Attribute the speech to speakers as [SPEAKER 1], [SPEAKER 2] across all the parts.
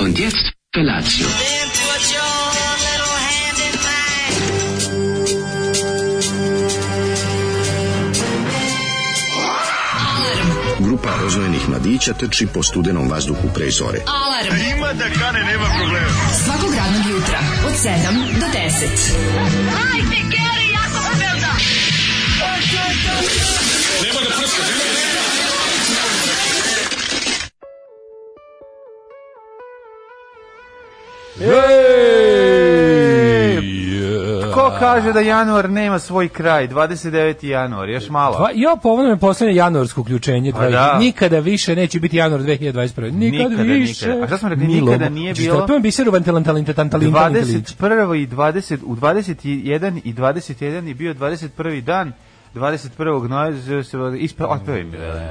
[SPEAKER 1] Und jetzt Felatio.
[SPEAKER 2] Then put your little hand in mine.
[SPEAKER 3] Grupa rozvojenih mladića trči po studenom vazduhu pre zore.
[SPEAKER 4] Alarm. A ima da kane, nema problema. Svakog radnog jutra, od 7 do 10.
[SPEAKER 5] Ko kaže da januar nema svoj kraj? 29. januar, još malo.
[SPEAKER 6] Pa ja povoljno poslednje januarsko uključenje.
[SPEAKER 5] Pa
[SPEAKER 6] dvadeset-
[SPEAKER 5] da.
[SPEAKER 6] Nikada više neće biti januar 2021. Nikada,
[SPEAKER 5] Nikada,
[SPEAKER 6] više.
[SPEAKER 5] nikada. A šta smo rekli,
[SPEAKER 6] Milo
[SPEAKER 5] nikada
[SPEAKER 6] Bo-
[SPEAKER 5] nije
[SPEAKER 6] Čisto
[SPEAKER 5] bilo-
[SPEAKER 6] je to biseru vantalantalinte, tantalinte,
[SPEAKER 5] 21. i 20, u 21 i 21 je bio 21. dan 21. novembra ispre otpevaj mi velim.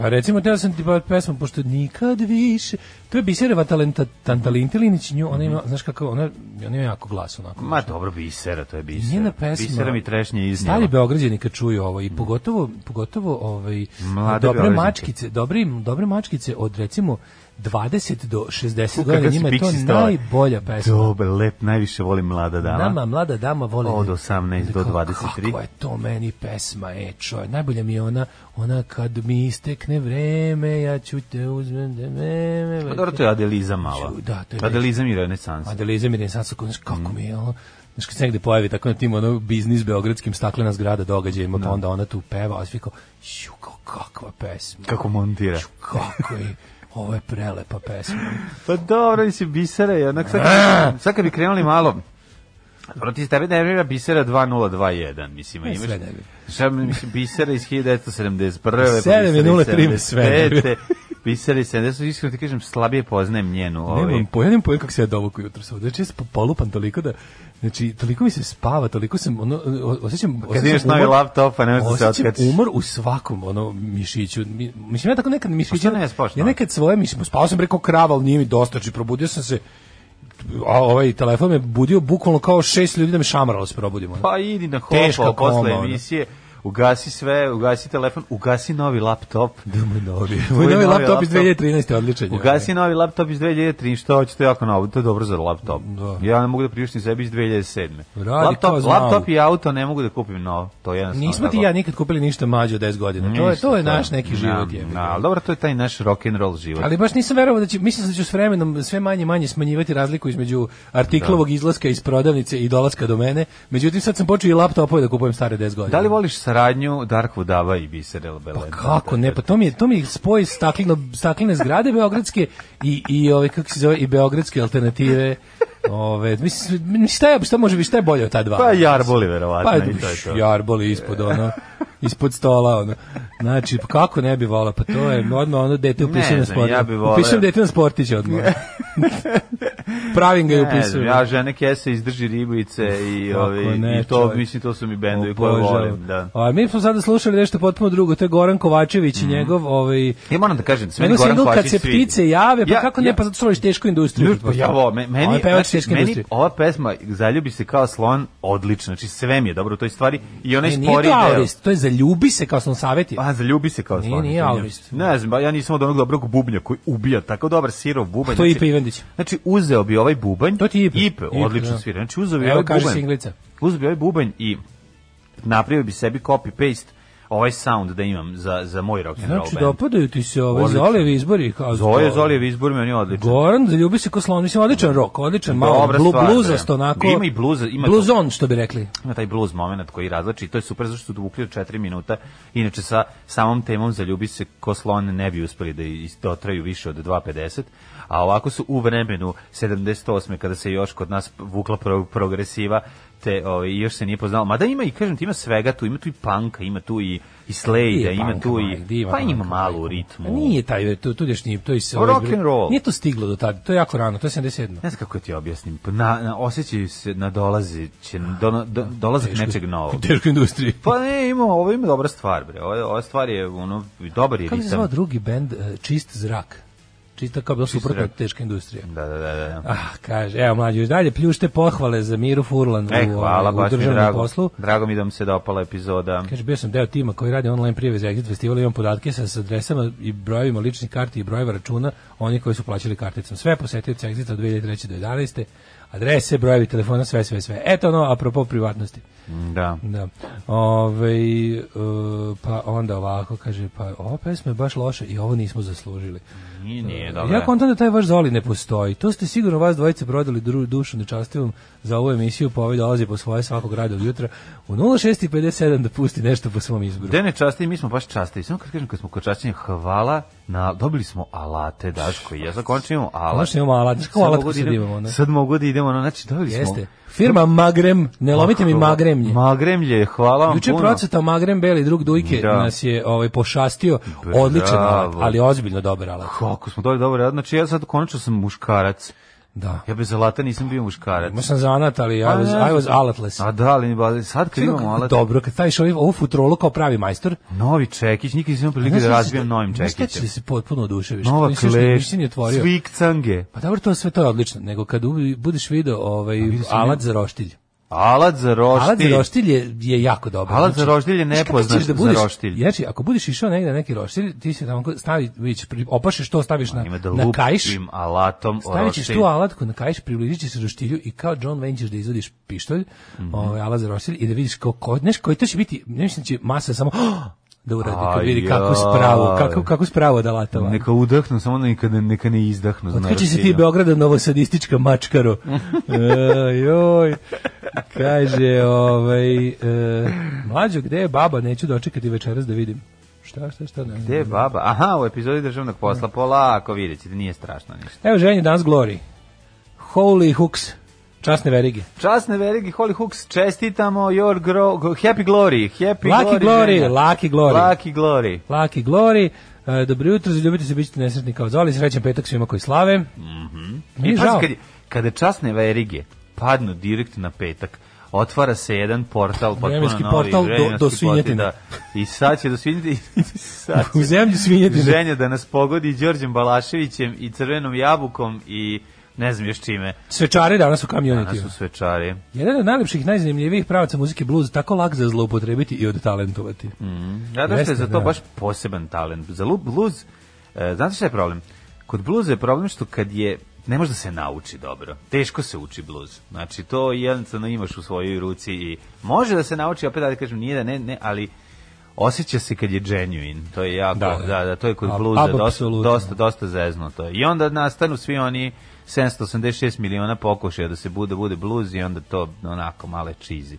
[SPEAKER 6] Pa recimo, teo sam ti pa pesmu, pošto nikad više... To je bisereva talenta, tantalinte Linić, nju, ona ima, znaš kako, ona, ona ima jako glas, onako.
[SPEAKER 5] Ma dobro bisera, to je bisera.
[SPEAKER 6] Njena pesma.
[SPEAKER 5] Bisera mi trešnje iznijela.
[SPEAKER 6] Stari Beograđani kad čuju ovo i pogotovo pogotovo ovaj
[SPEAKER 5] Mlade
[SPEAKER 6] dobre
[SPEAKER 5] Beograđanke.
[SPEAKER 6] mačkice, dobre dobre mačkice od recimo 20 do 60
[SPEAKER 5] Kako
[SPEAKER 6] godina
[SPEAKER 5] si
[SPEAKER 6] njima je to
[SPEAKER 5] piksi stala.
[SPEAKER 6] najbolja pesma.
[SPEAKER 5] Dobar, lep, najviše volim mlada dama.
[SPEAKER 6] Nama mlada dama voli
[SPEAKER 5] Od 18 do
[SPEAKER 6] Kako-
[SPEAKER 5] 23.
[SPEAKER 6] Kako je to meni pesma, e, čoj. Najbolja mi je ona, ona kad mi istekne vreme, ja ću te uzmem da me...
[SPEAKER 5] Pa dobro, to je Adeliza mala.
[SPEAKER 6] Ču- da, to je
[SPEAKER 5] Adeliza mi renesans.
[SPEAKER 6] Adeliza mi je sad sako, znaš kako mi je ono, znaš kad se negde pojavi tako na tim ono biznis beogradskim staklena zgrada događajima, pa onda ona tu peva, a svi kao, ju, kao kakva pesma,
[SPEAKER 5] Kako montira.
[SPEAKER 6] ju, kako je, ovo je prelepa pesma.
[SPEAKER 5] Pa dobro, mislim, bisera je. Onak, sad,
[SPEAKER 6] Eh.
[SPEAKER 5] sad kad bi krenuli malo, Dobro, ti tebe nervira Bisera 2021, mislim, a
[SPEAKER 6] Ne,
[SPEAKER 5] imaš...
[SPEAKER 6] sve nervira.
[SPEAKER 5] Šta, mislim, Bisera iz 1971. pa
[SPEAKER 6] 7.03
[SPEAKER 5] Bisera iz
[SPEAKER 6] sve nervira.
[SPEAKER 5] 75., Bisera iz 70, iskreno ti kažem, slabije poznajem njenu. Ovaj.
[SPEAKER 6] Nemam pojma, nemam pojma kako se ja dovuku jutro sa Znači, ja sam polupan toliko da, znači, toliko mi se spava, toliko sam, ono, o- osjećam...
[SPEAKER 5] Kad
[SPEAKER 6] osjećam
[SPEAKER 5] imaš novi
[SPEAKER 6] umor-
[SPEAKER 5] laptop, pa ne možeš da se
[SPEAKER 6] Osjećam
[SPEAKER 5] otkačiš.
[SPEAKER 6] umor u svakom ono mišiću. Mi- Mislim ja tako nekad mišiće.
[SPEAKER 5] što Pa ne spavaš
[SPEAKER 6] Ja
[SPEAKER 5] noć?
[SPEAKER 6] nekad svoje mislim spavao sam preko krava, ali nije mi dosta, znači probudio sam se a ovaj telefon me budio bukvalno kao šest ljudi da me šamaralo se probudimo. ono.
[SPEAKER 5] Pa idi na
[SPEAKER 6] Teška
[SPEAKER 5] hopa
[SPEAKER 6] koma,
[SPEAKER 5] posle
[SPEAKER 6] ono.
[SPEAKER 5] emisije, ugasi sve, ugasi telefon, ugasi novi laptop.
[SPEAKER 6] Da, moj novi. Moj novi laptop iz 2013. odličan je.
[SPEAKER 5] Ugasi novi laptop iz 2003, što hoćete jako novo, to je dobro za laptop.
[SPEAKER 6] Da.
[SPEAKER 5] Ja ne mogu da priuštim sebi iz 2007.
[SPEAKER 6] Radi kao
[SPEAKER 5] laptop,
[SPEAKER 6] znao.
[SPEAKER 5] laptop i auto ne mogu da kupim novo, to je jednostavno.
[SPEAKER 6] Nismo ti i
[SPEAKER 5] tako.
[SPEAKER 6] ja nikad kupili ništa mlađe od 10 godina. to je
[SPEAKER 5] Ništa,
[SPEAKER 6] to je naš neki život
[SPEAKER 5] Da,
[SPEAKER 6] je.
[SPEAKER 5] da, ali dobro, to je taj naš rock and roll život.
[SPEAKER 6] Ali baš nisam verovao da će, mislim da ću s vremenom sve manje i manje smanjivati razliku između artiklovog izlaska iz prodavnice i dolaska do mene. Međutim, sad sam počeo i laptopove da kupujem stare 10 godina.
[SPEAKER 5] Da li voliš saradnju Dark Vudava i Biser El
[SPEAKER 6] Pa kako ne, pa to mi je, to mi je spoj stakleno, staklene zgrade beogradske i, i ove, kako se zove, i beogradske alternative. Ove, mislim, mislim, šta, je, šta može biti, šta je bolje od ta dva?
[SPEAKER 5] Pa jarboli, verovatno,
[SPEAKER 6] Pa,
[SPEAKER 5] i to je to.
[SPEAKER 6] jarboli ispod, ono, ispod stola, ono. Znači, pa kako ne bi volao, pa to je odmah ono dete upisujem na
[SPEAKER 5] znam,
[SPEAKER 6] sportiće.
[SPEAKER 5] ja bi voleo.
[SPEAKER 6] Upisujem dete na sportiće odmah. Pravim ga i
[SPEAKER 5] Ne znam,
[SPEAKER 6] upisujem. Pa
[SPEAKER 5] ja žene kese izdrži ribice i,
[SPEAKER 6] Kako
[SPEAKER 5] ovi,
[SPEAKER 6] ne,
[SPEAKER 5] i to,
[SPEAKER 6] čovječe.
[SPEAKER 5] mislim, to su mi bendovi koje volim. Da.
[SPEAKER 6] A mi smo sada slušali nešto potpuno drugo, to je Goran Kovačević i njegov ovaj
[SPEAKER 5] Ja moram da kažem, sve mi
[SPEAKER 6] Nego
[SPEAKER 5] Mhm. Goran
[SPEAKER 6] single kad
[SPEAKER 5] Kovačić
[SPEAKER 6] se
[SPEAKER 5] svidi.
[SPEAKER 6] ptice jave, pa
[SPEAKER 5] Ja-
[SPEAKER 6] kako ne,
[SPEAKER 5] ja-
[SPEAKER 6] pa zato što voliš tešku industriju.
[SPEAKER 5] Pa ja ovo, me- meni,
[SPEAKER 6] Ovo je pevač
[SPEAKER 5] znači,
[SPEAKER 6] teške
[SPEAKER 5] meni
[SPEAKER 6] industrije.
[SPEAKER 5] ova pesma Zaljubi se kao slon odlična, znači sve mi je dobro u toj stvari i onaj
[SPEAKER 6] Ne, nije
[SPEAKER 5] spori
[SPEAKER 6] to
[SPEAKER 5] deo. Pa,
[SPEAKER 6] aurist, to je zaljubi se kao sam savjeti.
[SPEAKER 5] A, zaljubi se kao
[SPEAKER 6] Nije,
[SPEAKER 5] slon.
[SPEAKER 6] nije
[SPEAKER 5] izvinjam.
[SPEAKER 6] aurist.
[SPEAKER 5] Ne znam, ba, ja nisam od onog dobrog bubnja koji ubija, tako dobar sirov bubanj.
[SPEAKER 6] To je
[SPEAKER 5] znači-
[SPEAKER 6] Ipe Ivandić.
[SPEAKER 5] Znači, uzeo bi ovaj bubanj.
[SPEAKER 6] To ti je Ipe.
[SPEAKER 5] Ipe,
[SPEAKER 6] Ipe,
[SPEAKER 5] odlično
[SPEAKER 6] da.
[SPEAKER 5] svira. Znači, uzeo bi
[SPEAKER 6] Evo
[SPEAKER 5] ovaj
[SPEAKER 6] kaže
[SPEAKER 5] bubanj.
[SPEAKER 6] singlica.
[SPEAKER 5] Uzeo bi ovaj bubanj i napravio bi sebi copy-paste ovaj sound da imam za, za moj rock and roll
[SPEAKER 6] Znači,
[SPEAKER 5] band.
[SPEAKER 6] dopadaju ti se ove
[SPEAKER 5] Odlično.
[SPEAKER 6] Zolijevi izbori. Kao
[SPEAKER 5] Zoje, Zolijev izbor mi on je odličan.
[SPEAKER 6] Goran, zaljubi se kao slon, mislim, odličan rok, odličan, malo
[SPEAKER 5] Dobra
[SPEAKER 6] blu,
[SPEAKER 5] stvar,
[SPEAKER 6] bluzast,
[SPEAKER 5] da.
[SPEAKER 6] onako.
[SPEAKER 5] Ima i bluza- ima to.
[SPEAKER 6] Bluzon, što bi rekli.
[SPEAKER 5] ima taj blues moment koji razlači i to je super zašto su dovukli od 4 minuta. Inače sa samom temom za ljubi se ko slon ne bi uspeli da is- dotraju više od 2.50, a ovako su u vremenu 78. kada se još kod nas vukla pro- progresiva te ovaj, još se nije poznalo. Mada ima i, kažem ti, ima svega tu, ima tu i panka, ima tu i, i slejda,
[SPEAKER 6] Nije
[SPEAKER 5] ima
[SPEAKER 6] punk,
[SPEAKER 5] tu
[SPEAKER 6] Mike,
[SPEAKER 5] i...
[SPEAKER 6] divan
[SPEAKER 5] Pa ima
[SPEAKER 6] punk,
[SPEAKER 5] malo u
[SPEAKER 6] Mike.
[SPEAKER 5] ritmu.
[SPEAKER 6] A Pa Nije taj, to, to još nije, to je se...
[SPEAKER 5] Pa
[SPEAKER 6] ovaj
[SPEAKER 5] Rock and roll.
[SPEAKER 6] Nije to stiglo do tada, to je jako rano, to je 77.
[SPEAKER 5] Ne znam kako ti objasnim. Pa Na, na, osjećaju se na dolazeće, do, do, dolazak nečeg novog.
[SPEAKER 6] Teško industriji.
[SPEAKER 5] Pa ne, ima, ovo ima dobra stvar, bre. Ovo, ova stvar je, ono, dobar je
[SPEAKER 6] Kako se
[SPEAKER 5] ritam.
[SPEAKER 6] zvao drugi bend, e, Čist zrak? Čista kao bila
[SPEAKER 5] Čista
[SPEAKER 6] suprotna
[SPEAKER 5] rep-
[SPEAKER 6] teška industrija.
[SPEAKER 5] Da, da, da, da.
[SPEAKER 6] Ah, kaže, evo mlađi, još dalje pljušte pohvale za Miru Furlan
[SPEAKER 5] E,
[SPEAKER 6] u,
[SPEAKER 5] hvala,
[SPEAKER 6] ovaj, u
[SPEAKER 5] baš mi je
[SPEAKER 6] državnom
[SPEAKER 5] drago.
[SPEAKER 6] poslu.
[SPEAKER 5] Drago mi je da vam se dopala epizoda.
[SPEAKER 6] Kaže, bio sam deo tima koji radi online prijeve za Exit festival, imam podatke sa, sa adresama i brojevima ličnih karti i brojeva računa oni koji su plaćali karticom. Sve posetioci Exita od 2003. do 2011. Adrese, brojevi telefona, sve, sve, sve. Eto ono, apropo privatnosti.
[SPEAKER 5] Da.
[SPEAKER 6] Da. Ove, e, pa onda ovako, kaže, pa ova pesma je baš loša i ovo nismo zaslužili.
[SPEAKER 5] Nije, nije,
[SPEAKER 6] Dobre.
[SPEAKER 5] dobro.
[SPEAKER 6] Ja kontam da taj vaš Zoli ne postoji. To ste sigurno vas dvojice prodali dru, dušu nečastivom za ovu emisiju, pa ovaj dolazi po svoje svakog rada od jutra u 06.57 da pusti nešto po svom izboru.
[SPEAKER 5] Gde ne časti, mi smo baš časti. Samo kad kažem, kad smo kod čašćenja, hvala, na, dobili smo alate, Daško, i ja za končno imamo alat.
[SPEAKER 6] Konačno imamo alat. Znaš kako
[SPEAKER 5] Sad
[SPEAKER 6] alat
[SPEAKER 5] mogu
[SPEAKER 6] kad
[SPEAKER 5] da
[SPEAKER 6] sad
[SPEAKER 5] idem-
[SPEAKER 6] imamo, ne?
[SPEAKER 5] Sad mogu da idemo, ono, znači, dobili smo...
[SPEAKER 6] Jeste. Firma Magrem, ne lomite mi Magremnje.
[SPEAKER 5] Magremlje, hvala vam
[SPEAKER 6] Juče
[SPEAKER 5] puno.
[SPEAKER 6] proceta Magrem Beli drug Dujke
[SPEAKER 5] Da.
[SPEAKER 6] nas je ovaj pošastio odličan alat, ali ozbiljno dobar alat.
[SPEAKER 5] Kako smo dobili dobro, znači ja sad konačno sam muškarac.
[SPEAKER 6] Da.
[SPEAKER 5] Ja bez alata nisam bio muškarac.
[SPEAKER 6] Imao sam zanat, ali I
[SPEAKER 5] A,
[SPEAKER 6] was,
[SPEAKER 5] Pa ne.
[SPEAKER 6] I was alatless.
[SPEAKER 5] A da, ali ali sad kad imamo alat,
[SPEAKER 6] Dobro, kad staviš ovaj- ovu futrolu kao pravi majstor,
[SPEAKER 5] novi čekić, nikad nisam imao prilike da razbijam novim
[SPEAKER 6] Šta će
[SPEAKER 5] čekićem.
[SPEAKER 6] da se potpuno oduševiš?
[SPEAKER 5] Nova
[SPEAKER 6] Nisi još ni-
[SPEAKER 5] kleš,
[SPEAKER 6] nisi ni otvorio.
[SPEAKER 5] cvikcange,
[SPEAKER 6] Pa dobro, to sve to je odlično, nego kad ubi- budeš video ovaj
[SPEAKER 5] sam
[SPEAKER 6] alat za roštilj.
[SPEAKER 5] alat za roštilj.
[SPEAKER 6] Alat za roštilj je, je jako dobar. Znači,
[SPEAKER 5] Alat za roštilj je
[SPEAKER 6] znaš kako
[SPEAKER 5] nepoznat
[SPEAKER 6] ćeš da
[SPEAKER 5] za
[SPEAKER 6] budeš,
[SPEAKER 5] roštilj.
[SPEAKER 6] Znači, ako budeš išao negde na neki roštilj, ti se tamo ko- stavi, vidiš, pri- opašeš to, staviš na,
[SPEAKER 5] Ima da
[SPEAKER 6] na kajš,
[SPEAKER 5] lupim alatom o
[SPEAKER 6] stavit ćeš
[SPEAKER 5] roštilj.
[SPEAKER 6] tu alatku na kajš, približit ćeš se roštilju i kao John Wayne ćeš da izvadiš pištolj,
[SPEAKER 5] Mhm.
[SPEAKER 6] ovaj, alat za roštilj i da vidiš kao, ko, znaš, koji to će biti, ne mislim da će masa samo da uradi, kad vidi kako
[SPEAKER 5] Ajaj.
[SPEAKER 6] spravo, kako, kako spravo da latava.
[SPEAKER 5] Neka udahnu, samo neka, ne- neka ne izdahnu. za
[SPEAKER 6] Otkači se Pa ti
[SPEAKER 5] roštilju.
[SPEAKER 6] Beograda novosadistička mačkaro. E, joj. Kaže, ovaj, e, mlađo, gde je baba? Neću dočekati večeras da vidim. Šta, šta, šta? Ne, znam.
[SPEAKER 5] Gde je baba? Aha, u epizodi državnog posla, polako vidjet ćete, nije strašno ništa.
[SPEAKER 6] Evo ženje danas Glory. Holy hooks. Časne verige.
[SPEAKER 5] Časne veliki Holly Hooks, čestitamo your gro, go- happy glory, happy
[SPEAKER 6] Lucky glory,
[SPEAKER 5] ženja.
[SPEAKER 6] lucky glory.
[SPEAKER 5] Lucky glory.
[SPEAKER 6] Lucky Glory. E, dobro jutro, zaljubite se, bit ćete nesretni kao Zoli. Srećan petak svima koji slave. Mm Mi je
[SPEAKER 5] I
[SPEAKER 6] žao.
[SPEAKER 5] Mhm. E, pazi, kad, je- kada časne verige padnu direkt na petak, otvara se jedan portal, potpuno
[SPEAKER 6] Vremenski
[SPEAKER 5] novi,
[SPEAKER 6] portal do-
[SPEAKER 5] vremenski
[SPEAKER 6] do svinjetine.
[SPEAKER 5] portal, da. I sad će do svinjetine. i sad će-
[SPEAKER 6] U zemlju svinjetine.
[SPEAKER 5] Ženja da nas pogodi Đorđem Balaševićem i Crvenom jabukom i ne znam još čime.
[SPEAKER 6] Svečari danas u kamionitiju.
[SPEAKER 5] Nas su svečari.
[SPEAKER 6] Jedan od najlepših, najzanimljivijih pravaca muzike blues, tako lak za zloupotrebiti i odtalentovati.
[SPEAKER 5] Mm. Ja da što
[SPEAKER 6] Jeste,
[SPEAKER 5] je za to
[SPEAKER 6] da.
[SPEAKER 5] baš poseban talent. Za lu- bluz, e, znate šta je problem? Kod bluza je problem što kad je ne može da se nauči dobro. Teško se uči bluz. Znači, to jednostavno imaš u svojoj ruci i može da se nauči, opet da ti kažem, nije da ne, ne, ali osjeća se kad je genuine. To je jako, da,
[SPEAKER 6] Da,
[SPEAKER 5] da,
[SPEAKER 6] da.
[SPEAKER 5] to je kod
[SPEAKER 6] A-
[SPEAKER 5] bluza dosta,
[SPEAKER 6] apsolutno.
[SPEAKER 5] dosta, dosta zeznuto. I onda nastanu svi oni 786 miliona pokušaja da se bude, bude bluz i onda to onako male čizi.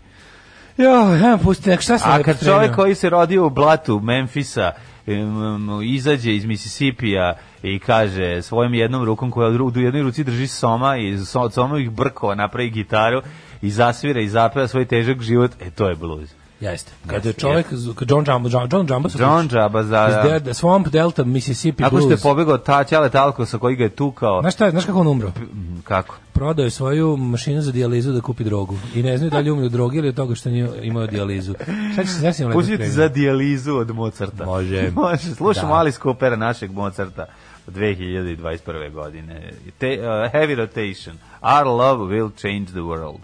[SPEAKER 6] Jo, ja, pusti, nek, šta sam
[SPEAKER 5] A
[SPEAKER 6] lepo
[SPEAKER 5] kad
[SPEAKER 6] spremio?
[SPEAKER 5] čovjek koji se rodio u blatu Memfisa em, em, izađe iz Misisipija i kaže svojom jednom rukom koja u dru- u jednoj ruci drži soma i so- somovih brkova napravi gitaru i zasvira i zapeva svoj težak život, e to je blues.
[SPEAKER 6] Jeste. Kad je čovjek, kad John Jumbo, John, John Jumbo su
[SPEAKER 5] John Jabba
[SPEAKER 6] iz
[SPEAKER 5] za...
[SPEAKER 6] Dead- Swamp Delta, Mississippi
[SPEAKER 5] Ako što je
[SPEAKER 6] Blues.
[SPEAKER 5] pobegao ta Ćale Talkosa koji ga je tukao,
[SPEAKER 6] Znaš šta je, znaš kako on umro?
[SPEAKER 5] Mm, kako?
[SPEAKER 6] Prodao je svoju mašinu za dijalizu da kupi drogu. I ne znaju da li umri od droge ili od toga što nije imao dijalizu. Šta će se znaš im lepo
[SPEAKER 5] Pustite
[SPEAKER 6] spremio?
[SPEAKER 5] za dijalizu od Mozarta.
[SPEAKER 6] Može.
[SPEAKER 5] Može. Slušamo
[SPEAKER 6] Da.
[SPEAKER 5] Alice Coopera, našeg Mozarta od 2021. godine. Te, uh, heavy Rotation. Our love will change the world.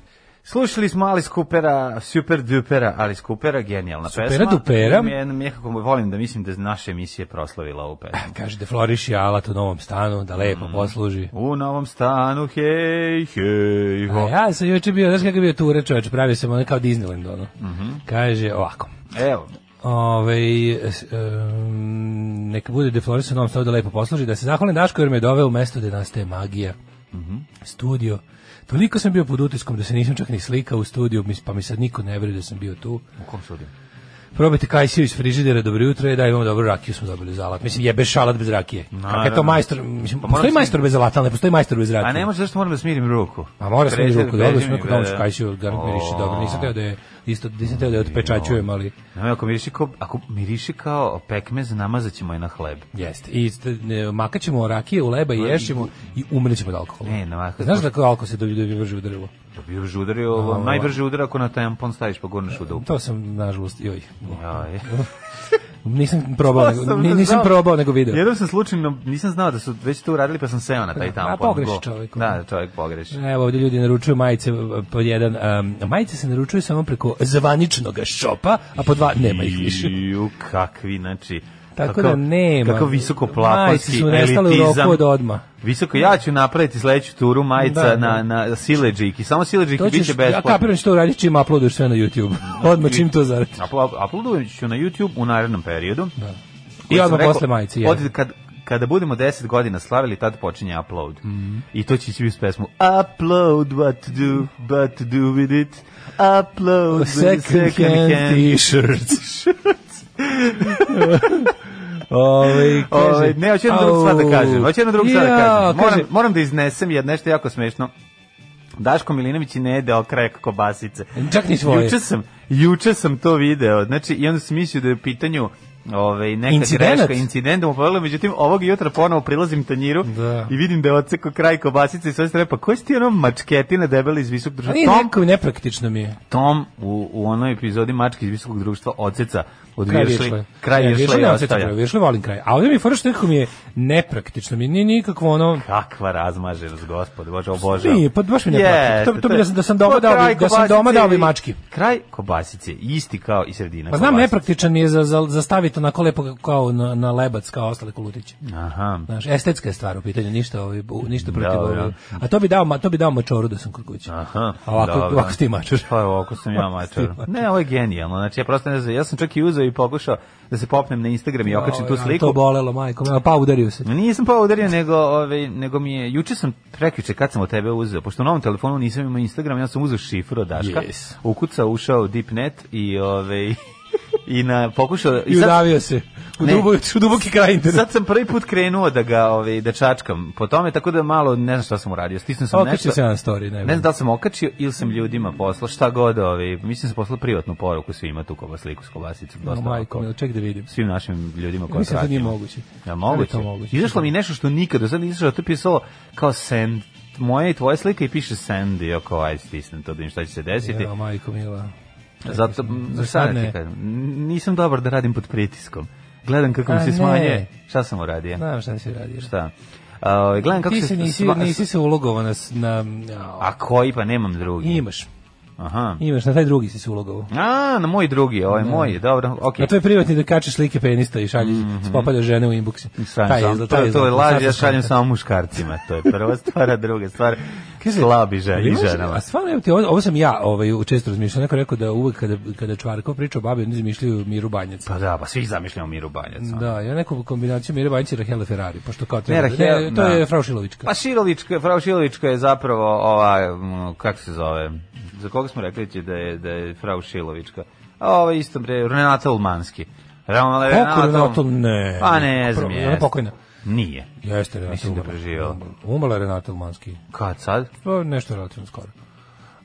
[SPEAKER 5] Slušali smo Alice Coopera, super dupera, Alice Coopera, genijalna
[SPEAKER 6] Supera
[SPEAKER 5] pesma.
[SPEAKER 6] dupera.
[SPEAKER 5] Ja nekako volim da mislim da je naša emisija proslavila ovu pesmu.
[SPEAKER 6] Kaže da floriši alat u novom stanu, da lepo
[SPEAKER 5] Mm.
[SPEAKER 6] posluži.
[SPEAKER 5] U novom stanu, hej, hej, ho.
[SPEAKER 6] A ja sam juče bio, znaš kakav je bio ture čovječ, pravio sam ono kao Disneyland, ono.
[SPEAKER 5] Mhm.
[SPEAKER 6] Kaže ovako.
[SPEAKER 5] Evo,
[SPEAKER 6] Ove, um, Ovaj, neka bude deflorisan ovom stavu da lepo posluži, da se zahvalim Daško jer me je doveo u mesto gde nastaje magija.
[SPEAKER 5] Mhm.
[SPEAKER 6] Studio. Toliko sam bio pod utiskom da se nisam čak ni slikao u studiju, mis- pa mi sad niko ne veruje da sam bio tu.
[SPEAKER 5] u kom sudim?
[SPEAKER 6] Probajte kajsiju iz frižidera, dobro jutro, je da imamo dobru rakiju, smo dobili za alat. Mislim, jebe šalat bez rakije. Kako je
[SPEAKER 5] Naravno.
[SPEAKER 6] to majstor, mislim,
[SPEAKER 5] Pa moram
[SPEAKER 6] postoji
[SPEAKER 5] se-
[SPEAKER 6] majstor bez alata, ali ne postoji majstor bez rakije.
[SPEAKER 5] A ne može, zašto moram da smirim ruku?
[SPEAKER 6] A mora sam
[SPEAKER 5] Pređe-
[SPEAKER 6] mi ruku, dobro
[SPEAKER 5] pređe
[SPEAKER 6] sam
[SPEAKER 5] mi,
[SPEAKER 6] rekao da on
[SPEAKER 5] bre.
[SPEAKER 6] škajsio, garant miriši, dobro, nisam teo da je, isto, nisam teo da je otpečaćujem, ali
[SPEAKER 5] Nama ako miriši kao, ako miriši kao pekmez, namazaćemo je na hleb.
[SPEAKER 6] jeste. I st- ne, makaćemo rakije u leba i ješćemo i umrećemo od alkohola.
[SPEAKER 5] Pa Ne, na ovako-
[SPEAKER 6] Znaš da kao alkohol se dobi dobi vrži u drvo?
[SPEAKER 5] To bi još udario, ovo, najbrže udar ako na tampon staviš pa gurneš u dupu.
[SPEAKER 6] To sam, nažalost, joj.
[SPEAKER 5] Jaj.
[SPEAKER 6] Nisam probao,
[SPEAKER 5] To
[SPEAKER 6] nego,
[SPEAKER 5] sam
[SPEAKER 6] ni- nisam
[SPEAKER 5] znao.
[SPEAKER 6] probao, nego video.
[SPEAKER 5] Jednom sam slučajno, nisam znao da su već to uradili, pa sam seo na taj tamo.
[SPEAKER 6] A,
[SPEAKER 5] ponugu.
[SPEAKER 6] pogreši E, čovjek.
[SPEAKER 5] Da, čovjek pogreši.
[SPEAKER 6] Evo ovdje ljudi naručuju majice e, po jedan, um, majice se naručuju samo preko zvaničnog šopa, a po dva nema pa ih više.
[SPEAKER 5] Iju, kakvi, znači...
[SPEAKER 6] Tako
[SPEAKER 5] kakav-
[SPEAKER 6] da nema.
[SPEAKER 5] Kakav visoko
[SPEAKER 6] Majice
[SPEAKER 5] plafonski
[SPEAKER 6] su nestale u
[SPEAKER 5] elitizam.
[SPEAKER 6] roku od odma.
[SPEAKER 5] Visoko, ja ću napraviti sledeću turu majica
[SPEAKER 6] Da, da.
[SPEAKER 5] na, na sileđiki. Samo sileđiki
[SPEAKER 6] To
[SPEAKER 5] bit
[SPEAKER 6] ćeš,
[SPEAKER 5] će
[SPEAKER 6] ja
[SPEAKER 5] besplatno.
[SPEAKER 6] kapiram što uradiš čim uploaduješ sve na YouTube. Pa Odmah čim to zaradiš.
[SPEAKER 5] Uplo- Uploadujem ću na YouTube u narednom periodu. Da.
[SPEAKER 6] I odmah posle majice, je.
[SPEAKER 5] Od, kad, kada budemo 10 godina slavili, tad počinje upload.
[SPEAKER 6] Mhm.
[SPEAKER 5] I to će ići uz pesmu Upload what to do, but to do with it. Upload with
[SPEAKER 6] Second, hand, t-shirts. Ove, kaže,
[SPEAKER 5] Ovaj, ne, hoću jednu drugu stvar da kažem. Hoću jednu drugu stvar da
[SPEAKER 6] Jao,
[SPEAKER 5] kažem. Moram,
[SPEAKER 6] kaže,
[SPEAKER 5] moram da iznesem jer nešto jako smešno. Daško Milinović i ne jede okrajak kobasice.
[SPEAKER 6] Čak ni svoje.
[SPEAKER 5] Juče sam, juče sam to video. Znači, i onda sam mislio da je u pitanju ovaj, neka
[SPEAKER 6] Incidenat?
[SPEAKER 5] greška, incident da mu povedalo. Međutim, ovog jutra ponovo prilazim tanjiru
[SPEAKER 6] Da.
[SPEAKER 5] i vidim da je oceko kraj kobasice i sve strane. Pa koji si ti ono mačketina debeli iz visok
[SPEAKER 6] a
[SPEAKER 5] društva?
[SPEAKER 6] nije
[SPEAKER 5] Tom,
[SPEAKER 6] neko, nepraktično mi je.
[SPEAKER 5] Tom u, u onoj epizodi Mačke iz visokog društva oceca od
[SPEAKER 6] Kraj E,
[SPEAKER 5] Viršle.
[SPEAKER 6] Viršle.
[SPEAKER 5] Kraj
[SPEAKER 6] Ne,
[SPEAKER 5] Viršle i
[SPEAKER 6] ne osjećam
[SPEAKER 5] ostavlja.
[SPEAKER 6] kraj Viršle volim kraj. A ovdje mi je fora što nekako mi je nepraktično. Mi nije nikakvo ono...
[SPEAKER 5] Kakva razmaženost, gospod, bože, obožavam.
[SPEAKER 6] Nije, pa baš mi ne yes, to, to bi da sam, da sam doma
[SPEAKER 5] Pa
[SPEAKER 6] dao,
[SPEAKER 5] kraj
[SPEAKER 6] bi- da sam doma
[SPEAKER 5] kobasice
[SPEAKER 6] dao bi
[SPEAKER 5] i-
[SPEAKER 6] mački.
[SPEAKER 5] Kraj kobasice, isti kao i sredina
[SPEAKER 6] Pa znam,
[SPEAKER 5] kobasice.
[SPEAKER 6] nepraktičan mi je za, za, za staviti onako lepo kao na, na lebac, kao ostale kolutiće.
[SPEAKER 5] Aha.
[SPEAKER 6] Znaš, estetska je stvar u pitanju, ništa, ovaj, bu- ništa protiv
[SPEAKER 5] Dobro.
[SPEAKER 6] ovoga. A to bi dao, ma- to bi dao mačoru da sam kod kuće.
[SPEAKER 5] Aha,
[SPEAKER 6] A ovako,
[SPEAKER 5] dobro.
[SPEAKER 6] ovako ti mačor.
[SPEAKER 5] Pa evo, ovako sam ja
[SPEAKER 6] Ovako si ti
[SPEAKER 5] mačar. Ne, ovo je genijalno. Znači, ja prosto ne znam, ja sam čak i uzeo i pokušao da se popnem na Instagram i okačim tu
[SPEAKER 6] Ovaj, ali To
[SPEAKER 5] sliku.
[SPEAKER 6] bolelo, majko. moja, Pa udario se.
[SPEAKER 5] Nisam pa udario, nego, ovaj, nego mi je, juče sam, prekjuče, kad sam od tebe uzeo, pošto u novom telefonu nisam imao Instagram, ja sam uzeo šifru od Daška,
[SPEAKER 6] Yes.
[SPEAKER 5] ukucao, ušao u DeepNet i, ovaj, i na, pokušao...
[SPEAKER 6] I
[SPEAKER 5] sad-
[SPEAKER 6] udavio se. U,
[SPEAKER 5] Ne.
[SPEAKER 6] dubo, u duboki kraj interneta.
[SPEAKER 5] Sad sam prvi put krenuo da ga ovaj da čačkam po tome tako da malo ne znam šta sam uradio. Stisnuo sam
[SPEAKER 6] Okačio
[SPEAKER 5] nešto.
[SPEAKER 6] se na story. Ne,
[SPEAKER 5] Ne znam da li sam okačio ili sam ljudima poslao šta god, ovaj mislim sam poslao privatnu poruku svima tu kova sliku s kobasicom
[SPEAKER 6] O,
[SPEAKER 5] dosta.
[SPEAKER 6] majko,
[SPEAKER 5] ovako,
[SPEAKER 6] mila, ček da vidim.
[SPEAKER 5] svim našim ljudima koji
[SPEAKER 6] Mislim da to nije moguće.
[SPEAKER 5] Ja
[SPEAKER 6] Da
[SPEAKER 5] mogu.
[SPEAKER 6] li to moguće?
[SPEAKER 5] Izašlo mi nešto što nikad do sad nisam što je pisalo kao send moja i tvoja slika i piše send i oko aj stisnem to da im šta će se desiti.
[SPEAKER 6] Evo, majko mila.
[SPEAKER 5] Zato m,
[SPEAKER 6] Za
[SPEAKER 5] sad
[SPEAKER 6] sad
[SPEAKER 5] ne
[SPEAKER 6] ne.
[SPEAKER 5] ti kažem, n- nisam dobar da radim pod pritiskom. Gledam kako mi
[SPEAKER 6] A,
[SPEAKER 5] se
[SPEAKER 6] ne.
[SPEAKER 5] smanjuje. Šta sam uradio?
[SPEAKER 6] Znam šta si radio.
[SPEAKER 5] Šta? A, ovaj, gledam kako
[SPEAKER 6] Ti
[SPEAKER 5] se
[SPEAKER 6] se nisi,
[SPEAKER 5] sva-
[SPEAKER 6] nisi se ulogovao na... s- na a,
[SPEAKER 5] A koji pa nemam drugi.
[SPEAKER 6] imaš.
[SPEAKER 5] Aha.
[SPEAKER 6] Imaš, na taj drugi si se ulogovao.
[SPEAKER 5] A, na moj drugi, ovaj moj je, dobro, okej.
[SPEAKER 6] Na tvoj privatni da kačeš slike penista i šalješ, mm
[SPEAKER 5] Mhm.
[SPEAKER 6] žene u inboxi.
[SPEAKER 5] Šaljem
[SPEAKER 6] Taj pa je
[SPEAKER 5] samo-
[SPEAKER 6] izgled,
[SPEAKER 5] to,
[SPEAKER 6] taj
[SPEAKER 5] je- to je
[SPEAKER 6] izgled. Sad
[SPEAKER 5] laž,
[SPEAKER 6] sam
[SPEAKER 5] ja šaljem
[SPEAKER 6] skontao.
[SPEAKER 5] samo muškarcima, to je prva stvar, a druga stvar, slabi žen, i
[SPEAKER 6] Imaš-
[SPEAKER 5] ženama.
[SPEAKER 6] A stvarno, evo ti, ovo, ovo sam ja ovaj, često razmišljao. Neko je rekao da uvek kada, kada Čvarkov priča o babi, oni izmišljaju Miru Banjac.
[SPEAKER 5] Pa da, pa svi zamišljamo Miru Banjac. a?
[SPEAKER 6] Da, ja neku kombinaciju Mire Banjac i Rahele Ferrari, pošto kao treba...
[SPEAKER 5] Ne,
[SPEAKER 6] da-
[SPEAKER 5] Rahel-
[SPEAKER 6] to
[SPEAKER 5] da.
[SPEAKER 6] je Fraušilovička.
[SPEAKER 5] Pa Šilovička, Frau Šilovička je zapravo ova, m, kako se zove, za koga smo rekli će da je, da je Frau Šilovička? A ova isto bre, Renata Ulmanski. Ram-
[SPEAKER 6] Kako Renato? Ne.
[SPEAKER 5] Pa ne znam,
[SPEAKER 6] Prvo,
[SPEAKER 5] je.
[SPEAKER 6] Ona je pokojna.
[SPEAKER 5] Nije.
[SPEAKER 6] Jeste Renata
[SPEAKER 5] Mislim da
[SPEAKER 6] umrla.
[SPEAKER 5] preživela.
[SPEAKER 6] Umrla je Renata Ulmanski.
[SPEAKER 5] Kad sad?
[SPEAKER 6] To je nešto relativno skoro.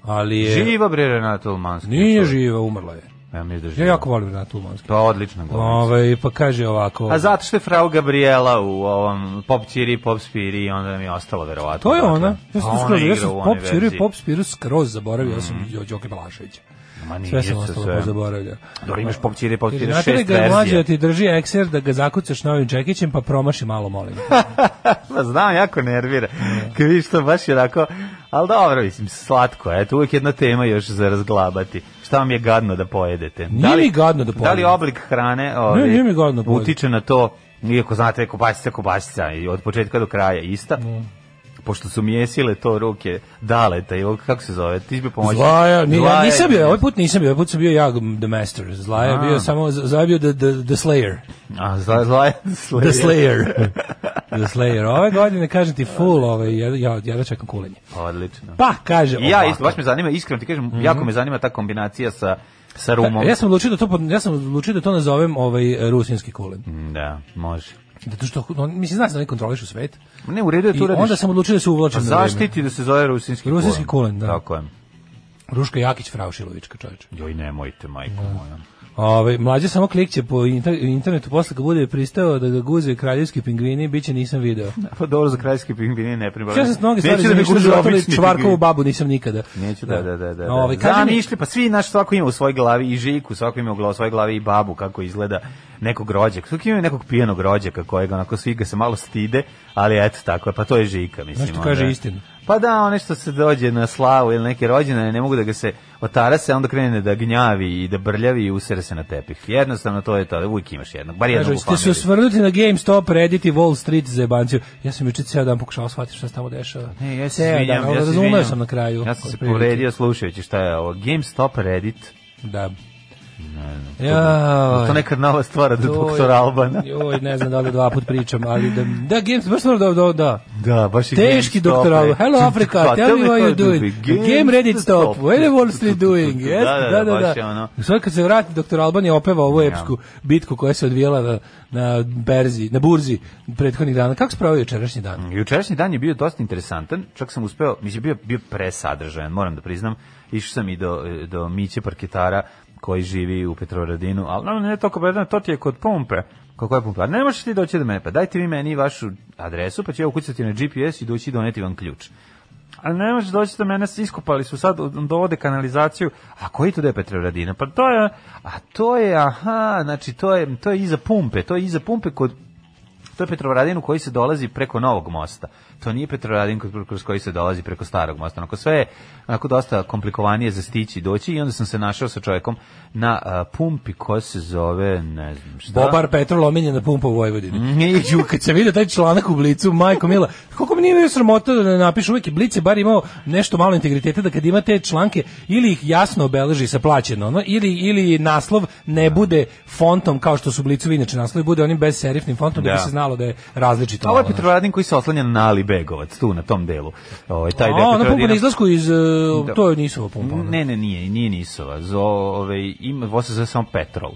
[SPEAKER 6] Ali je...
[SPEAKER 5] Živa bre Renata Ulmanski.
[SPEAKER 6] Nije živa, umrla je.
[SPEAKER 5] Ja mi da živa.
[SPEAKER 6] Ja jako volim Renatu Ulmanski.
[SPEAKER 5] Pa odlična glumica.
[SPEAKER 6] Ove, pa kaže ovako...
[SPEAKER 5] A zato što je Frau Gabriela u ovom Pop Ciri, Pop Spiri, onda mi je ostalo verovatno.
[SPEAKER 6] To je
[SPEAKER 5] odatle.
[SPEAKER 6] ona. Ja sam
[SPEAKER 5] A Dakle, ona
[SPEAKER 6] skroz, ja
[SPEAKER 5] igra
[SPEAKER 6] sam
[SPEAKER 5] u onoj
[SPEAKER 6] pop spiru,
[SPEAKER 5] verziji.
[SPEAKER 6] pop spiru skroz zaboravio, ja sam od Đoke Balaševića.
[SPEAKER 5] Ma nije
[SPEAKER 6] Sve sam
[SPEAKER 5] se
[SPEAKER 6] ostalo
[SPEAKER 5] sve.
[SPEAKER 6] pozaboravljao.
[SPEAKER 5] Dobro, imaš Pop Ciri, Pop
[SPEAKER 6] Kaže,
[SPEAKER 5] Spiri,
[SPEAKER 6] znate li
[SPEAKER 5] šest
[SPEAKER 6] ga je mlađe da
[SPEAKER 5] verzija.
[SPEAKER 6] ti drži ekser da ga zakucaš novim čekićem pa promaši malo, molim.
[SPEAKER 5] Pa znam, jako nervira. Kad vidiš to baš je onako, ali dobro, mislim, slatko, eto, uvijek jedna tema još za razglabati. Šta vam je gadno da pojedete?
[SPEAKER 6] Nije mi gadno da
[SPEAKER 5] Da li
[SPEAKER 6] pojedem.
[SPEAKER 5] oblik hrane ovaj,
[SPEAKER 6] nije mi gadno da pojedem.
[SPEAKER 5] utiče na to, iako znate, kobasica, kobasica, i od početka do kraja ista, pošto su mi jesile to ruke daleta i ovog, kako se zove, ti bi pomoći.
[SPEAKER 6] Zlaja, ni, ja
[SPEAKER 5] Zlaja-
[SPEAKER 6] nisam bio, ovaj put nisam bio, ovaj put sam bio ja the master. Zlaja je
[SPEAKER 5] A.
[SPEAKER 6] bio samo, zlaja je bio the, the, the slayer.
[SPEAKER 5] A, zla, zla, zla,
[SPEAKER 6] The slayer. the slayer. Ove godine, kažem ti, full, ovaj, ja, ja, ja da čekam kulenje.
[SPEAKER 5] Odlično.
[SPEAKER 6] Pa, kaže
[SPEAKER 5] I ja
[SPEAKER 6] ovako.
[SPEAKER 5] isto, baš me zanima, iskreno ti kažem, jako me zanima ta kombinacija sa, sa rumom.
[SPEAKER 6] Ja sam odlučio da to pod- ja sam odlučio da to nazovem ovaj rusinski kulen.
[SPEAKER 5] Da, može.
[SPEAKER 6] Zato što on mislim znaš da oni kontrolišu svet.
[SPEAKER 5] Ne, u redu je
[SPEAKER 6] I
[SPEAKER 5] E, to radiš.
[SPEAKER 6] onda sam odlučio da se
[SPEAKER 5] Pa
[SPEAKER 6] uvlačim na vreme.
[SPEAKER 5] zaštiti da se zove rusinski kulen.
[SPEAKER 6] Rusinski kulen, da.
[SPEAKER 5] Tako je.
[SPEAKER 6] Ruška Jakić Fraušilovićka čoveče.
[SPEAKER 5] Joj, nemojte, majko moja.
[SPEAKER 6] Ovaj mlađe samo klikće po inter- internetu posle kad bude pristao da ga guze kraljevski pingvini, biće nisam video.
[SPEAKER 5] Pa dobro, za kraljski pingvini ne pribavljaju.
[SPEAKER 6] Ja sam mnogi
[SPEAKER 5] Neću
[SPEAKER 6] stvari
[SPEAKER 5] da mi
[SPEAKER 6] zamišljao
[SPEAKER 5] kuže
[SPEAKER 6] za otvorili
[SPEAKER 5] obični
[SPEAKER 6] čvarkovu
[SPEAKER 5] pingvini.
[SPEAKER 6] babu nisam nikada.
[SPEAKER 5] Neću, da, da, da. da, da.
[SPEAKER 6] Ovaj, kaži mi-
[SPEAKER 5] Zamišlji, pa svi, naš svako ima u svojoj glavi i Željku, svako ima u gla- svojoj glavi i babu, kako izgleda nekog rođaka. Svaki ima nekog pijenog rođaka kojega onako svi ga se malo stide, ali eto tako je, pa to je Žika, mislim.
[SPEAKER 6] Znaš što
[SPEAKER 5] onda.
[SPEAKER 6] kaže istinu?
[SPEAKER 5] Pa da, one što se dođe na slavu ili neke rođene, ne mogu da ga se otara se, a onda krene da gnjavi i da brljavi i usere se na tepih. Jednostavno to je to, uvijek imaš jednog, bar jednog
[SPEAKER 6] Kažu,
[SPEAKER 5] u
[SPEAKER 6] ste se
[SPEAKER 5] familiji.
[SPEAKER 6] osvrnuti na GameStop, Reddit i Wall Street za jebanciju. Ja sam juče cijel dan pokušao shvatiti šta se tamo dešava.
[SPEAKER 5] Ne, ja se
[SPEAKER 6] Ceo dan,
[SPEAKER 5] izvinjam,
[SPEAKER 6] ali
[SPEAKER 5] ja se
[SPEAKER 6] razumeo
[SPEAKER 5] izvinjam.
[SPEAKER 6] sam na kraju.
[SPEAKER 5] Ja sam se
[SPEAKER 6] otprilike.
[SPEAKER 5] povredio slušajući šta je ovo. GameStop Reddit.
[SPEAKER 6] Da.
[SPEAKER 5] To
[SPEAKER 6] Ja,
[SPEAKER 5] nekad nova stvar od doktora Albana.
[SPEAKER 6] Joj, ne znam da li dva put pričam, ali da, da, GameStop, baš stvarno da, da, da.
[SPEAKER 5] Da, baš je
[SPEAKER 6] Teški
[SPEAKER 5] GameStop,
[SPEAKER 6] doktor Alban.
[SPEAKER 5] bre.
[SPEAKER 6] Hello Africa,
[SPEAKER 5] Pa,
[SPEAKER 6] tell me what you're
[SPEAKER 5] how
[SPEAKER 6] doing. Game Reddit stop. What are Wall Street doing? Yes,
[SPEAKER 5] Da, da, da, baš je ono.
[SPEAKER 6] Sve kad se vrati doktor Alban je opeva ovu epsku bitku koja se odvijela na, na berzi, na burzi prethodnih dana. Kako se pravio jučerašnji dan?
[SPEAKER 5] Mm, Jučerašnji dan je bio dosta interesantan, čak sam uspeo, mislim, bio, bio presadržajan, moram da priznam. Išao sam i do, e, do Miće Parketara koji živi u Petrovaradinu, ali no, ne toliko bedan, to ti je kod pompe. Kako je pompa? Ne možeš ti doći do mene, pa dajte vi meni vašu adresu, pa ću ja ukucati na GPS i doći i doneti vam ključ. Ali ne možeš doći do mene, iskopali su sad, dovode kanalizaciju. A koji to da je Petrovaradina? Pa to je, a to je, aha, znači to je, to je iza pumpe, to je iza pumpe kod To je Petrovaradin u koji se dolazi preko novog mosta. To nije Petrovaradin kroz- kroz koji se dolazi preko starog mosta. Onako sve je onako dosta komplikovanije za stići i doći i onda sam se našao sa čovjekom na a, pumpi koja se zove, ne znam šta.
[SPEAKER 6] Bobar Petrol omiljen na pumpa u Vojvodini.
[SPEAKER 5] Nije
[SPEAKER 6] Ju, kad sam vidio taj članak u Blicu, majko mila, koliko mi nije bio sramota da ne napišu, uvijek je Blic je bar imao nešto malo integriteta, da kad ima te članke, ili ih jasno obeleži sa plaćeno, ono, ili, ili naslov ne bude fontom kao što su Blicovi, inače naslovi bude onim bez serifnim fontom, da, bi
[SPEAKER 5] Da.
[SPEAKER 6] se znalo da je različito. ono.
[SPEAKER 5] A Ovo je
[SPEAKER 6] malo,
[SPEAKER 5] Petrovaradin koji se oslanja na Ali Begovac, tu na tom delu. Ovaj, taj deo
[SPEAKER 6] A, ona pumpa
[SPEAKER 5] Petrovaradina-
[SPEAKER 6] na izlasku iz... e,
[SPEAKER 5] Da.
[SPEAKER 6] To je nisova pumpa. ono. ona.
[SPEAKER 5] Ne, ne, nije, nije Nisova. Zove, ima, ovo ovaj, se zove samo Petrol.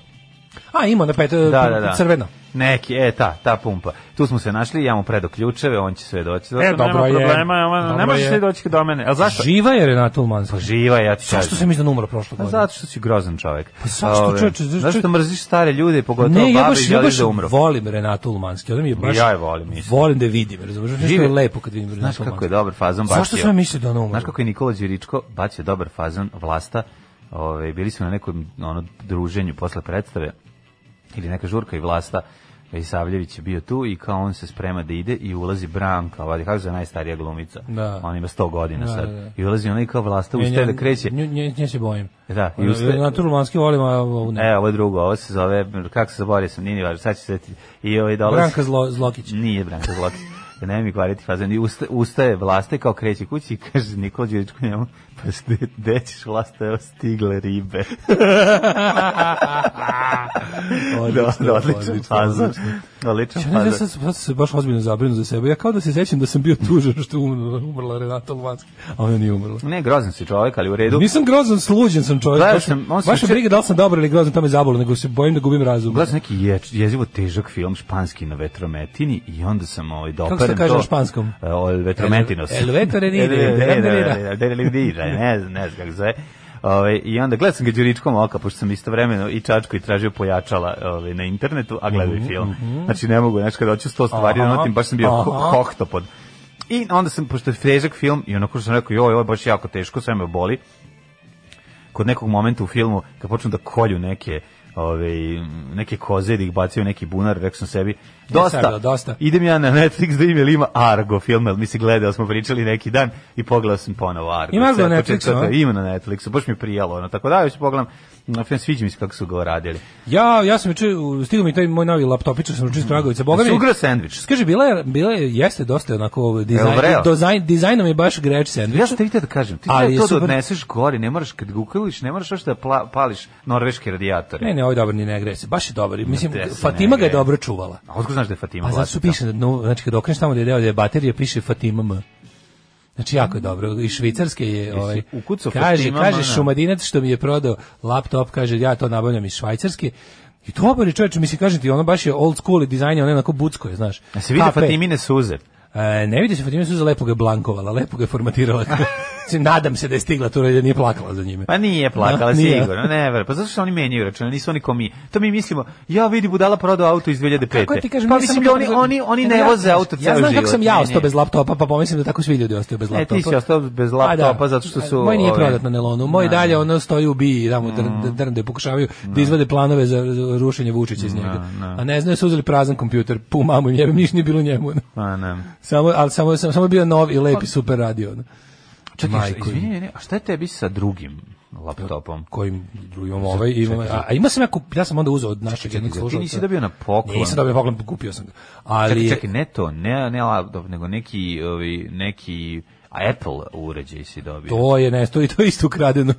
[SPEAKER 6] A, ima na pet,
[SPEAKER 5] da, da, da.
[SPEAKER 6] crvena.
[SPEAKER 5] Neki, e, ta, ta pumpa. Tu smo se našli, ja mu predo ključeve, on će sve doći. Zato
[SPEAKER 6] E, dobro
[SPEAKER 5] nema
[SPEAKER 6] je.
[SPEAKER 5] Problema, nema-
[SPEAKER 6] Dobro
[SPEAKER 5] ne možeš
[SPEAKER 6] je.
[SPEAKER 5] ti doći do mene. A zašto?
[SPEAKER 6] Živa je Renata Ulmanska.
[SPEAKER 5] Pa Živa, ja ti
[SPEAKER 6] Zašto sam iznad umro prošle
[SPEAKER 5] Pa
[SPEAKER 6] godine?
[SPEAKER 5] zato što si grozan čovjek. Pa
[SPEAKER 6] zašto, čoveče, zašto-
[SPEAKER 5] Zašto mrziš stare ljude, pogotovo
[SPEAKER 6] Ne, ja
[SPEAKER 5] babe
[SPEAKER 6] baš,
[SPEAKER 5] i
[SPEAKER 6] ja
[SPEAKER 5] želiš
[SPEAKER 6] baš
[SPEAKER 5] da umru?
[SPEAKER 6] volim Renatu Ulmanski. Ona mi je baš...
[SPEAKER 5] Ja je volim, isto.
[SPEAKER 6] Volim da je vidim, razumiješ? Nešto
[SPEAKER 5] Žive-
[SPEAKER 6] je lepo kad vidim
[SPEAKER 5] Znaš
[SPEAKER 6] Renatu
[SPEAKER 5] kako je
[SPEAKER 6] Ulmanski.
[SPEAKER 5] dobar fazon bacio?
[SPEAKER 6] Zašto sam mislio da ona umre?
[SPEAKER 5] Znaš kako je Nikola Đuričko bacio dobar fazon vlasta? Ove, bili smo na nekom ono, druženju posle predstave ili neka žurka i vlasta i Savljević je bio tu i kao on se sprema da ide i ulazi Branka, ovaj kako se zove, najstarija glumica.
[SPEAKER 6] Da.
[SPEAKER 5] Ona ima 100
[SPEAKER 6] Da,
[SPEAKER 5] godina sad.
[SPEAKER 6] da, da.
[SPEAKER 5] I ulazi ona i kao vlasta ustaje da kreće.
[SPEAKER 6] Nje, nje, nje se bojim.
[SPEAKER 5] Da, i
[SPEAKER 6] Ona-
[SPEAKER 5] ustaje.
[SPEAKER 6] Renatu Ulmanski volim, a ovu ne.
[SPEAKER 5] E, ovo je drugo, ovo se zove, kako se zaboravio sam, nije ni važno, sad ću se... I ovaj dolazi...
[SPEAKER 6] Branka Zlo, Zlokić.
[SPEAKER 5] Nije Branko Zlokić. Ne mi kvariti fazan. I usta, ustaje vlaste kao kreće kući i kaže Nikola Đuričko njemu, pa gde, gde ćeš vlasta, evo stigle ribe.
[SPEAKER 6] Odlično,
[SPEAKER 5] da, odličan
[SPEAKER 6] odlično,
[SPEAKER 5] fazan.
[SPEAKER 6] odlično.
[SPEAKER 5] Odličan
[SPEAKER 6] Ja ne znam,
[SPEAKER 5] fazan.
[SPEAKER 6] sad, sad sam se baš ozbiljno zabrinu za sebe. Ja kao da se sećam da sam bio tužan što je umrla, umrla Renata Ulmanski, a ona nije umrla.
[SPEAKER 5] Ne, grozan si čovjek, ali u redu.
[SPEAKER 6] Nisam grozan, sluđen sam čovjek.
[SPEAKER 5] Gledao
[SPEAKER 6] Baš,
[SPEAKER 5] sam, on se
[SPEAKER 6] baš me
[SPEAKER 5] juče-
[SPEAKER 6] briga da li sam dobar ili grozan, to me zabolo, nego se bojim da gubim razum.
[SPEAKER 5] Gledao sam neki je, jezivo težak film španski na vetrometini i onda sam ovaj doparem to.
[SPEAKER 6] se kaže na španskom?
[SPEAKER 5] E, O, el vetrometinos.
[SPEAKER 6] El- el vetromedine,
[SPEAKER 5] vetromedine. ne znam, ne znam kako se zove. Ove, I onda gledao sam ga Đuričkom oka, pošto sam istovremeno i Čačko i tražio pojačala ove, na internetu, a gledao i film. Znači ne mogu, znači kada hoću sto stvari,
[SPEAKER 6] Mhm, Aha,
[SPEAKER 5] da notim, baš sam bio
[SPEAKER 6] aha.
[SPEAKER 5] ho- hohtopod. I onda sam, pošto je težak film, i onako što sam rekao, joj, ovo je baš jako teško, sve me boli, kod nekog momenta u filmu kad počnu da kolju neke ove, neke koze da ih bacaju u neki bunar, rekao sam sebi, dosta,
[SPEAKER 6] E, sad, da, dosta.
[SPEAKER 5] idem ja na Netflix da im je li ima Argo film, ali mi se gledao, smo pričali neki dan i pogledao sam ponovo Argo.
[SPEAKER 6] Ima Argo
[SPEAKER 5] Sve
[SPEAKER 6] na
[SPEAKER 5] početka,
[SPEAKER 6] Netflixu,
[SPEAKER 5] to-
[SPEAKER 6] a?
[SPEAKER 5] Ima na Netflixu, baš mi je prijalo, ono, tako da, još pogledam, na film sviđa mi se kako su ga radili.
[SPEAKER 6] Ja, ja sam juče, u- stigao mi taj moj novi laptopić, što sam učin
[SPEAKER 5] Mm.
[SPEAKER 6] Stragovica. Boga mi,
[SPEAKER 5] Sugra sandvič.
[SPEAKER 6] Kaže, bila je, bila je, jeste dosta onako,
[SPEAKER 5] Jel
[SPEAKER 6] dizajn,
[SPEAKER 5] vreo?
[SPEAKER 6] dizajn, dizajnom je baš greč sandvič.
[SPEAKER 5] Ja sam te vidio da kažem, ti
[SPEAKER 6] Ali
[SPEAKER 5] treba
[SPEAKER 6] je
[SPEAKER 5] to da
[SPEAKER 6] super.
[SPEAKER 5] odneseš gori, ne moraš, kad ga ukoliš, ne moraš još da pla- pališ norveške radijatore.
[SPEAKER 6] Ne, ne, ovaj dobar ni ne greje se, baš je dobar. Mislim,
[SPEAKER 5] Ne, se
[SPEAKER 6] Fatima
[SPEAKER 5] ne
[SPEAKER 6] ga je
[SPEAKER 5] greje.
[SPEAKER 6] dobro čuvala.
[SPEAKER 5] A otko znaš da je Fatima
[SPEAKER 6] A zato su
[SPEAKER 5] vlasnica?
[SPEAKER 6] piše, na dnu, znači kad okreneš tamo da je deo da je baterija, piše Fatima M. Znači jako je dobro. I švicarske je ovaj
[SPEAKER 5] ukucao
[SPEAKER 6] kaže
[SPEAKER 5] Fatima M, ono?
[SPEAKER 6] kaže
[SPEAKER 5] da.
[SPEAKER 6] Šumadinac što mi je prodao laptop, kaže ja to nabavljam iz Švajcarske. I dobar je čovječe, mislim, kažem ti, ono baš je old school i dizajn je ono onako bucko je, znaš.
[SPEAKER 5] A se vidi
[SPEAKER 6] HP.
[SPEAKER 5] Fatimine suze?
[SPEAKER 6] E, ne vidi se Fatima Suza lepo ga je blankovala, lepo ga je formatirala. Nadam se da je stigla tu da nije plakala za njime.
[SPEAKER 5] Pa nije plakala
[SPEAKER 6] Da, nije.
[SPEAKER 5] sigurno, ne ver. Pa zato što oni menjaju račune, nisu oni ko mi. To mi mislimo, ja vidi budala prodao auto iz 2005.
[SPEAKER 6] Kako ti kažem,
[SPEAKER 5] pa
[SPEAKER 6] ja
[SPEAKER 5] mislim
[SPEAKER 6] samo
[SPEAKER 5] da
[SPEAKER 6] to
[SPEAKER 5] oni
[SPEAKER 6] razumem.
[SPEAKER 5] oni oni ne
[SPEAKER 6] Ja-
[SPEAKER 5] voze auto ceo
[SPEAKER 6] Ja
[SPEAKER 5] život.
[SPEAKER 6] znam kako sam ja
[SPEAKER 5] Ne,
[SPEAKER 6] ostao
[SPEAKER 5] ne.
[SPEAKER 6] bez laptopa, pa pomislim da tako svi ljudi ostaju bez
[SPEAKER 5] E,
[SPEAKER 6] laptopa.
[SPEAKER 5] ti si ostao bez
[SPEAKER 6] A, da.
[SPEAKER 5] laptopa zato što
[SPEAKER 6] A,
[SPEAKER 5] su... ovaj,
[SPEAKER 6] Moj nije
[SPEAKER 5] ove,
[SPEAKER 6] prodat na Nelonu, moj dalje ono stoji u BI i tamo
[SPEAKER 5] Mm.
[SPEAKER 6] dr- dr- drnde, pokušavaju da izvade planove za za rušenje Vučića iz njega. A ne znaju su uzeli prazan kompjuter, pu mamu im jebem, ništa nije bilo njemu. ono.
[SPEAKER 5] Pa, ne.
[SPEAKER 6] Samo, ali samo, samo, samo je bio nov i
[SPEAKER 5] Pa-
[SPEAKER 6] lepi super radio. ono.
[SPEAKER 5] Čekaj, šta-
[SPEAKER 6] Majko mi.
[SPEAKER 5] izvini, ne, a šta je tebi sa drugim laptopom?
[SPEAKER 6] kojim imam ovaj imam a, a ima sam ja kup, ja sam onda uzeo od našeg jednog
[SPEAKER 5] Ti
[SPEAKER 6] slušalca.
[SPEAKER 5] nisi dobio na poklon.
[SPEAKER 6] Nisam dobio poklon, kupio sam ga. Ali
[SPEAKER 5] Čekaj, čekaj, ne to, ne, ne laptop, nego neki, ovi, neki Apple uređaj si dobio.
[SPEAKER 6] to je ne, to i to je isto ukradeno.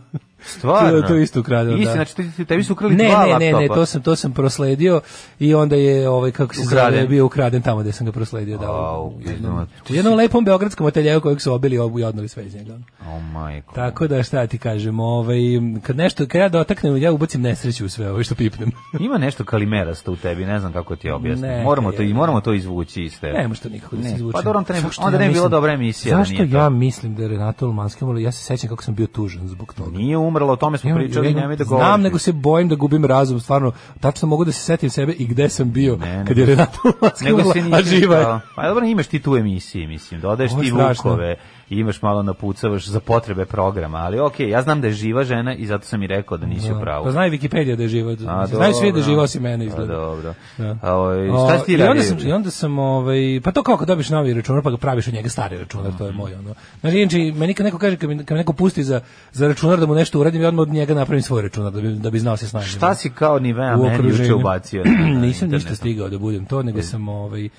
[SPEAKER 5] Stvarno?
[SPEAKER 6] To, to je isto ukradeno,
[SPEAKER 5] Nisi,
[SPEAKER 6] da.
[SPEAKER 5] znači, ti- ti- tebi su ukrali
[SPEAKER 6] Ne,
[SPEAKER 5] dva
[SPEAKER 6] ne, ne,
[SPEAKER 5] laptopa.
[SPEAKER 6] ne, to sam to sam prosledio i onda je ovaj kako se
[SPEAKER 5] Ukraden.
[SPEAKER 6] zove bio ukraden tamo gde sam ga prosledio da.
[SPEAKER 5] Au,
[SPEAKER 6] u jednom,
[SPEAKER 5] iznova.
[SPEAKER 6] u jednom lepom beogradskom ateljeu kojeg su obili obu i odneli sve iz njega.
[SPEAKER 5] O, majko.
[SPEAKER 6] Tako da šta ti kažem, ovaj kad nešto kad ja dotaknem, ja ubacim nesreću u sve, ovo što pipnem.
[SPEAKER 5] Ima nešto kalimerasto u tebi, ne znam kako ti objasnim.
[SPEAKER 6] Neka
[SPEAKER 5] Moramo to
[SPEAKER 6] je.
[SPEAKER 5] i moramo to izvući iz tebe.
[SPEAKER 6] Ne može to nikako da se
[SPEAKER 5] Ne,
[SPEAKER 6] izvuče.
[SPEAKER 5] pa dobro, onda ne bi-
[SPEAKER 6] Zašto
[SPEAKER 5] onda ne bi bila
[SPEAKER 6] mislim-
[SPEAKER 5] dobra emisija da
[SPEAKER 6] Zašto
[SPEAKER 5] nije to?
[SPEAKER 6] ja mislim da je Renato Ulmanski, umrla? ja se sećam kako sam bio tužan zbog toga.
[SPEAKER 5] Nije umrlo, o tome smo
[SPEAKER 6] Ja-
[SPEAKER 5] pričali,
[SPEAKER 6] ja-
[SPEAKER 5] nemoj da govoriš.
[SPEAKER 6] Znam, nego se bojim da gubim razum, stvarno. Tačno mogu da se setim sebe i gde sam bio
[SPEAKER 5] Ne, ne.
[SPEAKER 6] kad je Renato Ulmanski
[SPEAKER 5] Nego
[SPEAKER 6] umrla,
[SPEAKER 5] se
[SPEAKER 6] a
[SPEAKER 5] nisi
[SPEAKER 6] živa je.
[SPEAKER 5] nikao- Pa dobro, imaš ti tu emisije, mislim, dodaješ
[SPEAKER 6] Ovo je
[SPEAKER 5] ti
[SPEAKER 6] strašno.
[SPEAKER 5] vukove, i imaš malo napucavaš za potrebe programa, ali okej, ja znam da je živa žena i zato sam i rekao da nisi u pravu.
[SPEAKER 6] Pa zna i Wikipedia da je živa.
[SPEAKER 5] A,
[SPEAKER 6] Znaju svi da je
[SPEAKER 5] dobro. Pa
[SPEAKER 6] živa osim mene
[SPEAKER 5] A,
[SPEAKER 6] izgleda.
[SPEAKER 5] dobro.
[SPEAKER 6] Da.
[SPEAKER 5] A, ovaj, šta si ti
[SPEAKER 6] O, I onda
[SPEAKER 5] radio
[SPEAKER 6] sam,
[SPEAKER 5] juče?
[SPEAKER 6] i onda sam ovaj, pa to kao kad dobiš novi računar pa ga praviš od njega stari računar, to je
[SPEAKER 5] Mhm.
[SPEAKER 6] moj ono. Znači, inače, meni kad neko kaže, kad mi, kad me neko pusti za, za računar da mu nešto uradim, ja odmah od njega napravim svoj računar da bi, da bi znao se snažiti.
[SPEAKER 5] Šta si kao Nivea
[SPEAKER 6] u
[SPEAKER 5] meni juče
[SPEAKER 6] okruženju.
[SPEAKER 5] ubacio? na- na
[SPEAKER 6] Nisam ništa
[SPEAKER 5] internetu? E.
[SPEAKER 6] stigao da budem to, nego sam ovaj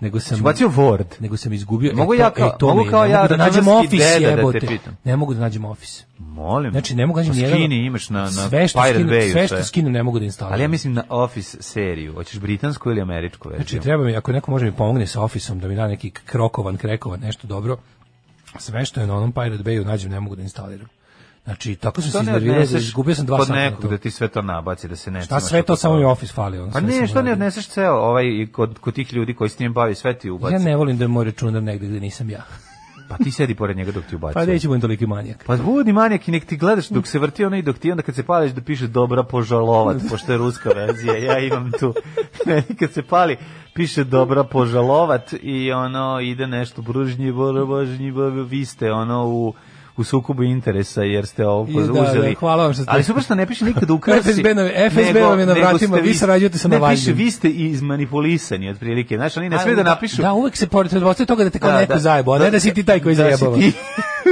[SPEAKER 6] nego sam
[SPEAKER 5] Ubacio Word.
[SPEAKER 6] nego sam izgubio.
[SPEAKER 5] Mogu
[SPEAKER 6] e,
[SPEAKER 5] ja
[SPEAKER 6] to-
[SPEAKER 5] kao-
[SPEAKER 6] e, to
[SPEAKER 5] mogu
[SPEAKER 6] ne,
[SPEAKER 5] kao
[SPEAKER 6] ne
[SPEAKER 5] ja
[SPEAKER 6] mogu da nađem
[SPEAKER 5] računarski
[SPEAKER 6] office
[SPEAKER 5] deda da te
[SPEAKER 6] jebote.
[SPEAKER 5] pitam.
[SPEAKER 6] ne mogu da nađem office.
[SPEAKER 5] Molim.
[SPEAKER 6] Znači ne mogu da
[SPEAKER 5] Pa
[SPEAKER 6] nađem nijedan.
[SPEAKER 5] Skini imaš na, na
[SPEAKER 6] sve što
[SPEAKER 5] Pirate
[SPEAKER 6] skinem,
[SPEAKER 5] Bayu
[SPEAKER 6] sve što
[SPEAKER 5] sve.
[SPEAKER 6] skinem ne mogu da instaliram.
[SPEAKER 5] Ali ja mislim na Office seriju. Hoćeš britansku ili američku verziju?
[SPEAKER 6] Znači, treba mi, ako neko može mi pomogne sa ofisom, da mi da neki krokovan, krekovan, nešto dobro, sve što je na onom Pirate Bayu nađem, ne mogu da instaliram. Znači, tako sam se
[SPEAKER 5] To ne
[SPEAKER 6] iznervirao, da
[SPEAKER 5] odneseš
[SPEAKER 6] izgubio sam dva
[SPEAKER 5] kod
[SPEAKER 6] sata na
[SPEAKER 5] nekog
[SPEAKER 6] to.
[SPEAKER 5] da ti sve to nabaci, da se ne
[SPEAKER 6] Šta sve to, samo mi office fali. ono,
[SPEAKER 5] Pa
[SPEAKER 6] sve sam
[SPEAKER 5] ne, što ne
[SPEAKER 6] uradio.
[SPEAKER 5] odneseš ceo ovaj, i kod, kod tih ljudi koji s njim bavi, sve ti ubaci.
[SPEAKER 6] Ja ne volim da je moj računar negde gde nisam ja.
[SPEAKER 5] Pa ti sedi pored njega dok ti ubaci.
[SPEAKER 6] Pa neću budem toliki manijak.
[SPEAKER 5] Pa budi manijak i nek ti gledaš dok se vrti ono i dok ti onda kad se pališ da piše dobra požalovat, pošto je ruska verzija, ja imam tu. Meni kad se pali, piše dobra požalovat i ono ide nešto bružnji, bružnji, vi ste ono u u sukobu interesa jer ste ovo
[SPEAKER 6] I da, da,
[SPEAKER 5] uzeli.
[SPEAKER 6] hvala vam što ste-
[SPEAKER 5] Ali super što ne piše nikad ukrasi.
[SPEAKER 6] FSB nam- FSB vam je na
[SPEAKER 5] nego- nego
[SPEAKER 6] vratima,
[SPEAKER 5] ste
[SPEAKER 6] vi sarađujete sa
[SPEAKER 5] Ne piše,
[SPEAKER 6] Navalnjem.
[SPEAKER 5] vi ste izmanipulisani otprilike. Znaš, oni ne sve da napišu.
[SPEAKER 6] Da, uvek se pored postoje toga da te kao
[SPEAKER 5] Da,
[SPEAKER 6] neko
[SPEAKER 5] da.
[SPEAKER 6] zajebo, a ne da si ti taj koji
[SPEAKER 5] Da si
[SPEAKER 6] zajebava.
[SPEAKER 5] ti.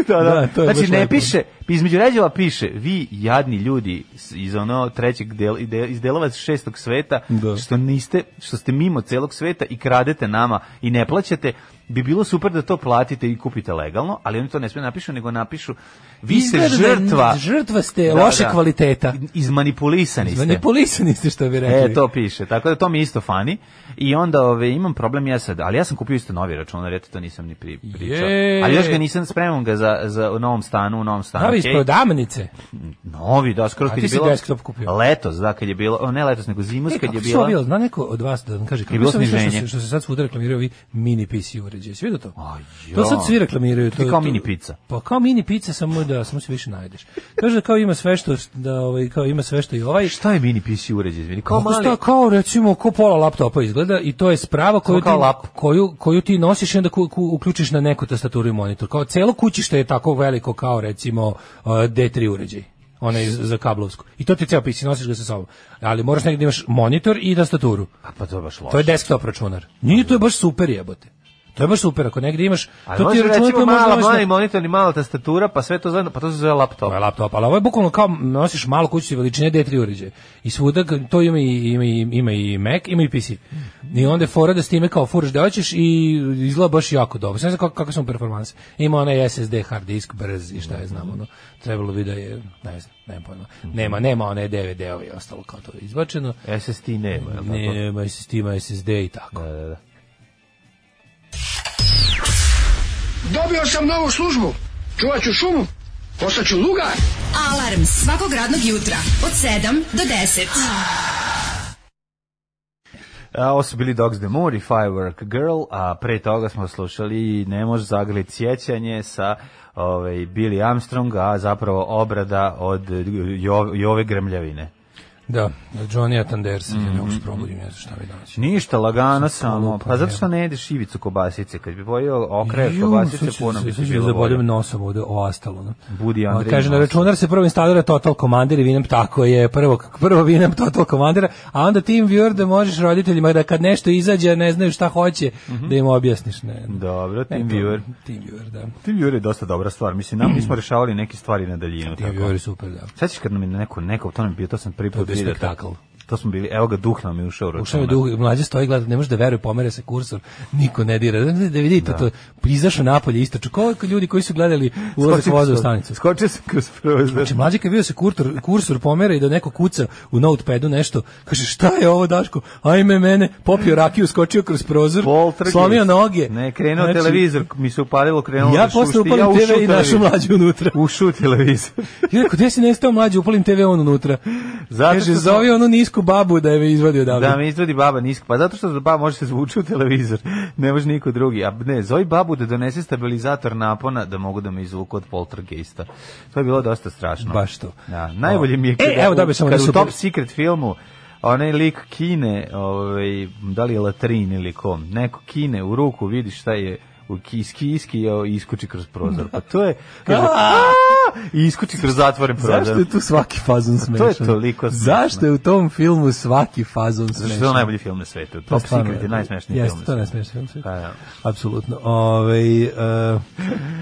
[SPEAKER 5] da, da.
[SPEAKER 6] Da, to je baš
[SPEAKER 5] znači, ne
[SPEAKER 6] lepo.
[SPEAKER 5] piše, između ređava piše, vi jadni ljudi s- iz ono trećeg del, ide- iz delova šestog sveta,
[SPEAKER 6] Da.
[SPEAKER 5] što niste, što ste mimo celog sveta i kradete nama i ne plaćate, bi bilo super da to platite i kupite legalno, ali oni to ne smije napišu, nego napišu, vi ste
[SPEAKER 6] Izgleda da je-
[SPEAKER 5] žrtva,
[SPEAKER 6] žrtva ste loše kvaliteta.
[SPEAKER 5] izmanipulisani ste.
[SPEAKER 6] Manipulisani ste što bi rekli.
[SPEAKER 5] E, to piše. Tako da to mi je isto fani. I onda ove, imam problem ja sad, ali ja sam kupio isto novi računar, eto to nisam ni pri, pričao.
[SPEAKER 6] Je.
[SPEAKER 5] Ali još ga nisam spremam ga za, za u novom stanu, u novom stanu.
[SPEAKER 6] Novi iz
[SPEAKER 5] okej.
[SPEAKER 6] prodavnice.
[SPEAKER 5] Novi, da, skoro
[SPEAKER 6] A
[SPEAKER 5] kad
[SPEAKER 6] ti
[SPEAKER 5] je
[SPEAKER 6] si
[SPEAKER 5] bilo.
[SPEAKER 6] desktop kupio?
[SPEAKER 5] Letos, da, kad je bilo, o, ne letos, nego zimus
[SPEAKER 6] E,
[SPEAKER 5] kad
[SPEAKER 6] kako
[SPEAKER 5] je
[SPEAKER 6] je bilo?
[SPEAKER 5] bila.
[SPEAKER 6] bilo? Zna neko od vas da nam kaže kako
[SPEAKER 5] bilo
[SPEAKER 6] se što,
[SPEAKER 5] sniženje.
[SPEAKER 6] se- što se sad svuda reklamiraju ovi mini PC uređaji. Svi vidio to?
[SPEAKER 5] Aj,
[SPEAKER 6] To
[SPEAKER 5] ja.
[SPEAKER 6] sad svi reklamiraju. To,
[SPEAKER 5] Ti
[SPEAKER 6] to-
[SPEAKER 5] kao mini pizza.
[SPEAKER 6] Pa kao mini pizza, samo da samo se više najdeš. Kaže da kao ima sve što da ovaj kao ima sve što i ovaj.
[SPEAKER 5] Šta je mini PC uređaj, izvini? Kao
[SPEAKER 6] Kako
[SPEAKER 5] mali.
[SPEAKER 6] šta, kao recimo ko pola laptopa izgleda i to je sprava koju ti,
[SPEAKER 5] kao lap.
[SPEAKER 6] koju, koju ti nosiš i onda ku, ku- uključiš na neku tastaturu i monitor. Kao celo kućište je tako veliko kao recimo uh, D3 uređaj onaj za za kablovsku. I to ti ceo PC nosiš ga sa sobom. Ali moraš negdje da imaš monitor i tastaturu.
[SPEAKER 5] A pa to je baš loše.
[SPEAKER 6] To je desktop računar. Nije to je baš super jebote. To je baš super ako negdje imaš to
[SPEAKER 5] A
[SPEAKER 6] ti
[SPEAKER 5] može
[SPEAKER 6] je računar
[SPEAKER 5] recimo
[SPEAKER 6] koji možda
[SPEAKER 5] mala,
[SPEAKER 6] nosiš na-
[SPEAKER 5] mali monitor i mala tastatura, pa sve to zajedno, pa to se zove laptop.
[SPEAKER 6] to je laptop, ali ovo je bukvalno kao nosiš malu kućicu veličine D3 uređaja. I svuda ga- to ima i, ima, i, ima i Mac, ima i PC. I onda je fora da s time kao furaš da hoćeš i izgleda baš jako dobro. Sve znam kako, kako su mu performanse. Ima onaj SSD hard disk brz i šta je znam. Ono. Trebalo bi da je, ne znam, nemam pojma. Nema, nema one DVD-ovi i ostalo kao to je izbačeno.
[SPEAKER 5] SSD nema, je li E, tako?
[SPEAKER 6] Nema SSD, ima SSD i tako.
[SPEAKER 5] Da, da, da.
[SPEAKER 1] Dobio sam novu službu. Čuvat ću šumu. Postaću lugar.
[SPEAKER 4] Alarm svakog radnog jutra od 7 do 10.
[SPEAKER 5] A, Ovo su bili Dogs the Moor i Firework Girl, a pre toga smo slušali Ne može zagrlit sjećanje sa ovaj, Billy Armstrong, a zapravo obrada od jo, Jove Grmljavine.
[SPEAKER 6] Da, Johnny Tanders, mm -hmm. ja ne mogu se probudim, ne znam šta mi danas.
[SPEAKER 5] Ništa, lagano samo. Pa zato što ne jedeš ivicu kobasice. Kad bi pojeo okraje kobasice, puno bi ti bilo bolje.
[SPEAKER 6] Zabodem nosom ovde o astalo. No.
[SPEAKER 5] Budi Andrej.
[SPEAKER 6] Kaže, na
[SPEAKER 5] Maslav.
[SPEAKER 6] računar se prvo instalira Total Commander i Winamp tako je, prvo, prvo Winamp Total Commander, a onda TeamViewer da možeš roditeljima da kad nešto izađe, a ne znaju šta hoće, da im objasniš. Ne,
[SPEAKER 5] Dobro,
[SPEAKER 6] Ne,
[SPEAKER 5] Mhm. Tim
[SPEAKER 6] to-
[SPEAKER 5] Viewer.
[SPEAKER 6] TeamViewer, da.
[SPEAKER 5] Tim Viewer je dosta dobra stvar. Mislim, nam mi smo rešavali neke stvari na daljinu. tako.
[SPEAKER 6] TeamViewer je super, da.
[SPEAKER 5] Sećaš kad nam je neko, neko, to nam je bio, to sam prvi
[SPEAKER 6] je
[SPEAKER 5] put
[SPEAKER 6] bio
[SPEAKER 5] vidio.
[SPEAKER 6] spektakl.
[SPEAKER 5] To smo bili, evo ga, duh nam je ušao u računar.
[SPEAKER 6] Ušao je dugo, mlađe stoji gleda, ne može da veruje, pomere se kursor, niko ne dira. Da, da vidite to, pa izašao napolje, istoču. Koliko ljudi koji su gledali ulazak
[SPEAKER 5] Skočio
[SPEAKER 6] voza u
[SPEAKER 5] sam-
[SPEAKER 6] stanicu.
[SPEAKER 5] Skočio sam kroz prozor.
[SPEAKER 6] Znači, mlađi kad je bio se kurtor, kursor pomera i da neko kuca u notepadu nešto, kaže šta je ovo Daško, ajme mene, popio rakiju, skočio kroz prozor,
[SPEAKER 5] Poltergeist.
[SPEAKER 6] slomio noge. Znači,
[SPEAKER 5] Ne, krenuo televizor, mi se upalilo, krenuo
[SPEAKER 6] Ja
[SPEAKER 5] da šušti,
[SPEAKER 6] posle upalim
[SPEAKER 5] ja ušu
[SPEAKER 6] TV i našu
[SPEAKER 5] televizor.
[SPEAKER 6] mlađu unutra.
[SPEAKER 5] Ušu televizor.
[SPEAKER 6] I rekao, gde si nestao mlađi, upalim TV on unutra.
[SPEAKER 5] Zato
[SPEAKER 6] Kaže,
[SPEAKER 5] što sam-
[SPEAKER 6] zove onu nisku babu da je me izvadi odavde.
[SPEAKER 5] da, mi izvodi baba nisko. Pa zato što baba može se zvuči u televizor. Ne može niko drugi. A ne, zovi babu da donese stabilizator napona da mogu da me izvuku od poltergeista. To je bilo dosta strašno.
[SPEAKER 6] Baš to.
[SPEAKER 5] Da, najbolje mi je
[SPEAKER 6] E, evo, dobio sam
[SPEAKER 5] kad
[SPEAKER 6] onaj
[SPEAKER 5] u
[SPEAKER 6] super-
[SPEAKER 5] Top Secret filmu onaj lik kine, ovaj, da li je latrin ili kom, neko kine u ruku, vidi šta je u kiski iski i iskuči kroz prozor. Pa to je... Kaže, "Aaa!" I iskuči kroz zatvoren prozor.
[SPEAKER 6] Zašto je tu svaki fazon smešan?
[SPEAKER 5] toliko smešno.
[SPEAKER 6] Zašto je u tom filmu svaki fazon smešan?
[SPEAKER 5] Zato što je to najbolji film na svetu. Top
[SPEAKER 6] Pa stvarno
[SPEAKER 5] Secret je
[SPEAKER 6] je.
[SPEAKER 5] najsmešniji
[SPEAKER 6] Jeste,
[SPEAKER 5] film. na
[SPEAKER 6] to je
[SPEAKER 5] svetu.
[SPEAKER 6] najsmešniji film na svetu.
[SPEAKER 5] Pa, da.
[SPEAKER 6] Apsolutno. Ovaj uh,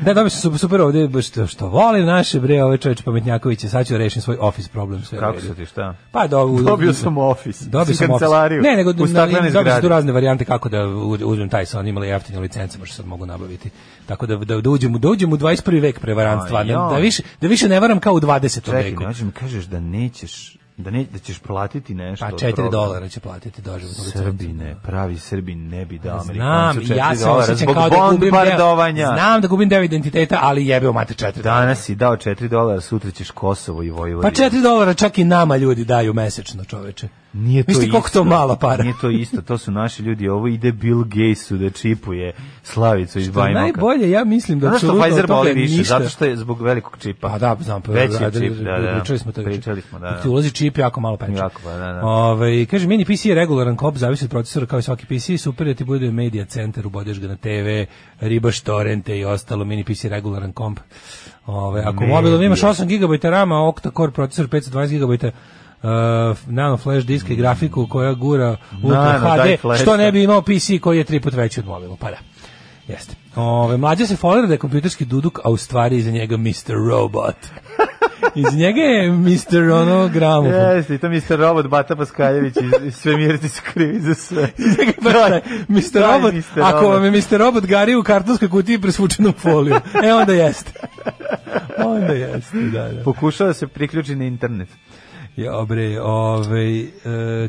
[SPEAKER 6] da, dobio sam super, super ovde, baš što, što volim naše bre, ove čoveče pametnjakoviće, sad ću rešim svoj office problem. Sve
[SPEAKER 5] Kako
[SPEAKER 6] u
[SPEAKER 5] su
[SPEAKER 6] redu.
[SPEAKER 5] ti šta?
[SPEAKER 6] Pa do, u,
[SPEAKER 5] Dobio sam office.
[SPEAKER 6] Dobio
[SPEAKER 5] Mislim,
[SPEAKER 6] sam
[SPEAKER 5] kancelariju.
[SPEAKER 6] Office. Ne, nego
[SPEAKER 5] U staklenoj
[SPEAKER 6] dobio sam tu
[SPEAKER 5] zgradi.
[SPEAKER 6] razne varijante kako da u- uzmem taj sa imali jeftinu licencu, baš sad mogu nabaviti. Tako da da, da uđem, u- da uđem u 21. vek prevarantstva,
[SPEAKER 5] A,
[SPEAKER 6] da,
[SPEAKER 5] jao.
[SPEAKER 6] da više da više ne varam kao u 20.
[SPEAKER 5] Čekaj,
[SPEAKER 6] veku.
[SPEAKER 5] znači mi kažeš da nećeš da ne da ćeš platiti nešto.
[SPEAKER 6] Pa
[SPEAKER 5] od
[SPEAKER 6] 4
[SPEAKER 5] toga.
[SPEAKER 6] dolara će platiti doživotnu licencu.
[SPEAKER 5] Srbine, pravi Srbin ne bi dao
[SPEAKER 6] Znam,
[SPEAKER 5] Amerikancu 4
[SPEAKER 6] ja se
[SPEAKER 5] dolara
[SPEAKER 6] osjećam
[SPEAKER 5] zbog
[SPEAKER 6] kao da gubim deo,
[SPEAKER 5] bombardovanja.
[SPEAKER 6] znam da gubim deo identiteta, ali jebe u mate 4 dolara.
[SPEAKER 5] Danas si dao 4 dolara, sutra ćeš Kosovo i
[SPEAKER 6] Pa
[SPEAKER 5] Vojvodinu.
[SPEAKER 6] 4 dolara čak i nama ljudi daju mesečno, čoveče.
[SPEAKER 5] Nije to
[SPEAKER 6] Mislite koliko
[SPEAKER 5] isto.
[SPEAKER 6] to mala para?
[SPEAKER 5] Nije to isto, to su naši ljudi. Ovo ide Bill Gatesu da čipuje Slavicu iz Bajmoka.
[SPEAKER 6] Najbolje, ja mislim da
[SPEAKER 5] Znaš što
[SPEAKER 6] apsolutno
[SPEAKER 5] Pfizer
[SPEAKER 6] od toga
[SPEAKER 5] boli više,
[SPEAKER 6] ništa.
[SPEAKER 5] zato što je zbog velikog čipa.
[SPEAKER 6] Pa da, znam, pa
[SPEAKER 5] Veći je
[SPEAKER 6] da,
[SPEAKER 5] čip, da, da.
[SPEAKER 6] Pričali smo to. juče.
[SPEAKER 5] Pričali smo, da,
[SPEAKER 6] Dok
[SPEAKER 5] da.
[SPEAKER 6] Ti ulazi čip jako malo peče.
[SPEAKER 5] Jako, pa, da, da.
[SPEAKER 6] Ovaj, kaže mini PC je regularan kop, zavisi od procesora kao i svaki PC, super da ti bude media center, ubodeš ga na TV, ribaš torrente i ostalo, mini PC je regularan komp. Ovaj, ako
[SPEAKER 5] Media.
[SPEAKER 6] mobilom imaš 8 GB rama, octa-core procesor 520 GB Uh, nano flash disk i grafiku koja gura Ultra
[SPEAKER 5] Nano, daj
[SPEAKER 6] HD,
[SPEAKER 5] flash.
[SPEAKER 6] što ne bi imao PC koji je tri put veći od mobila, pa da. Jeste. Ove, mlađe se folira da je kompjuterski duduk, a u stvari iza njega Mr. Robot. Iz njega je Mr. Ono gramofon.
[SPEAKER 5] Jeste, i to Mr. Robot Bata Paskaljević iz- iz Svemirci su krivi za sve.
[SPEAKER 6] Baš taj Mr.
[SPEAKER 5] Taj
[SPEAKER 6] Robot,
[SPEAKER 5] Mr.
[SPEAKER 6] ako
[SPEAKER 5] Robot.
[SPEAKER 6] vam je Mr. Robot gari u kartonskoj kutiji presvučenom foliju, e onda jeste. Onda jeste, da, da.
[SPEAKER 5] Pokušao da se priključi na internet.
[SPEAKER 6] Ja, bre, ovaj, e,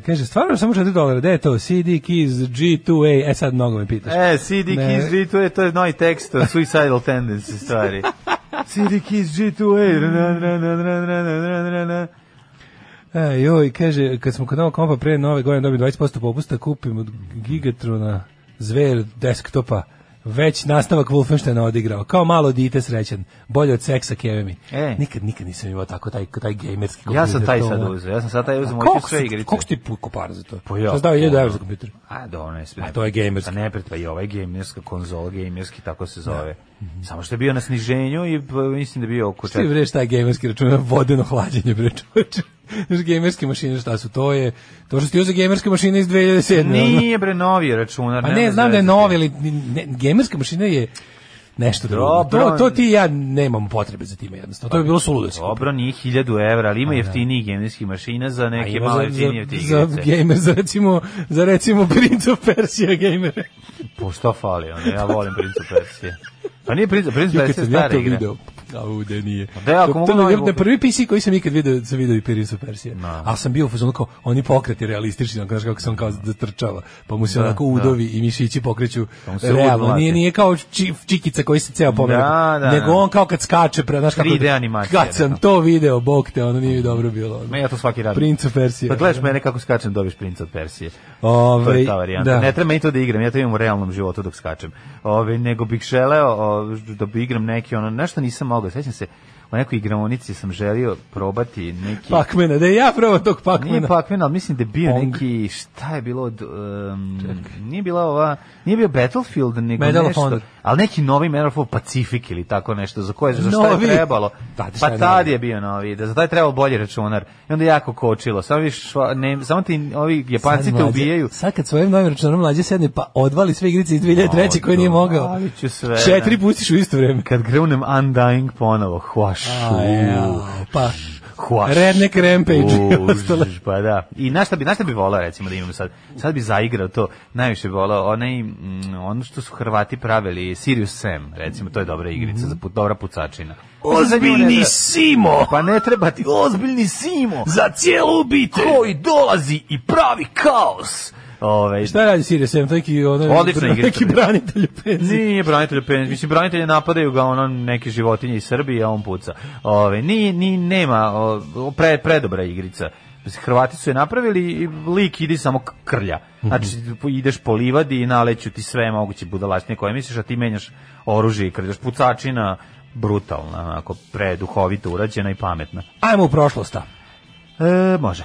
[SPEAKER 6] kaže, stvarno samo 4 dolara, gde je to? CD, Keys, G2A, e sad mnogo me pitaš.
[SPEAKER 5] E, CD
[SPEAKER 6] Ne.
[SPEAKER 5] Keys G2A, to je novi tekst o Suicidal Tendency stvari. CD Keys G2A. na, na, na, na, na, na, na, na, na.
[SPEAKER 6] E, joj, kaže, kad smo kod novog kompa pre nove godine dobili 20% popusta, kupim od Gigatrona zver desktopa, već nastavak Wolfensteina odigrao. Kao malo dite srećan, bolje od seksa kevemi.
[SPEAKER 5] E.
[SPEAKER 6] Nikad, nikad nisam imao tako taj, taj gamerski kompjuter.
[SPEAKER 5] Ja sam taj
[SPEAKER 6] to
[SPEAKER 5] sad
[SPEAKER 6] ono.
[SPEAKER 5] uzeo, ja sam sad taj uzeo,
[SPEAKER 6] A
[SPEAKER 5] moću
[SPEAKER 6] koliko
[SPEAKER 5] sve
[SPEAKER 6] si-
[SPEAKER 5] igrice.
[SPEAKER 6] Koliko si ti puko para za to?
[SPEAKER 5] Pa ja,
[SPEAKER 6] Sad dao
[SPEAKER 5] ono.
[SPEAKER 6] 1000 evra za kompjuter.
[SPEAKER 5] A, do, ne sve.
[SPEAKER 6] A to je gamerski.
[SPEAKER 5] A ne pret, pa i ovaj gamerska konzola, gamerski, tako se zove. Samo što je bio na sniženju i pa, mislim da je bio oko
[SPEAKER 6] Šta Mhm. ti
[SPEAKER 5] četiri.
[SPEAKER 6] bre šta je gamerski računar? Vodeno hlađenje bre čoveče. Znaš, gamerske mašine šta su? To je, to što ste uzeli gamerske mašine iz 2007. ono.
[SPEAKER 5] Nije bre novi računar.
[SPEAKER 6] Pa
[SPEAKER 5] nema
[SPEAKER 6] ne, znam da je
[SPEAKER 5] veze.
[SPEAKER 6] novi, ali ni- ne, gamerska mašina je nešto drugo.
[SPEAKER 5] Dobro.
[SPEAKER 6] To, to ti i ja nemam potrebe za time jednostavno. To bi bilo suludo da si kupio.
[SPEAKER 5] Dobro, nije 1000 evra, ali ima jeftinijih gamerskih mašina za
[SPEAKER 6] A
[SPEAKER 5] neke
[SPEAKER 6] ima
[SPEAKER 5] malo
[SPEAKER 6] za-
[SPEAKER 5] jeftinije jeftinije
[SPEAKER 6] za, za
[SPEAKER 5] igrice.
[SPEAKER 6] gamer, za recimo, za recimo Prince of Persia gamer.
[SPEAKER 5] ono, Po šta fali, onda ja volim Prince of Persia. Pa nije Prince, Prince of
[SPEAKER 6] Kad
[SPEAKER 5] Persia je
[SPEAKER 6] sam ja
[SPEAKER 5] stara
[SPEAKER 6] to
[SPEAKER 5] igra.
[SPEAKER 6] video, kao da nije.
[SPEAKER 5] Da, ako
[SPEAKER 6] to,
[SPEAKER 5] mogu
[SPEAKER 6] to mi je
[SPEAKER 5] novi
[SPEAKER 6] na
[SPEAKER 5] Vuković.
[SPEAKER 6] prvi PC koji sam ikad video, sam video i Prince of Persije. Ali sam bio u fazonu kao, oni pokreti realistični, onako, znaš kako sam kao da trčava, pa mu se onako udovi i mišići pokreću
[SPEAKER 5] Pa mu se
[SPEAKER 6] realno.
[SPEAKER 5] udmlate.
[SPEAKER 6] Nije, nije kao či, čikica koji se ceo pomera.
[SPEAKER 5] Da, da,
[SPEAKER 6] nego
[SPEAKER 5] da.
[SPEAKER 6] on kao kad skače, pre, znaš kako...
[SPEAKER 5] 3D animacija,
[SPEAKER 6] Kad sam
[SPEAKER 5] da.
[SPEAKER 6] to video, bog te, ono nije mi dobro bilo. ono.
[SPEAKER 5] Ma ja to svaki radim.
[SPEAKER 6] Prince of Persije.
[SPEAKER 5] Pa gledaš mene kako skačem, dobiš princa od Persije.
[SPEAKER 6] Ovaj,
[SPEAKER 5] to je ta varijanta.
[SPEAKER 6] da.
[SPEAKER 5] Ne treba meni to da igram, ja to imam u realnom životu dok skačem. Ove, nego bih želeo o, da bi igram neki, ono, nešto nisam mogao. Sjećam se, u nekoj igraonici sam želio probati neki...
[SPEAKER 6] Pakmena, da i ja probao tog
[SPEAKER 5] Nije pa,
[SPEAKER 6] Pakmena.
[SPEAKER 5] Pac-Man, ali mislim da je bio
[SPEAKER 6] Pong.
[SPEAKER 5] neki, šta je bilo od, um, nije bila ova, nije bio Battlefield, nego
[SPEAKER 6] Medal of
[SPEAKER 5] nešto,
[SPEAKER 6] Honor.
[SPEAKER 5] ali neki novi Medal of Pacific ili tako nešto, za koje, za šta je
[SPEAKER 6] Novi.
[SPEAKER 5] trebalo,
[SPEAKER 6] Da, šta
[SPEAKER 5] pa
[SPEAKER 6] je
[SPEAKER 5] tad
[SPEAKER 6] novi?
[SPEAKER 5] je bio novi, da za taj trebalo bolji računar, i onda je jako kočilo, samo viš, šva- ne, samo ti ovi
[SPEAKER 6] Sad,
[SPEAKER 5] Japanci te
[SPEAKER 6] mlađe,
[SPEAKER 5] ubijaju,
[SPEAKER 6] Sad kad svojim novim računom mlađe sedne pa odvali sve igrice iz 2003. koje nije mogao.
[SPEAKER 5] Odvalit ću sve,
[SPEAKER 6] Četiri
[SPEAKER 5] ne.
[SPEAKER 6] pustiš u isto vreme.
[SPEAKER 5] kad grunem Undying ponovo, hvašu,
[SPEAKER 6] A, jao, pa
[SPEAKER 5] hvašu.
[SPEAKER 6] Redneck Rampage i
[SPEAKER 5] U,
[SPEAKER 6] ostalo.
[SPEAKER 5] ž, Pa da. I na šta bi, na šta bi volao recimo da imam sad? Sad bi zaigrao to, najviše bi volao onaj, mm, ono što su Hrvati pravili, Sirius Sam, recimo, to je dobra igrica, za put, dobra pucačina. Ozbiljni Simo! Pa ne treba ti ozbiljni Simo! Za cijelu obitelj! Koji dolazi i pravi kaos! Ove,
[SPEAKER 6] Šta radi Sirius Sam? To je neki, ono,
[SPEAKER 5] Odlična igrica,
[SPEAKER 6] neki
[SPEAKER 5] bre.
[SPEAKER 6] branitelj u penziji.
[SPEAKER 5] Nije branitelj u penziji. Mislim, branitelje napadaju ga ono neke životinje iz Srbije, a on puca. Ove, ni, ni, nema, o, pre, predobra igrica. Mislim, Hrvati su je napravili i lik idi samo k- krlja.
[SPEAKER 6] Mhm.
[SPEAKER 5] Znači, ideš po livadi i naleću ti sve moguće budalačne koje misliš, a ti menjaš oružje i krljaš pucačina brutalna, onako, preduhovito urađena i pametna.
[SPEAKER 6] Ajmo u prošlost. a.
[SPEAKER 5] E, može.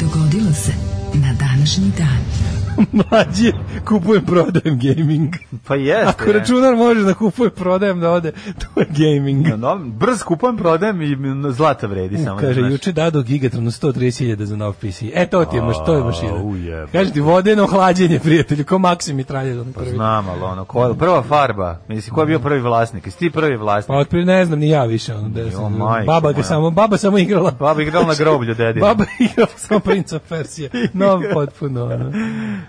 [SPEAKER 4] Dogodilo se na današnji dan.
[SPEAKER 6] Mlađe, kupujem, prodajem gaming.
[SPEAKER 5] Pa jeste.
[SPEAKER 6] Ako računar može da kupuje, prodajem, da ode, to je gaming.
[SPEAKER 5] No, brz kupujem, prodajem i zlata vredi samo.
[SPEAKER 6] Kaže,
[SPEAKER 5] znaš.
[SPEAKER 6] juče dado Gigatronu 130.000 za nov PC. E, to ti je, maš, to je
[SPEAKER 5] A,
[SPEAKER 6] mašina.
[SPEAKER 5] ujebote.
[SPEAKER 6] Kaže ti, vodeno hlađenje, prijatelju, ko Maksim i tralje za prvi.
[SPEAKER 5] Znam, ali ono, ko je, prva farba, mislim, ko je bio prvi vlasnik, jesi ti prvi
[SPEAKER 6] Pa
[SPEAKER 5] vlasnik?
[SPEAKER 6] otprilike ne znam ni ja više, ono, da sam,
[SPEAKER 5] majko
[SPEAKER 6] baba ga
[SPEAKER 5] moja.
[SPEAKER 6] samo, baba samo igrala.
[SPEAKER 5] Baba je igrala na groblju, dedi.
[SPEAKER 6] Pa- Baba je igrala samo Prince of Persije. Nov potpuno, ono.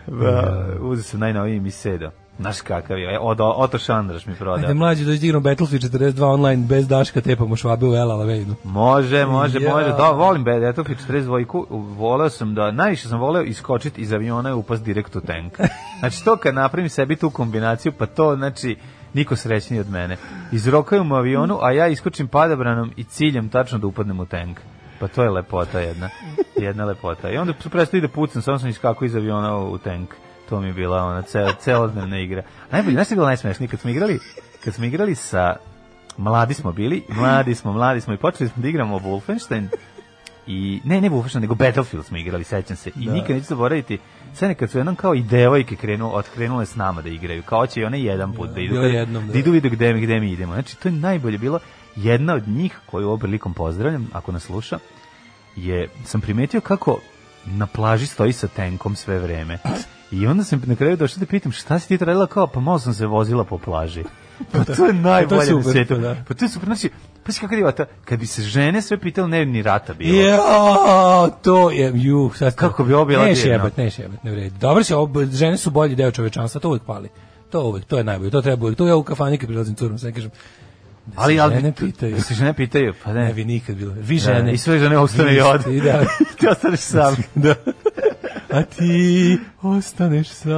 [SPEAKER 5] Ba, uze se najnoviji mi seda. Znaš kakav je, e, od, Oto Šandraš mi
[SPEAKER 6] Ajde,
[SPEAKER 5] proda.
[SPEAKER 6] mlađi, dođi da igram Battlefield 42 online, bez Daška tepamo švabe u El Alameinu.
[SPEAKER 5] Može, može,
[SPEAKER 6] Ja.
[SPEAKER 5] može, da, volim Battlefield 42, voleo sam da, najviše sam voleo iskočiti iz aviona i upast direkt u tank. Znači, to kad napravim sebi tu kombinaciju, pa to, znači, niko srećniji od mene. Izrokaju u avionu, a ja iskočim padabranom i ciljem tačno da upadnem u tank. Pa to je lepota jedna. Jedna lepota. I onda su prestali da pucam, samo sam iskakao iz aviona u tank. To mi je bila ona ceo, celodnevna igra. Najbolje, znaš što je bilo najsmešnije? Kad smo igrali, kad smo igrali sa... Mladi smo bili, mladi smo, mladi smo i počeli smo da igramo Wolfenstein i ne, ne Wolfenstein, nego Battlefield smo igrali, sećam se. I nikad neću zaboraviti, sve nekad su jednom kao i devojke krenu, otkrenule s nama da igraju, kao će i one jedan put da idu.
[SPEAKER 6] bilo je jednom, da.
[SPEAKER 5] da idu vide gde, mi- gde mi idemo. Znači, to je najbolje bilo. Jedna od njih, koju ovom prilikom pozdravljam, ako nas sluša, je, sam primetio kako na plaži stoji sa tenkom sve vreme. I onda sam na kraju došao da pitam šta si ti to radila kao, pa malo sam se vozila po plaži. Pa to je najbolje na
[SPEAKER 6] super,
[SPEAKER 5] svijetu.
[SPEAKER 6] pa da.
[SPEAKER 5] Pa to je super, znači, pa si kakav divata, kad bi se žene sve pitali, ne bi ni rata bilo.
[SPEAKER 6] Jo, Ja, to je, ju, sad to-
[SPEAKER 5] Kako bi ovo bila
[SPEAKER 6] Neš
[SPEAKER 5] divno.
[SPEAKER 6] jebat, neš jebat, ne vredi. Dobro se, ob, žene su bolji deo čovečanstva, to uvek pali. To uvek, to je najbolje, to treba uvek. To ja u kafani kad prilazim curom, sve kažem, da
[SPEAKER 5] ali,
[SPEAKER 6] se
[SPEAKER 5] ali,
[SPEAKER 6] žene
[SPEAKER 5] tu-
[SPEAKER 6] pitaju.
[SPEAKER 5] da se žene pitaju, pa ne.
[SPEAKER 6] Ne bi nikad bilo. Vi
[SPEAKER 5] Da,
[SPEAKER 6] žene.
[SPEAKER 5] I sve žene ostane
[SPEAKER 6] Vi
[SPEAKER 5] i ode.
[SPEAKER 6] ste, da.
[SPEAKER 5] Ti ostaneš sam.
[SPEAKER 6] da. A ti ostaneš sam.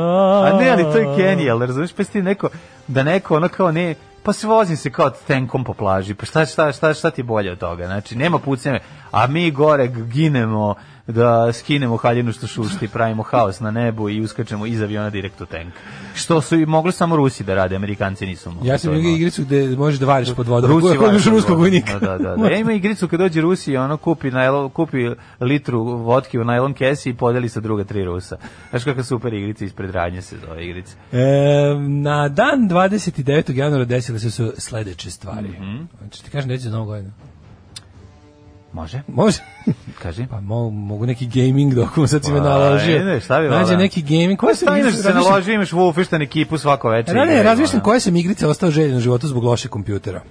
[SPEAKER 5] A ne, ali to je genijal, razumiješ, pa si ti neko, da neko ono kao ne, pa se vozim se kao tenkom po plaži, pa šta, šta, šta, šta ti je bolje od toga, znači nema pucnjeve, a mi gore g- ginemo da skinemo haljinu što šušti, pravimo haos na nebu i uskačemo iz aviona direkt u tank. Što su i mogli samo Rusi da rade, Amerikanci nisu mogli.
[SPEAKER 6] Ja sam
[SPEAKER 5] to je
[SPEAKER 6] igrao
[SPEAKER 5] malo.
[SPEAKER 6] igricu gde možeš Pa da variš pod vodom.
[SPEAKER 5] Rusi
[SPEAKER 6] Rusi
[SPEAKER 5] vade
[SPEAKER 6] variš
[SPEAKER 5] pod
[SPEAKER 6] ruskog
[SPEAKER 5] vodom.
[SPEAKER 6] vojnika.
[SPEAKER 5] Da, da, da. Ja ima igricu kad dođe Rusi i ono kupi, najlon, kupi litru vodke u najlon kesi i podeli sa druga tri Rusa. Znaš kakva super igrica ispred radnje se zove igrica.
[SPEAKER 6] E, na dan 29. januara desile se su sledeće stvari. Mm
[SPEAKER 5] Mhm.
[SPEAKER 6] Znači ti kažem neće za novu godinu.
[SPEAKER 5] Može?
[SPEAKER 6] Može?
[SPEAKER 5] Kaži.
[SPEAKER 6] Pa mo, mogu neki gaming dokument, sad si me
[SPEAKER 5] Pa,
[SPEAKER 6] naložio.
[SPEAKER 5] ne, šta bi
[SPEAKER 6] Nađe
[SPEAKER 5] vala?
[SPEAKER 6] neki gaming. Pa Koja sam
[SPEAKER 5] Stavljeno
[SPEAKER 6] igrica,
[SPEAKER 5] što se
[SPEAKER 6] razmišljam-
[SPEAKER 5] naloži, imaš Wolfenstein ekipu svako večer.
[SPEAKER 6] Ne, ne,
[SPEAKER 5] igraju,
[SPEAKER 6] razmišljam
[SPEAKER 5] ono.
[SPEAKER 6] koje sam igrice ostao željen u životu zbog lošeg kompjutera.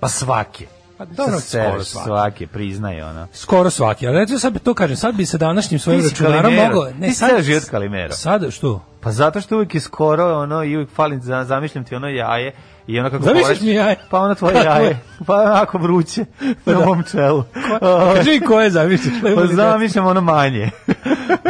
[SPEAKER 5] Pa svaki.
[SPEAKER 6] Pa dobro,
[SPEAKER 5] Sa sere
[SPEAKER 6] skoro svaki.
[SPEAKER 5] svake, priznaje ono. ona.
[SPEAKER 6] Skoro svaki, ali recimo sad bi to kažem, sad bi se današnjim svojim
[SPEAKER 5] Ti si
[SPEAKER 6] računarom
[SPEAKER 5] Kalimero.
[SPEAKER 6] mogao...
[SPEAKER 5] Ti si ceo život Kalimero.
[SPEAKER 6] Sad, što?
[SPEAKER 5] Pa zato što uvijek je skoro ono i uvijek falim, za, zamišljam ti ono jaje i ono kako
[SPEAKER 6] Zamisliš
[SPEAKER 5] povraš-
[SPEAKER 6] mi jaje?
[SPEAKER 5] Pa ono tvoje
[SPEAKER 6] Kako
[SPEAKER 5] jaje,
[SPEAKER 6] je?
[SPEAKER 5] pa onako vruće na mom čelu. Ovaj,
[SPEAKER 6] Kaži mi koje zamisliš.
[SPEAKER 5] Pa zamišljam ono manje,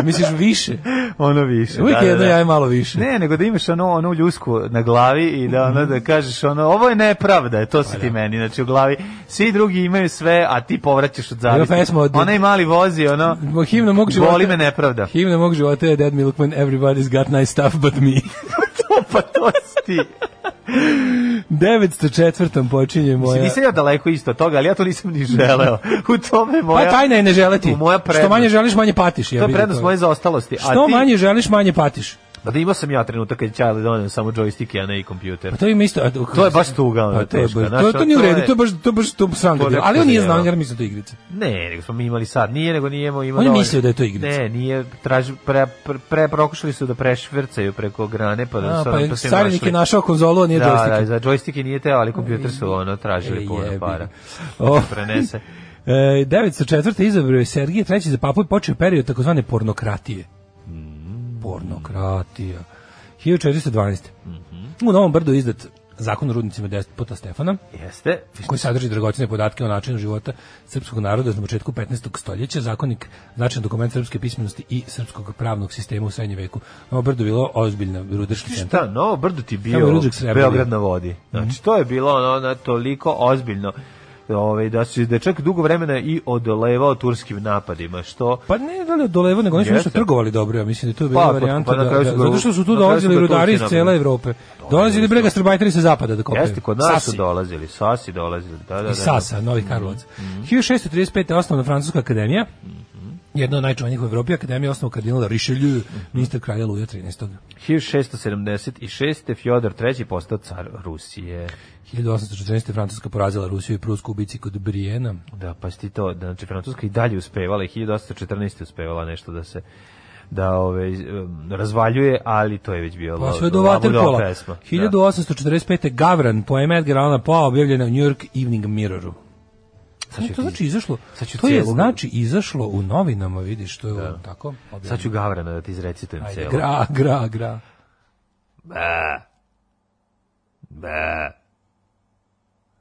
[SPEAKER 6] Misliš više?
[SPEAKER 5] ono više.
[SPEAKER 6] Uvijek je
[SPEAKER 5] da, da,
[SPEAKER 6] jedno
[SPEAKER 5] da.
[SPEAKER 6] jaje malo više. Mhm.
[SPEAKER 5] Ne, nego da imaš ono, ono ljusku na glavi i da ono da kažeš ono, ovo je nepravda, to
[SPEAKER 6] Pa
[SPEAKER 5] si ti meni, znači u glavi. Svi drugi imaju sve, a ti povraćaš od zavisti.
[SPEAKER 6] pesma od-
[SPEAKER 5] Onaj mali vozi, ono,
[SPEAKER 6] Mo- Himna mog života.
[SPEAKER 5] boli me nepravda.
[SPEAKER 6] Himna mog života je Dead Milkman, everybody's got nice stuff but me.
[SPEAKER 5] to pa to si ti.
[SPEAKER 6] 904. počinje moja...
[SPEAKER 5] Nisam ja daleko isto od toga, ali ja to nisam ni želeo. U tome je moja...
[SPEAKER 6] Pa tajna je ne želeti.
[SPEAKER 5] u moja
[SPEAKER 6] Što
[SPEAKER 5] prednost.
[SPEAKER 6] manje želiš, manje patiš. Ja
[SPEAKER 5] To je
[SPEAKER 6] bih
[SPEAKER 5] prednost
[SPEAKER 6] rekao.
[SPEAKER 5] moje zaostalosti. A
[SPEAKER 6] Što
[SPEAKER 5] ti,
[SPEAKER 6] manje želiš, manje patiš.
[SPEAKER 5] Pa da imao sam ja trenutak kad je Charlie donio samo joystick, a ne i kompjuter.
[SPEAKER 6] Pa to im isto. a to-
[SPEAKER 5] To je baš tuga, ono,
[SPEAKER 6] A to je
[SPEAKER 5] teška,
[SPEAKER 6] baš-
[SPEAKER 5] znaš,
[SPEAKER 6] to, to nije u
[SPEAKER 5] to
[SPEAKER 6] redu,
[SPEAKER 5] je-
[SPEAKER 6] to je baš to baš to sam
[SPEAKER 5] To je
[SPEAKER 6] ga bilo. Ali on nije znao,
[SPEAKER 5] nepodjelo.
[SPEAKER 6] jer mislio da je igrica.
[SPEAKER 5] Ne, nego smo mi imali sad. Nije, nego nije imao... imao
[SPEAKER 6] On je
[SPEAKER 5] dovoljno.
[SPEAKER 6] mislio da je to igrica.
[SPEAKER 5] Ne, nije, traži, pre, pre, pre prokušali su da prešvrcaju preko grane, pa da
[SPEAKER 6] A,
[SPEAKER 5] su...
[SPEAKER 6] pa
[SPEAKER 5] ono,
[SPEAKER 6] je
[SPEAKER 5] su im
[SPEAKER 6] carinik
[SPEAKER 5] našli.
[SPEAKER 6] je našao konzolu, a nije
[SPEAKER 5] da,
[SPEAKER 6] joystick.
[SPEAKER 5] Da, za joystike nije teo, ali kompjuter su ono tražili
[SPEAKER 6] E, jebi
[SPEAKER 5] puno para.
[SPEAKER 6] ga. Oh. O.
[SPEAKER 5] Prenese.
[SPEAKER 6] E, 904. izabrao je Sergije III. za papu i počeo je period takozvane pornokratije. Pornokratija. 1412. U Novom Brdu je izdat zakon o rudnicima despota Stefana,
[SPEAKER 5] Jeste.
[SPEAKER 6] koji sadrži dragocene podatke o načinu života srpskog naroda na početku 15. stoljeća, zakonik značajan dokument srpske pismenosti i srpskog pravnog sistema u srednjem veku. Novo Brdo je bilo ozbiljna rudarski centar.
[SPEAKER 5] Šta, Novo Brdo ti
[SPEAKER 6] Tamo je
[SPEAKER 5] bio
[SPEAKER 6] Ruđak Mhm. Srebrnjak.
[SPEAKER 5] Beograd na vodi. Znači, to je bilo ono, ono toliko ozbiljno ovaj, da, su, da je čak dugo vremena i odolevao turskim napadima, što
[SPEAKER 6] Pa ne da li odolevo, nego oni su
[SPEAKER 5] Jeste.
[SPEAKER 6] nešto trgovali dobro, ja mislim da je to bila
[SPEAKER 5] Pa, pa,
[SPEAKER 6] varijanta.
[SPEAKER 5] pa na
[SPEAKER 6] da-
[SPEAKER 5] kraju su
[SPEAKER 6] da-
[SPEAKER 5] ga-
[SPEAKER 6] zato što su tu
[SPEAKER 5] na kraju su
[SPEAKER 6] dolazili
[SPEAKER 5] ga
[SPEAKER 6] rudari iz
[SPEAKER 5] Turci
[SPEAKER 6] cele
[SPEAKER 5] napravili.
[SPEAKER 6] Evrope. Dolazili
[SPEAKER 5] isto.
[SPEAKER 6] brega starbajteri sa zapada da kopaju.
[SPEAKER 5] jeste kod nas su
[SPEAKER 6] Sasi.
[SPEAKER 5] dolazili, Sasi dolazili. Da, da, da, Mhm.
[SPEAKER 6] I Sasa, Novi Karlovac. 1635. je osnovna Francuska akademija, jedna od najčuvanijih u Evropi, akademija osnovu kardinala Richelieu,
[SPEAKER 5] Mhm.
[SPEAKER 6] ministar kralja Luja 13.
[SPEAKER 5] 1676. Fjodor III. postao car Rusije.
[SPEAKER 6] 1814. Francuska porazila Rusiju i Prusku u bici kod Brijena.
[SPEAKER 5] Da, pa si ti to, da, znači Francuska i dalje uspevala, i 1814. uspevala nešto da se da ove, um, razvaljuje, ali to je već bio
[SPEAKER 6] Pa
[SPEAKER 5] lo-
[SPEAKER 6] sve do
[SPEAKER 5] labudova
[SPEAKER 6] Waterpola.
[SPEAKER 5] pesma. Da.
[SPEAKER 6] 1845. Gavran, poem Edgar Allan Poe, objavljena u New York Evening Mirroru.
[SPEAKER 5] Sad
[SPEAKER 6] E,
[SPEAKER 5] ću
[SPEAKER 6] to
[SPEAKER 5] ti-
[SPEAKER 6] znači izašlo.
[SPEAKER 5] sad ću
[SPEAKER 6] To je
[SPEAKER 5] cijelu-
[SPEAKER 6] znači izašlo u novinama, vidiš, to je tako. objavljeno.
[SPEAKER 5] Sad ću Gavrana da ti izrecitujem
[SPEAKER 6] Ajde,
[SPEAKER 5] celo.
[SPEAKER 6] gra, gra, gra.
[SPEAKER 5] Ba. Ba.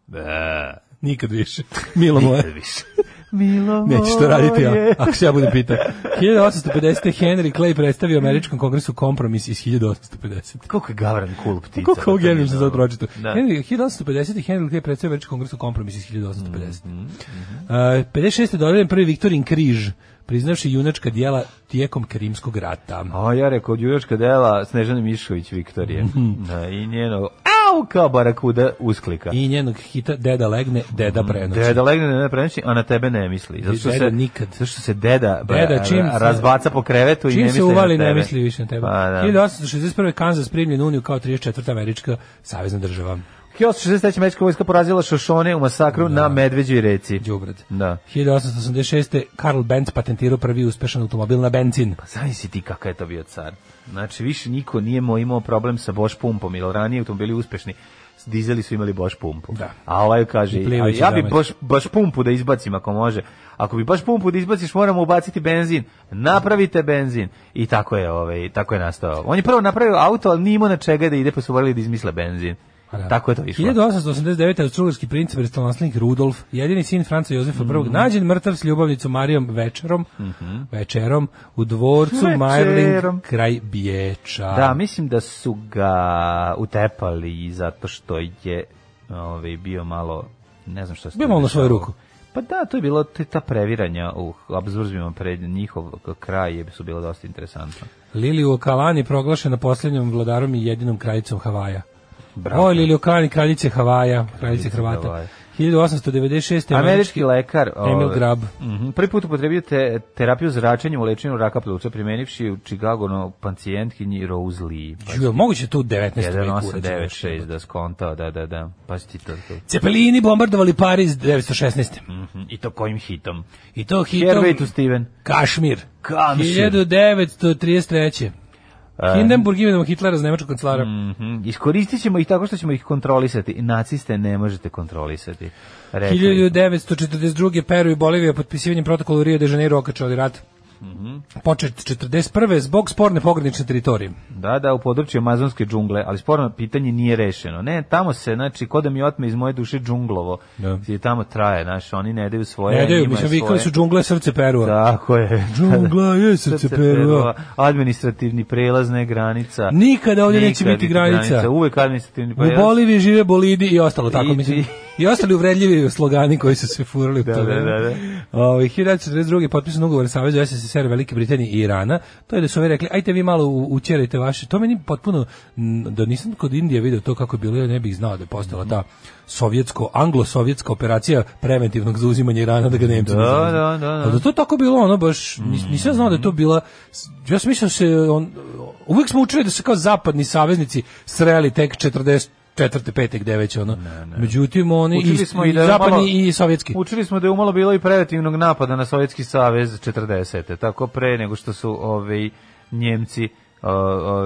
[SPEAKER 5] Ba.
[SPEAKER 6] Nikad više. Milo moje.
[SPEAKER 5] Više. Milo
[SPEAKER 6] Nećeš to raditi ja, ako se ja budem pitao. 1850. Henry Clay predstavio Američkom kongresu kompromis iz 1850.
[SPEAKER 5] Koliko je Gavran cool ptica.
[SPEAKER 6] Koliko ovo genijem se sad pročito.
[SPEAKER 5] ono. Da.
[SPEAKER 6] Henry, 1850. Henry Clay predstavio Američkom kongresu kompromis iz 1850.
[SPEAKER 5] Mhm,
[SPEAKER 6] Mm, 56. je dodeljen prvi Viktorin križ, priznavši junačka dijela tijekom Krimskog rata.
[SPEAKER 5] A ja rekao, od junačka dela Snežana Mišković Viktorije. Da, I njeno, au, kao barakuda usklika.
[SPEAKER 6] I njenog hita Deda legne, deda prenoći.
[SPEAKER 5] Mhm. Deda legne na prenoći, a na tebe ne misli. Zato što
[SPEAKER 6] Deda
[SPEAKER 5] se,
[SPEAKER 6] nikad.
[SPEAKER 5] Zato što se deda, ba,
[SPEAKER 6] Deda, čim se-
[SPEAKER 5] razbaca po krevetu i ne
[SPEAKER 6] Čim
[SPEAKER 5] misli
[SPEAKER 6] se uvali,
[SPEAKER 5] na
[SPEAKER 6] ne
[SPEAKER 5] tebe.
[SPEAKER 6] misli više na tebe.
[SPEAKER 5] Pa, da.
[SPEAKER 6] 1861. Kansas primljen u Uniju kao 34. američka savezna država.
[SPEAKER 5] 1863. Mečka vojska porazila Šošone u masakru na Medveđoj reci.
[SPEAKER 6] Đubrad.
[SPEAKER 5] Da.
[SPEAKER 6] 1886. Karl Benz patentirao prvi uspešan automobil na benzin.
[SPEAKER 5] Pa Zavisi ti kakav je to bio car. Znači, više niko nije mo- imao problem sa Bosch pumpom, jer ranije automobili uspešni s dizeli su imali Bosch pumpu.
[SPEAKER 6] Da.
[SPEAKER 5] A ovaj kaže,
[SPEAKER 6] I plivajući
[SPEAKER 5] "A ja bi
[SPEAKER 6] zamet."
[SPEAKER 5] Bosch, Bosch pumpu da izbacim ako može. Ako bi Bosch pumpu da izbaciš, moramo ubaciti benzin. Napravite benzin. I tako je, ovaj, tako je nastao. On je prvo napravio auto, ali nije imao na čega da ide, pa su morali da izmisle benzin.
[SPEAKER 6] Pa
[SPEAKER 5] Tako je to išlo.
[SPEAKER 6] 1889. austrugarski princ prestolnaslenik Rudolf, jedini sin Franca Jozefa
[SPEAKER 5] Mhm.
[SPEAKER 6] I, nađen mrtav s ljubavnicom Marijom Večerom, večerom u dvorcu
[SPEAKER 5] Večerom.
[SPEAKER 6] Majling kraj Biječa.
[SPEAKER 5] Da, mislim da su ga utepali zato što je ovaj, bio malo, ne znam što se... tu
[SPEAKER 6] Bio malo na svoju
[SPEAKER 5] dešavalo.
[SPEAKER 6] ruku.
[SPEAKER 5] Pa da, to je bilo to je ta previranja u Habsburzima pred njihov kraj je su bilo dosta interesantno.
[SPEAKER 6] Lili u Kalani proglašena posljednjom vladarom i jedinom kraljicom Havaja.
[SPEAKER 5] Bravo.
[SPEAKER 6] Bravo. Lili u Kalani, kraljice Havaja, kraljice Hrvata.
[SPEAKER 5] Havaja.
[SPEAKER 6] 1896.
[SPEAKER 5] Američki lekar
[SPEAKER 6] Emil
[SPEAKER 5] ovaj,
[SPEAKER 6] Grab.
[SPEAKER 5] mhm, prvi put upotrebio te, terapiju zračenjem u lečenju raka pluća primenivši u Chicago no, pacijentkinji Rose Lee. Pa
[SPEAKER 6] Ju, moguće to u 19. veku. urađeno.
[SPEAKER 5] 1896 da skontao, da, da, da. Pa si ti to. to.
[SPEAKER 6] Cepelini bombardovali Pariz 916.
[SPEAKER 5] Mhm, I to kojim hitom?
[SPEAKER 6] I to hitom
[SPEAKER 5] Hervey to Steven.
[SPEAKER 6] Kašmir.
[SPEAKER 5] Kašmir.
[SPEAKER 6] 1933. Hindenburg imenom Hitlera za nemačkog kancelara.
[SPEAKER 5] Mhm. Iskoristit ćemo ih tako što ćemo ih kontrolisati. Naciste ne možete kontrolisati.
[SPEAKER 6] e,
[SPEAKER 5] Rekli.
[SPEAKER 6] 1942. Peru i Bolivija potpisivanjem protokola u Rio de Janeiro okačali rat. Mhm. Počet 41. zbog sporne pogranične teritorije.
[SPEAKER 5] Da, da, u području amazonske džungle, ali sporno pitanje nije rešeno. Ne, tamo se, znači, ko da mi otme iz moje duše džunglovo,
[SPEAKER 6] Da.
[SPEAKER 5] je tamo traje, znaš, oni ne daju svoje.
[SPEAKER 6] Ne daju,
[SPEAKER 5] njima
[SPEAKER 6] mi smo
[SPEAKER 5] je
[SPEAKER 6] vikali
[SPEAKER 5] svoje.
[SPEAKER 6] su džungle srce Perua.
[SPEAKER 5] Tako je.
[SPEAKER 6] Džungla je srce Perua.
[SPEAKER 5] Administrativni prelaz, ne granica.
[SPEAKER 6] Nikada ovdje neće
[SPEAKER 5] Nikad
[SPEAKER 6] biti
[SPEAKER 5] niti
[SPEAKER 6] granica.
[SPEAKER 5] Uvek administrativni
[SPEAKER 6] U
[SPEAKER 5] prelaz.
[SPEAKER 6] Boliviji žive bolidi i ostalo, tako
[SPEAKER 5] Pa I-
[SPEAKER 6] mislim.
[SPEAKER 5] i-
[SPEAKER 6] I ostali uvredljivi slogani koji su se furali u
[SPEAKER 5] Da,
[SPEAKER 6] to
[SPEAKER 5] da,
[SPEAKER 6] vreme.
[SPEAKER 5] da, da.
[SPEAKER 6] Ovaj, 1942. potpisan ugovor Saveza SSSR Velike Britanije i Irana. To je da su ovi rekli, ajte vi malo u- učerajte vaše. To meni potpuno, m, da nisam kod Indije video to kako je bilo, ja ne bih znao da je postala ta sovjetsko, anglo-sovjetska operacija preventivnog zauzimanja Irana da ga Nemci ne
[SPEAKER 5] Da,
[SPEAKER 6] zauzmu.
[SPEAKER 5] da, da, Mm. da.
[SPEAKER 6] Ali da to tako bilo, ono baš, nis- nisam znao da je to bila, s- ja sam mislio da se, on, uvijek smo učili da se kao zapadni saveznici sreli tek 40 četvrte, pete, gde već ono. Međutim, oni i,
[SPEAKER 5] Učili smo i da je
[SPEAKER 6] zapadni
[SPEAKER 5] malo-
[SPEAKER 6] i sovjetski.
[SPEAKER 5] Učili smo da je umalo bilo i preventivnog napada na Sovjetski savez 40. Tako pre nego što su ovaj Njemci o, o,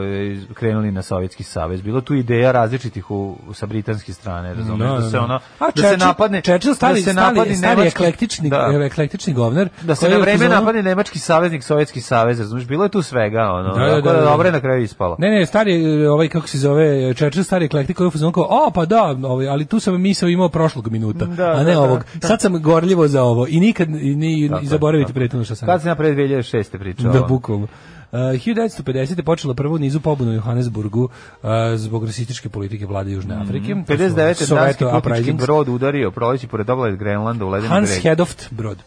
[SPEAKER 5] krenuli na Sovjetski savez. Bilo tu ideja različitih u, sa britanske strane, razumiješ,
[SPEAKER 6] Da,
[SPEAKER 5] da,
[SPEAKER 6] da,
[SPEAKER 5] se
[SPEAKER 6] da.
[SPEAKER 5] ono
[SPEAKER 6] A
[SPEAKER 5] da se
[SPEAKER 6] Churchill-
[SPEAKER 5] napadne
[SPEAKER 6] Churchill stari,
[SPEAKER 5] da se
[SPEAKER 6] stari-
[SPEAKER 5] napadne
[SPEAKER 6] stari
[SPEAKER 5] nemački-
[SPEAKER 6] eklektični,
[SPEAKER 5] da,
[SPEAKER 6] eklektični govnar.
[SPEAKER 5] da se
[SPEAKER 6] koji
[SPEAKER 5] na
[SPEAKER 6] je
[SPEAKER 5] vreme
[SPEAKER 6] upozorio-
[SPEAKER 5] napadne nemački saveznik Sovjetski savez, razumiješ, bilo je tu svega, ono.
[SPEAKER 6] Da, da,
[SPEAKER 5] tako
[SPEAKER 6] da, da.
[SPEAKER 5] dobro je na kraju ispalo.
[SPEAKER 6] Ne, ne, stari, e, ovaj, kako se zove, Čečer, stari eklektik, koji je u fazonu kao, o, pa da, ovaj, ali tu sam misao imao prošlog minuta,
[SPEAKER 5] Da,
[SPEAKER 6] a ne
[SPEAKER 5] da, da.
[SPEAKER 6] ovog. Sad sam gorljivo za ovo i nikad i, ni,
[SPEAKER 5] Tako
[SPEAKER 6] i
[SPEAKER 5] je,
[SPEAKER 6] zaboravite
[SPEAKER 5] tako.
[SPEAKER 6] prethodno što sam.
[SPEAKER 5] Kad sam ja pre 2006. pričao.
[SPEAKER 6] Da, bukvalno. Uh, 1950. je počela prvo nizu pobuna u Johannesburgu uh, zbog rasističke politike vlade Južne
[SPEAKER 5] Mhm.
[SPEAKER 6] Afrike. To su
[SPEAKER 5] 59. danski
[SPEAKER 6] Soweto
[SPEAKER 5] putnički
[SPEAKER 6] uprisings.
[SPEAKER 5] brod udario proleći pored obale Grenlanda u ledenu
[SPEAKER 6] Hans Hedoft brod.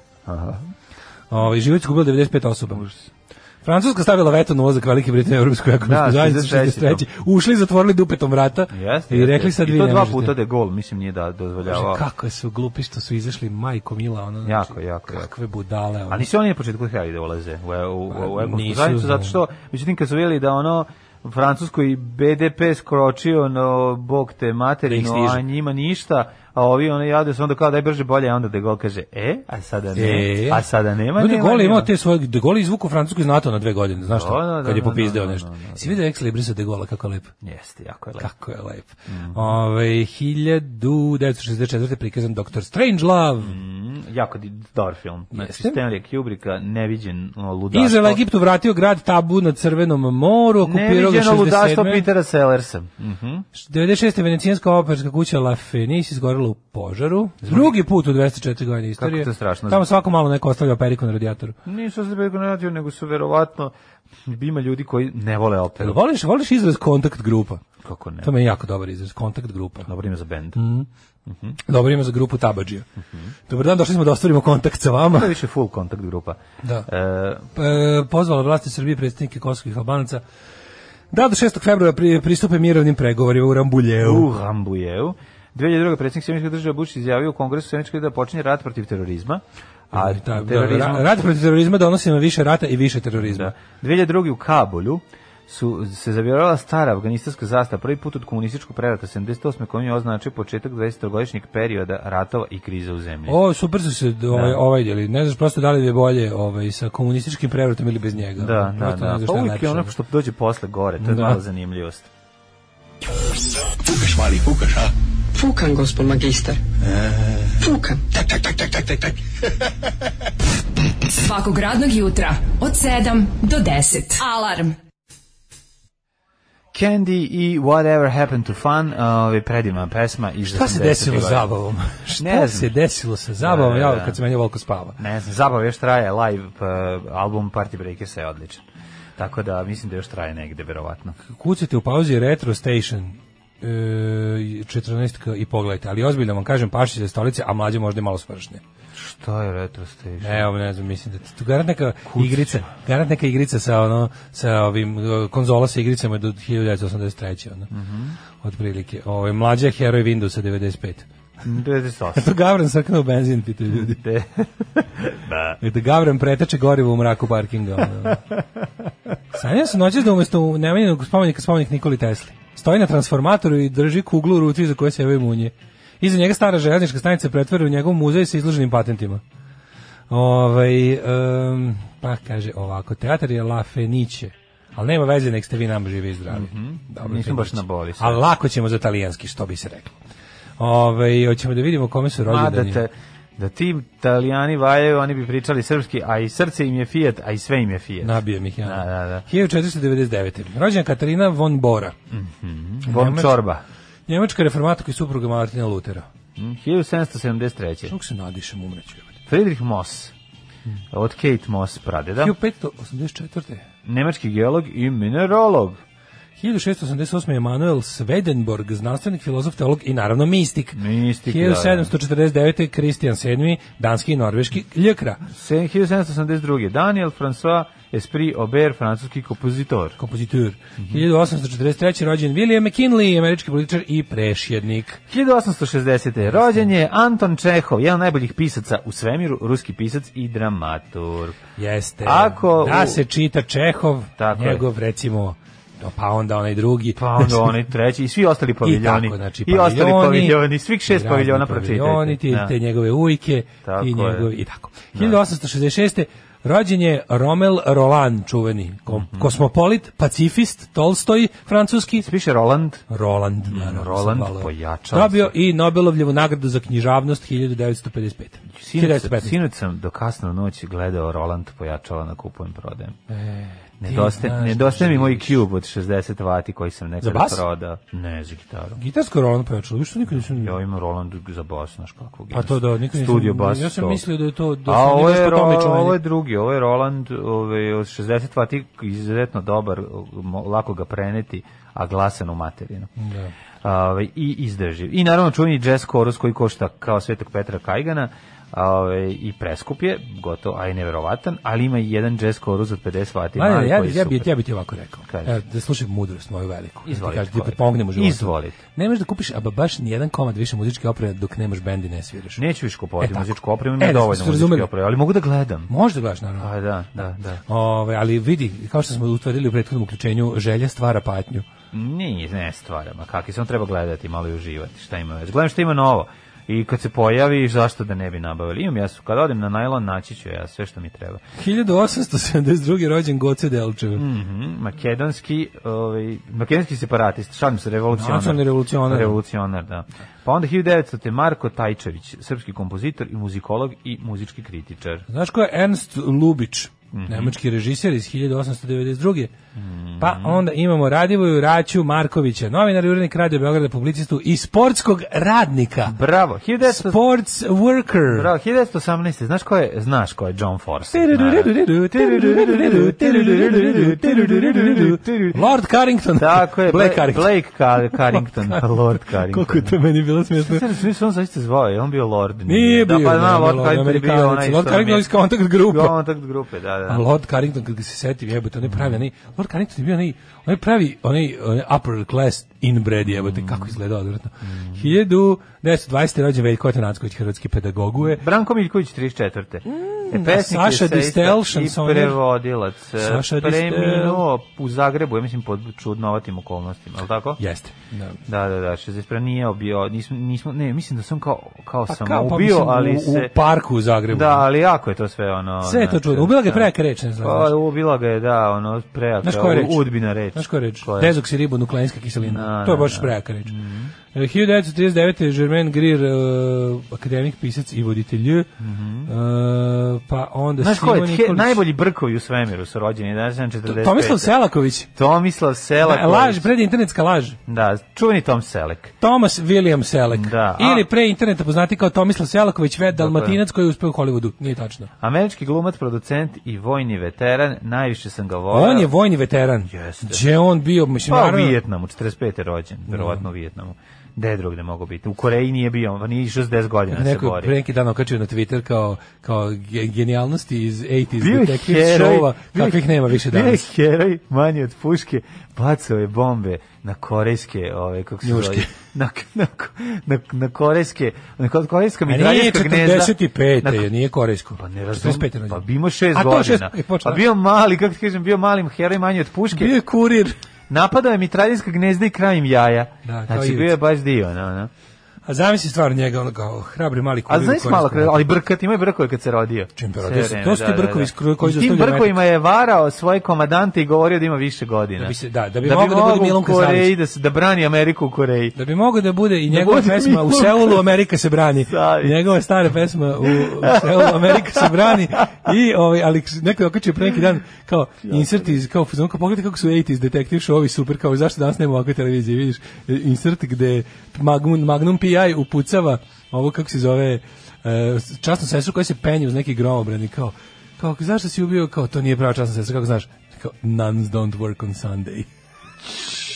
[SPEAKER 6] Ovaj život izgubilo 95 osoba. Francuska stavila veto na ulazak Velike Britanije u Evropsku ekonomsku
[SPEAKER 5] Da,
[SPEAKER 6] zajednicu
[SPEAKER 5] 63..
[SPEAKER 6] 63. Ušli, zatvorili dupetom vrata
[SPEAKER 5] Jeste,
[SPEAKER 6] i
[SPEAKER 5] jeste,
[SPEAKER 6] rekli sad
[SPEAKER 5] I
[SPEAKER 6] vi
[SPEAKER 5] to
[SPEAKER 6] ne
[SPEAKER 5] dva
[SPEAKER 6] možete.
[SPEAKER 5] puta da je gol, mislim, nije da dozvoljavao.
[SPEAKER 6] Kaže, kako su glupi što su izašli majko Mila ono znači,
[SPEAKER 5] Jako, jako, jako.
[SPEAKER 6] kakve budale ono.
[SPEAKER 5] A nisu oni na početku htjeli da ulaze u, E- u, u, u ekonomsku
[SPEAKER 6] Pa, nisu,
[SPEAKER 5] zajednicu, zato
[SPEAKER 6] da.
[SPEAKER 5] što, međutim, kad su vidjeli da ono, Francuskoj BDP skročio, no, bog te
[SPEAKER 6] Da
[SPEAKER 5] materinu,
[SPEAKER 6] ih stiže.
[SPEAKER 5] a njima ništa, a ovi ono jade su onda kao daj brže bolje, a onda De Gaulle kaže, e, a sada ne,
[SPEAKER 6] E.
[SPEAKER 5] a sada nema,
[SPEAKER 6] No, De
[SPEAKER 5] nema,
[SPEAKER 6] Gaulle je imao
[SPEAKER 5] nema.
[SPEAKER 6] te svoje, De Gaulle je izvukao Francusku iz NATO na dve godine, znaš što,
[SPEAKER 5] Da, da, da,
[SPEAKER 6] kad je
[SPEAKER 5] da,
[SPEAKER 6] popizdeo
[SPEAKER 5] da, da,
[SPEAKER 6] nešto.
[SPEAKER 5] da, da, da.
[SPEAKER 6] Si vidio ex librisa De Gaulle, kako je lepo.
[SPEAKER 5] Jeste, jako je lepo.
[SPEAKER 6] Kako je lep.
[SPEAKER 5] Mhm.
[SPEAKER 6] Ove, 1964. prikazan Dr. Strangelove.
[SPEAKER 5] Mm, jako di- dobar film.
[SPEAKER 6] Jeste.
[SPEAKER 5] Znači, Stanley Kubricka, neviđen ono, o, ludaštvo.
[SPEAKER 6] Izrael Egiptu vratio grad Tabu na Crvenom moru, okupirao ga
[SPEAKER 5] Neviđeno ludaštvo
[SPEAKER 6] 67.
[SPEAKER 5] Petera Sellersa. Mhm.
[SPEAKER 6] 96. venecijanska operska kuća La Fenice izgorela u požaru. Drugi put u 204 godine istorije.
[SPEAKER 5] to je strašno.
[SPEAKER 6] Tamo svako malo neko ostavlja periku na radijatoru.
[SPEAKER 5] Nisu se prekonadio, nego su verovatno ima ljudi koji ne vole
[SPEAKER 6] Jel
[SPEAKER 5] operu.
[SPEAKER 6] voliš, voliš izraz kontakt grupa?
[SPEAKER 5] Kako ne?
[SPEAKER 6] To mi Mhm. je jako dobar izraz, kontakt grupa.
[SPEAKER 5] Dobro ime za bend.
[SPEAKER 6] Dobro ime za grupu Tabađija. Dobar dan, došli smo da ostvarimo kontakt sa vama.
[SPEAKER 5] To je više full kontakt grupa.
[SPEAKER 6] Da.
[SPEAKER 5] E,
[SPEAKER 6] e, pozvala vlasti Srbije predstavnike kosovskih Albanaca da do 6. februara pri, pristupe mirovnim pregovorima u Rambuljevu.
[SPEAKER 5] E, u Rambujeu. 2002. predsjednik Sjemička država Bush izjavio u kongresu Sjemička da počinje rat protiv terorizma. A
[SPEAKER 6] Da,
[SPEAKER 5] terorizma...
[SPEAKER 6] da, rat protiv terorizma donosi nam više rata i više terorizma.
[SPEAKER 5] Da. 2002. u Kabulju su se zavjerala stara afganistanska zastava prvi put od komunističkog prevrata 78. kojim je označio početak 20-godišnjeg perioda ratova i krize u zemlji.
[SPEAKER 6] O, super su se d- ovaj, ovaj djeli. Ne znaš prosto da li je bolje ovaj, sa komunističkim prevratom ili bez njega.
[SPEAKER 5] Da, da,
[SPEAKER 6] Prosto ne
[SPEAKER 5] da.
[SPEAKER 6] znaš
[SPEAKER 5] Pa
[SPEAKER 6] šta je
[SPEAKER 5] uvijek je
[SPEAKER 6] lepše.
[SPEAKER 5] ono što dođe posle gore, to je
[SPEAKER 6] Da.
[SPEAKER 5] mala zanimljivost.
[SPEAKER 7] Fukan, gospod magister. Fukan.
[SPEAKER 4] Svakog radnog jutra od 7 do 10. Alarm.
[SPEAKER 5] Candy i Whatever Happened to Fun, ovaj predivna pesma iz
[SPEAKER 6] Šta se
[SPEAKER 5] 80-ih
[SPEAKER 6] desilo s
[SPEAKER 5] godina.
[SPEAKER 6] zabavom? Šta
[SPEAKER 5] znam.
[SPEAKER 6] se desilo sa zabavom?
[SPEAKER 5] Da, da,
[SPEAKER 6] Ja,
[SPEAKER 5] da.
[SPEAKER 6] kad se meni volko spava.
[SPEAKER 5] Ne znam, zabava još traje, live pa, album Party Breakers je odličan. Tako da mislim da još traje negde, verovatno.
[SPEAKER 6] Kucite u pauzi Retro Station e, 14 i pogledajte. Ali ozbiljno vam kažem, paši se stolice, a mlađe možda i malo svršne.
[SPEAKER 5] Šta je Retro Station?
[SPEAKER 6] Evo, ne znam, mislim da tu garant neka igrica, garant neka igrica sa ono sa ovim e, konzola sa igricama do 1983. ono. Otprilike. Ovaj mlađi je heroj Windowsa 95.
[SPEAKER 5] 98.
[SPEAKER 6] To Gavran srknuo benzin, pitaju ljudi.
[SPEAKER 5] De- da.
[SPEAKER 6] Da Gavran preteče gorivo u mraku parkinga. ono. Sanjao sam noćas da umesto u nemanjenog spomenika spomenik Nikoli Tesli. Stoji na transformatoru i drži kuglu u ruci za koje se jave munje. Iza njega stara željeznička stanica pretvara u njegov muzej sa izloženim patentima. Ovaj, em, pa kaže ovako, teatar je La Fenice. Ali nema veze, nek ste vi nam živi i zdravi. Mm
[SPEAKER 5] Mhm. Nisam baš na boli sad.
[SPEAKER 6] Ali lako ćemo za talijanski, što bi se reklo. Ove, hoćemo da vidimo kome su
[SPEAKER 5] Ma da,
[SPEAKER 6] rođendani.
[SPEAKER 5] te, da ti italijani vajaju, oni bi pričali srpski, a i srce im je Fiat, a i sve im je Fiat.
[SPEAKER 6] Nabijem ih ja.
[SPEAKER 5] Da, da, da.
[SPEAKER 6] 1499. Rođena Katarina von Bora.
[SPEAKER 5] Bom
[SPEAKER 6] Nemačka-
[SPEAKER 5] čorba.
[SPEAKER 6] Njemačka reformatorka i supruga Martina Lutera.
[SPEAKER 5] Mm, 1773.
[SPEAKER 6] Kako se nadišem, umreću. jebote.
[SPEAKER 5] Friedrich Moss. Od Kate Moss pradeda.
[SPEAKER 6] 1584.
[SPEAKER 5] Nemački geolog i mineralog.
[SPEAKER 6] 1688. je Emanuel Swedenborg, znanstvenik, filozof, teolog i naravno mistik.
[SPEAKER 5] Mistik, da, da.
[SPEAKER 6] 1749. Kristijan VII, danski i norveški ljekra,
[SPEAKER 5] Se- 1782. Daniel François Esprit Aubert, francuski kompozitor.
[SPEAKER 6] kompozitor.
[SPEAKER 5] Mhm.
[SPEAKER 6] 1843. rođen William McKinley, američki političar i prešjednik.
[SPEAKER 5] 1860. Rođen je Anton Čehov, jedan od najboljih pisaca u svemiru, ruski pisac i dramaturg.
[SPEAKER 6] Jeste.
[SPEAKER 5] Ako
[SPEAKER 6] da
[SPEAKER 5] u-
[SPEAKER 6] se čita Čehov,
[SPEAKER 5] Tako je.
[SPEAKER 6] njegov recimo, no, pa onda onaj drugi. Znači,
[SPEAKER 5] Pa onda onaj treći i svi ostali paviljoni.
[SPEAKER 6] I, tako, znači,
[SPEAKER 5] I ostali paviljoni,
[SPEAKER 6] paviljoni,
[SPEAKER 5] svih šest
[SPEAKER 6] razni
[SPEAKER 5] paviljona
[SPEAKER 6] paviljoni,
[SPEAKER 5] pročitajte.
[SPEAKER 6] Ti,
[SPEAKER 5] Da.
[SPEAKER 6] Te njegove ujke
[SPEAKER 5] Tako
[SPEAKER 6] i
[SPEAKER 5] je.
[SPEAKER 6] njegove, i tako. 1866. Rođen je Rommel Roland, čuveni kom,
[SPEAKER 5] Mhm.
[SPEAKER 6] kosmopolit, pacifist, Tolstoj, francuski.
[SPEAKER 5] Piše Roland.
[SPEAKER 6] Roland, naravno.
[SPEAKER 5] Mhm, Roland,
[SPEAKER 6] sad malo-
[SPEAKER 5] pojačao
[SPEAKER 6] Dobio
[SPEAKER 5] se.
[SPEAKER 6] i Nobelovljevu nagradu za knjižavnost 1955.
[SPEAKER 5] Sinoć,
[SPEAKER 6] 1915.
[SPEAKER 5] sinoć sam do kasno noći gledao Roland pojačala na kupujem prodajem. Nedostaje
[SPEAKER 6] E, znaš
[SPEAKER 5] nedostaje
[SPEAKER 6] šta
[SPEAKER 5] mi moj
[SPEAKER 6] živiš.
[SPEAKER 5] cube od 60 vati koji sam nekada
[SPEAKER 6] Za bas?
[SPEAKER 5] prodao. Ne, za gitaru.
[SPEAKER 6] Gitarsko Roland pojačalo, više nikad nisam...
[SPEAKER 5] Ja imam Roland za bas, znaš kakvog.
[SPEAKER 6] Pa to da, nikad nisam-
[SPEAKER 5] Studio bas.
[SPEAKER 6] ja sam
[SPEAKER 5] to.
[SPEAKER 6] mislio da je to- da
[SPEAKER 5] A
[SPEAKER 6] sam
[SPEAKER 5] ovo
[SPEAKER 6] baš
[SPEAKER 5] je,
[SPEAKER 6] po tome
[SPEAKER 5] Ro-
[SPEAKER 6] čuveni.
[SPEAKER 5] ovo je drugi, ovo je Roland ovaj, od 60 vati, izuzetno dobar, mo- lako ga preneti, a glasan u materinu.
[SPEAKER 6] Da.
[SPEAKER 5] Ove, i izdrživ. I naravno čuveni jazz korus koji košta kao Svetog Petra Kajgana ove, i preskup je, gotovo, a i neverovatan, ali ima i jedan jazz korus od 50 vati.
[SPEAKER 6] Mladen,
[SPEAKER 5] mali
[SPEAKER 6] ja,
[SPEAKER 5] koji
[SPEAKER 6] bi-
[SPEAKER 5] je
[SPEAKER 6] ja, bi,
[SPEAKER 5] super.
[SPEAKER 6] ja bi ti ovako rekao.
[SPEAKER 5] Kaži.
[SPEAKER 6] Evo, da slušaj mudrost moju veliku. Da ti
[SPEAKER 5] Izvolite,
[SPEAKER 6] kažem, Da ti
[SPEAKER 5] kolega.
[SPEAKER 6] potpognemo u životu.
[SPEAKER 5] Izvolite.
[SPEAKER 6] Ne možeš da kupiš aba baš nijedan komad više muzičke opreme dok nemaš bend i ne sviraš.
[SPEAKER 5] Neću više kupovati
[SPEAKER 6] E, tako.
[SPEAKER 5] muzičku opremu,
[SPEAKER 6] E, da
[SPEAKER 5] ima
[SPEAKER 6] smo se
[SPEAKER 5] dovoljno muzičke
[SPEAKER 6] razumeli.
[SPEAKER 5] opreme, ali mogu da gledam.
[SPEAKER 6] Možda gledaš, naravno.
[SPEAKER 5] Pa da, da, da.
[SPEAKER 6] Ove, ali vidi, kao što smo utvrdili u prethodnom uključenju, želja stvara patnju.
[SPEAKER 5] Nije, ne stvarama, kakvi samo treba gledati malo i uživati, šta ima već. Gledam šta ima novo i kad se pojavi, zašto da ne bi nabavili? Imam ja, su- kad odim na najlon, naći ću ja sve što mi treba.
[SPEAKER 6] 1872. rođen Goce Delčev. Mm.
[SPEAKER 5] Mhm, makedonski, ovaj, makedonski separatist, šalim se, revolucionar.
[SPEAKER 6] Nacionalni revolucionar.
[SPEAKER 5] Revolucionar, da. Pa onda 1900. Marko Tajčević, srpski kompozitor i muzikolog i muzički kritičar.
[SPEAKER 6] Znaš ko je Ernst Lubić?
[SPEAKER 5] Mhm.
[SPEAKER 6] Nemački režiser iz 1892. Pa onda imamo Radivoju Raću Markovića, novinar i urednik Radio Beograda, publicistu i sportskog radnika.
[SPEAKER 5] Bravo, 1900...
[SPEAKER 6] Sports worker.
[SPEAKER 5] Bravo, 1918. Znaš ko je, znaš ko je John Forsyth? naravno.
[SPEAKER 6] Lord Carrington.
[SPEAKER 5] Tako je,
[SPEAKER 6] Black
[SPEAKER 5] Blake
[SPEAKER 6] Carrington.
[SPEAKER 5] Carrington. Blake Car- Carrington, Lord Carrington.
[SPEAKER 6] Koliko je to meni bilo smiješno.
[SPEAKER 5] Sve razumiješ, on zaista zvao, je on bio Lord.
[SPEAKER 6] Nije bio.
[SPEAKER 5] Da, pa
[SPEAKER 6] ne,
[SPEAKER 5] na, Lord Carrington je bio
[SPEAKER 6] Amerikanac.
[SPEAKER 5] onaj
[SPEAKER 6] Lord Carrington iz kontakt grupa.
[SPEAKER 5] Kontakt grupe, da, da.
[SPEAKER 6] A Lord Carrington, kad ga se setim, jebote, onaj pravi, onaj, Lord Carrington je bio onaj, onaj pravi, onaj, onaj upper class inbred, jebote, kako izgleda odvratno. 1920. rođen Veljko Atanacković, hrvatski pedagoguje.
[SPEAKER 5] Branko Miljković 34. E, pesnik
[SPEAKER 6] Mm, a Saša
[SPEAKER 5] esejista
[SPEAKER 6] Distel,
[SPEAKER 5] i
[SPEAKER 6] šansoner.
[SPEAKER 5] prevodilac. E,
[SPEAKER 6] Saša Distel.
[SPEAKER 5] Preminuo u Zagrebu, ja mislim, pod čudnovatim okolnostima, ali tako?
[SPEAKER 6] Jeste. Da.
[SPEAKER 5] Da, da, da, 61 nije obio, nismo, nismo, ne, mislim da sam kao, kao
[SPEAKER 6] Pa
[SPEAKER 5] sam
[SPEAKER 6] kao, pa
[SPEAKER 5] ubio,
[SPEAKER 6] mislim,
[SPEAKER 5] ali
[SPEAKER 6] u,
[SPEAKER 5] se...
[SPEAKER 6] u parku u Zagrebu.
[SPEAKER 5] Da, ali jako je to sve ono...
[SPEAKER 6] Sve je to
[SPEAKER 5] znači,
[SPEAKER 6] čudno. Ubila ga je
[SPEAKER 5] da.
[SPEAKER 6] prejaka reč, ne znam.
[SPEAKER 5] Pa, ubila ga je, da, ono, prejaka,
[SPEAKER 6] Znaš koja je reč?
[SPEAKER 5] udbina reč.
[SPEAKER 6] Znaš koja je reč?
[SPEAKER 5] Koja je?
[SPEAKER 6] Dezoksiribonukleinska kiselina.
[SPEAKER 5] Da,
[SPEAKER 6] to je
[SPEAKER 5] da,
[SPEAKER 6] baš
[SPEAKER 5] da. Mhm.
[SPEAKER 6] prejaka reč. E, 1939. je Germain Greer, e, akademik, pisac i voditelj. E, pa onda
[SPEAKER 5] Mhm. Znaš ko
[SPEAKER 6] Simon
[SPEAKER 5] je, tje-
[SPEAKER 6] Nikolić.
[SPEAKER 5] najbolji brkovi u svemiru su rođeni, da, 45.
[SPEAKER 6] Tomislav Selaković.
[SPEAKER 5] Tomislav Selak.
[SPEAKER 6] Da, laž, predinternetska laž.
[SPEAKER 5] Da, čuveni Tom Selek.
[SPEAKER 6] Thomas William Selek.
[SPEAKER 5] Da, a-
[SPEAKER 6] Ili pre interneta poznati kao Tomislav Selaković, ved dalmatinac koji je uspeo u Hollywoodu. Nije tačno.
[SPEAKER 5] Američki glumac, producent i vojni veteran, najviše sam ga volao.
[SPEAKER 6] On je vojni veteran.
[SPEAKER 5] Pa, Jeste.
[SPEAKER 6] Gde on bio? Mislim,
[SPEAKER 5] pa u
[SPEAKER 6] naravno-
[SPEAKER 5] Vijetnamu, 45. rođen, verovatno u Vijetnamu. Gde drugde mogu biti? U Koreji nije bio, on nije išao s 10 godina da se
[SPEAKER 6] Neko je
[SPEAKER 5] bori.
[SPEAKER 6] pre neki dan okačio na Twitter kao, kao ge- genijalnosti iz 80s
[SPEAKER 5] Bio je
[SPEAKER 6] detective
[SPEAKER 5] heroj,
[SPEAKER 6] showa,
[SPEAKER 5] bio je-
[SPEAKER 6] kakvih nema više
[SPEAKER 5] bio je
[SPEAKER 6] danas.
[SPEAKER 5] heroj manji od puške, bacao je bombe na korejske, ove, kako se
[SPEAKER 6] Njuške.
[SPEAKER 5] zove, na, na, na, na korejske, na korejska
[SPEAKER 6] A nije
[SPEAKER 5] mitraljevska gnezda.
[SPEAKER 6] 45.
[SPEAKER 5] Na-
[SPEAKER 6] je, nije korejsko.
[SPEAKER 5] Pa ne razum,
[SPEAKER 6] 45. rođen.
[SPEAKER 5] pa bimo šest
[SPEAKER 6] A to je šest-
[SPEAKER 5] godina.
[SPEAKER 6] e, počeo,
[SPEAKER 5] Pa
[SPEAKER 6] da.
[SPEAKER 5] bio mali, kako ti kažem, bio malim heroj manji od puške.
[SPEAKER 6] Bio je kurir.
[SPEAKER 5] Napadao je mitraljinska gnezda i krajem jaja.
[SPEAKER 6] Da, kao
[SPEAKER 5] znači,
[SPEAKER 6] Ivica.
[SPEAKER 5] bio je baš dio. No, no.
[SPEAKER 6] A zamisli stvarno njega, ono kao hrabri mali kurir.
[SPEAKER 5] A znaš
[SPEAKER 6] koji
[SPEAKER 5] malo,
[SPEAKER 6] nas
[SPEAKER 5] kralj, ali brkat, ima je brkove kad se rodio.
[SPEAKER 6] Čim se
[SPEAKER 5] Sve
[SPEAKER 6] rodio,
[SPEAKER 5] vreme,
[SPEAKER 6] to su ti brkovi iz kru- koji
[SPEAKER 5] I Tim
[SPEAKER 6] dostavljaju
[SPEAKER 5] brkovima je varao svoje komandante i govorio da ima više godina.
[SPEAKER 6] Da bi se- da, da bi mogao da bude Milon
[SPEAKER 5] u Koreji,
[SPEAKER 6] Kazarić.
[SPEAKER 5] da, se, da brani Ameriku u Koreji.
[SPEAKER 6] Da bi mogao da bude i njegova
[SPEAKER 5] bude
[SPEAKER 6] pesma u
[SPEAKER 5] Milo
[SPEAKER 6] Seulu Amerika se brani.
[SPEAKER 5] Savić.
[SPEAKER 6] Njegova stara pesma u, u Seulu Amerika se brani i ovaj ali neko je okačio pre neki dan kao insert iz kao fuzon kao pogledaj kako su 80s detektiv šovi super kao zašto danas nema ovakve televizije vidiš E, insert gde Magnum Magnum PI upucava ovo kako se zove e, časnu sestru koja se penje uz neki gromobrani kao kao zašto si ubio kao to nije prava časna sestra kako znaš kao nuns don't work on Sunday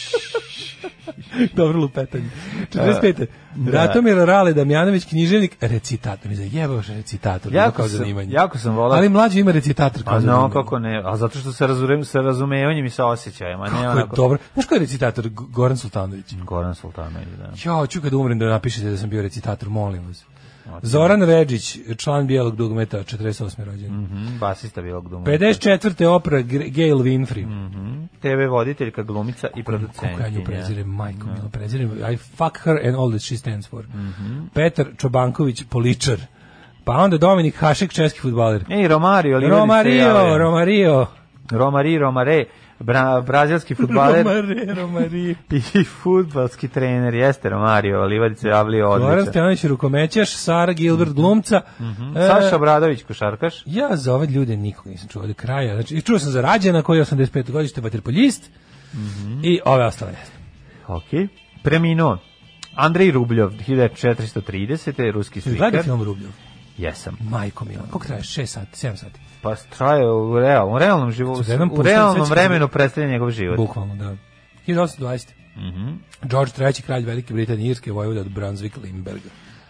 [SPEAKER 6] Dobro lupetanje. 45. Ratomir Rale Damjanović, književnik, recitator. Mi zajebaš recitator, jako
[SPEAKER 5] Jako
[SPEAKER 6] kao
[SPEAKER 5] sam-
[SPEAKER 6] zanimanje.
[SPEAKER 5] jako sam volao-
[SPEAKER 6] Ali mlađi ima recitator kao
[SPEAKER 5] A no,
[SPEAKER 6] zanimanje.
[SPEAKER 5] kako ne, a zato što se razumem sa razumevanjem i sa osjećajima, ne
[SPEAKER 6] Kako je
[SPEAKER 5] onako.
[SPEAKER 6] dobro. Znaš ko je recitator? G- Goran Sultanović.
[SPEAKER 5] Goran Sultanović, da.
[SPEAKER 6] Ja, ću kad umrem da napišete da sam bio recitator, molim vas. Zoran Ređić, član Bijelog dugmeta, 48. rođen.
[SPEAKER 5] Mhm, basista Bijelog doma.
[SPEAKER 6] 54. opera Gr- Gail Winfrey.
[SPEAKER 5] Mm. TV voditeljka, glumica i
[SPEAKER 6] Kako ja nju
[SPEAKER 5] producentkinja.
[SPEAKER 6] prezirem, majko, no. prezirem. I fuck her and all that she stands for. Petar Čobanković, poličar. Pa onda Dominik Hašek, česki futbaler.
[SPEAKER 5] Ej, Romario, ali
[SPEAKER 6] Romario, Romario.
[SPEAKER 5] Romari, Romare, bra, brazilski futbaler
[SPEAKER 6] Romare, Romario.
[SPEAKER 5] i futbalski trener, jeste Romario, Livadice Avlio,
[SPEAKER 6] Goran
[SPEAKER 5] odličan.
[SPEAKER 6] Stojanović Rukomećaš, Sara Gilbert Glumca. E,
[SPEAKER 5] Mm, Mhm. Saša Obradović, košarkaš.
[SPEAKER 6] Ja za ove ljude nikog nisam čuo do kraja. Znači, i čuo sam za Rađana koji je 85 godište vaterpoljist i ove ostale.
[SPEAKER 5] Ok. Preminuo. Andrej Rubljov, 1430. Ruski
[SPEAKER 6] Gledaj
[SPEAKER 5] slikar.
[SPEAKER 6] film Rubljov.
[SPEAKER 5] Jesam.
[SPEAKER 6] Majko Mila, koliko traje? 6 sati, 7 sati.
[SPEAKER 5] Pa traje u, real, u realnom životu.
[SPEAKER 6] Za jedan
[SPEAKER 5] U
[SPEAKER 6] puštan
[SPEAKER 5] realnom
[SPEAKER 6] svećan-
[SPEAKER 5] vremenu predstavlja njegov život.
[SPEAKER 6] Bukvalno, da. 1820.
[SPEAKER 5] Mhm.
[SPEAKER 6] George III, kralj Velike Britanije, Irske, vojvoda od Brunswick, Limberga.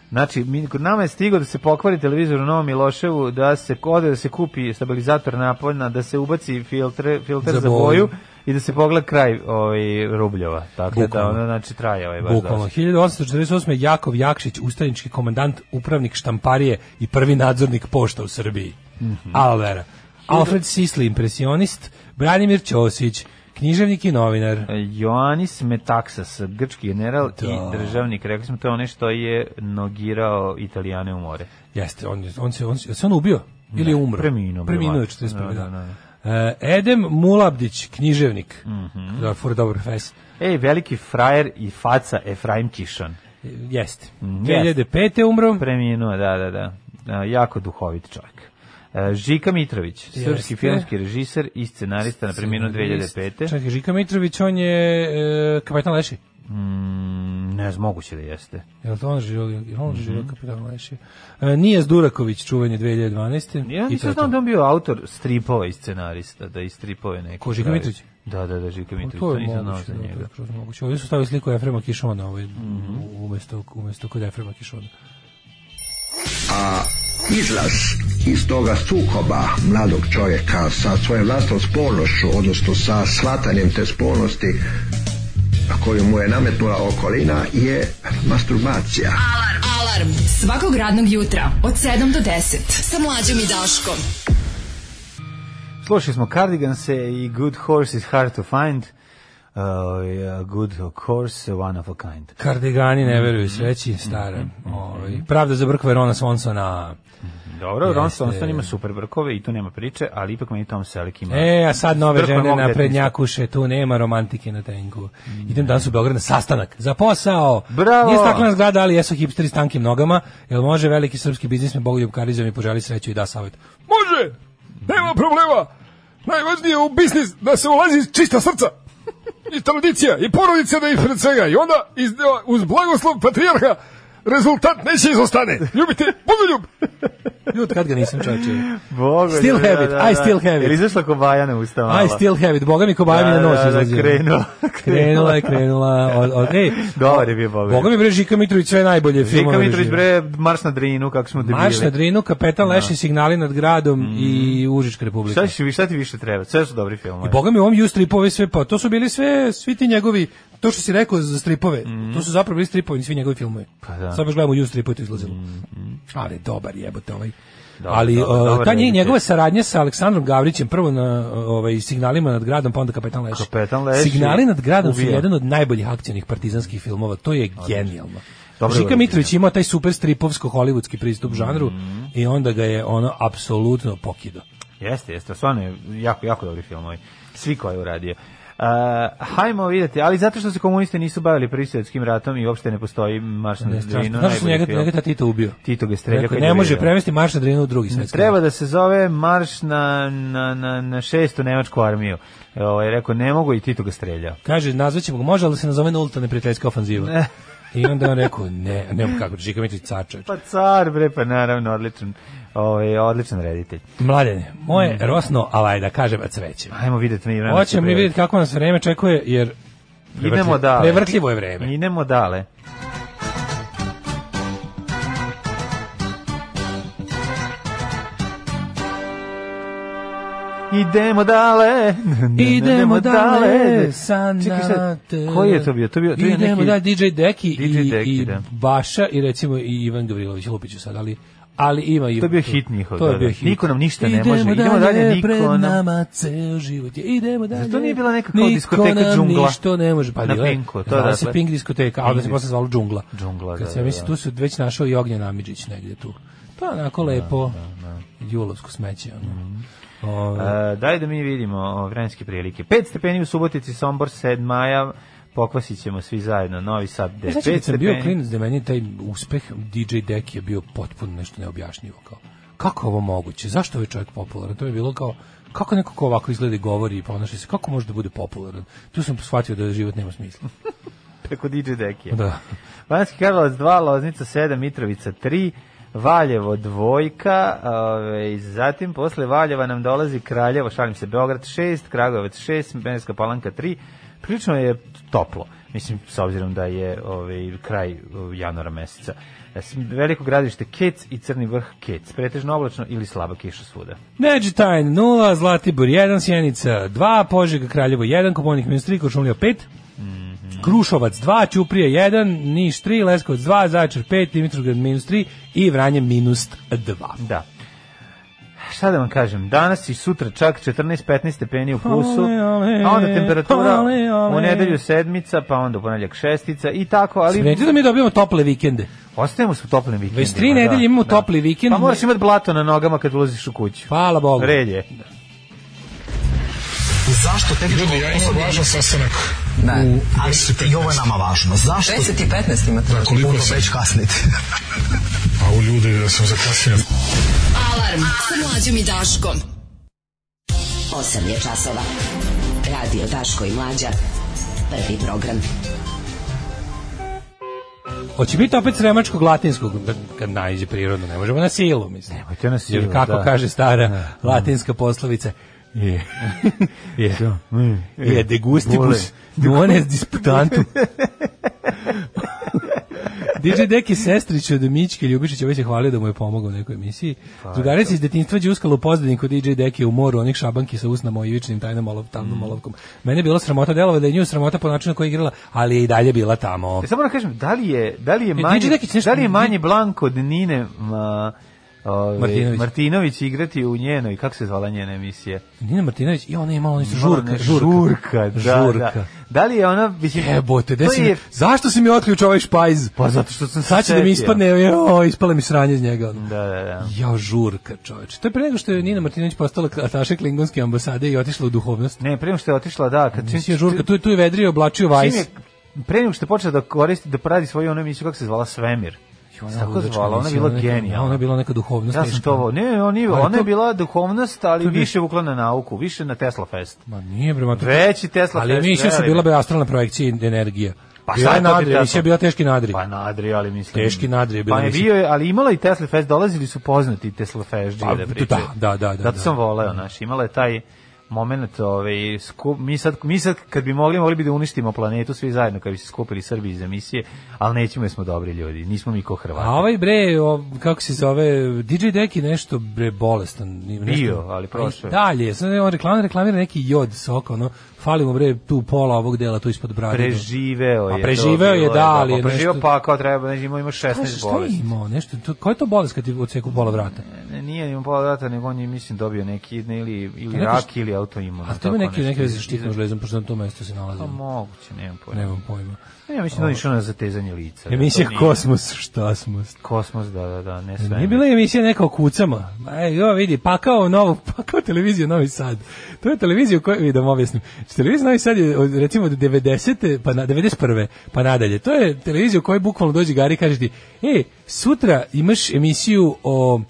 [SPEAKER 5] Znači, mi, kod nama je stigo da se pokvari televizor u Novom Miloševu, da se ode, da se kupi stabilizator napoljna, da se ubaci filtre, filter za,
[SPEAKER 6] Za boju.
[SPEAKER 5] boju i da se pogleda kraj ovaj, rubljova. Tako
[SPEAKER 6] Bukvalno.
[SPEAKER 5] da ono, znači, traje ovaj baš
[SPEAKER 6] Bukvalno.
[SPEAKER 5] dosta.
[SPEAKER 6] 1848. Jakov Jakšić, ustanički komandant, upravnik štamparije i prvi nadzornik pošta u Srbiji.
[SPEAKER 5] Mhm.
[SPEAKER 6] Alvera. Alfred Sisli, impresionist. Branimir Ćosić, književnik i novinar.
[SPEAKER 5] Joannis Metaxas, grčki general
[SPEAKER 6] Da.
[SPEAKER 5] i državnik, rekli smo, to je onaj što je nogirao Italijane u more.
[SPEAKER 6] Jeste, on, je- on se, on, se, jel se on ubio? Ili je umro?
[SPEAKER 5] preminuo, bre,
[SPEAKER 6] Preminuo je
[SPEAKER 5] mate.
[SPEAKER 6] 41.
[SPEAKER 5] Da,
[SPEAKER 6] Da,
[SPEAKER 5] da, da. Mhm.
[SPEAKER 6] E, Edem Mulabdić, književnik. Da, for dobar fes.
[SPEAKER 5] Ej, veliki frajer i faca Efraim Kišon.
[SPEAKER 6] E, Jeste.
[SPEAKER 5] Mhm, jeste.
[SPEAKER 6] 2005. umro.
[SPEAKER 5] Preminuo, da, da, da. A, jako duhovit čovjek. E, Žika Mitrović, srpski
[SPEAKER 6] Jeste.
[SPEAKER 5] filmski režiser i scenarista na preminu 2005.
[SPEAKER 6] Čekaj, Žika Mitrović, on je e, kapetan Leši.
[SPEAKER 5] Mm, ne znam, moguće da jeste.
[SPEAKER 6] Je li to on živio? Je li on živio
[SPEAKER 5] Mhm.
[SPEAKER 6] kapetan Leši? E, Nijas Duraković, čuvanje 2012.
[SPEAKER 5] Ja
[SPEAKER 6] I to
[SPEAKER 5] nisam
[SPEAKER 6] je to.
[SPEAKER 5] znam da je on bio autor stripova i scenarista, da i stripove neke.
[SPEAKER 6] Ko, Žika
[SPEAKER 5] pravi.
[SPEAKER 6] Mitrović?
[SPEAKER 5] Da, da, da, Žika Mitrović,
[SPEAKER 6] To
[SPEAKER 5] Pa to
[SPEAKER 6] je
[SPEAKER 5] nisam znao
[SPEAKER 6] moguće,
[SPEAKER 5] za
[SPEAKER 6] da, to
[SPEAKER 5] njega. Mhm.
[SPEAKER 6] je skroz moguće. Ovdje su stavili sliku Efrema Kišona, ovaj, umesto, umesto kod Efrema Kišona.
[SPEAKER 8] Izlaz iz toga sukoba mladog čovjeka sa svojom vlastnom spolnošću, odnosno sa shvatanjem te spolnosti koju mu je nametnula okolina je masturbacija.
[SPEAKER 4] Alarm. Alarm. Svakog radnog jutra od 7 do 10. Sa mlađom i Daškom.
[SPEAKER 5] Slušali smo Cardiganse i Good Horse is Hard to Find. Uh, yeah, good Horse, One of a Kind.
[SPEAKER 6] Kardigani ne
[SPEAKER 5] Mhm.
[SPEAKER 6] veruju sreći, stara. Ovaj, pravda za brkove Rona Swansona.
[SPEAKER 5] Dobro, Ron
[SPEAKER 6] Jeste.
[SPEAKER 5] Swanson ima super brkove i tu nema priče, ali ipak meni Tom Selleck ima...
[SPEAKER 6] E, a sad nove
[SPEAKER 5] Brkove
[SPEAKER 6] žene
[SPEAKER 5] mog
[SPEAKER 6] na
[SPEAKER 5] detinjstva.
[SPEAKER 6] prednjakuše, tu nema romantike na tenku. Idem danas u Beograd na sastanak, za posao.
[SPEAKER 5] Mm. Bravo!
[SPEAKER 6] Nije staklena zgrada, ali jesu hipsteri s tankim nogama. Jel može veliki srpski biznismen Bogoljub Karizov mi poželi sreću i da savjet? Može! Nema problema! Najvažnije je u biznis da se ulazi iz čista srca.
[SPEAKER 9] i tradicija i porodica da ispred svega i onda iz, uz blagoslov patrijarha rezultat neće izostane. Ljubite, budu ljub.
[SPEAKER 6] Ljud, kad ga nisam čoče.
[SPEAKER 5] Bogo,
[SPEAKER 6] Still have it, I still have it.
[SPEAKER 5] Jer izašla kobaja na usta mala.
[SPEAKER 6] I still have it, boga mi ko baje mi na nos
[SPEAKER 5] da, da,
[SPEAKER 6] izlazio.
[SPEAKER 5] krenula.
[SPEAKER 6] Krenula je, krenula. Od, od, ej,
[SPEAKER 5] Dobar je bio Boga.
[SPEAKER 6] Boga mi bre, Žika Mitrović sve najbolje filmove.
[SPEAKER 5] Žika Mitrović,
[SPEAKER 6] režira.
[SPEAKER 5] bre, marš na drinu, kako smo debili.
[SPEAKER 6] Marš na Drinu, Kapetan Leši, Signali nad gradom i Užička republika.
[SPEAKER 5] Mm. Šta, ćeš- šta ti više treba? Sve su dobri filmovi.
[SPEAKER 6] I boga mi u ovom ju stripove sve, pa to su bili sve, svi ti njegovi, to što si rekao za stripove, to su zapravo bili stripovi, svi njegovi filmovi.
[SPEAKER 5] Pa da. Mm,
[SPEAKER 6] Sad baš gledamo ju stripove, to je izlazilo. Ali dobar jebote ovaj.
[SPEAKER 5] Dobar,
[SPEAKER 6] Ali
[SPEAKER 5] dobar,
[SPEAKER 6] uh,
[SPEAKER 5] dobar
[SPEAKER 6] ta nje-
[SPEAKER 5] reditelj.
[SPEAKER 6] njegova saradnja sa Aleksandrom Gavrićem, prvo na uh, ovaj, signalima nad gradom, pa onda Kapetan Leši.
[SPEAKER 5] Kapetan Leši.
[SPEAKER 6] Signali nad gradom su
[SPEAKER 5] Ubija.
[SPEAKER 6] jedan od najboljih akcijnih partizanskih filmova, to je genijalno.
[SPEAKER 5] Dobro je
[SPEAKER 6] Žika
[SPEAKER 5] urađeno.
[SPEAKER 6] Mitrović imao taj super stripovsko-hollywoodski pristup žanru
[SPEAKER 5] Mm.
[SPEAKER 6] i onda ga je ono apsolutno pokido.
[SPEAKER 5] Jeste, jeste, stvarno je jako, jako dobri filmovi. Svi koji je uradio. Uh, hajmo vidjeti, ali zato što se komuniste nisu bavili prvim svjetskim ratom i uopšte ne postoji Marš na
[SPEAKER 6] Ne, strašno.
[SPEAKER 5] Drinu,
[SPEAKER 6] Znaš što
[SPEAKER 5] najbolji
[SPEAKER 6] njega,
[SPEAKER 5] film.
[SPEAKER 6] njega ta Tito ubio?
[SPEAKER 5] Tito ga je streljao
[SPEAKER 6] Rekao,
[SPEAKER 5] kad je
[SPEAKER 6] Ne može
[SPEAKER 5] video.
[SPEAKER 6] prevesti Marš na Drinu u drugi svetski.
[SPEAKER 5] Treba da se zove Marš na, na, na, na šestu nemačku armiju. Ovo je rekao, ne mogu i Tito ga streljao. E,
[SPEAKER 6] Kaže, nazvaćemo ga, može, ali se nazove nulta neprijateljska ofanziva. I onda je on rekao, ne, nema kako, Žika Mitrović cača.
[SPEAKER 5] Pa car, bre, pa naravno, odličan, ovaj, odličan reditelj.
[SPEAKER 6] Mladene, moje rosno, alaj da kažem, cveće.
[SPEAKER 5] Hajmo vidjeti mi vreme.
[SPEAKER 6] Mm. Hoćemo mi vidjeti kako nas vreme čekuje, jer
[SPEAKER 5] Idemo dalje.
[SPEAKER 6] prevrtljivo je vreme.
[SPEAKER 5] Idemo dale. Idemo dale.
[SPEAKER 6] Idemo dalje,
[SPEAKER 5] Čekaj,
[SPEAKER 6] sana
[SPEAKER 5] sad, koji je to bio? To bio to je
[SPEAKER 6] Idemo
[SPEAKER 5] neki...
[SPEAKER 6] da DJ Deki
[SPEAKER 5] DJ
[SPEAKER 6] i,
[SPEAKER 5] Deki,
[SPEAKER 6] i
[SPEAKER 5] da.
[SPEAKER 6] Baša i recimo i Ivan Gavrilović, lupiću sad, ali ali ima i
[SPEAKER 5] To je bio hit njihov,
[SPEAKER 6] To
[SPEAKER 5] da,
[SPEAKER 6] je bio
[SPEAKER 5] da.
[SPEAKER 6] hit.
[SPEAKER 5] Niko nam ništa ne može. Idemo dalje, niko
[SPEAKER 6] pred
[SPEAKER 5] nam-
[SPEAKER 6] nama ceo život je. Idemo dalje.
[SPEAKER 5] Zašto nije bila neka kao diskoteka
[SPEAKER 6] nam
[SPEAKER 5] džungla?
[SPEAKER 6] ništa ne može, pa
[SPEAKER 5] Na
[SPEAKER 6] bila je.
[SPEAKER 5] Pinku, to je
[SPEAKER 6] Zvala
[SPEAKER 5] dakle-
[SPEAKER 6] se Pink diskoteka, ali da se
[SPEAKER 5] Pink
[SPEAKER 6] posle zvalo džungla.
[SPEAKER 5] Džungla,
[SPEAKER 6] Kad
[SPEAKER 5] da,
[SPEAKER 6] se
[SPEAKER 5] da,
[SPEAKER 6] ja mislim
[SPEAKER 5] da.
[SPEAKER 6] tu su već našao i Ognjen Amidžić negde tu. Pa onako lepo. Julovsko smeće ono.
[SPEAKER 5] Mhm.
[SPEAKER 6] Ove,
[SPEAKER 5] E, daj da mi vidimo o, vremenske prilike. 5 stepeni u Subotici, Sombor 7 maja, pokvasit ćemo svi zajedno, Novi Sad
[SPEAKER 6] Ja
[SPEAKER 5] 9,
[SPEAKER 6] znači
[SPEAKER 5] 5
[SPEAKER 6] kad sam bio
[SPEAKER 5] E, stepeni.
[SPEAKER 6] klinac da je meni taj uspeh DJ Deki je bio potpuno nešto neobjašnjivo kao kako je ovo moguće zašto je ovaj čovjek popularan to mi je bilo kao kako neko ko ovako izgleda i govori i ponaša se kako može da bude popularan tu sam shvatio da život nema smisla
[SPEAKER 5] Preko DJ Dekija.
[SPEAKER 6] da
[SPEAKER 5] Banski Karlovac 2, Loznica 7, Mitrovica 3, Valjevo dvojka, ove, zatim posle Valjeva nam dolazi Kraljevo, šalim se, Beograd 6, Kragovec 6, Benska Palanka 3, prilično je toplo, mislim, s obzirom da je ove, kraj o, januara meseca. E, s- Veliko gradište Kec i Crni vrh Kec, pretežno oblačno ili slaba kiša svuda.
[SPEAKER 6] Neđetajn 0 Zlatibor 1 Sjenica 2 Požega Kraljevo 1 Koponik minus 3 Kočumlija 5 Krušovac 2, Ćuprije 1, Niš 3, Leskovac 2, Zaječar 5, Dimitrovgrad minus 3 i Vranje minus 2.
[SPEAKER 5] Da. Šta da vam kažem, danas i sutra čak 14-15 stepeni u plusu,
[SPEAKER 6] Ale, ale,
[SPEAKER 5] a onda temperatura
[SPEAKER 6] ale, ale.
[SPEAKER 5] u nedelju sedmica, pa onda u ponedjeljak šestica i tako, ali
[SPEAKER 6] Sretno da mi dobijamo tople vikende.
[SPEAKER 5] ostajemo s toplim vikendima.
[SPEAKER 6] 23
[SPEAKER 5] da,
[SPEAKER 6] nedelje imamo topli vikend. Pa,
[SPEAKER 5] Pa moraš imati blato na nogama kad ulaziš u kuću.
[SPEAKER 6] Hvala Bogu.
[SPEAKER 5] Red je.
[SPEAKER 4] Zašto tek
[SPEAKER 9] Ljudi, ja imam važan sastanak.
[SPEAKER 4] Ne, ali i ovo je nama važno. Zašto?
[SPEAKER 7] 10 i 15 imate.
[SPEAKER 9] Koliko
[SPEAKER 4] Puno
[SPEAKER 9] sam?
[SPEAKER 4] već kasnite.
[SPEAKER 9] A u ljudi da sam zakasnio.
[SPEAKER 10] Alarm sa mlađom i Daškom. 8 je časova. Radio Daško i Mlađa. Prvi program.
[SPEAKER 6] Hoće biti opet sremačkog latinskog, da- kad najde prirodno, ne možemo na silu, mislim.
[SPEAKER 5] Nemojte na silu,
[SPEAKER 6] Jer kako
[SPEAKER 5] da.
[SPEAKER 6] kaže stara latinska poslovica, je, je, Mm. je,
[SPEAKER 5] je.
[SPEAKER 6] degustibus, duones disputantum. DJ Deki Sestrić od Mićke Ljubišića već je hvalio da mu je pomogao u nekoj emisiji.
[SPEAKER 5] Pa
[SPEAKER 6] Drugarica iz detinjstva đuskala u pozadini kod DJ Deki u moru onih šabanki sa usnama i vičnim tajnom olov, tamnom
[SPEAKER 5] Mm.
[SPEAKER 6] olovkom. Mene je bilo sramota delova da je nju sramota po načinu na koji je igrala, ali je i dalje bila tamo.
[SPEAKER 5] E, Samo da kažem, da li je, da li je
[SPEAKER 6] E,
[SPEAKER 5] manje,
[SPEAKER 6] Đinđić Dekić nešto-
[SPEAKER 5] da li je manje Blanko od Nine ma, ove,
[SPEAKER 6] Martinović.
[SPEAKER 5] Martinović igrati u njenoj, kako se zvala njena emisija?
[SPEAKER 6] Nina Martinović, i ona je imala ono isto žurka,
[SPEAKER 5] Ona-
[SPEAKER 6] žurka.
[SPEAKER 5] žurka, da,
[SPEAKER 6] žurka.
[SPEAKER 5] da. Da li je ona, mislim,
[SPEAKER 6] Jebote, gde
[SPEAKER 5] to
[SPEAKER 6] si
[SPEAKER 5] je
[SPEAKER 6] mi, zašto si mi otključao ovaj špajz?
[SPEAKER 5] Pa zato što sam se
[SPEAKER 6] Sad će da mi
[SPEAKER 5] setio.
[SPEAKER 6] ispadne, jo, ispale mi sranje iz njega. ono.
[SPEAKER 5] Da, da, da.
[SPEAKER 6] Ja, žurka, čoveče. To je pre nego što je Nina Martinović postala ataše klingonske ambasade i otišla u duhovnost.
[SPEAKER 5] Ne, prema što je otišla, da, kad čim,
[SPEAKER 6] Mislim, žurka, tu, je- tu je vedrio, oblačio
[SPEAKER 5] čim
[SPEAKER 6] vajs.
[SPEAKER 5] je, pre nego što je počela da koristi, da pradi svoju onu emisiju, kako se zvala Svemir.
[SPEAKER 6] Ona
[SPEAKER 5] Tako
[SPEAKER 6] ludačka
[SPEAKER 5] zvala, ona je
[SPEAKER 6] emisija,
[SPEAKER 5] bila
[SPEAKER 6] neka-
[SPEAKER 5] genijalna.
[SPEAKER 6] Ona je bila neka duhovnost.
[SPEAKER 5] Ja sam
[SPEAKER 6] teška.
[SPEAKER 5] to ovo, ne, on je,
[SPEAKER 6] Ali
[SPEAKER 5] ona je
[SPEAKER 6] to-
[SPEAKER 5] bila duhovnost, ali
[SPEAKER 6] to bi-
[SPEAKER 5] više vukla na nauku, više na Tesla Fest.
[SPEAKER 6] Ma nije, bre, ma to-
[SPEAKER 5] Veći Tesla
[SPEAKER 6] Ali
[SPEAKER 5] Fest.
[SPEAKER 6] emisija su
[SPEAKER 5] veruj
[SPEAKER 6] bila
[SPEAKER 5] mi.
[SPEAKER 6] be astralna projekcija i energija.
[SPEAKER 5] Pa
[SPEAKER 6] Bila
[SPEAKER 5] šta
[SPEAKER 6] je
[SPEAKER 5] je to ti
[SPEAKER 6] nadri,
[SPEAKER 5] Tesla?
[SPEAKER 6] emisija je bila teški nadri.
[SPEAKER 5] Pa nadri, ali mislim...
[SPEAKER 6] Teški nadri je bila
[SPEAKER 5] Pa je
[SPEAKER 6] emisija.
[SPEAKER 5] bio, je, ali imala i Tesla Fest, dolazili su poznati Tesla Fest,
[SPEAKER 6] Pa,
[SPEAKER 5] da pričaju.
[SPEAKER 6] da, da, da, da.
[SPEAKER 5] Zato sam voleo, znaš, imala je taj moment, ovaj, skup, mi, sad, mi sad kad bi mogli, mogli bi da uništimo planetu svi zajedno, kad bi se skupili Srbi iz emisije, ali nećemo jer smo dobri ljudi, nismo mi ko Hrvati.
[SPEAKER 6] A ovaj bre, o, kako se zove, DJ Deki nešto bre bolestan. ni- Nešto,
[SPEAKER 5] Bio, ali prošao je.
[SPEAKER 6] Dalje, sad on reklamira, reklamira neki jod sok, ono, fali mu bre tu pola ovog dela tu ispod brade. ono.
[SPEAKER 5] Preživeo je.
[SPEAKER 6] A pa, preživeo je, da, ali je
[SPEAKER 5] preživeo
[SPEAKER 6] nešto-
[SPEAKER 5] pa kao treba, ne ima, ima 16
[SPEAKER 6] Šta je
[SPEAKER 5] bolesti.
[SPEAKER 6] imao? Nešto, to, koja je to bolest kad ti odseku pola vrata?
[SPEAKER 5] Ne, nije imao pola vrata, nego on je, mislim, dobio neki ne, ili, ili
[SPEAKER 6] neko
[SPEAKER 5] rak
[SPEAKER 6] što-
[SPEAKER 5] ili autoimun.
[SPEAKER 6] A to ima neki, neke veze sa štitnom železom, pošto na tom mestu se nalazi.
[SPEAKER 5] Pa moguće, nemam pojma.
[SPEAKER 6] Nemam pojma.
[SPEAKER 5] Ja mislim da on je išao na zatezanje lica.
[SPEAKER 6] Emisija
[SPEAKER 5] Da, Pa to nije-
[SPEAKER 6] Kosmos, šta smo?
[SPEAKER 5] Kosmos, da, da, da, ne sve.
[SPEAKER 6] Nije bila emisija neka o kucama. E, jo, vidi, pakao novu, pakao televiziju Novi Sad. To je televizija koju, vidi, da vam objasnim. Znači, Televizija Novi Sad je, od, recimo, od 90. pa na, 91. pa nadalje. To je televizija u kojoj bukvalno dođe Gari i kaže ti, e, sutra imaš emisiju o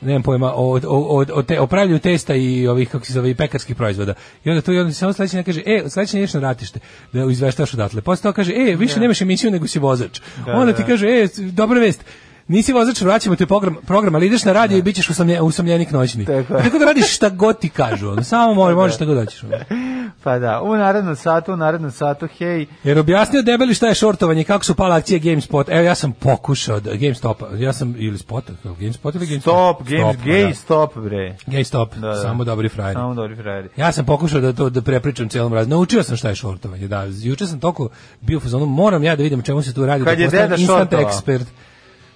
[SPEAKER 6] nemam pojma, o, o, o, o, te, o pravljenju testa i ovih, kako se zove, i pekarskih proizvoda. I onda to i onda samo sledeći ne kaže, e, sledeći ne ideš na ratište, da izveštaš odatle. Posle toga kaže, e, više nemaš emisiju nego si vozač. onda ti kaže, e, dobra vest, Nisi vozač, vraćamo te program, program ali ideš na radio i bićeš usamlje, usamljenik noćni.
[SPEAKER 5] Tako
[SPEAKER 6] Tako,
[SPEAKER 5] je.
[SPEAKER 6] da radiš šta god ti kažu. ono, Samo možeš, možeš šta god hoćeš. ono.
[SPEAKER 5] Pa da, u narednom satu, u narednom satu, hej,
[SPEAKER 6] Jer objasnio debeli šta je šortovanje, kako su pala akcije GameSpot. Evo ja sam pokušao da GameStopa, ja sam ili Spota, kako, GameSpot ili GameSpot.
[SPEAKER 5] stop, games,
[SPEAKER 6] Stop, E.
[SPEAKER 5] gay, stop, bre.
[SPEAKER 6] Da. GameStop,
[SPEAKER 5] Da, da.
[SPEAKER 6] samo dobri frajer.
[SPEAKER 5] Samo dobri frajeri.
[SPEAKER 6] Ja sam pokušao da to da prepričam celom razgovoru. Naučio sam šta je šortovanje. Da, juče sam toliko bio u fazonu, moram ja da vidim o čemu se tu radi.
[SPEAKER 5] Kad
[SPEAKER 6] da
[SPEAKER 5] je
[SPEAKER 6] postanem
[SPEAKER 5] deda
[SPEAKER 6] instant
[SPEAKER 5] šortovao.
[SPEAKER 6] ekspert.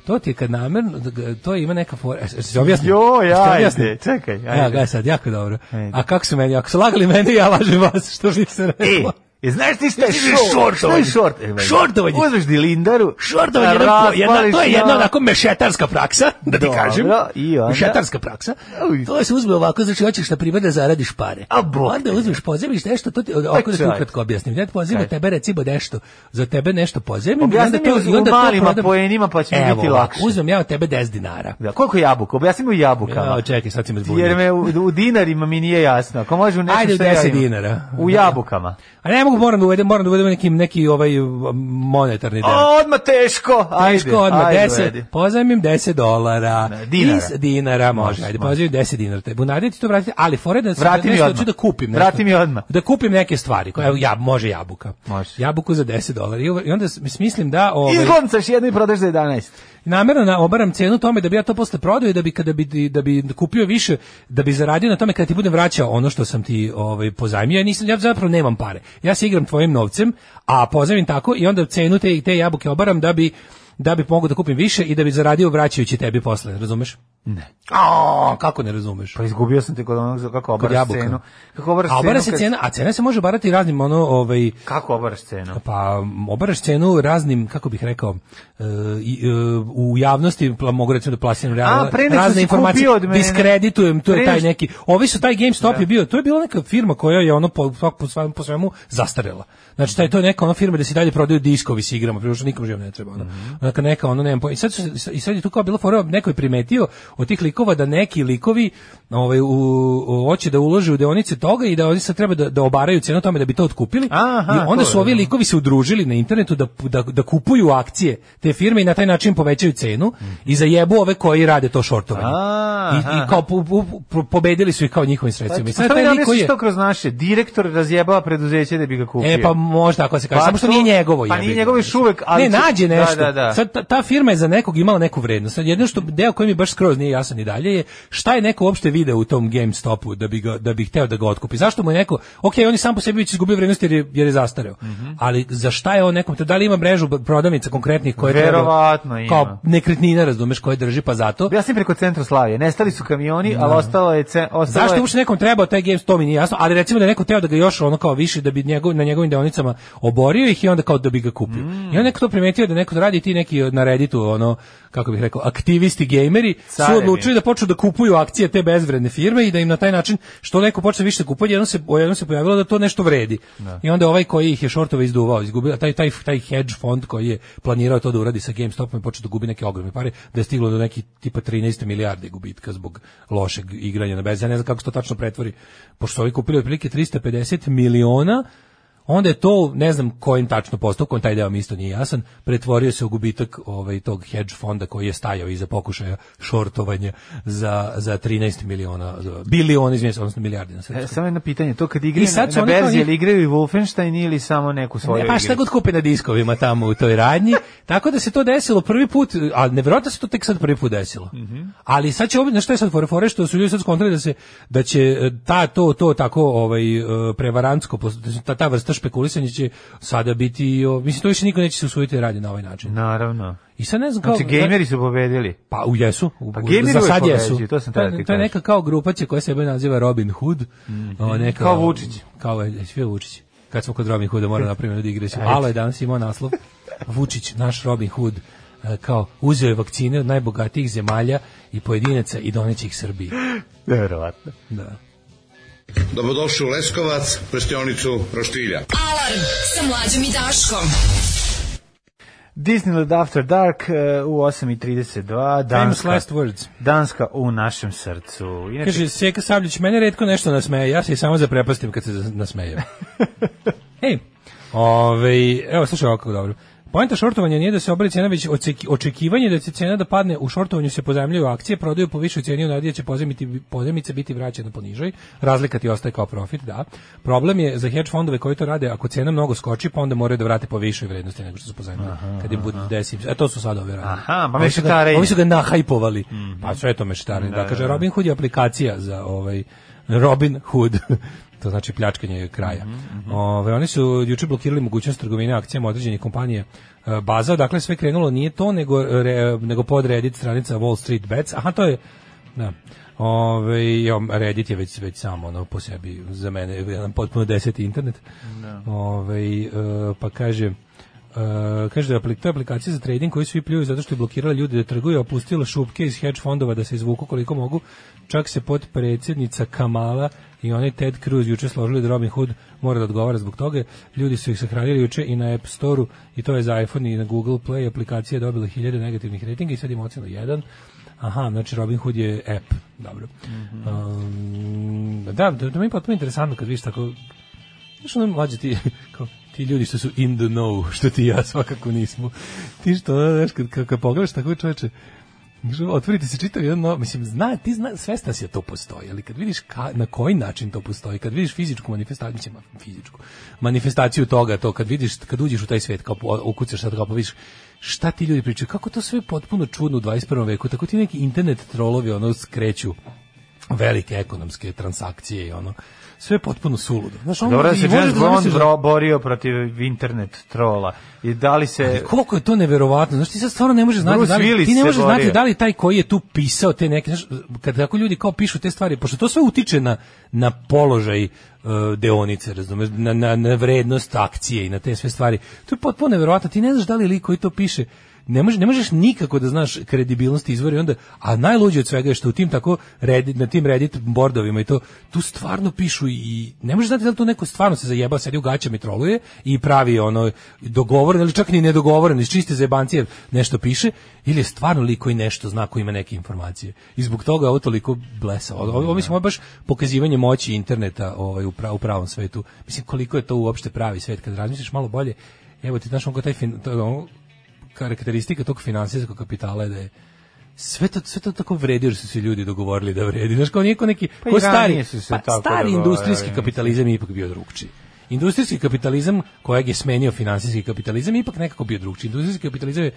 [SPEAKER 6] To ti je kad namerno, da ga- to ima neka fora. e, se objasni?
[SPEAKER 5] Joj, ajde, čekaj, ajde.
[SPEAKER 6] Ja, gledaj sad, jako dobro.
[SPEAKER 5] Ajde.
[SPEAKER 6] A kako su meni, ako su lagali meni, ja lažem vas, što bi se
[SPEAKER 5] E,
[SPEAKER 6] reklo.
[SPEAKER 5] e, znaš ti šta je
[SPEAKER 6] Šta je
[SPEAKER 5] short? Šta je
[SPEAKER 6] šortovanje?
[SPEAKER 5] short? E, valjda.
[SPEAKER 6] ovaj? Šortovanje.
[SPEAKER 5] Uzmeš dilindaru.
[SPEAKER 6] Šortovanje, je jedna- jedna, to je
[SPEAKER 5] razvališ
[SPEAKER 6] jedna
[SPEAKER 5] na-
[SPEAKER 6] onako mešetarska praksa, da ti
[SPEAKER 5] Dobro,
[SPEAKER 6] kažem.
[SPEAKER 5] i onda?
[SPEAKER 6] Mešetarska praksa.
[SPEAKER 5] Uj.
[SPEAKER 6] To se uzme ovako, znači hoćeš da priba da zaradiš pare.
[SPEAKER 5] A, Pa bog
[SPEAKER 6] Onda uzmeš, pozemiš nešto, to ti, ovako da ti
[SPEAKER 5] čovječe.
[SPEAKER 6] ukratko objasnim. Ja ti pozemim
[SPEAKER 5] Kaj?
[SPEAKER 6] tebe recimo nešto, za tebe nešto pozemim. i
[SPEAKER 5] Objasni
[SPEAKER 6] onda
[SPEAKER 5] mi
[SPEAKER 6] to-
[SPEAKER 5] u-
[SPEAKER 6] i onda
[SPEAKER 5] u
[SPEAKER 6] to
[SPEAKER 5] malima
[SPEAKER 6] prodam.
[SPEAKER 5] poenima, pa će mi
[SPEAKER 6] Evo,
[SPEAKER 5] biti
[SPEAKER 6] ovako,
[SPEAKER 5] lakše.
[SPEAKER 6] Uzmem ja od tebe 10 dinara.
[SPEAKER 5] Da, koliko jabuka? Objasni mi u jabukama.
[SPEAKER 6] Ja, čekaj, sad si me zbunio.
[SPEAKER 5] Jer me u, u dinarima mi nije jasno. Ako može u nečem
[SPEAKER 6] Ajde u
[SPEAKER 5] što ja
[SPEAKER 6] 10
[SPEAKER 5] imam.
[SPEAKER 6] dinara.
[SPEAKER 5] U
[SPEAKER 6] Da.
[SPEAKER 5] jabukama.
[SPEAKER 6] A ne mogu, moram da uvedem, moram da uvedem neki, neki ovaj um, monetarni deo.
[SPEAKER 5] A, odmah teško. Ajde,
[SPEAKER 6] Teško odmah,
[SPEAKER 5] ajde,
[SPEAKER 6] 10,
[SPEAKER 5] ajde.
[SPEAKER 6] pozajmim 10 dolara.
[SPEAKER 5] Ne, dinara.
[SPEAKER 6] Iz dinara može,
[SPEAKER 5] Može,
[SPEAKER 6] ajde,
[SPEAKER 5] može.
[SPEAKER 6] pozajmim 10 dinara. Te bunardi ti to vratiti, ali fore da se
[SPEAKER 5] Vrati mi
[SPEAKER 6] nešto,
[SPEAKER 5] odmah.
[SPEAKER 6] hoću da kupim nešto.
[SPEAKER 5] Vrati mi odmah.
[SPEAKER 6] Da kupim neke stvari, koje, evo, ja, može jabuka.
[SPEAKER 5] Može.
[SPEAKER 6] Jabuku za 10 dolara. I uva- I onda s- smislim da... Ovaj,
[SPEAKER 5] Izgoncaš jedno i prodaš za 11.
[SPEAKER 6] namjerno na obaram cenu tome da bi ja to posle prodao i da bi kada bi da bi kupio više da bi zaradio na tome kada ti budem vraćao ono što sam ti ovaj pozajmio ja nisam ja zapravo nemam pare ja se igram tvojim novcem a pozajmim tako i onda cenu te te jabuke obaram da bi da bi mogao da kupim više i da bi zaradio vraćajući tebi posle, razumeš? Ne. A, kako ne razumeš?
[SPEAKER 5] Pa izgubio sam te kod onog za- kako
[SPEAKER 6] Kod
[SPEAKER 5] obaraš
[SPEAKER 6] jabuka.
[SPEAKER 5] cenu. Kako obaraš
[SPEAKER 6] a obara
[SPEAKER 5] cenu
[SPEAKER 6] se
[SPEAKER 5] Pa, kad-
[SPEAKER 6] cena, a cena se može obarati raznim ono, ovaj,
[SPEAKER 5] Kako obaraš cenu?
[SPEAKER 6] pa obaraš cenu raznim kako bih rekao e, i, e, u javnosti pla, mogu recimo da plasiram realno
[SPEAKER 5] pre nego što si
[SPEAKER 6] razne informacije
[SPEAKER 5] kupio od mene.
[SPEAKER 6] diskreditujem to
[SPEAKER 5] Pre
[SPEAKER 6] je taj
[SPEAKER 5] nego-
[SPEAKER 6] neki ovi su taj GameStop je bio to je bila neka firma koja je ono po po, po, svemu, po svemu zastarela znači taj to je neka ona firma da se dalje prodaju diskovi s igrama prije što nikom živom ne treba
[SPEAKER 5] Mhm.
[SPEAKER 6] ona neka neka ono nemam pojma. i sad su, se- i sad je tu kao bila fora neko je primetio od tih likova da neki likovi ovaj u, u hoće da ulože u deonice toga i da oni sad treba da, da obaraju cenu tome da bi to otkupili
[SPEAKER 5] Aha,
[SPEAKER 6] i onda
[SPEAKER 5] to
[SPEAKER 6] su
[SPEAKER 5] je,
[SPEAKER 6] ovi
[SPEAKER 5] da.
[SPEAKER 6] likovi se udružili na internetu da, da, da kupuju akcije te firme i na taj način povećaju cenu i zajebu ove koji rade to shortovanje.
[SPEAKER 5] A,
[SPEAKER 6] I,
[SPEAKER 5] aha.
[SPEAKER 6] I kao po, po- po- pobedili su ih kao njihovim sredstvima. I
[SPEAKER 5] Sad
[SPEAKER 6] sad
[SPEAKER 5] pa, mi
[SPEAKER 6] taj
[SPEAKER 5] ne
[SPEAKER 6] lik koji
[SPEAKER 5] objasniš
[SPEAKER 6] je...
[SPEAKER 5] to kroz naše. Direktor razjebava preduzeće da bi ga kupio.
[SPEAKER 6] E pa možda ako se kaže,
[SPEAKER 5] Pa
[SPEAKER 6] samo što
[SPEAKER 5] to-
[SPEAKER 6] nije njegovo.
[SPEAKER 5] pa
[SPEAKER 6] jebi
[SPEAKER 5] nije
[SPEAKER 6] ga.
[SPEAKER 5] njegovo još uvek, ali
[SPEAKER 6] ne,
[SPEAKER 5] će-
[SPEAKER 6] nađe
[SPEAKER 5] da,
[SPEAKER 6] nešto.
[SPEAKER 5] da, da.
[SPEAKER 6] Sad ta, ta firma je za nekog imala neku vrednost. Sad jedno što deo koji mi baš skroz nije jasan i dalje je šta je neko uopšte video u tom GameStopu da bi ga da bi hteo da ga otkupi. Zašto mu je neko Ok, on je sam po sebi već izgubio vrednost jer je, jer je zastareo.
[SPEAKER 5] Mhm.
[SPEAKER 6] Ali za šta je on nekom da li ima mrežu prodavnica konkretnih koje treba-
[SPEAKER 5] Verovatno ima.
[SPEAKER 6] Kao nekretnina, razumeš, koje drži pa zato.
[SPEAKER 5] Ja sam preko Centroslavije. Nestali su kamioni, ali ostalo je... ce- Ostalo
[SPEAKER 6] Zašto
[SPEAKER 5] je-
[SPEAKER 6] uopšte nekom trebao taj games, to mi nije jasno, ali recimo da je neko teo da ga još ono kao više, da bi njegov, na njegovim deonicama oborio ih i onda kao da bi ga kupio. I onda neko to primetio da neko to radi ti neki na Redditu, ono, kako bih rekao, aktivisti gameri su
[SPEAKER 5] Carevi.
[SPEAKER 6] odlučili da počnu da kupuju akcije te bezvredne firme i da im na taj način, što neko počne više kupati, jednom se, jednom se pojavilo da to nešto vredi. I onda ovaj koji ih je shortove izduvao, izgubio, taj, taj, taj hedge fond koji je planirao to da uradi sa GameStopom i počeo da gubi neke ogromne pare, da je stiglo do neki tipa 13 milijardi gubitka zbog lošeg igranja na bez. Ja ne znam kako se to tačno pretvori, pošto su ovi kupili otprilike 350 miliona onda je to, ne znam kojim tačno postupkom, taj deo mi isto nije jasan, pretvorio se u gubitak ovaj, tog hedge fonda koji je stajao iza pokušaja šortovanja za, za 13 miliona, biliona, izvijem odnosno milijardi na
[SPEAKER 5] E,
[SPEAKER 6] srpskom.
[SPEAKER 5] samo jedno pitanje, to kad
[SPEAKER 6] I
[SPEAKER 5] igraju
[SPEAKER 6] sad
[SPEAKER 5] na,
[SPEAKER 6] su
[SPEAKER 5] na
[SPEAKER 6] oni kao
[SPEAKER 5] berzi,
[SPEAKER 6] njih-
[SPEAKER 5] jel igraju i Wolfenstein ili samo neku svoju
[SPEAKER 6] Ne, pa šta
[SPEAKER 5] igru?
[SPEAKER 6] god kupe na diskovima tamo u toj radnji. Tako da se to desilo prvi put, a nevjerojatno se to tek sad prvi put desilo. Ali sad će ovdje, znaš šta je sad fore, fore što su ljudi sad skontrali da se, da će e, ta, to, to tako ovaj, e, prevarantsko, pos- da će ta, ta vrsta špekulisanja će sada biti, o, mislim, to više niko neće se usvojiti da radi na ovaj način.
[SPEAKER 5] Naravno.
[SPEAKER 6] I sad ne znam kao...
[SPEAKER 5] Znači, gameri su pobedili.
[SPEAKER 6] Pa u jesu, u,
[SPEAKER 5] Pa gameri
[SPEAKER 6] za
[SPEAKER 5] uvek
[SPEAKER 6] sad jesu.
[SPEAKER 5] pobeđuju, to sam
[SPEAKER 6] to,
[SPEAKER 5] tada
[SPEAKER 6] je-
[SPEAKER 5] ti
[SPEAKER 6] to je
[SPEAKER 5] kažem. Mhm.
[SPEAKER 6] neka kao grupacija koja sebe naziva Robin Hood. o, neka, ono,
[SPEAKER 5] Kao Vučić.
[SPEAKER 6] Kao je, jesi vidio Vučić. Kad smo kod Robin Hooda moram napraviti jednu digresiju. Alo je danas imao naslov Vučić, naš Robin Hood e, kao uzeo je vakcine od najbogatijih zemalja i pojedinaca i doneće ih Srbiji.
[SPEAKER 5] Verovatno.
[SPEAKER 6] Da.
[SPEAKER 11] Dobrodošli u Leskovac, prštionicu Roštilja.
[SPEAKER 10] Alarm sa mlađom i Daškom.
[SPEAKER 5] Disneyland After Dark eh, u
[SPEAKER 6] Famous
[SPEAKER 5] 8.32, Danska,
[SPEAKER 6] last words.
[SPEAKER 5] Danska u našem srcu. Inače,
[SPEAKER 6] Kaže, Seka Sabljić, mene redko nešto nasmeje, ja se i samo zaprepastim kad se nasmejem. Ej, ovej, evo, slušaj ovako kako dobro. Poenta šortovanja nije da se obari cena, već oceki- očekivanje da će cena da padne u šortovanju se pozajmljuju akcije, prodaju po višoj ceni, u nadi da će pozajmiti, pozajmica biti vraćena po nižoj, razlika ti ostaje kao profit, da. Problem je za hedge fondove koji to rade, ako cena mnogo skoči, pa onda moraju da vrate po višoj vrednosti nego što su pozajmili, kad im bude desim. E, to su sad ove radili.
[SPEAKER 5] Aha, pa
[SPEAKER 6] Ovi su ga-
[SPEAKER 5] mešetarenje.
[SPEAKER 6] ovi su ga nahajpovali. Pa sve to mešetarenje. Da, kaže, Robin Hood je aplikacija za ovaj Robin Hood. to znači pljačkanje kraja. Ove, oni su juče blokirali mogućnost trgovine akcijama određenih kompanije e, baza, dakle sve krenulo nije to, nego, re, nego pod Reddit stranica Wall Street Bets. Aha, to je, da. Ove, jo, Reddit je već, već samo ono, po sebi, za mene, jedan potpuno deseti internet. Ove, e, pa kaže, Uh, kaže da je aplik- to je aplikacija za trading koju svi pljuju zato što je blokirala ljude da trguju, a opustila šupke iz hedge fondova da se izvuku koliko mogu. Čak se potpredsjednica Kamala i onaj Ted Cruz juče složili da Robin Hood mora da odgovara zbog toga. Ljudi su ih sahranili juče i na App Store-u i to je za iPhone i na Google Play. Aplikacija je dobila hiljade negativnih ratinga i sad ima ocenu 1. Aha, znači Robin Hood je app. Dobro. Um, da, da, da mi je potpuno interesantno kad vidiš tako Znaš ono mlađe ti, kao, ti ljudi što su in the know, što ti i ja svakako nismo. Ti što, ono, znaš, kad, kad, kad pogledaš tako čoveče, znaš, otvorite se čitav jedan, no- mislim, zna, ti zna, svestan si da to postoji, ali kad vidiš ka, na koji način to postoji, kad vidiš fizičku manifestaciju, mislim, fizičku, manifestaciju toga, to kad vidiš, kad uđeš u taj svet, kao po- ukucaš sad, kao pa vidiš, šta ti ljudi pričaju, kako to sve potpuno čudno u 21. veku, tako ti neki internet trolovi ono skreću velike ekonomske transakcije i ono sve je potpuno suludo. Znaš, ono,
[SPEAKER 5] Dobro da
[SPEAKER 6] i
[SPEAKER 5] se
[SPEAKER 6] možeš
[SPEAKER 5] James
[SPEAKER 6] da
[SPEAKER 5] Bond
[SPEAKER 6] zamisliš da-
[SPEAKER 5] bro- borio protiv internet trola. I da li se...
[SPEAKER 6] koliko je to neverovatno. Znaš, ti sad stvarno ne možeš znati
[SPEAKER 5] Dakle, Bruce
[SPEAKER 6] da li,
[SPEAKER 5] Willis
[SPEAKER 6] ti ne
[SPEAKER 5] se
[SPEAKER 6] možeš
[SPEAKER 5] borio.
[SPEAKER 6] znati da li taj koji je tu pisao te neke, znaš, kad tako ljudi kao pišu te stvari, pošto to sve utiče na, na položaj e, deonice, razumeš, na, na, na vrednost akcije i na te sve stvari. To je potpuno neverovatno. Ti ne znaš da li lik koji to piše Ne, može, ne možeš nikako da znaš kredibilnost izvora i onda, a najluđe od svega je što u tim tako Reddit, na tim Reddit bordovima i to, tu stvarno pišu i ne možeš znati da li to neko stvarno se zajebao, sedi u gaćama i troluje i pravi ono dogovoren ili čak ni nedogovoren iz čiste zebancije nešto piše ili je stvarno lik koji nešto zna koji ima neke informacije i zbog toga je ovo toliko blesao ovo, ovo, mislim, ovo je baš pokazivanje moći interneta ovaj, u, pra- u pravom svetu mislim koliko je to uopšte pravi svet kad razmisliš malo bolje evo ti znaš on kao taj fin, to, ono, karakteristika tog finansijskog kapitala je da je sve to, sve to tako vredi jer su se ljudi dogovorili da vredi. Znaš, kao niko neki,
[SPEAKER 5] Pa i
[SPEAKER 6] ko stari,
[SPEAKER 5] ranije su se
[SPEAKER 6] pa
[SPEAKER 5] tako
[SPEAKER 6] stari
[SPEAKER 5] dogovarali,
[SPEAKER 6] industrijski
[SPEAKER 5] mislim.
[SPEAKER 6] kapitalizam je ipak bio drugčiji. Industrijski kapitalizam kojeg je smenio finansijski kapitalizam je ipak nekako bio drugčiji. Industrijski kapitalizam je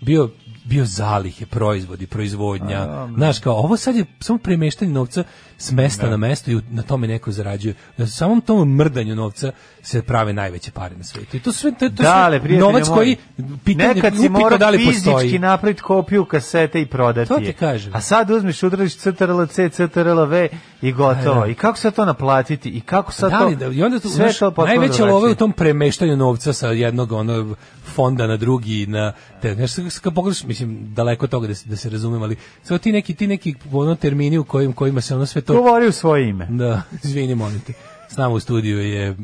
[SPEAKER 6] bio, bio zalihe, proizvodi, proizvodnja. Znaš, kao ovo sad je samo premeštanje novca s mesta na mesto i u- na tome neko zarađuje. Na samom tom mrdanju novca se prave najveće pare na svijetu. I to sve, to, je- to je sve
[SPEAKER 5] Dale, prijatelju
[SPEAKER 6] novac
[SPEAKER 5] moj.
[SPEAKER 6] koji pitanje
[SPEAKER 5] Nekad si
[SPEAKER 6] upitno
[SPEAKER 5] morao
[SPEAKER 6] da li
[SPEAKER 5] fizički
[SPEAKER 6] postoji.
[SPEAKER 5] napraviti kopiju kasete i prodati
[SPEAKER 6] To ti
[SPEAKER 5] je.
[SPEAKER 6] kažem.
[SPEAKER 5] A sad uzmeš, udrališ CTRL-C, CTRL-V i gotovo. I kako sad to naplatiti? I kako sad
[SPEAKER 6] Da
[SPEAKER 5] to...
[SPEAKER 6] li, da, i onda tu,
[SPEAKER 5] sve
[SPEAKER 6] znaš,
[SPEAKER 5] to potpuno
[SPEAKER 6] najveća lova je u
[SPEAKER 5] drugačije.
[SPEAKER 6] tom premeštanju novca sa jednog ono, fonda na drugi na te znaš s- kad pogledaš mislim daleko od toga da se da se razumem ali sve ti neki ti neki ono termini u kojim kojima se ono sve to
[SPEAKER 5] Govori u svoje ime.
[SPEAKER 6] da izvini molim te s nama u studiju je uh,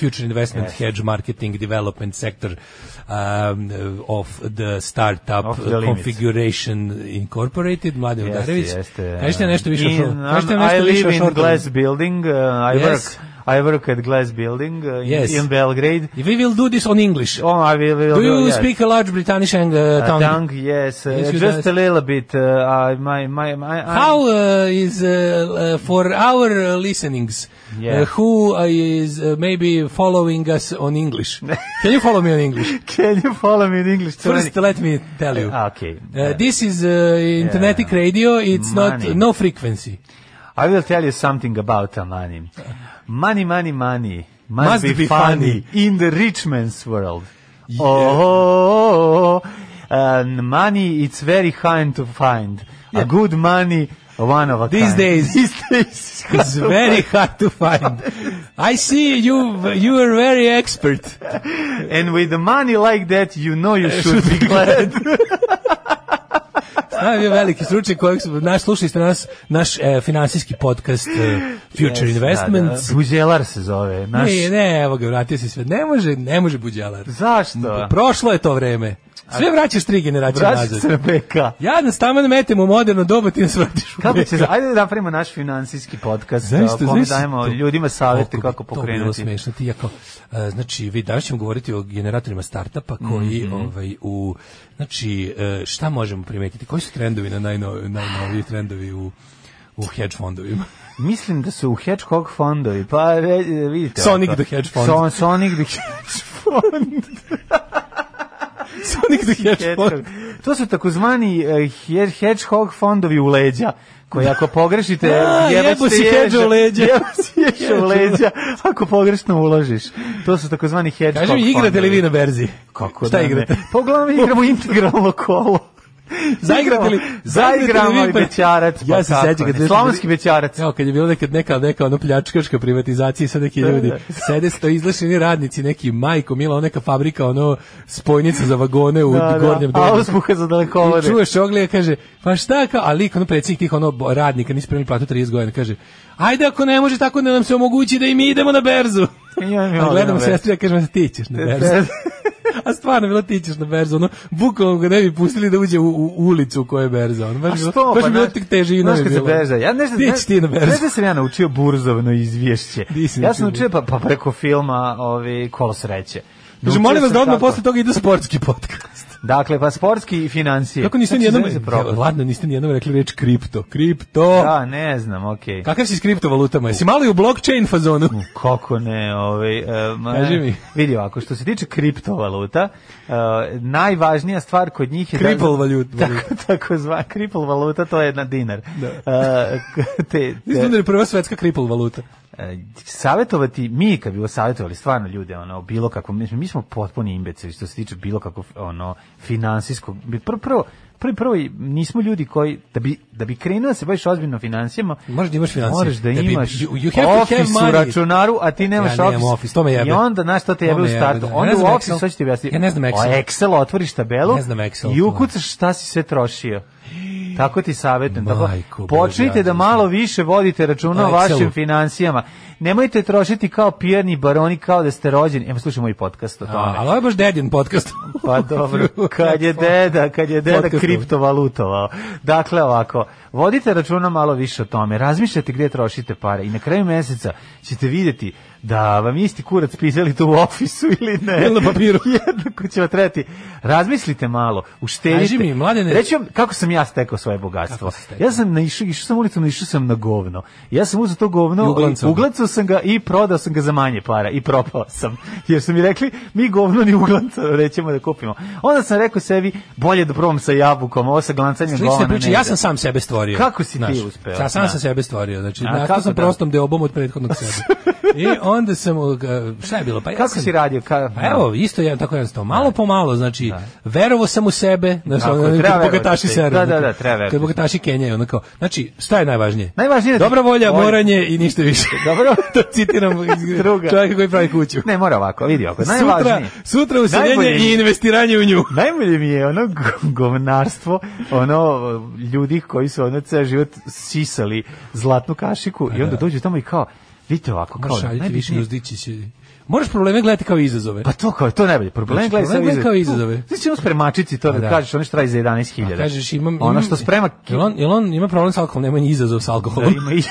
[SPEAKER 6] Future Investment Hedge Marketing Development Sector um, of the Startup
[SPEAKER 5] Of the limit.
[SPEAKER 6] Configuration Incorporated Mladen
[SPEAKER 5] Jeste,
[SPEAKER 6] Udarević.
[SPEAKER 5] jeste. um,
[SPEAKER 6] Kažete nešto više o
[SPEAKER 5] In-
[SPEAKER 6] šor- kažete
[SPEAKER 5] I
[SPEAKER 6] nešto više o
[SPEAKER 5] live in
[SPEAKER 6] šortovima?
[SPEAKER 5] glass building, uh, I
[SPEAKER 6] Yes.
[SPEAKER 5] work I work at Glass Building uh, in,
[SPEAKER 6] Yes.
[SPEAKER 5] in Belgrade.
[SPEAKER 6] We will do this on English.
[SPEAKER 5] Oh, I will, will
[SPEAKER 6] Do you
[SPEAKER 5] yes.
[SPEAKER 6] speak a large British ang- uh,
[SPEAKER 5] Uh,
[SPEAKER 6] tongue?
[SPEAKER 5] tongue, yes, uh,
[SPEAKER 6] Yes, you
[SPEAKER 5] just
[SPEAKER 6] does.
[SPEAKER 5] a little bit. Uh, I, my, my, my, I-
[SPEAKER 6] How uh, is uh, uh, for our uh, listenings
[SPEAKER 5] Yeah.
[SPEAKER 6] uh, who uh, is uh, maybe following us on English? Can you follow me on English?
[SPEAKER 5] Can you follow me in English?
[SPEAKER 6] First, let me tell you.
[SPEAKER 5] Uh, okay.
[SPEAKER 6] Uh, this is uh, internetic radio. It's
[SPEAKER 5] Money.
[SPEAKER 6] not no frequency.
[SPEAKER 5] I will tell you something about uh, money. Money, money, money must,
[SPEAKER 6] Must
[SPEAKER 5] be,
[SPEAKER 6] be
[SPEAKER 5] funny, in the rich man's world. Oh, and money it's very hard to find. A good money, one of a
[SPEAKER 6] These
[SPEAKER 5] kind.
[SPEAKER 6] days,
[SPEAKER 5] These days,
[SPEAKER 6] it's very hard to find. I see you. You are very expert.
[SPEAKER 5] And with the money like that, you know you should be glad.
[SPEAKER 6] Znam je veliki stručnjak kojeg smo- naš slušali ste nas naš e, finansijski podcast e, Future Investments.
[SPEAKER 5] Da, da. Buđelar se zove. Naš...
[SPEAKER 6] Ne, ne, evo ga, vratio se sve. Ne može, ne može buđalar.
[SPEAKER 5] Zašto?
[SPEAKER 6] Prošlo je to vreme. Sve vraćaš tri generacije
[SPEAKER 5] Vraća se
[SPEAKER 6] nazad.
[SPEAKER 5] na BK.
[SPEAKER 6] Ja nas tamo metem u moderno doba, ti nas vratiš u
[SPEAKER 5] Kako
[SPEAKER 6] BK.
[SPEAKER 5] će, ajde da napravimo naš finansijski podcast,
[SPEAKER 6] Znaš
[SPEAKER 5] Zašto,
[SPEAKER 6] šta,
[SPEAKER 5] kome
[SPEAKER 6] znaš šta
[SPEAKER 5] dajemo
[SPEAKER 6] to-
[SPEAKER 5] ljudima savjete
[SPEAKER 6] bi
[SPEAKER 5] kako
[SPEAKER 6] To bilo
[SPEAKER 5] pokrenuti.
[SPEAKER 6] smešno ti ja kao, e, znači vi danas ćemo govoriti o generatorima startapa koji
[SPEAKER 5] Mhm.
[SPEAKER 6] ovaj u znači e, šta možemo primetiti? Koji su trendovi na najno, najnoviji trendovi u u hedge fondovima?
[SPEAKER 5] Mislim da su u Hedgehog fondovi, pa re- vidite.
[SPEAKER 6] Sonic
[SPEAKER 5] ovako.
[SPEAKER 6] the Hedge Fund.
[SPEAKER 5] Son- Sonic the Hedge Fond.
[SPEAKER 6] Sonic the Hedgehog.
[SPEAKER 5] To su takozvani eh, he- Hedgehog fondovi u leđa koji ako pogrešite
[SPEAKER 6] Da, jebo si
[SPEAKER 5] ježa.
[SPEAKER 6] hedža u leđa.
[SPEAKER 5] jebo si ježa u leđa ako pogrešno uložiš to su takozvani hedgehog
[SPEAKER 6] Kaži mi, igrate li
[SPEAKER 5] fondovi.
[SPEAKER 6] vi na berzi?
[SPEAKER 5] Kako
[SPEAKER 6] Šta
[SPEAKER 5] da ne?
[SPEAKER 6] igrate?
[SPEAKER 5] Pa uglavnom igramo integralno kolo.
[SPEAKER 6] Zaigrate li-
[SPEAKER 5] Igramo-
[SPEAKER 6] zaigrate li
[SPEAKER 5] zaigramo
[SPEAKER 6] vi
[SPEAKER 5] i
[SPEAKER 6] pa-
[SPEAKER 5] bećarac.
[SPEAKER 6] Ja se
[SPEAKER 5] pa
[SPEAKER 6] sećam
[SPEAKER 5] kako
[SPEAKER 6] kad smo
[SPEAKER 5] ne. Slavonski
[SPEAKER 6] bili-
[SPEAKER 5] bećarac.
[SPEAKER 6] Evo, kad je bilo nekad neka, neka ono pljačkaška privatizacija i sad neki ljudi sede sto izlašeni radnici, neki majko, mila, ona neka fabrika, ono spojnica za vagone u
[SPEAKER 5] Da, da,
[SPEAKER 6] gornjem
[SPEAKER 5] a
[SPEAKER 6] domu.
[SPEAKER 5] uspuha za
[SPEAKER 6] I
[SPEAKER 5] dalekovode.
[SPEAKER 6] čuješ oglija, kaže, pa šta kao, a lik, ono predsjednik tih ono bo- radnika, nisi primili platu 30 godina, kaže, ajde ako ne može tako da nam se omogući da i mi idemo na berzu.
[SPEAKER 5] I on mi
[SPEAKER 6] A
[SPEAKER 5] ode na
[SPEAKER 6] gledamo
[SPEAKER 5] berzu.
[SPEAKER 6] sestri, Pa ja kažem, ti ćeš na berzu. A stvarno, bilo ti ćeš na berzu, ono, bukvalno ga ne bi pustili da uđe u, u ulicu u kojoj je berza, ono, baš,
[SPEAKER 5] A
[SPEAKER 6] bilo-
[SPEAKER 5] što? Pa
[SPEAKER 6] baš bilo
[SPEAKER 5] znaš-
[SPEAKER 6] tek težina
[SPEAKER 5] znaš
[SPEAKER 6] je
[SPEAKER 5] kad se
[SPEAKER 6] bilo.
[SPEAKER 5] berza, ja nešto
[SPEAKER 6] Ti ćeš ti na berzu. Znači,
[SPEAKER 5] Znaš da sam ja naučio burzovno izvješće.
[SPEAKER 6] Nisi
[SPEAKER 5] Ja sam
[SPEAKER 6] naučio.
[SPEAKER 5] naučio pa, pa preko filma ovi, Kolo sreće.
[SPEAKER 6] Kaže,
[SPEAKER 5] Naučio
[SPEAKER 6] molim vas
[SPEAKER 5] sam
[SPEAKER 6] da odmah
[SPEAKER 5] kako-
[SPEAKER 6] posle toga ide sportski podcast.
[SPEAKER 5] Dakle, pa sportski i financije.
[SPEAKER 6] Kako niste
[SPEAKER 5] Znači,
[SPEAKER 6] nijednom,
[SPEAKER 5] znaš za problem.
[SPEAKER 6] ladno, niste nijednom rekli reč kripto. Kripto!
[SPEAKER 5] Da, ne znam, okej.
[SPEAKER 6] Kakav si s kriptovalutama? Jesi malo i u blockchain fazonu?
[SPEAKER 5] Kako ne, ovaj, um,
[SPEAKER 6] Kaži mi.
[SPEAKER 5] vidi ovako, što se tiče kriptovaluta, uh, najvažnija stvar kod njih je...
[SPEAKER 6] Kripl valut-
[SPEAKER 5] Tako, tako zva, kripl valuta, to je na dinar. Da. Uh, te,
[SPEAKER 6] Mislim da je prva svetska kripl valuta.
[SPEAKER 5] E, savjetovati, mi kad bi savjetovali stvarno ljude, ono, bilo kako, mi, mi smo potpuni imbecili što se tiče bilo kako, ono, finansijskog, bi- prvo, prvo, prvi prvo nismo ljudi koji da bi da bi krenuo da se baviš ozbiljno financijama
[SPEAKER 6] Moraš da imaš financije.
[SPEAKER 5] moraš da
[SPEAKER 6] Da bi-
[SPEAKER 5] imaš
[SPEAKER 6] you- you have to have
[SPEAKER 5] office u
[SPEAKER 6] money.
[SPEAKER 5] računaru a ti nemaš
[SPEAKER 6] Ja nemam office, to me jebe.
[SPEAKER 5] i onda znaš to te
[SPEAKER 6] To
[SPEAKER 5] jebe
[SPEAKER 6] me
[SPEAKER 5] u
[SPEAKER 6] jebe,
[SPEAKER 5] startu
[SPEAKER 6] da. Ja
[SPEAKER 5] onda
[SPEAKER 6] ne
[SPEAKER 5] u
[SPEAKER 6] znam Excel.
[SPEAKER 5] office hoće ti objasniti
[SPEAKER 6] Ja ne znam Excel.
[SPEAKER 5] o Excel otvoriš tabelu
[SPEAKER 6] Ne znam Excel,
[SPEAKER 5] i
[SPEAKER 6] to.
[SPEAKER 5] ukucaš šta si sve trošio tako ti savjetujem tako
[SPEAKER 6] Majko Božja,
[SPEAKER 5] počnite da
[SPEAKER 6] ja
[SPEAKER 5] malo više vodite računa
[SPEAKER 6] O
[SPEAKER 5] o vašim
[SPEAKER 6] Excelu.
[SPEAKER 5] financijama. Nemojte trošiti kao pijani baroni kao da ste rođeni. Evo slušaj moj podcast o
[SPEAKER 6] A,
[SPEAKER 5] tome.
[SPEAKER 6] ali ovo je baš dedin podcast.
[SPEAKER 5] Pa dobro, kad je deda, kad je deda
[SPEAKER 6] Podcastom.
[SPEAKER 5] kriptovalutovao. Dakle ovako, vodite računa malo više o tome, razmišljajte gdje trošite pare i na kraju mjeseca ćete vidjeti da vam isti kurac pisali to u ofisu ili ne.
[SPEAKER 6] Ili na papiru.
[SPEAKER 5] Jednako će vam trebati. Razmislite malo, uštedite.
[SPEAKER 6] Kaži mi, Mladene-
[SPEAKER 5] Reći vam kako sam ja stekao svoje bogatstvo.
[SPEAKER 6] Kako si stekao?
[SPEAKER 5] Ja sam naišao, išao sam ulicom, naišao sam na govno. Ja sam uzeo to govno,
[SPEAKER 6] I uglancao.
[SPEAKER 5] uglancao sam ga i prodao sam ga za manje para i propao sam. Jer su mi rekli, mi govno ni uglancano nećemo da kupimo. Onda sam rekao sebi, bolje da probam sa jabukom, ovo sa glancanjem govna
[SPEAKER 6] Slične priče,
[SPEAKER 5] ne
[SPEAKER 6] ja
[SPEAKER 5] ide.
[SPEAKER 6] sam sam sebe stvorio.
[SPEAKER 5] Kako si ti uspeo?
[SPEAKER 6] Ja sam
[SPEAKER 5] Da.
[SPEAKER 6] sam sebe stvorio, znači
[SPEAKER 5] A,
[SPEAKER 6] nastao
[SPEAKER 5] kako
[SPEAKER 6] sam
[SPEAKER 5] da?
[SPEAKER 6] prostom deobom od prethodnog sebe. I onda sam, uh, šta je bilo? Pa ja
[SPEAKER 5] Kako
[SPEAKER 6] sam-
[SPEAKER 5] si radio? Ka...
[SPEAKER 6] Pa evo, isto je tako jednostavno. Malo po malo, znači, verovo sam u sebe, znači,
[SPEAKER 5] Tako je,
[SPEAKER 6] ono, kad
[SPEAKER 5] treba
[SPEAKER 6] bogataši
[SPEAKER 5] verovati.
[SPEAKER 6] seru.
[SPEAKER 5] Da, da, da, treba verovati.
[SPEAKER 6] Kad bogataši Kenjaju, onako. Znači, šta je najvažnije?
[SPEAKER 5] Najvažnije je da-
[SPEAKER 6] Dobra volja,
[SPEAKER 5] Volja.
[SPEAKER 6] moranje i ništa više.
[SPEAKER 5] Dobro?
[SPEAKER 6] to citiram iz-
[SPEAKER 5] Druga.
[SPEAKER 6] čovjeka koji pravi kuću.
[SPEAKER 5] Ne, mora ovako, vidi ovako,
[SPEAKER 6] Sutra,
[SPEAKER 5] najvažnije.
[SPEAKER 6] sutra useljenje
[SPEAKER 5] Najbolje-
[SPEAKER 6] i investiranje u nju.
[SPEAKER 5] Najbolje mi je ono go- govnarstvo, ono ljudi koji su ono ceo život sisali zlatnu kašiku i onda dođu tamo i kao, vidite ovako, kao,
[SPEAKER 6] Moraš šaljiti više
[SPEAKER 5] najbitnije-
[SPEAKER 6] uzdići se. Moraš probleme gledati kao izazove.
[SPEAKER 5] Pa to kao, to je najbolje. Problem
[SPEAKER 6] Znači,
[SPEAKER 5] gledaj
[SPEAKER 6] problem
[SPEAKER 5] sad
[SPEAKER 6] gledaj kao izazove. Pa
[SPEAKER 5] Ti ćemo spremačici to da,
[SPEAKER 6] da.
[SPEAKER 5] kažeš, ono što radi za 11.000.
[SPEAKER 6] A kažeš imam
[SPEAKER 5] Ono što sprema...
[SPEAKER 6] Jel on, jel on ima problem s alkoholom, nema ni izazov s
[SPEAKER 5] Da
[SPEAKER 6] alkoholom.
[SPEAKER 5] ima i...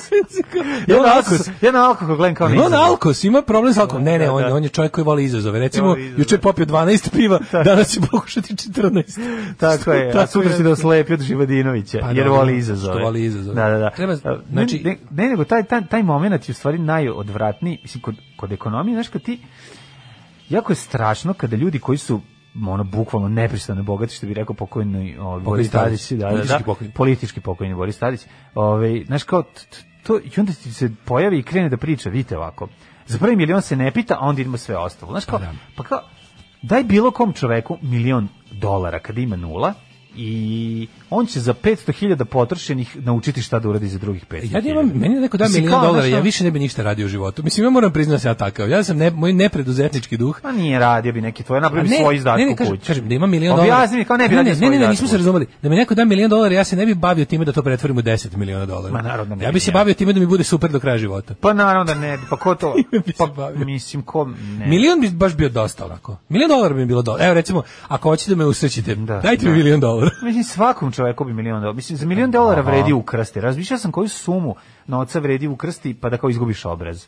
[SPEAKER 6] Sve
[SPEAKER 5] Jedan alkos, jedan alkos gledam kao
[SPEAKER 6] Jel on
[SPEAKER 5] neizazov.
[SPEAKER 6] alkos, ima problem s alkoholom. Ne, ne,
[SPEAKER 5] Da,
[SPEAKER 6] on,
[SPEAKER 5] da.
[SPEAKER 6] on je čovjek koji voli izazove. Recimo,
[SPEAKER 5] Voli izazove.
[SPEAKER 6] juče je popio 12 piva, danas će pokušati 14.
[SPEAKER 5] Tako je, a sutra si da oslepi od Živadinovića,
[SPEAKER 6] Pa
[SPEAKER 5] jer
[SPEAKER 6] dobro,
[SPEAKER 5] voli izazove.
[SPEAKER 6] što voli izazove.
[SPEAKER 5] Da, da, da.
[SPEAKER 6] Treba-
[SPEAKER 5] A,
[SPEAKER 6] znači-
[SPEAKER 5] ne, ne, ne, nego taj, taj, taj moment je u stvari najodvratniji, mislim, kod, kod ekonomije, znaš, kad ti, jako je strašno kada ljudi koji su ono bukvalno nepristojno bogati što bi rekao pokojni ovaj Boris
[SPEAKER 6] Tadić.
[SPEAKER 5] Tadić, da, da,
[SPEAKER 6] Politički
[SPEAKER 5] da,
[SPEAKER 6] pokojni.
[SPEAKER 5] politički pokojni Boris Tadić. Ovaj znaš kao t- t- to i onda ti se pojavi i krene da priča, vidite ovako. Za prvi milion se ne pita, a onda idemo sve ostalo. Znaš kao,
[SPEAKER 6] Pa da.
[SPEAKER 5] pa kao daj bilo kom čoveku milion dolara kada ima nula i on će za 500.000 potrošenih naučiti šta da uradi za drugih 500.000.
[SPEAKER 6] E, Ja da imam, meni je neko da
[SPEAKER 5] Mislim,
[SPEAKER 6] milijon
[SPEAKER 5] kao,
[SPEAKER 6] dolara,
[SPEAKER 5] znaš
[SPEAKER 6] ja
[SPEAKER 5] ono-
[SPEAKER 6] više ne bi ništa radio u životu. Mislim, ja moram priznati da sam ja takav. Ja sam ne, moj nepreduzetnički duh.
[SPEAKER 5] Pa nije radio bi neki tvoj,
[SPEAKER 6] A
[SPEAKER 5] napravi svoj izdatak u
[SPEAKER 6] kažem,
[SPEAKER 5] kući.
[SPEAKER 6] kažem da ima milion dolara.
[SPEAKER 5] Objasni mi kao ne bi
[SPEAKER 6] ne,
[SPEAKER 5] radio
[SPEAKER 6] ne,
[SPEAKER 5] svoj
[SPEAKER 6] ne, ne,
[SPEAKER 5] izdatak
[SPEAKER 6] nismo
[SPEAKER 5] u
[SPEAKER 6] se
[SPEAKER 5] kući.
[SPEAKER 6] razumeli. Da mi neko da milion dolara, ja se ne bi bavio time da to pretvorim u 10 miliona dolara.
[SPEAKER 5] Ma, naravno, ne
[SPEAKER 6] ja
[SPEAKER 5] bi,
[SPEAKER 6] bi se
[SPEAKER 5] ne.
[SPEAKER 6] bavio time da mi bude super do kraja života.
[SPEAKER 5] Pa naravno da ne, bi, pa ko to?
[SPEAKER 6] bi se
[SPEAKER 5] pa
[SPEAKER 6] bavio.
[SPEAKER 5] mislim ko ne.
[SPEAKER 6] Milion bi baš bio dosta onako. Milion dolara bi mi bilo dosta. Evo recimo, ako hoćete da me usrećite,
[SPEAKER 5] Da,
[SPEAKER 6] dajte
[SPEAKER 5] da.
[SPEAKER 6] mi milion dolara.
[SPEAKER 5] Mislim svakom čoveku bi milion dolara. Mislim za milion dolara
[SPEAKER 6] Aha.
[SPEAKER 5] vredi ukrasti. Razmišljao sam koju sumu novca vredi ukrasti pa da kao izgubiš obraz.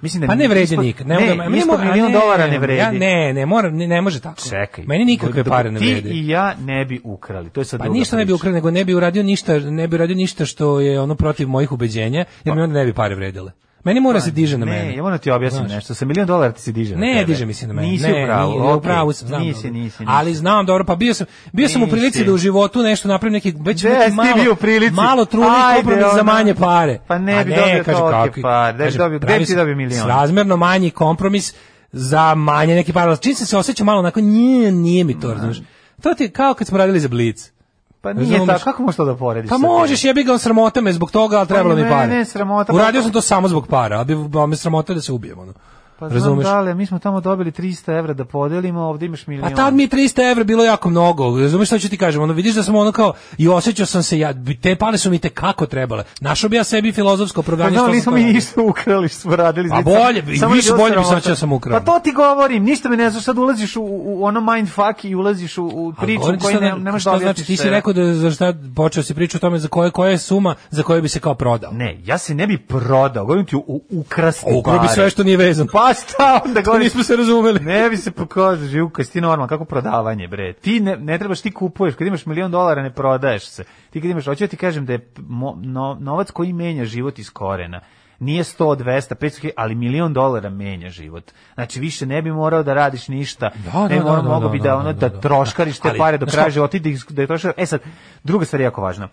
[SPEAKER 5] Mislim da
[SPEAKER 6] Pa ne vredi
[SPEAKER 5] ispod-
[SPEAKER 6] nikad.
[SPEAKER 5] Ne,
[SPEAKER 6] Ne, mogu da- mi
[SPEAKER 5] ispod
[SPEAKER 6] mo- a
[SPEAKER 5] milion
[SPEAKER 6] ne,
[SPEAKER 5] dolara ne vredi.
[SPEAKER 6] Ja, ne, ne, mora, ne, ne može tako.
[SPEAKER 5] Čekaj.
[SPEAKER 6] Meni nikakve
[SPEAKER 5] Da-
[SPEAKER 6] pare ne vredi.
[SPEAKER 5] Ti i ja ne bi ukrali. To je sad
[SPEAKER 6] Pa
[SPEAKER 5] druga
[SPEAKER 6] ništa ne bi
[SPEAKER 5] priča.
[SPEAKER 6] ukrao, nego ne bi uradio ništa, ne bi uradio ništa što je ono protiv mojih ubeđenja, jer mi onda ne bi pare vredile. Meni mora se diže na
[SPEAKER 5] Pa- ne,
[SPEAKER 6] mene.
[SPEAKER 5] ja moram ti objasnim
[SPEAKER 6] Znaš.
[SPEAKER 5] nešto. Sa milion dolara ti se diže na
[SPEAKER 6] Ne,
[SPEAKER 5] tebe.
[SPEAKER 6] diže mi se na mene.
[SPEAKER 5] Nisi
[SPEAKER 6] ne,
[SPEAKER 5] u pravu.
[SPEAKER 6] nije,
[SPEAKER 5] okej.
[SPEAKER 6] u pravu sam, znam.
[SPEAKER 5] Nisi,
[SPEAKER 6] dobro.
[SPEAKER 5] nisi, nisi.
[SPEAKER 6] Ali znam dobro, pa bio sam, bio sam u
[SPEAKER 5] Nisi.
[SPEAKER 6] prilici da u životu nešto napravim neki već
[SPEAKER 5] Gde
[SPEAKER 6] neki
[SPEAKER 5] si
[SPEAKER 6] malo,
[SPEAKER 5] bio u prilici?
[SPEAKER 6] malo truli
[SPEAKER 5] Ajde,
[SPEAKER 6] kompromis
[SPEAKER 5] ono.
[SPEAKER 6] za manje pare.
[SPEAKER 5] Pa ne
[SPEAKER 6] A
[SPEAKER 5] bi dobio
[SPEAKER 6] kažem,
[SPEAKER 5] tolike
[SPEAKER 6] kako-
[SPEAKER 5] pare, da bi
[SPEAKER 6] kažem,
[SPEAKER 5] dobio- gde
[SPEAKER 6] pravio
[SPEAKER 5] bi ti
[SPEAKER 6] sam
[SPEAKER 5] dobio milion?
[SPEAKER 6] Srazmerno manji kompromis za manje neki pare. Ali Čim sam se osjećao malo onako, nije, nije mi to, razumeš. To ti je kao kad smo radili za Blitz.
[SPEAKER 5] Pa nije
[SPEAKER 6] Razumeš?
[SPEAKER 5] tako, kako možeš to da porediš?
[SPEAKER 6] Pa
[SPEAKER 5] sa tim?
[SPEAKER 6] možeš, jebi ga, on sramota me zbog toga, ali trebalo mi
[SPEAKER 5] Pa ne,
[SPEAKER 6] pare.
[SPEAKER 5] ne, sramota, pa-
[SPEAKER 6] Uradio sam to samo zbog para, ali bi bilo me sramota da se ubijem, ono.
[SPEAKER 5] Pa znam
[SPEAKER 6] Razumeš?
[SPEAKER 5] da, ali mi smo tamo dobili 300 evra da podelimo, ovdje imaš milion.
[SPEAKER 6] A tad mi je 300 evra bilo jako mnogo, razumeš šta ću ti kažem, ono vidiš da sam ono kao, i osjećao sam se, ja, te pare su mi te kako trebale, našao bi ja sebi filozofsko
[SPEAKER 5] Pa
[SPEAKER 6] opravdanje.
[SPEAKER 5] da,
[SPEAKER 6] što sam
[SPEAKER 5] nismo
[SPEAKER 6] to
[SPEAKER 5] mi
[SPEAKER 6] radio.
[SPEAKER 5] ništa ukrali, što smo radili.
[SPEAKER 6] Pa bolje bi,
[SPEAKER 5] Samo
[SPEAKER 6] više
[SPEAKER 5] je bilo
[SPEAKER 6] bolje bi se
[SPEAKER 5] sramota.
[SPEAKER 6] osjećao da sam ukrao.
[SPEAKER 5] Pa to ti govorim, ništa me ne znaš, sad ulaziš u, u u ono mindfuck i ulaziš u, u
[SPEAKER 6] A
[SPEAKER 5] priču
[SPEAKER 6] govorim
[SPEAKER 5] u
[SPEAKER 6] ti
[SPEAKER 5] koju
[SPEAKER 6] sada,
[SPEAKER 5] ne, nemaš da
[SPEAKER 6] šta
[SPEAKER 5] objasniš.
[SPEAKER 6] znači, ti si
[SPEAKER 5] sve.
[SPEAKER 6] rekao da je za šta počeo si priču o tome za koje, koja je suma za koju bi se kao prodao.
[SPEAKER 5] Ne, ja se ne bi prodao, govorim ti u ukrasti
[SPEAKER 6] Ukrao bi sve što nije vezano.
[SPEAKER 5] Pa šta onda
[SPEAKER 6] To
[SPEAKER 5] govoriš?
[SPEAKER 6] nismo se razumeli.
[SPEAKER 5] Ne bi se pokazao, živka, ti normalno, kako prodavanje, bre. Ti ne, ne trebaš, ti kupuješ, kad imaš milion dolara ne prodaješ se. Ti kad imaš, hoću ja ti kažem da je p- mo- no- novac koji menja život iz korena, nije 100, 200, 500, hiljada, ali milion dolara menja život. Znači, više ne bi morao da radiš ništa,
[SPEAKER 6] Da,
[SPEAKER 5] ne
[SPEAKER 6] da,
[SPEAKER 5] bi morao,
[SPEAKER 6] da, da,
[SPEAKER 5] mogao bi
[SPEAKER 6] da,
[SPEAKER 5] da,
[SPEAKER 6] da,
[SPEAKER 5] ono,
[SPEAKER 6] da,
[SPEAKER 5] da,
[SPEAKER 6] da.
[SPEAKER 5] troškariš te
[SPEAKER 6] Ali,
[SPEAKER 5] pare do
[SPEAKER 6] znaš
[SPEAKER 5] kraja
[SPEAKER 6] šta?
[SPEAKER 5] života i da, ih- da je troškar. E sad, druga stvar je jako važna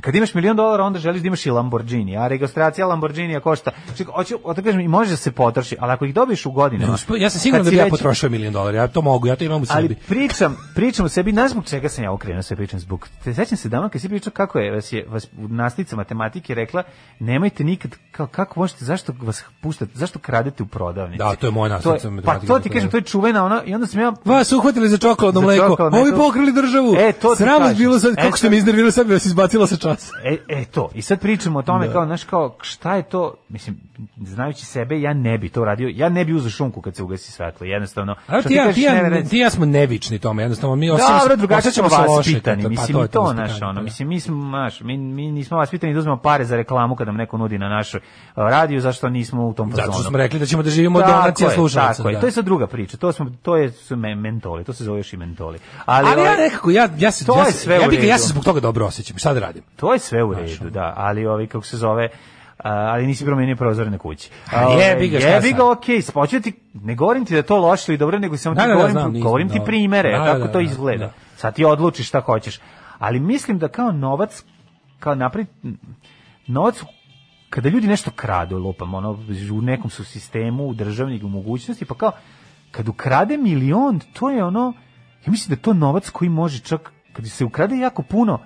[SPEAKER 5] kad imaš milion dolara, onda želiš da imaš i Lamborghini, a registracija Lamborghinija košta. Čekaj, hoću, hoću da kažem, i može da se potroši, ali ako ih dobiješ u
[SPEAKER 6] Ne,
[SPEAKER 5] godinama...
[SPEAKER 6] uspe- ja sam siguran
[SPEAKER 5] kad
[SPEAKER 6] da
[SPEAKER 5] si
[SPEAKER 6] bi ja
[SPEAKER 5] već-
[SPEAKER 6] potrošio milion dolara, ja to mogu, ja to imam u sebi.
[SPEAKER 5] Ali pričam, pričam o sebi, znaš zbog čega sam ja okrenuo sve pričam zbog. Te sećam se dama kad si pričao kako je vas je vas u nastavnica matematike rekla nemojte nikad kao kako možete zašto vas puštate, zašto kradete u prodavnici.
[SPEAKER 6] Da, to je moja
[SPEAKER 5] To je-
[SPEAKER 6] nastavnica
[SPEAKER 5] Pa
[SPEAKER 6] matematike
[SPEAKER 5] to ti
[SPEAKER 6] tako
[SPEAKER 5] kažem,
[SPEAKER 6] da.
[SPEAKER 5] to je čuvena ona i onda sam ja
[SPEAKER 6] Vas uhvatili za čokoladno
[SPEAKER 5] Za
[SPEAKER 6] mleko.
[SPEAKER 5] čokoladno
[SPEAKER 6] Ovi
[SPEAKER 5] mleko.
[SPEAKER 6] pokrali državu.
[SPEAKER 5] E, to ti
[SPEAKER 6] Sram vas
[SPEAKER 5] kažem.
[SPEAKER 6] bilo sad,
[SPEAKER 5] E,
[SPEAKER 6] kako ste
[SPEAKER 5] to-
[SPEAKER 6] me iznervirali, sad bi vas izbacila sa časa.
[SPEAKER 5] E, e to, i sad pričamo o tome kao, znaš, kao, šta je to, mislim, znajući sebe, ja ne bi to radio, ja ne bi uzeo šunku kad se ugasi svetlo, jednostavno.
[SPEAKER 6] A
[SPEAKER 5] Što
[SPEAKER 6] Pa ti, ja,
[SPEAKER 5] kažeš,
[SPEAKER 6] ti, ja,
[SPEAKER 5] ne, ne, ne,
[SPEAKER 6] ti ja smo nevični tome, jednostavno mi osim
[SPEAKER 5] Dobro, drugačije ćemo
[SPEAKER 6] osjećamo se
[SPEAKER 5] vas
[SPEAKER 6] loše, pa
[SPEAKER 5] pitani,
[SPEAKER 6] to-
[SPEAKER 5] mislim, i
[SPEAKER 6] je
[SPEAKER 5] to
[SPEAKER 6] vaspitanje,
[SPEAKER 5] naš,
[SPEAKER 6] da.
[SPEAKER 5] ono, mislim, mi smo, naš, mi, mi nismo vas pitani da uzmemo pare za reklamu kada nam neko nudi na našoj uh, radiju, zašto nismo u tom
[SPEAKER 6] Zato
[SPEAKER 5] fazonu.
[SPEAKER 6] što smo rekli da ćemo da živimo od
[SPEAKER 5] ono. Tako
[SPEAKER 6] donacija
[SPEAKER 5] je,
[SPEAKER 6] slušalaca.
[SPEAKER 5] Tako je,
[SPEAKER 6] da.
[SPEAKER 5] to je sad druga priča, to, smo, to je, su me- mentoli, to se zove još i mentoli. Ali,
[SPEAKER 6] Ali ja
[SPEAKER 5] ovaj,
[SPEAKER 6] nekako, ja, ja se,
[SPEAKER 5] To
[SPEAKER 6] ja,
[SPEAKER 5] je
[SPEAKER 6] se-
[SPEAKER 5] sve
[SPEAKER 6] ja,
[SPEAKER 5] u
[SPEAKER 6] bih ga- ja
[SPEAKER 5] redu.
[SPEAKER 6] se zbog toga dobro osjećam. Šta da radim?
[SPEAKER 5] To je sve u
[SPEAKER 6] ono.
[SPEAKER 5] redu, da, ali ovi kako se zove a, ali nisi promenio prozore na kući.
[SPEAKER 6] A jebi ga, šta
[SPEAKER 5] Jebi
[SPEAKER 6] sad?
[SPEAKER 5] ga, okej, spočio ti, ne govorim ti da je to loše ili dobro, nego samo
[SPEAKER 6] Da,
[SPEAKER 5] ti
[SPEAKER 6] da, da,
[SPEAKER 5] govorim,
[SPEAKER 6] znam, nisam,
[SPEAKER 5] govorim ti
[SPEAKER 6] da.
[SPEAKER 5] primere,
[SPEAKER 6] Da, da,
[SPEAKER 5] kako
[SPEAKER 6] da,
[SPEAKER 5] to
[SPEAKER 6] da,
[SPEAKER 5] izgleda.
[SPEAKER 6] da.
[SPEAKER 5] Sad ti odlučiš šta hoćeš. Ali mislim da kao novac, kao napred, novac kada ljudi nešto kradu, lupam, ono, u nekom su sistemu, u državnih u mogućnosti, pa kao, kad ukrade milion, to je ono, ja mislim da je to novac koji može čak, kad se ukrade jako puno,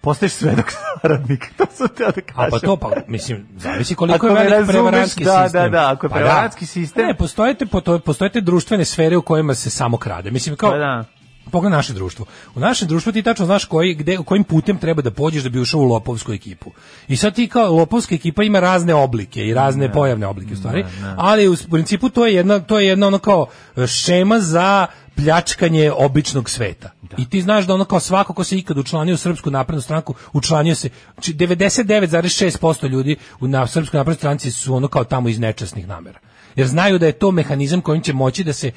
[SPEAKER 5] postaješ svedok saradnik. to sam teo da kažem.
[SPEAKER 6] A pa to pa mislim zavisi koliko
[SPEAKER 5] Ako
[SPEAKER 6] je
[SPEAKER 5] me
[SPEAKER 6] velik
[SPEAKER 5] razumeš,
[SPEAKER 6] prevarantski
[SPEAKER 5] da,
[SPEAKER 6] sistem.
[SPEAKER 5] da, da, ako je
[SPEAKER 6] Pa
[SPEAKER 5] prevarantski sistem-
[SPEAKER 6] Ne, postoje te, poto- postoje te društvene sfere u kojima se samo krade. Mislim kao
[SPEAKER 5] Pa da.
[SPEAKER 6] Pogledaj naše društvo. U našem društvu ti tačno znaš koji, gde, kojim putem treba da pođeš da bi ušao u lopovsku ekipu. I sad ti kao lopovska ekipa ima razne oblike i razne pojavne oblike u stvari, ali u s- principu to je jedna to je jedna ono kao e, šema za pljačkanje običnog sveta. I ti znaš da ono kao svako ko se ikad učlanio u Srpsku naprednu stranku, učlanio se, znači 99,6% ljudi u na Srpskoj naprednoj stranci su ono kao tamo iz nečasnih namera. Jer znaju da je to mehanizam kojim će moći da se e,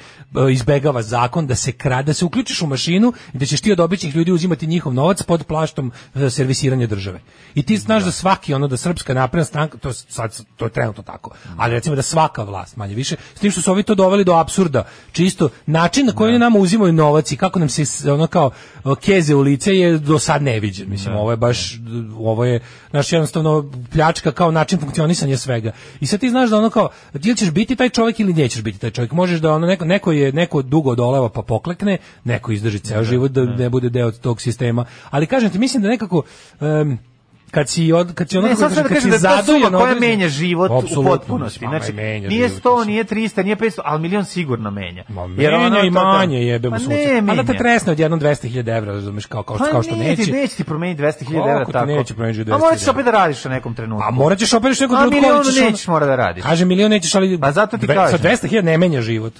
[SPEAKER 6] izbegava zakon, da se krade, da se uključiš u mašinu i da ćeš ti od običnih ljudi uzimati njihov novac pod plaštom e, servisiranja države. I ti znaš da svaki ono da Srpska napredna stranka, to je sad to je trenutno tako, ali recimo da svaka vlast manje više, s tim što su ovi to doveli do apsurda, čisto način na koji oni nama uzimaju novac i kako nam se s- ono kao e, keze u lice je do sad neviđen. Mislim, ovo je baš, ovo je naš jednostavno pljačka kao način funkcionisanja svega. I sad ti znaš da ono kao, ili ćeš biti taj čovjek ili nećeš biti taj čovjek. Možeš da ono, neko, neko je, neko dugo odoleva pa poklekne, neko izdrži ceo život da ne bude deo tog sistema. Ali kažem ti, mislim da nekako... em, kad si od kad si ono
[SPEAKER 5] Ne,
[SPEAKER 6] kako
[SPEAKER 5] sad
[SPEAKER 6] kažem,
[SPEAKER 5] sad
[SPEAKER 6] kad si
[SPEAKER 5] kažem da je to suma
[SPEAKER 6] zadovoljan
[SPEAKER 5] koja
[SPEAKER 6] određen-
[SPEAKER 5] menja život u
[SPEAKER 6] Apsolutno,
[SPEAKER 5] potpunosti.
[SPEAKER 6] mislim,
[SPEAKER 5] Znači,
[SPEAKER 6] mama je menja
[SPEAKER 5] nije
[SPEAKER 6] život,
[SPEAKER 5] 100, nije 300, nije 500, ali milion sigurno menja.
[SPEAKER 6] Jer ono i
[SPEAKER 5] to- to-
[SPEAKER 6] manje jebe mu
[SPEAKER 5] Pa
[SPEAKER 6] sunce.
[SPEAKER 5] ne
[SPEAKER 6] A da te
[SPEAKER 5] menja.
[SPEAKER 6] tresne od jednom 200.000 evra, razumeš, kao, kao, što- kao što
[SPEAKER 5] Pa neće,
[SPEAKER 6] neće.
[SPEAKER 5] neće ti promeniti 200.000 evra
[SPEAKER 6] Kako ti
[SPEAKER 5] tako.
[SPEAKER 6] neće promeniti 200.000
[SPEAKER 5] A morat ćeš
[SPEAKER 6] evra?
[SPEAKER 5] opet da radiš na nekom trenutku.
[SPEAKER 6] A morat ćeš opet još neko
[SPEAKER 5] A
[SPEAKER 6] drugo
[SPEAKER 5] milion nećeš mora da radiš.
[SPEAKER 6] Kaže milion nećeš, ali
[SPEAKER 5] Pa zato ti
[SPEAKER 6] dve-
[SPEAKER 5] kažem.
[SPEAKER 6] Sa 200.000 ne menja život.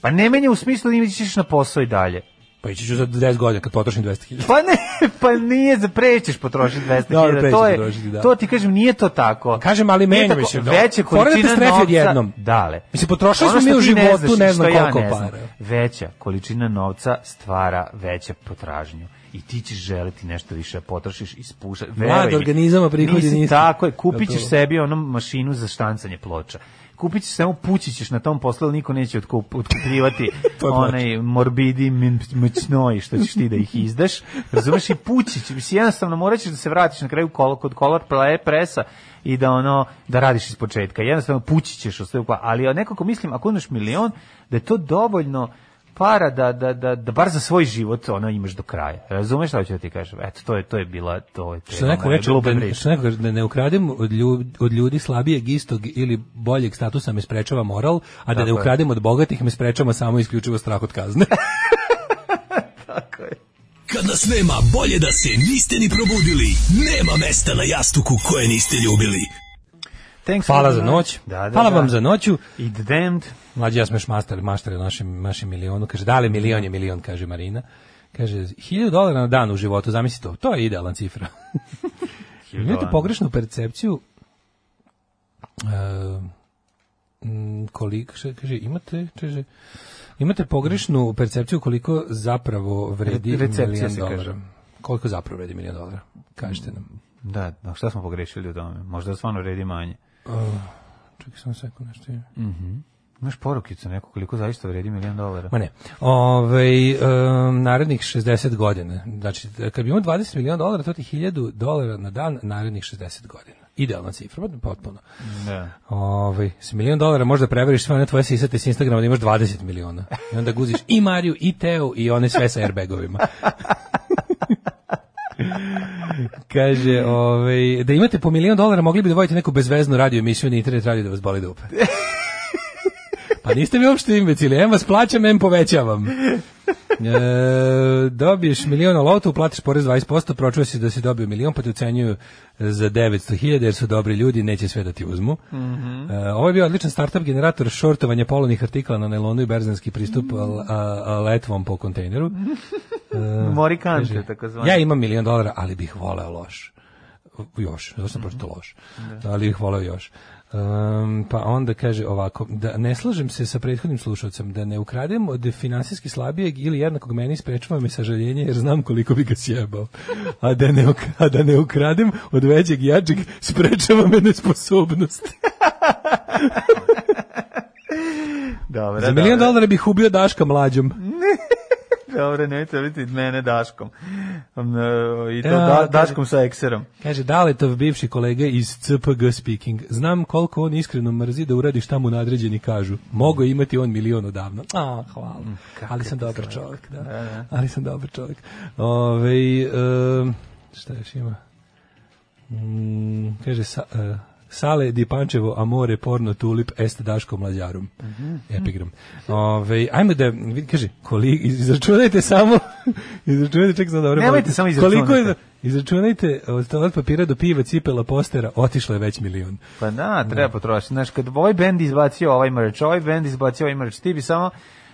[SPEAKER 5] Pa ne menja u smislu da ćeš na posao i dalje.
[SPEAKER 6] Pa ići ću za 10 godina kad potrošim 200.000.
[SPEAKER 5] Pa ne, pa nije za prećeš potrošiti 200.000.
[SPEAKER 6] Dobro, prećeš
[SPEAKER 5] to je
[SPEAKER 6] potrošiti, da.
[SPEAKER 5] to ti kažem nije to tako.
[SPEAKER 6] Kažem, ali
[SPEAKER 5] Nije
[SPEAKER 6] menja
[SPEAKER 5] tako,
[SPEAKER 6] mi se.
[SPEAKER 5] Veće količina
[SPEAKER 6] strefi
[SPEAKER 5] novca.
[SPEAKER 6] odjednom.
[SPEAKER 5] Dale.
[SPEAKER 6] Mislim, potrošili
[SPEAKER 5] Ono
[SPEAKER 6] smo mi
[SPEAKER 5] što
[SPEAKER 6] u
[SPEAKER 5] ti ne
[SPEAKER 6] životu
[SPEAKER 5] znaš i
[SPEAKER 6] ne
[SPEAKER 5] što
[SPEAKER 6] znam
[SPEAKER 5] ja
[SPEAKER 6] koliko
[SPEAKER 5] ne znam.
[SPEAKER 6] para.
[SPEAKER 5] Veća količina novca stvara veće potražnju i ti ćeš želiti nešto više da potrošiš i spušaš. Veruj
[SPEAKER 6] Mlad
[SPEAKER 5] mi,
[SPEAKER 6] organizam, a prihodi
[SPEAKER 5] nisi
[SPEAKER 6] niski.
[SPEAKER 5] Tako je, kupit ćeš
[SPEAKER 6] Gotovo.
[SPEAKER 5] sebi onu mašinu za štancanje ploča. Kupit ćeš samo pući ćeš na tom poslu, ali niko neće otkup, otkupljivati
[SPEAKER 6] To znači. je ploča.
[SPEAKER 5] onaj morbidi mćnoj što ćeš ti da ih izdaš. Razumeš i pući ćeš, mislim, jednostavno morat ćeš da se vratiš na kraju kolo, kod kolor ple- presa i da ono da radiš iz početka. Jednostavno pući ćeš od svega, ali nekako mislim ako imaš milion da je to dovoljno para da, da, da, da bar za svoj život ono imaš do kraja. Razumeš šta ću da ti kažem? Eto, to je, to je bila, to je
[SPEAKER 6] Što
[SPEAKER 5] tema
[SPEAKER 6] neko
[SPEAKER 5] moje
[SPEAKER 6] reče,
[SPEAKER 5] glube
[SPEAKER 6] da,
[SPEAKER 5] priče.
[SPEAKER 6] što neko kaže, da ne ukradem od ljudi, od ljudi slabijeg istog ili boljeg statusa me sprečava moral, a da
[SPEAKER 5] Tako
[SPEAKER 6] ne
[SPEAKER 5] je.
[SPEAKER 6] ukradem od bogatih me sprečava samo isključivo strah od kazne.
[SPEAKER 12] Kad nas nema, bolje da se niste ni probudili. Nema mesta na jastuku koje niste ljubili.
[SPEAKER 5] Thanks
[SPEAKER 6] Hvala
[SPEAKER 5] for
[SPEAKER 6] za
[SPEAKER 5] the night.
[SPEAKER 6] noć.
[SPEAKER 5] Da, da,
[SPEAKER 6] Hvala
[SPEAKER 5] da.
[SPEAKER 6] vam za noću.
[SPEAKER 5] I the damned.
[SPEAKER 6] Mlađi, ja smo još master, master u našem, našem milionu. Kaže, da li milion je milion, kaže Marina. Kaže, 1000 dolara na dan u životu, zamisli to. To je idealan cifra. Imate
[SPEAKER 5] dolara.
[SPEAKER 6] pogrešnu percepciju e, mm, koliko, šta kaže, imate, čeže, imate pogrešnu percepciju koliko zapravo vredi
[SPEAKER 5] Re- recepcija
[SPEAKER 6] milion
[SPEAKER 5] se kaže.
[SPEAKER 6] dolara. Koliko zapravo vredi milion dolara? Kažete nam.
[SPEAKER 5] Da, da, šta smo pogrešili u tome? Možda stvarno redi manje.
[SPEAKER 6] Čekaj, samo sekund, nešto ima.
[SPEAKER 5] Mhm. Imaš porukicu neko koliko zaista vredi milijon dolara?
[SPEAKER 6] Ma ne. Ove, narednih 60 godina. Znači, kad bi imao 20 miliona dolara, to ti je 1000 dolara na dan narednih 60 godina. Idealna cifra, pot- potpuno.
[SPEAKER 5] Da.
[SPEAKER 6] Ove, s Ovaj, milion dolara možda preveriš sve one tvoje sisate s Instagrama da imaš 20 miliona. I onda guziš i Mariju, i Teo, i one sve sa airbagovima. Kaže, ovaj, da imate po milion dolara mogli bi da vodite neku bezveznu radio emisiju na internet radio da vas boli dupe. Pa niste mi uopšte imbecili, em vas plaćam, em povećavam. E, dobiješ milion na lotu, platiš porez 20%, pročuje se da si dobio milion, pa te ucenjuju za 900.000 jer su dobri ljudi, neće sve da ti uzmu. E, ovo je bio odličan startup generator šortovanja polovnih artikla na nelonu i berzanski pristup a- a- a letvom po kontejneru.
[SPEAKER 5] Morikante,
[SPEAKER 6] e, Kaže,
[SPEAKER 5] takozvani.
[SPEAKER 6] Ja imam milion dolara, ali bih voleo loš. Još, zato sam pročito loš. Ali bih voleo još. Um, pa onda kaže ovako, da ne slažem se sa prethodnim slušalcem, da ne ukradem od finansijski slabijeg ili jednakog meni sprečava me sažaljenje jer znam koliko bi ga sjebao. A da ne, uk- a da ne ukradem od većeg i jačeg sprečava me nesposobnost.
[SPEAKER 5] Dobre,
[SPEAKER 6] Za milion dolara bih ubio Daška mlađom.
[SPEAKER 5] Dobro, nemojte biti mene Daškom. Um, e, I to
[SPEAKER 6] Ja,
[SPEAKER 5] da,
[SPEAKER 6] kaže-
[SPEAKER 5] Daškom sa ekserom.
[SPEAKER 6] Kaže Daletov bivši kolega iz CPG Speaking. Znam koliko on iskreno mrzi da uradi šta mu nadređeni kažu. Mogu je imati on milion odavno. A, hvala. Ali sam dobar Mm, čovjek, da. Ali sam dobar čovjek. Ovaj em, šta još ima? Mm, kaže sa, e, Sale di Pančevo, amore, porno, tulip, est Daško mlađarum.
[SPEAKER 5] Mhm.
[SPEAKER 6] Epigram. Ove, ajmo da, vidi, kaže, koliko, izračunajte samo, izračunajte, ček, znam dobro.
[SPEAKER 5] Nemojte samo
[SPEAKER 6] Koliko je,
[SPEAKER 5] izračunajte.
[SPEAKER 6] Izračunajte od toalet papira do piva, cipela, postera, otišlo je već milion.
[SPEAKER 5] Pa da, treba potrošiti. Znaš, kad ovaj bend izbacio ovaj mrč, ovaj bend izbacio ovaj mrč, ti bi samo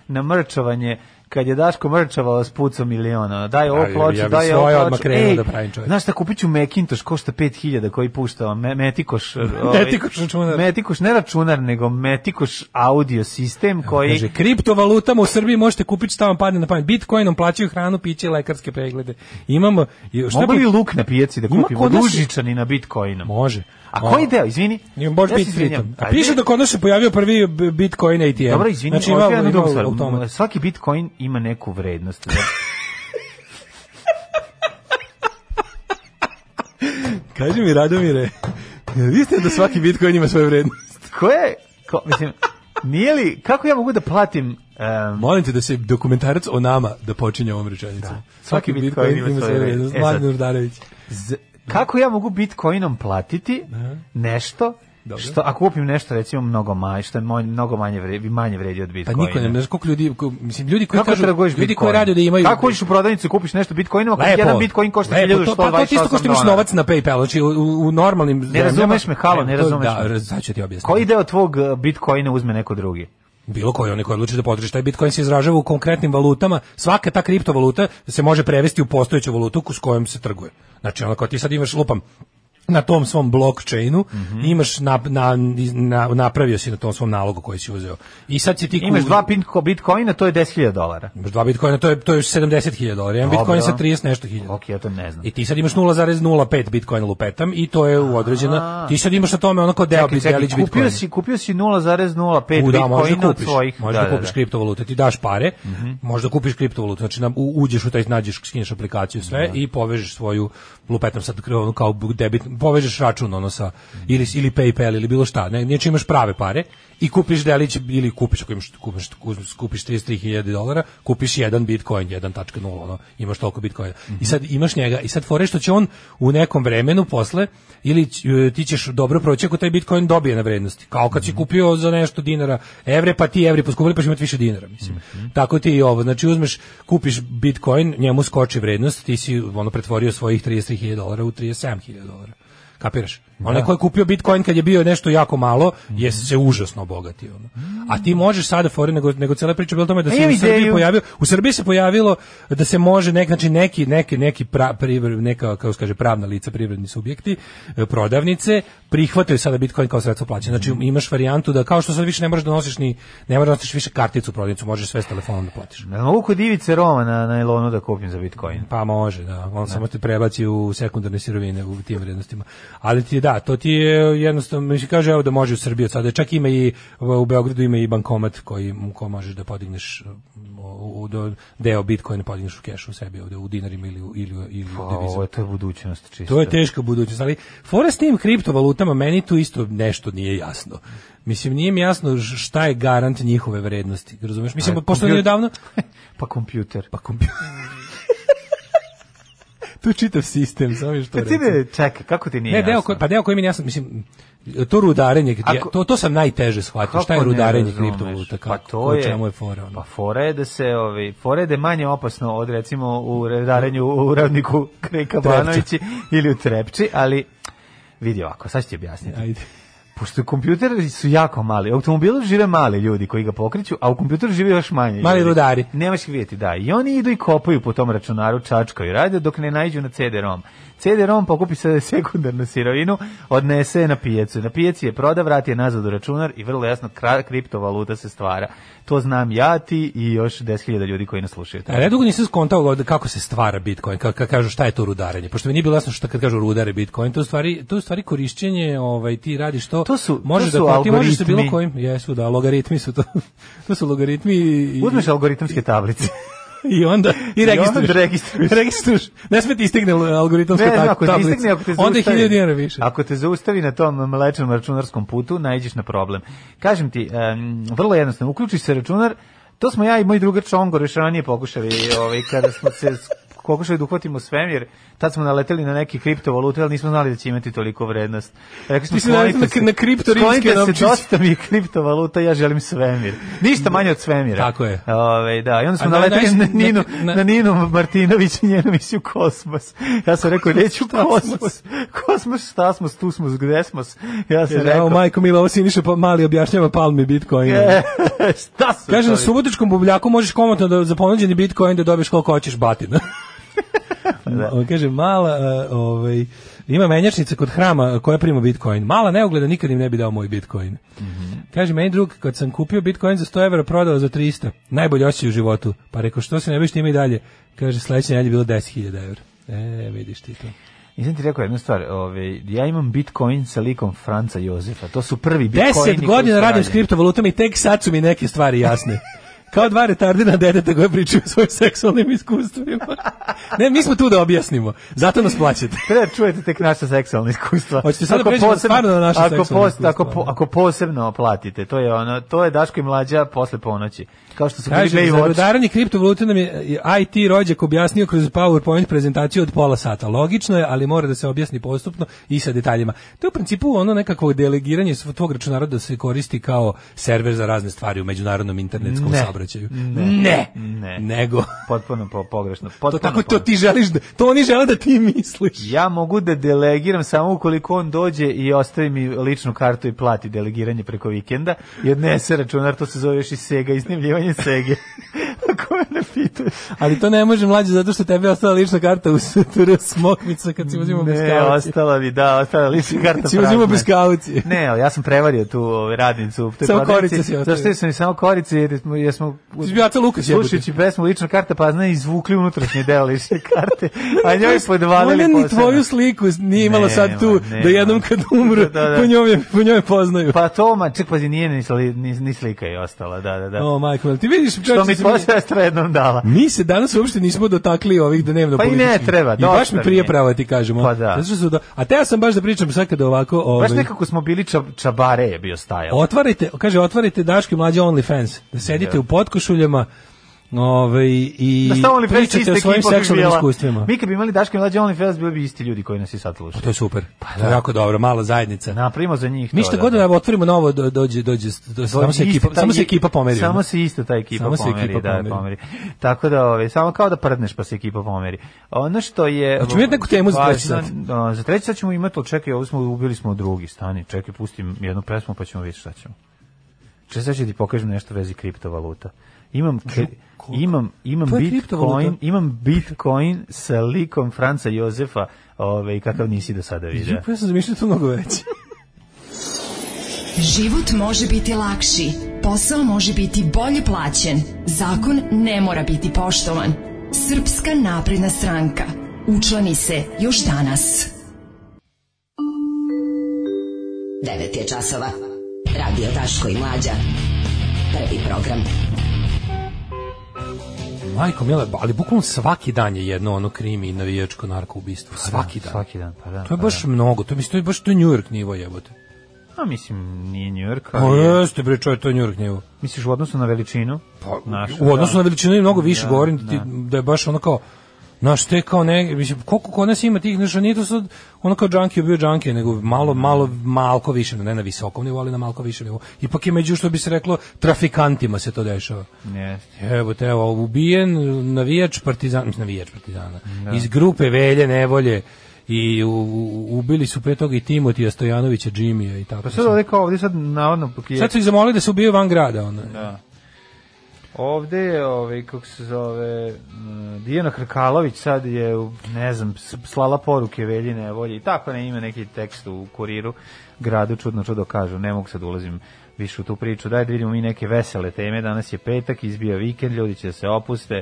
[SPEAKER 5] na mrčovanje kad je Daško mrčavao s pucom miliona, ono, daj ovo
[SPEAKER 6] Ja bi-
[SPEAKER 5] ploču,
[SPEAKER 6] ja bi
[SPEAKER 5] daj
[SPEAKER 6] svoje
[SPEAKER 5] ovo
[SPEAKER 6] odmah
[SPEAKER 5] ploču.
[SPEAKER 6] krenuo da pravim čovječe.
[SPEAKER 5] znaš šta, kupit ću Macintosh, košta 5000 koji pušta, ono, me, metikoš. ovaj,
[SPEAKER 6] Metikoš računar.
[SPEAKER 5] Metikoš, ne računar, nego metikoš audio sistem koji...
[SPEAKER 6] Kaže, kriptovalutama u Srbiji možete kupiti šta vam padne na pamet. Bitcoinom plaćaju hranu, piće, i lekarske preglede. Imamo... i Šta
[SPEAKER 5] Mogu
[SPEAKER 6] po-
[SPEAKER 5] li luk na pijaci da
[SPEAKER 6] Ima
[SPEAKER 5] kupimo
[SPEAKER 6] kod nas-
[SPEAKER 5] dužičani na bitcoinom?
[SPEAKER 6] Može.
[SPEAKER 5] A koji deo, izvini?
[SPEAKER 6] Ima, Može
[SPEAKER 5] Ja se
[SPEAKER 6] biti
[SPEAKER 5] izvinjam.
[SPEAKER 6] pritom. A
[SPEAKER 5] Ajde.
[SPEAKER 6] piše da kod nas se pojavio prvi b- Bitcoin ATM.
[SPEAKER 5] Dobro, izvini,
[SPEAKER 6] znači,
[SPEAKER 5] znači,
[SPEAKER 6] ima,
[SPEAKER 5] ima,
[SPEAKER 6] ima automat.
[SPEAKER 5] Svaki bitcoin ima neku vrednost.
[SPEAKER 6] Kaži mi, Radomire, vi ste da svaki Bitcoin ima svoju vrednost.
[SPEAKER 5] Koje? Ko, mislim, nije li, kako ja mogu da platim em,
[SPEAKER 6] Molim te da se dokumentarac o nama da počinje ovom rečenicom.
[SPEAKER 5] Svaki Bitcoin ima svoju vrednost. E, sad-
[SPEAKER 6] Mladen Urdarević.
[SPEAKER 5] z- kako ja mogu bitcoinom platiti nešto
[SPEAKER 6] Dobro.
[SPEAKER 5] Što, ako kupim nešto recimo mnogo manje, što je moj- mnogo manje vredi, manje vredi od
[SPEAKER 6] Pa
[SPEAKER 5] bitcoina.
[SPEAKER 6] niko ne znaš koliko ljudi, ko- mislim, ljudi koji
[SPEAKER 5] Kako
[SPEAKER 6] kažu,
[SPEAKER 5] trguješ bitcoin?
[SPEAKER 6] ljudi koji rade da imaju...
[SPEAKER 5] Kako uđeš u prodavnicu i kupiš nešto bitcoinima, kad
[SPEAKER 6] Lepo.
[SPEAKER 5] jedan bitcoin košta
[SPEAKER 6] Lepo,
[SPEAKER 5] 1128
[SPEAKER 6] to,
[SPEAKER 5] dolara.
[SPEAKER 6] pa to ti isto ko što imaš novac na PayPal, znači u, u- u normalnim... zemljama-
[SPEAKER 5] razumeš me, halo, ne
[SPEAKER 6] E, to-
[SPEAKER 5] razumeš
[SPEAKER 6] Da,
[SPEAKER 5] me.
[SPEAKER 6] raz- sad ću ti objasniti.
[SPEAKER 5] Koji deo tvog eh, bitcoina uzme neko drugi?
[SPEAKER 6] Bilo koji, oni koji odluči da potroši taj Bitcoin se izražava u konkretnim valutama, svaka ta kriptovaluta se može prevesti u postojeću valutu s kojom se trguje. Znači, ono kao ti sad imaš, lupam, na tom svom blockchainu
[SPEAKER 5] Mhm.
[SPEAKER 6] imaš na, na, na- napravio si na tom svom nalogu koji si uzeo. I sad si ti
[SPEAKER 5] Imaš dva pinko- bitcoina, to je 10.000 dolara.
[SPEAKER 6] Imaš dva bitcoina, to je, to je 70.000 dolara. Jedan
[SPEAKER 5] Dobro.
[SPEAKER 6] bitcoin sa 30 nešto hiljada.
[SPEAKER 5] Ok, ja to ne znam.
[SPEAKER 6] I ti sad imaš 0,05 bitcoina lupetam i to je u određena...
[SPEAKER 5] A.
[SPEAKER 6] Ti sad imaš na tome onako deo
[SPEAKER 5] Čekaj, čekaj,
[SPEAKER 6] delić bitcoina.
[SPEAKER 5] kupio si, kupio si 0,05
[SPEAKER 6] U, da, možeš da
[SPEAKER 5] bitcoina od
[SPEAKER 6] kupiš,
[SPEAKER 5] svojih.
[SPEAKER 6] možeš da, kupiš kriptovalute, ti daš pare, možda kupiš kriptovalutu, znači nam u- uđeš u taj, nađeš, skineš aplikaciju sve i povežeš svoju lupetom sad ono kao debit, povežeš račun ono sa, ili, ili PayPal ili bilo šta, ne, znači imaš prave pare i kupiš delić ili kupiš, ako imaš, kupiš, kupiš 33.000 dolara, kupiš jedan bitcoin, 1.0, ono, imaš toliko bitcoina. I sad imaš njega i sad fore što će on u nekom vremenu posle ili ć- e, ti ćeš dobro proći ako taj bitcoin dobije na vrednosti. Kao kad
[SPEAKER 5] Mhm.
[SPEAKER 6] si kupio za nešto dinara evre, pa ti evri poskupili pa ćeš imati više dinara, mislim.
[SPEAKER 5] Mhm.
[SPEAKER 6] Tako ti i ovo, znači uzmeš, kupiš bitcoin, njemu skoči vrednost, ti si ono pretvorio svojih 33.000 dolara u 37.000 dolara. Kapiraš? Onaj ko je kupio Bitcoin kad je bio nešto jako malo, je
[SPEAKER 5] Mhm.
[SPEAKER 6] se užasno obogatio. ono. A ti možeš sada fore nego nego cela priča je bila o tome da
[SPEAKER 5] E,
[SPEAKER 6] se
[SPEAKER 5] Mhm. imam
[SPEAKER 6] u Srbiji
[SPEAKER 5] ideju.
[SPEAKER 6] pojavio, u Srbiji se pojavilo da se može nek znači neki neki neki pra, privr- neka kako se kaže pravna lica, privredni subjekti, e, prodavnice prihvataju sada Bitcoin kao sredstvo plaćanja. Znači imaš varijantu da kao što sad više ne možeš da nosiš ni ne možeš da nosiš više karticu u prodavnicu, možeš sve s telefonom da platiš.
[SPEAKER 5] Ne mogu kod Ivice Roma na, na Elonu da kupim za bitcoin.
[SPEAKER 6] Pa može, da. On samo te prebaci u sekundarne sirovine u tim vrednostima. Ali ti da, to ti je jednostavno, mislim, kaže evo da može u Srbiji od sada. Čak ima i, u Beogradu ima i bankomat koji, ko možeš da podigneš um, u, u- do- deo bitcoina podigneš u kešu u sebi ovde, u dinarima ili, u- ili, u- ili u
[SPEAKER 5] Pa,
[SPEAKER 6] devizama.
[SPEAKER 5] ovo je to je budućnost čisto.
[SPEAKER 6] To je teška budućnost, ali fora s tim kriptovalutama meni tu isto nešto nije jasno. Mislim, nije mi jasno š- šta je garant njihove vrednosti, razumeš? Mislim,
[SPEAKER 5] Pa,
[SPEAKER 6] pošto
[SPEAKER 5] kompjuter.
[SPEAKER 6] nije davno...
[SPEAKER 5] Pa kompjuter.
[SPEAKER 6] Pa kompjuter. tu je čitav sistem, samo još to
[SPEAKER 5] Pa ti
[SPEAKER 6] recimo.
[SPEAKER 5] ne, čekaj, kako ti nije
[SPEAKER 6] Ne, deo koji, pa deo koji mi ja sam, mislim, to rudarenje, gdje-
[SPEAKER 5] Ako-
[SPEAKER 6] to, to sam najteže shvatio, šta je
[SPEAKER 5] Kako ne
[SPEAKER 6] rudarenje
[SPEAKER 5] razumeš?
[SPEAKER 6] kriptovaluta, kako,
[SPEAKER 5] Pa to
[SPEAKER 6] u
[SPEAKER 5] je,
[SPEAKER 6] čemu je fora, ono?
[SPEAKER 5] Pa fora je da se, ovi, fora je da je manje opasno od recimo u redarenju u ravniku Kreka Banovići ili u Trepči, ali vidi ovako, sad ću ti objasniti.
[SPEAKER 6] Ajde.
[SPEAKER 5] Pošto kompjuteri su jako mali, u automobilu žive mali ljudi koji ga pokreću, a u kompjuteru žive još manje.
[SPEAKER 6] Mali
[SPEAKER 5] ljudi.
[SPEAKER 6] rudari.
[SPEAKER 5] Nemaš ih vidjeti, da. I oni idu i kopaju po tom računaru, čačkaju, rade dok ne naiđu na CD-ROM. CD-ROM pokupi se sekundarnu sirovinu, odnese je na pijacu. Na pijaci je proda, vrati je nazad u računar i vrlo jasno kra- kriptovaluta se stvara. To znam ja, ti i još 10.000 ljudi koji nas slušaju.
[SPEAKER 6] A ja dugo nisam skontao ovde kako se stvara Bitcoin, kako kažu šta je to rudarenje. Pošto mi nije bilo jasno šta kad kažu rudare Bitcoin, to je u stvari to je u stvari korišćenje, ovaj ti radiš to,
[SPEAKER 5] To su-
[SPEAKER 6] možeš
[SPEAKER 5] to su
[SPEAKER 6] da ti možeš sa bilo
[SPEAKER 5] algoritmi.
[SPEAKER 6] kojim, jesu da logaritmi su to. to su logaritmi i, i-
[SPEAKER 5] Uzmeš algoritamske tablice.
[SPEAKER 6] i onda i registruješ.
[SPEAKER 5] onda registruješ.
[SPEAKER 6] Registruješ. Ne sme ti istigne algoritamska
[SPEAKER 5] Ne, znam,
[SPEAKER 6] ta-
[SPEAKER 5] ako te
[SPEAKER 6] tablica.
[SPEAKER 5] istigne, ako te
[SPEAKER 6] onda je
[SPEAKER 5] zaustavi.
[SPEAKER 6] 1000 dinara više.
[SPEAKER 5] Ako te zaustavi na tom mlečnom računarskom putu, naiđeš na problem. Kažem ti, em, vrlo jednostavno, uključiš se računar, to smo ja i moj drugar Čongor još ranije pokušali, ovaj, kada smo se s- pokušali da uhvatimo svemir, tad smo naleteli na neke kriptovalute, ali nismo znali da će imati toliko vrednost. Rekli smo,
[SPEAKER 6] Mislim,
[SPEAKER 5] sklonite
[SPEAKER 6] na-
[SPEAKER 5] se,
[SPEAKER 6] na kriptorimske
[SPEAKER 5] sklonite se,
[SPEAKER 6] novčiće.
[SPEAKER 5] dosta mi je kriptovaluta, ja želim svemir. Ništa manje od svemira.
[SPEAKER 6] Tako je.
[SPEAKER 5] Ove, da, i onda smo
[SPEAKER 6] A na-
[SPEAKER 5] naleteli
[SPEAKER 6] najs-
[SPEAKER 5] na,
[SPEAKER 6] na-
[SPEAKER 5] Ninu, na,
[SPEAKER 6] na-
[SPEAKER 5] Ninu Martinović i njenu misiju Kosmos. Ja sam rekao, neću Kosmos. Kosmos, šta smo, tu smo, gde smo. Ja sam
[SPEAKER 6] Jer,
[SPEAKER 5] rekao, e,
[SPEAKER 6] evo, majko Mila, ovo Siniša pa mali objašnjava palmi Bitcoin.
[SPEAKER 5] šta su
[SPEAKER 6] Kaže, na
[SPEAKER 5] to?
[SPEAKER 6] subotičkom bubljaku možeš komotno da za ponuđeni Bitcoin da dobiješ koliko hoćeš batina. Ma- on kaže, mala, e, ovaj, ima menjačnica kod hrama koja prima Bitcoin. Mala neugleda nikad im ne bi dao moj Bitcoin.
[SPEAKER 5] Mhm.
[SPEAKER 6] Kaže, meni drug, kad sam kupio Bitcoin za 100 evra, prodao za 300. Najbolje osjećaj u životu. Pa rekao, što se ne biš time i dalje? Kaže, sledeće nedelje je bilo 10.000 evra. E, vidiš ti to.
[SPEAKER 5] Nisam ti rekao jednu stvar, ove, ja imam Bitcoin sa likom Franca Jozefa, to su prvi Bitcoini.
[SPEAKER 6] Deset
[SPEAKER 5] koji
[SPEAKER 6] godina
[SPEAKER 5] su
[SPEAKER 6] radim
[SPEAKER 5] rađeni.
[SPEAKER 6] s kriptovalutama i tek sad su mi neke stvari jasne. Kao dva retardina dedeta koje pričaju o svojim seksualnim iskustvima. Ne, mi smo tu da objasnimo. Zato nas plaćate.
[SPEAKER 5] Treba da čujete tek naša seksualna iskustva.
[SPEAKER 6] Hoćete sad da pređemo stvarno na naša
[SPEAKER 5] ako
[SPEAKER 6] seksualna
[SPEAKER 5] pos- ako, po,
[SPEAKER 6] iskustva, da.
[SPEAKER 5] ako posebno platite, to je ono, to je Daško i mlađa posle ponoći. Kao što su bili
[SPEAKER 6] Kaže, za
[SPEAKER 5] Baywatch.
[SPEAKER 6] rudaranje kriptovaluta nam je IT rođak objasnio kroz PowerPoint prezentaciju od pola sata. Logično je, ali mora da se objasni postupno i sa detaljima. To je u principu ono nekakvo delegiranje sv- tvog računara da se koristi kao server za razne stvari u međunarodnom internetskom
[SPEAKER 5] Ne.
[SPEAKER 6] saobraćaju.
[SPEAKER 5] Ne.
[SPEAKER 6] ne. Nego.
[SPEAKER 5] Potpuno po, pogrešno.
[SPEAKER 6] To
[SPEAKER 5] Potpuno
[SPEAKER 6] tako to
[SPEAKER 5] pogrešno.
[SPEAKER 6] ti želiš da, to oni žele da ti misliš.
[SPEAKER 5] Ja mogu da delegiram samo ukoliko on dođe i ostavi mi ličnu kartu i plati delegiranje preko vikenda i odnese računar, to se zove još i Sega, iznimljivanje Sege. Ako me ne pitaš.
[SPEAKER 6] Ali to ne može mlađe zato što tebi je ostala lična karta u sutra smokvica kad si uzimao bez
[SPEAKER 5] Ne, ostala bi, da, ostala bi lična karta.
[SPEAKER 6] Si uzimao
[SPEAKER 5] prazna.
[SPEAKER 6] beskaucije.
[SPEAKER 5] Ne, ali ja sam prevario tu ovaj, radnicu. u toj
[SPEAKER 6] Samo
[SPEAKER 5] prodavnici,
[SPEAKER 6] korice si ostavio.
[SPEAKER 5] Zato što sam i samo korice, jer smo... Jer smo
[SPEAKER 6] Ti si bio Aca Lukas, jebote.
[SPEAKER 5] Slušajući pesmu lična karta, pa zna, izvukli unutrašnji deo lične karte, a njoj podvalili
[SPEAKER 6] Ona ni
[SPEAKER 5] posebno.
[SPEAKER 6] tvoju sliku nije imala sad tu,
[SPEAKER 5] Nema, nema.
[SPEAKER 6] da jednom kad umru,
[SPEAKER 5] Da, da.
[SPEAKER 6] Po, njoj, je- po njoj poznaju.
[SPEAKER 5] Pa to, ma, ček, pazi, nije ni, sli, ni, ni slika je ostala, da, da, da.
[SPEAKER 6] O, majko, jel ti vidiš,
[SPEAKER 5] Što
[SPEAKER 6] čovječe,
[SPEAKER 5] mi
[SPEAKER 6] se
[SPEAKER 5] tvoja sestra jednom dala.
[SPEAKER 6] Mi se danas uopšte nismo dotakli ovih dnevno
[SPEAKER 5] Pa i ne
[SPEAKER 6] političkih.
[SPEAKER 5] treba,
[SPEAKER 6] I baš
[SPEAKER 5] dosta
[SPEAKER 6] mi prije
[SPEAKER 5] mi je.
[SPEAKER 6] pravo da ti kažemo.
[SPEAKER 5] Pa da.
[SPEAKER 6] Zato što su do- A te ja sam baš da pričam sad kada ovako... Ovaj,
[SPEAKER 5] Baš nekako smo bili ča, čabare je bio stajao.
[SPEAKER 6] Otvarajte, kaže, otvarajte Daško i mlađe OnlyFans. Da sedite
[SPEAKER 5] Da.
[SPEAKER 6] u potkošuljama ovaj, i
[SPEAKER 5] Da stavili fest
[SPEAKER 6] pričate
[SPEAKER 5] iste
[SPEAKER 6] o svojim
[SPEAKER 5] ekipa bi
[SPEAKER 6] seksualnim
[SPEAKER 5] bila.
[SPEAKER 6] iskustvima.
[SPEAKER 5] Mi kad bi imali Daške mlađe OnlyFans, bili bi isti ljudi koji nas i sad slušaju.
[SPEAKER 6] To je super. Pa, to je jako dobro, mala zajednica.
[SPEAKER 5] Napravimo za njih to.
[SPEAKER 6] Mi što
[SPEAKER 5] da,
[SPEAKER 6] god
[SPEAKER 5] da.
[SPEAKER 6] da otvorimo novo, do- dođe, dođe, do-
[SPEAKER 5] Dođe
[SPEAKER 6] samo se
[SPEAKER 5] isti
[SPEAKER 6] ekipa,
[SPEAKER 5] Pa taj-
[SPEAKER 6] samo se ekipa pomeri.
[SPEAKER 5] Samo
[SPEAKER 6] ono.
[SPEAKER 5] se isto ta ekipa
[SPEAKER 6] Samo se
[SPEAKER 5] pomeri,
[SPEAKER 6] ekipa pomeri.
[SPEAKER 5] da, pomeri. Tako da, ovaj, samo kao da prdneš pa se ekipa pomeri. Ono što je...
[SPEAKER 6] Hoćemo imati neku temu za treći
[SPEAKER 5] važno- a, Za treći sat ćemo imati, ali čekaj, ovo smo, ubili smo drugi, stani, čekaj, pustim jednu pesmu pa ćemo vidjeti šta ćemo. Če sad ću ti pokažem nešto u vezi kriptovaluta. Imam, kri- imam, imam,
[SPEAKER 6] To je
[SPEAKER 5] Bitcoin,
[SPEAKER 6] kriptovaluta?
[SPEAKER 5] imam Bitcoin sa likom Franca Jozefa, ovaj, kakav nisi do sada vidio.
[SPEAKER 6] Ja sam zamišljao to mnogo veće.
[SPEAKER 4] Život može biti lakši, posao može biti bolje plaćen, zakon ne mora biti poštovan. Srpska napredna stranka. Učlani se još danas.
[SPEAKER 10] 9 je časova. Radio Daško i Mlađa. Prvi program.
[SPEAKER 6] Majko Mila, ali bukvalno svaki dan je jedno ono krimi i navijačko narko ubistvo. Svaki dan.
[SPEAKER 5] Pa Svaki dan, pa da.
[SPEAKER 6] To je
[SPEAKER 5] pa
[SPEAKER 6] baš
[SPEAKER 5] da.
[SPEAKER 6] mnogo, to, mislim, to je baš to je New York nivo jebote.
[SPEAKER 5] A, mislim, nije New York,
[SPEAKER 6] Pa
[SPEAKER 5] ali je-
[SPEAKER 6] jeste bre, čovjek, to je New York nivo.
[SPEAKER 5] Misliš u odnosu na veličinu? Našu,
[SPEAKER 6] u odnosu
[SPEAKER 5] da.
[SPEAKER 6] na veličinu i mnogo više
[SPEAKER 5] Da,
[SPEAKER 6] govorim da, ti, da je baš ono kao Znaš, te kao ne, mislim, koliko kod nas ima tih, znaš, nije to sad ono kao džanki bio džanki, nego malo, malo, malko više, ne na visokom nivou, ali na malko više nivou. Ipak je među, što bi se reklo, trafikantima se to dešava.
[SPEAKER 5] Jeste.
[SPEAKER 6] Evo te, evo, ubijen navijač partizana, mislim, navijač partizana, iz grupe Velje Nevolje, i u, u- ubili su pre toga i Timotija Stojanovića, Džimija i tako.
[SPEAKER 5] Pa sad ovdje kao ovdje sad navodno je,
[SPEAKER 6] sad su ih zamolili da se ubiju van grada, ono.
[SPEAKER 5] ovdje je ovaj, kako se zove mm, Dijana Hrkalović sad je u- ne znam s- slala poruke Veljine volje i tako ne ima neki tekst u kuriru gradu čudno čudo kažu ne mogu sad da ulazim više u tu priču daj da vidimo mi neke vesele teme danas je petak izbija vikend ljudi će da se opuste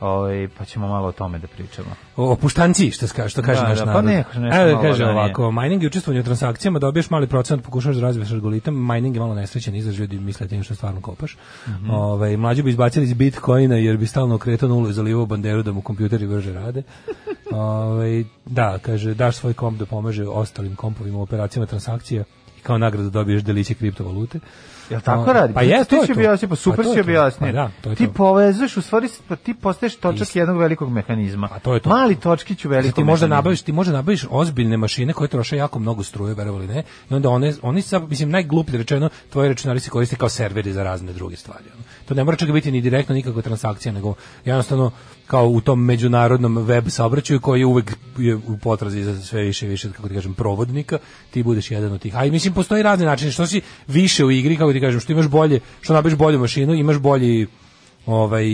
[SPEAKER 5] ovaj, pa ćemo malo o tome da pričamo
[SPEAKER 6] O opuštanci, što kaže, što kaže
[SPEAKER 5] Da,
[SPEAKER 6] naš
[SPEAKER 5] da, pa
[SPEAKER 6] narod.
[SPEAKER 5] ne, nešto
[SPEAKER 6] Evo
[SPEAKER 5] malo
[SPEAKER 6] da kaže
[SPEAKER 5] da nije.
[SPEAKER 6] ovako, mining je učestvovanje u transakcijama, dobiješ mali procenat, pokušaš da razbiješ algoritam, mining je malo nesrećan izraz, ljudi misle tim što stvarno kopaš.
[SPEAKER 5] Mhm.
[SPEAKER 6] Ovaj mlađi bi izbacili iz Bitcoina jer bi stalno okretao nulu i zalivao banderu da mu kompjuteri brže rade. Ovaj da, kaže daš svoj komp da pomaže ostalim kompovima u operacijama transakcija i kao nagradu dobiješ deliće kriptovalute.
[SPEAKER 5] Jel tako radi?
[SPEAKER 6] Pa je, to
[SPEAKER 5] ti
[SPEAKER 6] je
[SPEAKER 5] si
[SPEAKER 6] to.
[SPEAKER 5] objasnio, pa super
[SPEAKER 6] Pa to
[SPEAKER 5] si
[SPEAKER 6] je to.
[SPEAKER 5] objasnio.
[SPEAKER 6] Pa da, to je
[SPEAKER 5] ti
[SPEAKER 6] to.
[SPEAKER 5] povezuješ, u stvari, pa ti postaješ točak jednog velikog mehanizma.
[SPEAKER 6] Pa
[SPEAKER 5] A to je to. Mali točkić u velikom
[SPEAKER 6] ti možda
[SPEAKER 5] mehanizmu.
[SPEAKER 6] nabaviš, ti možda nabaviš ozbiljne mašine koje troše jako mnogo struje, verovali ne, i onda one, oni sa, mislim, najgluplje rečeno, tvoji računari se koriste kao serveri za razne druge stvari. ono. To ne mora čak biti ni direktno nikakva transakcija, nego jednostavno kao u tom međunarodnom web saobraćaju koji je uvek je u potrazi za sve više i više, kako ti kažem, provodnika, ti budeš jedan od tih. A i mislim, postoji razni načini, što si više u igri, kako ti kažem, što imaš bolje, što nabaviš bolju mašinu, imaš bolji ovaj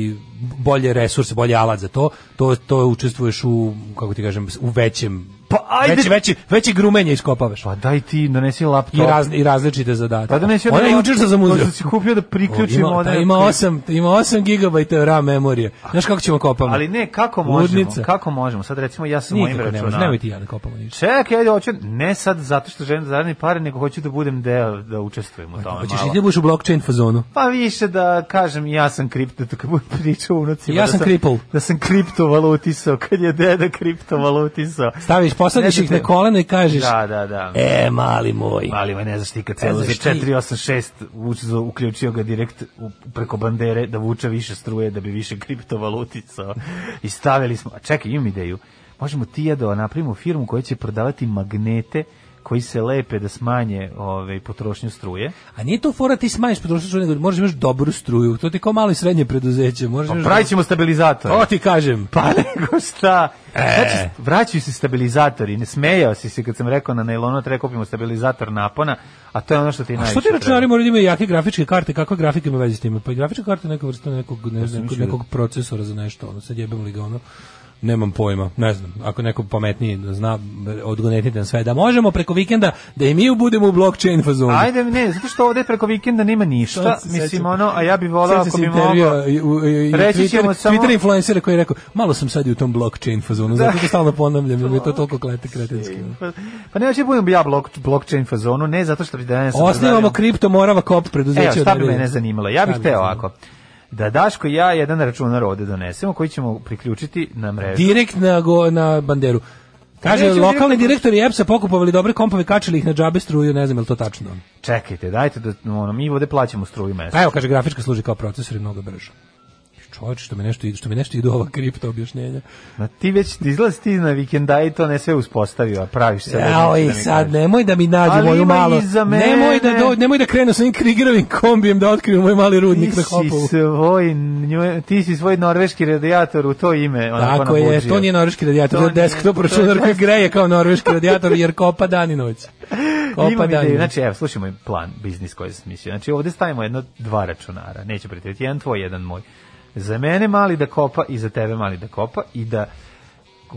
[SPEAKER 6] bolje resurse, bolje alat za to, to to učestvuješ u kako ti kažem u većem
[SPEAKER 5] pa ajde.
[SPEAKER 6] veći veći veći grumenje iskopavaš.
[SPEAKER 5] Pa daj ti donesi laptop.
[SPEAKER 6] I raz, i različite zadatke.
[SPEAKER 5] Pa donesi
[SPEAKER 6] Ona
[SPEAKER 5] jedan
[SPEAKER 6] juče sam
[SPEAKER 5] laptop,
[SPEAKER 6] zamuzio.
[SPEAKER 5] možda si kupio da priključi
[SPEAKER 6] Ima,
[SPEAKER 5] modem.
[SPEAKER 6] da, ima 8 ima 8 GB RAM memorije. Znaš kako ćemo kopamo?
[SPEAKER 5] Ali ne, kako možemo?
[SPEAKER 6] Ludnica.
[SPEAKER 5] Kako možemo? Sad recimo ja sam mojim
[SPEAKER 6] Nikako ne može.
[SPEAKER 5] računarom.
[SPEAKER 6] Nemoj ti ja da kopamo ništa.
[SPEAKER 5] Čekaj, ajde, hoću, ne sad zato što želim da zaradim pare, nego hoću da budem deo, da učestvujem u tome
[SPEAKER 6] Hoćeš
[SPEAKER 5] malo.
[SPEAKER 6] i ti Pa da budeš u blockchain fazonu.
[SPEAKER 5] Pa više da kažem ja sam kripto, to kad budem pričao unucima.
[SPEAKER 6] Ja
[SPEAKER 5] da
[SPEAKER 6] sam cripple.
[SPEAKER 5] Da sam kriptovalutisao, kad je deda kriptovalutisao.
[SPEAKER 6] Staviš, posadiš
[SPEAKER 5] Ne
[SPEAKER 6] ih
[SPEAKER 5] znam
[SPEAKER 6] na
[SPEAKER 5] te-
[SPEAKER 6] koleno i kažeš
[SPEAKER 5] Da, da, da.
[SPEAKER 6] E, mali moj.
[SPEAKER 5] Mali moj, ne znaš ti kad se za
[SPEAKER 6] znaš ti.
[SPEAKER 5] 486 uzo- uključio ga direkt u, preko bandere da vuče više struje, da bi više kriptovalutica. I stavili smo, a čekaj, imam ideju. Možemo ti i ja da napravimo firmu koja će prodavati magnete koji se lepe da smanje ovaj, potrošnju struje.
[SPEAKER 6] A nije to fora ti smanjiš potrošnju struje, nego možeš imaš dobru struju. To ti je kao malo i srednje preduzeće. Možeš
[SPEAKER 5] Pa
[SPEAKER 6] imaš-
[SPEAKER 5] pravit ćemo stabilizatore.
[SPEAKER 6] To ti kažem.
[SPEAKER 5] Pa nego šta?
[SPEAKER 6] E.
[SPEAKER 5] Znači, vraćaju se stabilizatori. Ne smejao si se kad sam rekao na nailonu, treba kupimo stabilizator napona, a to je ono što ti
[SPEAKER 6] A
[SPEAKER 5] najviše
[SPEAKER 6] što ti računari
[SPEAKER 5] treba.
[SPEAKER 6] moraju da imaju jake grafičke karte? Kakva grafika ima veze s time? Pa i grafička karta je neka vrsta nekog, ne, nekog,
[SPEAKER 5] sam mislio Pa da-
[SPEAKER 6] nekog procesora za nešto. Ono, sad jebem li ga ono? Nemam pojma, ne znam. Ako neko pametniji zna, odgonetite nam sve. Da možemo preko vikenda da i mi budemo u blockchain fazonu.
[SPEAKER 5] Ajde, ne, zato što ovde preko vikenda nema ništa,
[SPEAKER 6] Sad se
[SPEAKER 5] mislim
[SPEAKER 6] sećam.
[SPEAKER 5] ono, a ja bih volao
[SPEAKER 6] Sjećam
[SPEAKER 5] ako
[SPEAKER 6] se
[SPEAKER 5] bi
[SPEAKER 6] intervjua
[SPEAKER 5] mogao...
[SPEAKER 6] i- u- i- i
[SPEAKER 5] Reći
[SPEAKER 6] Twitter-
[SPEAKER 5] ćemo samo-
[SPEAKER 6] Twitter influencera koji je rekao, malo sam sad i u tom blockchain fazonu, zato što stalno ponavljam, jer mi je to toliko klete kretenski.
[SPEAKER 5] Pa- Pa ne, ja budem ja blok, blockchain fazonu, ne zato što bi danas...
[SPEAKER 6] Osnivamo kripto Morava Kop preduzeće.
[SPEAKER 5] Evo, šta
[SPEAKER 6] od
[SPEAKER 5] bi mene
[SPEAKER 6] nedelje.
[SPEAKER 5] zanimalo? Ja bih
[SPEAKER 6] Šta bi
[SPEAKER 5] hteo
[SPEAKER 6] zanimalo?
[SPEAKER 5] ovako. Da Daško i ja jedan računar ovde donesemo koji ćemo priključiti na mrežu.
[SPEAKER 6] Direkt na, go, na banderu. Kaže,
[SPEAKER 5] Nećemo
[SPEAKER 6] lokalni
[SPEAKER 5] direktno-
[SPEAKER 6] direktori EPS-a pokupovali dobre kompove, kačili ih na džabe struju, ne znam je li to tačno.
[SPEAKER 5] Čekajte, dajte da ono, mi ovde plaćamo struju mesečno.
[SPEAKER 6] Pa evo, kaže, grafička služi kao procesor i mnogo brže. Čovječ, što mi nešto, što mi nešto idu ova kripto objašnjenja.
[SPEAKER 5] Ma ti već izlazi ti na vikenda i to ne sve uspostavio, a praviš se.
[SPEAKER 6] Evo i sad, nemoj da mi nađu
[SPEAKER 5] Ali
[SPEAKER 6] moju
[SPEAKER 5] ima
[SPEAKER 6] malo.
[SPEAKER 5] iza mene.
[SPEAKER 6] Nemoj da, do, nemoj da krenu sa njim krigerovim kombijem da otkriju moj mali
[SPEAKER 5] Ti
[SPEAKER 6] rudnik na hopovu.
[SPEAKER 5] si, svoj, nju- ti si svoj norveški radijator u to ime. onako
[SPEAKER 6] Tako je,
[SPEAKER 5] nabuđio.
[SPEAKER 6] to nije norveški radijator, to je
[SPEAKER 5] To nije-
[SPEAKER 6] desktop
[SPEAKER 5] to je
[SPEAKER 6] računar koji greje kao norveški radijator jer kopa dan i noć. Kopa
[SPEAKER 5] Imam
[SPEAKER 6] dan i
[SPEAKER 5] ideju.
[SPEAKER 6] noć.
[SPEAKER 5] Znači, evo, slušajmo plan, biznis koji sam mislio. Znači, ovde stavimo jedno, dva računara. Neću pretjerati, jedan tvoj, jedan moj. Za mene mali da kopa i za tebe mali da kopa i da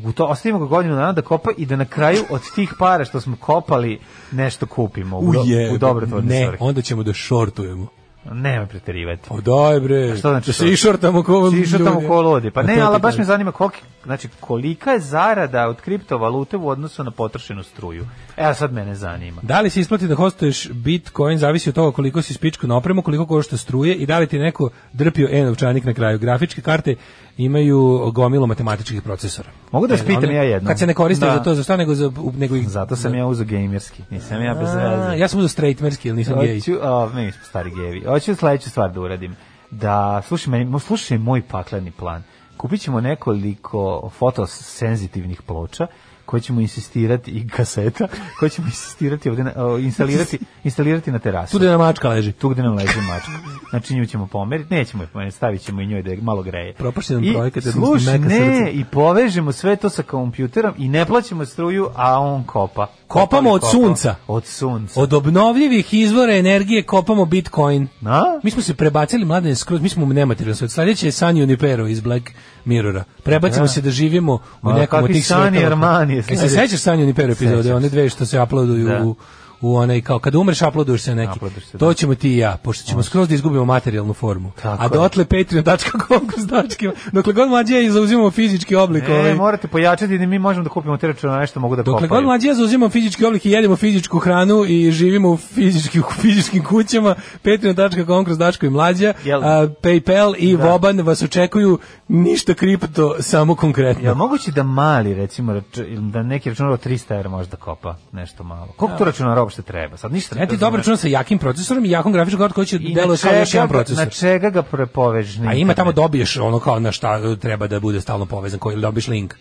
[SPEAKER 5] u to ostavimo ga godinu dana da kopa i da na kraju od tih para što smo kopali nešto kupimo u, do-
[SPEAKER 6] Uje,
[SPEAKER 5] u dobrotvorne
[SPEAKER 6] ne,
[SPEAKER 5] svrhe.
[SPEAKER 6] onda ćemo da šortujemo.
[SPEAKER 5] Nemoj preterivati.
[SPEAKER 6] Pa daj bre,
[SPEAKER 5] A što znači
[SPEAKER 6] da
[SPEAKER 5] to?
[SPEAKER 6] se išortamo ko
[SPEAKER 5] Ti išao tamo
[SPEAKER 6] ljudi.
[SPEAKER 5] ko ludi. Pa
[SPEAKER 6] A
[SPEAKER 5] ne,
[SPEAKER 6] to
[SPEAKER 5] ali
[SPEAKER 6] ti
[SPEAKER 5] baš me
[SPEAKER 6] kažem.
[SPEAKER 5] zanima koliki, znači, kolika je zarada od kriptovalute u odnosu na potrošenu struju. Evo sad mene zanima.
[SPEAKER 6] Da li se isplati da hostuješ Bitcoin zavisi od toga koliko si spičku na opremu, koliko košta struje i da li ti neko drpio e-novčanik na kraju. Grafičke karte imaju gomilu matematičkih procesora.
[SPEAKER 5] Mogu da vas
[SPEAKER 6] Ne,
[SPEAKER 5] pitam
[SPEAKER 6] one-
[SPEAKER 5] ja jedno?
[SPEAKER 6] Kad se ne koriste
[SPEAKER 5] Da.
[SPEAKER 6] za to, za šta nego, za, u- nego ih...
[SPEAKER 5] Zato sam ja uzo gamerski. Nisam ja bez
[SPEAKER 6] A,
[SPEAKER 5] veze.
[SPEAKER 6] ja sam uzeo straightmerski, ili nisam gej.
[SPEAKER 5] Hoću, a, mi smo stari gevi. Hoću sledeću stvar da uradim. Da, slušaj, meni, mo- slušaj moj pakleni plan. Kupit ćemo nekoliko fotosenzitivnih ploča koje ćemo insistirati i kaseta koje ćemo insistirati ovde na, o, instalirati, instalirati na terasu.
[SPEAKER 6] Tu da na mačka leži.
[SPEAKER 5] Znači tu gde nam leži mačka. Znači nju ćemo pomeriti, nećemo je pomeriti, stavit ćemo i njoj da je malo greje.
[SPEAKER 6] Propašće nam
[SPEAKER 5] I
[SPEAKER 6] projekat, jer
[SPEAKER 5] slušaj,
[SPEAKER 6] nismo meka
[SPEAKER 5] ne,
[SPEAKER 6] srca.
[SPEAKER 5] i povežemo sve to sa kompjuterom i ne plaćamo struju, a on kopa.
[SPEAKER 6] Kopamo
[SPEAKER 5] Kopali
[SPEAKER 6] od
[SPEAKER 5] kopa.
[SPEAKER 6] sunca.
[SPEAKER 5] Od sunca.
[SPEAKER 6] Od obnovljivih izvora energije kopamo Bitcoin.
[SPEAKER 5] Na?
[SPEAKER 6] Mi smo se prebacili mladen skroz, mi smo u nematerijalnom svijetu. Sledeće je Sanji Unipero iz Black Mirrora. Prebacimo se da živimo u
[SPEAKER 5] Ma,
[SPEAKER 6] nekom od
[SPEAKER 5] kakvi
[SPEAKER 6] tih
[SPEAKER 5] Sanji
[SPEAKER 6] svetova.
[SPEAKER 5] Armani je
[SPEAKER 6] E, se
[SPEAKER 5] sledeći.
[SPEAKER 6] sećaš Sanji Unipero epizode,
[SPEAKER 5] Sećam
[SPEAKER 6] one dve što se uploaduju
[SPEAKER 5] Da.
[SPEAKER 6] u u onaj kao kada umreš uploaduješ se neki.
[SPEAKER 5] Uploaduješ se,
[SPEAKER 6] to
[SPEAKER 5] da.
[SPEAKER 6] ćemo ti i ja, pošto ćemo skroz da izgubimo materijalnu formu.
[SPEAKER 5] Tako
[SPEAKER 6] A
[SPEAKER 5] je.
[SPEAKER 6] dotle patreon.com kroz dačke. Dokle god mlađe i zauzimamo fizički oblik
[SPEAKER 5] Ne,
[SPEAKER 6] ovaj.
[SPEAKER 5] E, morate pojačati da mi možemo da kupimo te računare što mogu da
[SPEAKER 6] Dokle god
[SPEAKER 5] kopaju.
[SPEAKER 6] mlađe zauzimamo fizički oblik i jedemo fizičku hranu i živimo u fizički, u fizičkim kućama, patreon.com kroz Dačko i mlađa,
[SPEAKER 5] Jel?
[SPEAKER 6] a, Paypal i Voban vas očekuju ništa kripto, samo konkretno.
[SPEAKER 5] Jel moguće da mali, recimo, rač- ili da neki računar od 300 evra može da kopa nešto malo? Koliko tu računara uopšte treba. Sad ništa
[SPEAKER 6] Ne ti
[SPEAKER 5] treba.
[SPEAKER 6] dobar računar sa jakim procesorom i jakom grafičkom kartom koji će
[SPEAKER 5] I na
[SPEAKER 6] deluje kao još
[SPEAKER 5] čega
[SPEAKER 6] jedan
[SPEAKER 5] ga-
[SPEAKER 6] procesor.
[SPEAKER 5] Na čega ga prepovežeš? na
[SPEAKER 6] A ima
[SPEAKER 5] internet?
[SPEAKER 6] tamo dobiješ ono kao na šta treba da bude stalno povezan, koji ili dobiješ link.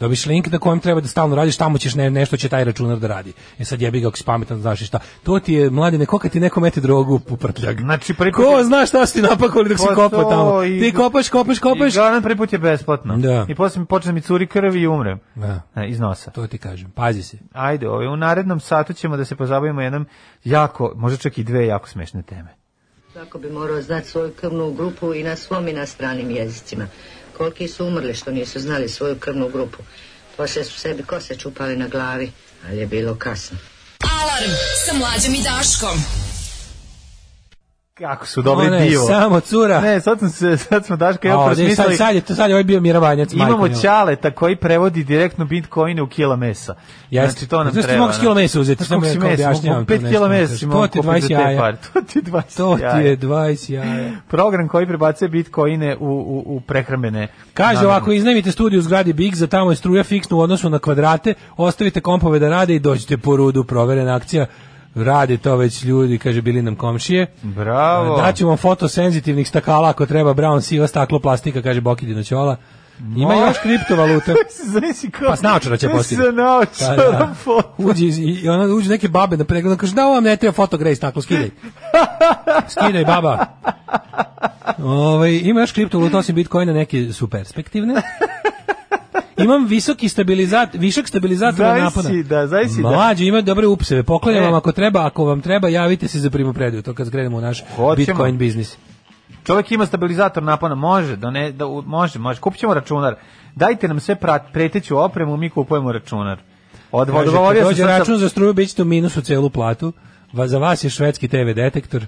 [SPEAKER 6] Dobiješ link na kojem treba da stalno radiš, tamo ćeš ne, nešto će taj računar da radi. E sad jebi ga ako si pametan, znaš i šta. To ti je, mladine, ko kad ti neko meti drogu u prtljag?
[SPEAKER 5] Znači, prvi put
[SPEAKER 6] Ko
[SPEAKER 5] je-
[SPEAKER 6] zna šta si ti napakali dok si
[SPEAKER 5] Pa
[SPEAKER 6] kopao
[SPEAKER 5] to
[SPEAKER 6] tamo?
[SPEAKER 5] i-
[SPEAKER 6] Ti kopaš, kopaš, kopaš.
[SPEAKER 5] I garan prvi put je besplatno.
[SPEAKER 6] Da.
[SPEAKER 5] I posle mi počne mi curi krv i umrem.
[SPEAKER 6] Da.
[SPEAKER 5] E, iz nosa.
[SPEAKER 6] To ti kažem, pazi se.
[SPEAKER 5] Ajde, ovaj, u narednom satu ćemo da se pozabavimo jednom jako, možda čak i dve jako smešne teme.
[SPEAKER 13] Svako bi morao znati svoju krvnu grupu i na svom i na stranim jezicima. Koliki su umrli što nisu znali svoju krvnu grupu. Poslije su sebi kose čupali na glavi, ali je bilo kasno.
[SPEAKER 10] Alarm sa mlađom i Daškom.
[SPEAKER 5] Kako su dobri
[SPEAKER 6] Ona Ono je
[SPEAKER 5] divo.
[SPEAKER 6] samo cura.
[SPEAKER 5] Ne, sad, sam se, sad smo Daška ja
[SPEAKER 6] A, ovdje je sad,
[SPEAKER 5] prosmislili.
[SPEAKER 6] sad, je, to sad je ovaj bio Miravanjac.
[SPEAKER 5] Imamo Ćaleta koji prevodi direktno bitcoine u kila mesa.
[SPEAKER 6] Jeste.
[SPEAKER 5] Znači to nam
[SPEAKER 6] Znaš ti
[SPEAKER 5] treba.
[SPEAKER 6] mogu s kilo
[SPEAKER 5] no.
[SPEAKER 6] mesa uzeti,
[SPEAKER 5] Znaš
[SPEAKER 6] samo
[SPEAKER 5] koliko
[SPEAKER 6] ja
[SPEAKER 5] si
[SPEAKER 6] kao
[SPEAKER 5] mesa, mogu
[SPEAKER 6] objašnjavam
[SPEAKER 5] pet
[SPEAKER 6] to nešto,
[SPEAKER 5] kila mesa
[SPEAKER 6] znaš,
[SPEAKER 5] si mogu
[SPEAKER 6] to ti
[SPEAKER 5] kupiti
[SPEAKER 6] 20
[SPEAKER 5] za te
[SPEAKER 6] jaja.
[SPEAKER 5] pare. To ti je 20
[SPEAKER 6] To ti
[SPEAKER 5] jaja.
[SPEAKER 6] je 20 jaja.
[SPEAKER 5] Program koji prebacuje bitcoine u, u, u prehrambene.
[SPEAKER 6] Kaže
[SPEAKER 5] namene.
[SPEAKER 6] ovako, iznajmite studiju u zgradi Big za tamo je struja fiksna u odnosu na kvadrate, ostavite kompove da rade i dođite po rudu, proverena akcija. Rade to već ljudi, kaže, bili nam komšije. E,
[SPEAKER 5] Bravo.
[SPEAKER 6] Daću vam fotosenzitivnih stakala ako treba, brown siva staklo plastika, kaže Bokidino Ćola. Ima
[SPEAKER 5] Mo-
[SPEAKER 6] još kriptovaluta.
[SPEAKER 5] Znači kao...
[SPEAKER 6] Pa s naočara će postići.
[SPEAKER 5] Sa
[SPEAKER 6] Pa
[SPEAKER 5] naočara.
[SPEAKER 6] da. Uđe iz- i ona uđe neke babe na pregled, ona kaže da ovo vam ne treba fotogrej staklo, skidaj. Skidaj baba. Ovaj ima još kriptovaluta osim bitcoina, neke su perspektivne. Imam visoki stabilizator, višak stabilizatora
[SPEAKER 5] Zavisi,
[SPEAKER 6] napona.
[SPEAKER 5] da, zavisi, da.
[SPEAKER 6] Mlađi, ima dobre upseve, poklanjam
[SPEAKER 5] E.
[SPEAKER 6] vam ako treba, ako vam treba, javite se za primopredaju, to kad krenemo u naš
[SPEAKER 5] Hoćemo.
[SPEAKER 6] bitcoin biznis.
[SPEAKER 5] Čovjek ima stabilizator napona, može, da ne, da, u- može, može. Kupit ćemo računar. Dajte nam sve prat, preteću opremu, mi kupujemo računar. Od
[SPEAKER 6] Kaže,
[SPEAKER 5] odgovorio
[SPEAKER 6] kad
[SPEAKER 5] sam
[SPEAKER 6] dođe
[SPEAKER 5] sad sa-
[SPEAKER 6] račun za struju, bit ćete u minusu celu platu. Va, za vas je švedski TV detektor,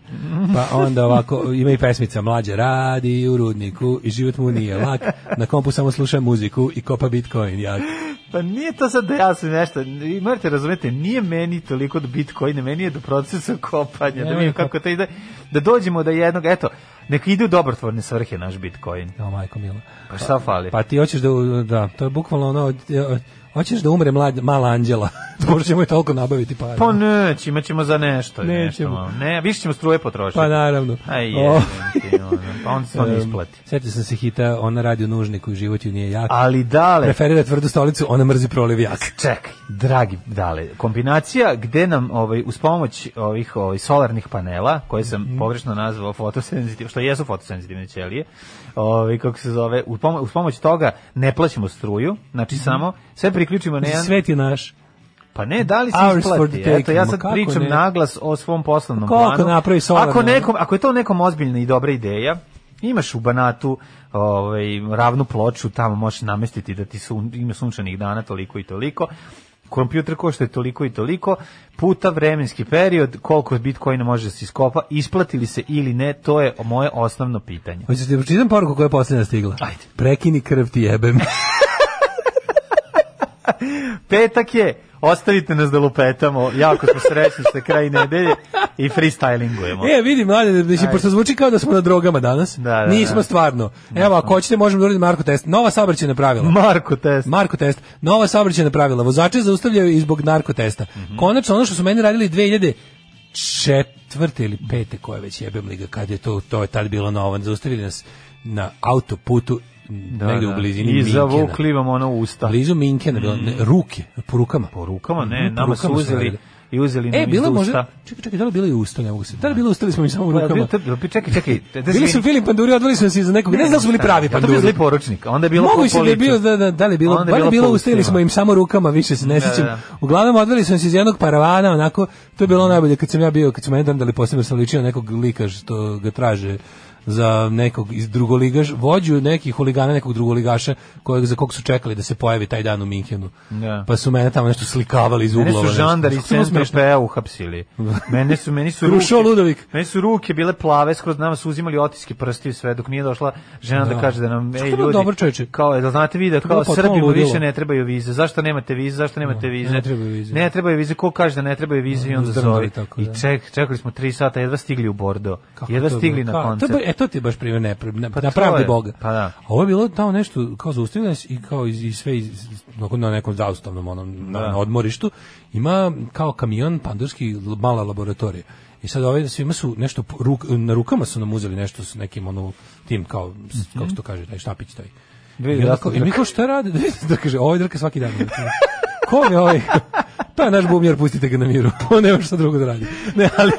[SPEAKER 6] pa onda ovako, ima i pesmica Mlađe radi u rudniku i život mu nije lak, na kompu samo sluša muziku i kopa bitcoin, jak.
[SPEAKER 5] Pa nije to sad da ja sam nešto, vi morate razumete, nije meni toliko do bitcoina, meni je do procesa kopanja, da
[SPEAKER 6] Nemoj
[SPEAKER 5] vidim
[SPEAKER 6] kop-
[SPEAKER 5] kako to ide, da dođemo do jednog, eto, neka ide u dobrotvorne svrhe naš bitcoin.
[SPEAKER 6] O, majko mila.
[SPEAKER 5] Pa šta fali?
[SPEAKER 6] Pa ti hoćeš da, u- da, to je bukvalno ono, e, hoćeš da umre mlad, mala anđela, možda ćemo je toliko nabaviti para.
[SPEAKER 5] Pa neće, imat ćemo za nešto. i
[SPEAKER 6] Nećemo.
[SPEAKER 5] Nešto, malo. ne, više ćemo struje potrošiti.
[SPEAKER 6] Pa naravno.
[SPEAKER 5] Aj,
[SPEAKER 6] O.
[SPEAKER 5] je, pa on se to ne
[SPEAKER 6] Em,
[SPEAKER 5] isplati.
[SPEAKER 6] Sjetio sam se hita, ona radi u nužniku i život ju nije jak.
[SPEAKER 5] Ali dale.
[SPEAKER 6] Preferira tvrdu stolicu, ona mrzi proliv jak.
[SPEAKER 5] Čekaj, dragi, dale, kombinacija gde nam ovaj uz pomoć ovih ovaj solarnih panela, koje sam pogrešno nazvao fotosenzitivni, što jesu fotosenzitivne ćelije, ovaj kako se zove, uz pomo- uz pomoć toga ne plaćamo struju, znači samo sve priključimo
[SPEAKER 6] Znači,
[SPEAKER 5] na jedan
[SPEAKER 6] Svet je naš.
[SPEAKER 5] Pa ne, da li se
[SPEAKER 6] Hours for
[SPEAKER 5] isplati?
[SPEAKER 6] the taking,
[SPEAKER 5] Eto, ja
[SPEAKER 6] ma
[SPEAKER 5] sad
[SPEAKER 6] kako
[SPEAKER 5] pričam
[SPEAKER 6] ne?
[SPEAKER 5] naglas o svom poslovnom
[SPEAKER 6] Koliko
[SPEAKER 5] planu.
[SPEAKER 6] napravi solarno?
[SPEAKER 5] Ako, nekom, ako je to nekom ozbiljna i dobra ideja, imaš u Banatu ovaj, ravnu ploču, tamo možeš namestiti da ti sun, ima sunčanih dana toliko i toliko, kompjuter košta je toliko i toliko, puta vremenski period, koliko bitcoina može da se iskopa, isplati li se ili ne, to je moje osnovno pitanje.
[SPEAKER 6] Hoćete da Pa pročitam poruku koja je posljednja stigla? Ajde. Prekini krv ti jebem.
[SPEAKER 5] Petak je, ostavite nas da lupetamo, jako smo srećni što je kraj nedelje i freestylingujemo.
[SPEAKER 6] e, vidi, mlade, mislim,
[SPEAKER 5] Ajde.
[SPEAKER 6] pošto zvuči kao da smo na drogama danas,
[SPEAKER 5] da,
[SPEAKER 6] nismo
[SPEAKER 5] da.
[SPEAKER 6] stvarno. Evo, ako hoćete, možemo da uradimo Marko test. Nova saobraćajna pravila.
[SPEAKER 5] Marko test.
[SPEAKER 6] Marko test. Nova saobraćajna pravila. Vozače zaustavljaju i zbog narkotesta. Konačno, ono što su meni radili 2000 četvrte ili pete koje već jebem liga kad je to to je tad bilo novo zaustavili nas na autoputu negde u blizini
[SPEAKER 5] I
[SPEAKER 6] Minkena.
[SPEAKER 5] zavukli vam ono u usta.
[SPEAKER 6] blizu Minkena bilo ne, ruke po rukama Mhm. po
[SPEAKER 5] rukama ne, nama su uzeli i uzeli nam
[SPEAKER 6] E,
[SPEAKER 5] iz
[SPEAKER 6] bilo
[SPEAKER 5] usta.
[SPEAKER 6] može. Čekaj, čekaj, da li bilo i usta, ne mogu se. Da li bilo usta ili smo mi samo u
[SPEAKER 5] Pa, bilo
[SPEAKER 6] rukama?
[SPEAKER 5] to- bilo- Čekaj, čekaj. da- da
[SPEAKER 6] Bili
[SPEAKER 5] se
[SPEAKER 6] su
[SPEAKER 5] vidim.
[SPEAKER 6] Filip Panduri, odveli smo se iza nekog. Ne znam da li su bili pravi
[SPEAKER 5] Ja, to bio
[SPEAKER 6] Panduri.
[SPEAKER 5] zli poručnik, a onda je bilo po
[SPEAKER 6] Mogu se da je
[SPEAKER 5] policu.
[SPEAKER 6] bilo da, da, da li je bilo,
[SPEAKER 5] Onda je
[SPEAKER 6] bar je
[SPEAKER 5] bilo ono.
[SPEAKER 6] bilo
[SPEAKER 5] po
[SPEAKER 6] usta ili
[SPEAKER 5] ustima.
[SPEAKER 6] smo im samo rukama, više se ne
[SPEAKER 5] Da,
[SPEAKER 6] sjećam.
[SPEAKER 5] da.
[SPEAKER 6] Uglavnom odveli smo se iz jednog paravana, onako to je bilo najbolje kad sam ja bio, kad sam jedan da li posebno sam ličio na nekog lika što ga traže za nekog iz drugoligaš, vođu nekih huligana, nekog drugoligaša kojeg, za kog su čekali da se pojavi taj dan u Minhenu.
[SPEAKER 5] Da.
[SPEAKER 6] Pa su mene tamo nešto slikavali iz uglova.
[SPEAKER 5] Mene su
[SPEAKER 6] nešto.
[SPEAKER 5] žandari iz
[SPEAKER 6] Kako je bilo
[SPEAKER 5] centra
[SPEAKER 6] smešno.
[SPEAKER 5] PE uhapsili. Mene su, meni su ruke,
[SPEAKER 6] Krušo Ludovik.
[SPEAKER 5] meni su ruke bile plave, skroz nama su uzimali otiske prstiju sve, dok nije došla žena da,
[SPEAKER 6] Da.
[SPEAKER 5] kaže da nam,
[SPEAKER 6] Što
[SPEAKER 5] ej
[SPEAKER 6] je bilo
[SPEAKER 5] ljudi,
[SPEAKER 6] dobro, čoveče?
[SPEAKER 5] kao, da znate vi da
[SPEAKER 6] To je bilo
[SPEAKER 5] kao
[SPEAKER 6] potpuno
[SPEAKER 5] Srbima
[SPEAKER 6] ludilo.
[SPEAKER 5] više ne trebaju vize, zašto nemate vize, zašto nemate vize?
[SPEAKER 6] ne trebaju vize.
[SPEAKER 5] Ne trebaju vize, ko kaže da ne trebaju vize i onda
[SPEAKER 6] Uzdrmali
[SPEAKER 5] zove.
[SPEAKER 6] tako,
[SPEAKER 5] I
[SPEAKER 6] da.
[SPEAKER 5] ček, čekali smo tri sata, jedva stigli u Bordo, jedva
[SPEAKER 6] to je
[SPEAKER 5] stigli
[SPEAKER 6] bilo?
[SPEAKER 5] na
[SPEAKER 6] Ka- to je
[SPEAKER 5] koncert.
[SPEAKER 6] bar- e, to ti je baš primjer ne, na,
[SPEAKER 5] Pa
[SPEAKER 6] na
[SPEAKER 5] to
[SPEAKER 6] pravdi
[SPEAKER 5] je,
[SPEAKER 6] Boga.
[SPEAKER 5] pa da.
[SPEAKER 6] A ovo je bilo tamo nešto kao zaustavljeno nas i kao iz, iz sve iz, onako na nekom zaustavnom onom na,
[SPEAKER 5] Da.
[SPEAKER 6] na odmorištu ima kao kamion pandurski l- mala laboratorija. I sad ovaj svima su nešto po- ruk, na rukama su nam uzeli nešto s nekim ono tim kao s- kako se to kaže taj štapić taj. I,
[SPEAKER 5] Mhm. Vidi,
[SPEAKER 6] onda kao-
[SPEAKER 5] da
[SPEAKER 6] i mi kao šta rade? Da kaže, ovaj drka svaki dan. Ko je ovaj? To je naš bubnjar, pustite ga na miru. On nema šta drugo da radi. Ne, ali...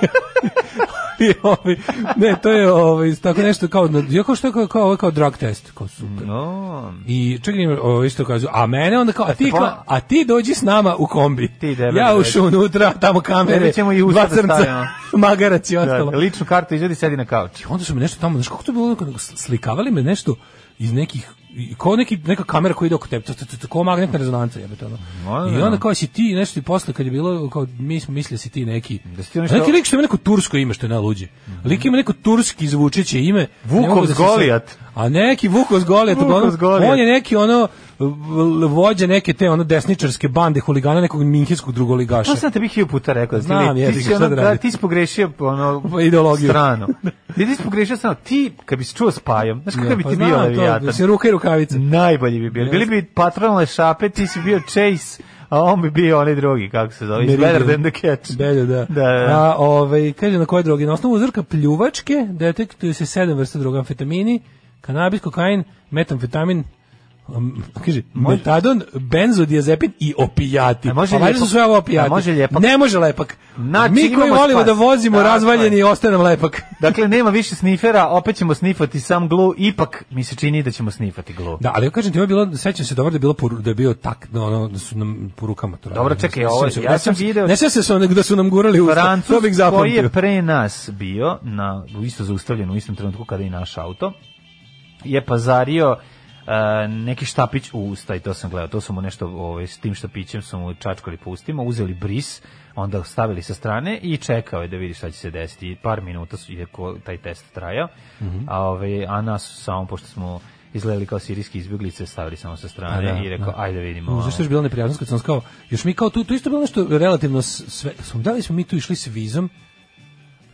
[SPEAKER 6] ali ovaj, ne, to je ovaj, tako nešto kao, ja kao što je kao, kao, ovo je kao drug test, kao
[SPEAKER 5] Mm.
[SPEAKER 6] super.
[SPEAKER 5] No.
[SPEAKER 6] I čekaj, ima, ovo isto kažu, a mene onda kao, a ti,
[SPEAKER 5] ste
[SPEAKER 6] kao,
[SPEAKER 5] pola-
[SPEAKER 6] a ti dođi s nama u kombi.
[SPEAKER 5] pa- Ti debeli
[SPEAKER 6] ja
[SPEAKER 5] dođi.
[SPEAKER 6] ušu unutra, tamo kamere,
[SPEAKER 5] Tebe ćemo i usta
[SPEAKER 6] dva
[SPEAKER 5] da
[SPEAKER 6] crnca,
[SPEAKER 5] stavimo.
[SPEAKER 6] magarac i ostalo.
[SPEAKER 5] Da, ličnu kartu izvedi sedi na kauč.
[SPEAKER 6] I Pa onda su mi nešto tamo, znaš kako to je bilo, onako, slikavali me nešto iz nekih i kao neki, neka kamera koja ide oko tebe, to, to, to, to, kao magnetna rezonanca, jebete, ono.
[SPEAKER 5] Ma,
[SPEAKER 6] I
[SPEAKER 5] da.
[SPEAKER 6] onda kao si ti nešto i posle kad je bilo, kao, mi smo mislili da si ti neki, da
[SPEAKER 5] si ti ono Mhm. nešto-
[SPEAKER 6] neki lik što ima neko tursko ime što je najluđe. Lik ima neko turski zvučeće ime.
[SPEAKER 5] Vukov
[SPEAKER 6] ne mogu da se
[SPEAKER 5] Golijat.
[SPEAKER 6] sjetim. A neki Vukov Golijat,
[SPEAKER 5] Vukov
[SPEAKER 6] uglavnom,
[SPEAKER 5] Golijat.
[SPEAKER 6] on je neki ono l- vođa neke te ono desničarske bande huligana nekog minhenskog drugoligaša.
[SPEAKER 5] Pa sam tebi hilju puta rekao da ti,
[SPEAKER 6] Znam,
[SPEAKER 5] li-
[SPEAKER 6] jebi
[SPEAKER 5] ti,
[SPEAKER 6] ga,
[SPEAKER 5] si
[SPEAKER 6] šta
[SPEAKER 5] ono,
[SPEAKER 6] da
[SPEAKER 5] da,
[SPEAKER 6] radim?
[SPEAKER 5] ti si pogrešio ono,
[SPEAKER 6] Ideologiju.
[SPEAKER 5] stranu. Ti, ti si pogrešio stranu. Ti, kad bi se čuo s pajom, znaš
[SPEAKER 6] Ja,
[SPEAKER 5] kakav bi
[SPEAKER 6] pa
[SPEAKER 5] ti
[SPEAKER 6] znam
[SPEAKER 5] bio
[SPEAKER 6] to,
[SPEAKER 5] Leviatan?
[SPEAKER 6] mislim, ruka i rukavica.
[SPEAKER 5] Najbolji bi bili. Bili bi patronale šape, ti si bio Chase, a on bi bio onaj drugi, kako se zove, iz
[SPEAKER 6] Meridian.
[SPEAKER 5] Better Than The Catch.
[SPEAKER 6] Belju, da.
[SPEAKER 5] Da, da.
[SPEAKER 6] A, ovaj, kaže na koje droge? Na osnovu uzorka pljuvačke detektuju se sedam vrsta droga amfetamini, kanabis, kokain, metamfetamin, um, kaže, metadon, benzodiazepin i opijati.
[SPEAKER 5] A može
[SPEAKER 6] pa valjda su
[SPEAKER 5] lijepak-
[SPEAKER 6] sve ovo opijati.
[SPEAKER 5] a može lijepak?
[SPEAKER 6] Ne može lepak.
[SPEAKER 5] Znači,
[SPEAKER 6] Mi koji
[SPEAKER 5] imamo
[SPEAKER 6] volimo
[SPEAKER 5] spas.
[SPEAKER 6] da vozimo
[SPEAKER 5] Tako
[SPEAKER 6] razvaljeni i
[SPEAKER 5] je.
[SPEAKER 6] ostanem lepak.
[SPEAKER 5] Dakle, nema više snifera, opet ćemo snifati sam glu, ipak mi se čini da ćemo snifati glu.
[SPEAKER 6] Da, ali ja kažem ti, ovo je bilo, sećam se dobro da je bilo po, da je bio tak, no, ono, da su nam po rukama to radili.
[SPEAKER 5] Dobro, čekaj,
[SPEAKER 6] Ne
[SPEAKER 5] ovo-
[SPEAKER 6] sećam se,
[SPEAKER 5] ja
[SPEAKER 6] ne sećam
[SPEAKER 5] sam
[SPEAKER 6] se-
[SPEAKER 5] video-
[SPEAKER 6] Ne sećam se onog da su nam gurali u usta, to
[SPEAKER 5] Francus
[SPEAKER 6] bih
[SPEAKER 5] koji
[SPEAKER 6] zapamtio.
[SPEAKER 5] je pre nas bio na isto zaustavljen u istom trenutku kada i naš auto je pazario e, neki štapić u usta i to sam gledao, to su mu nešto ovaj, s tim štapićem su mu čačkali po ustima, uzeli bris, onda stavili sa strane i čekao je da vidi šta će se desiti. I Par minuta su, je ko- taj test trajao,
[SPEAKER 6] Mhm.
[SPEAKER 5] a, ovaj, a nas su samo, pošto smo izgledali kao sirijski izbjeglice, stavili samo sa strane
[SPEAKER 6] A, da,
[SPEAKER 5] i rekao,
[SPEAKER 6] da.
[SPEAKER 5] ajde vidimo.
[SPEAKER 6] U,
[SPEAKER 5] ono.
[SPEAKER 6] zašto je bila neprijatnost kad sam kao, još mi kao tu, tu isto bilo nešto relativno s- sve, smo, da li smo mi tu išli s vizom,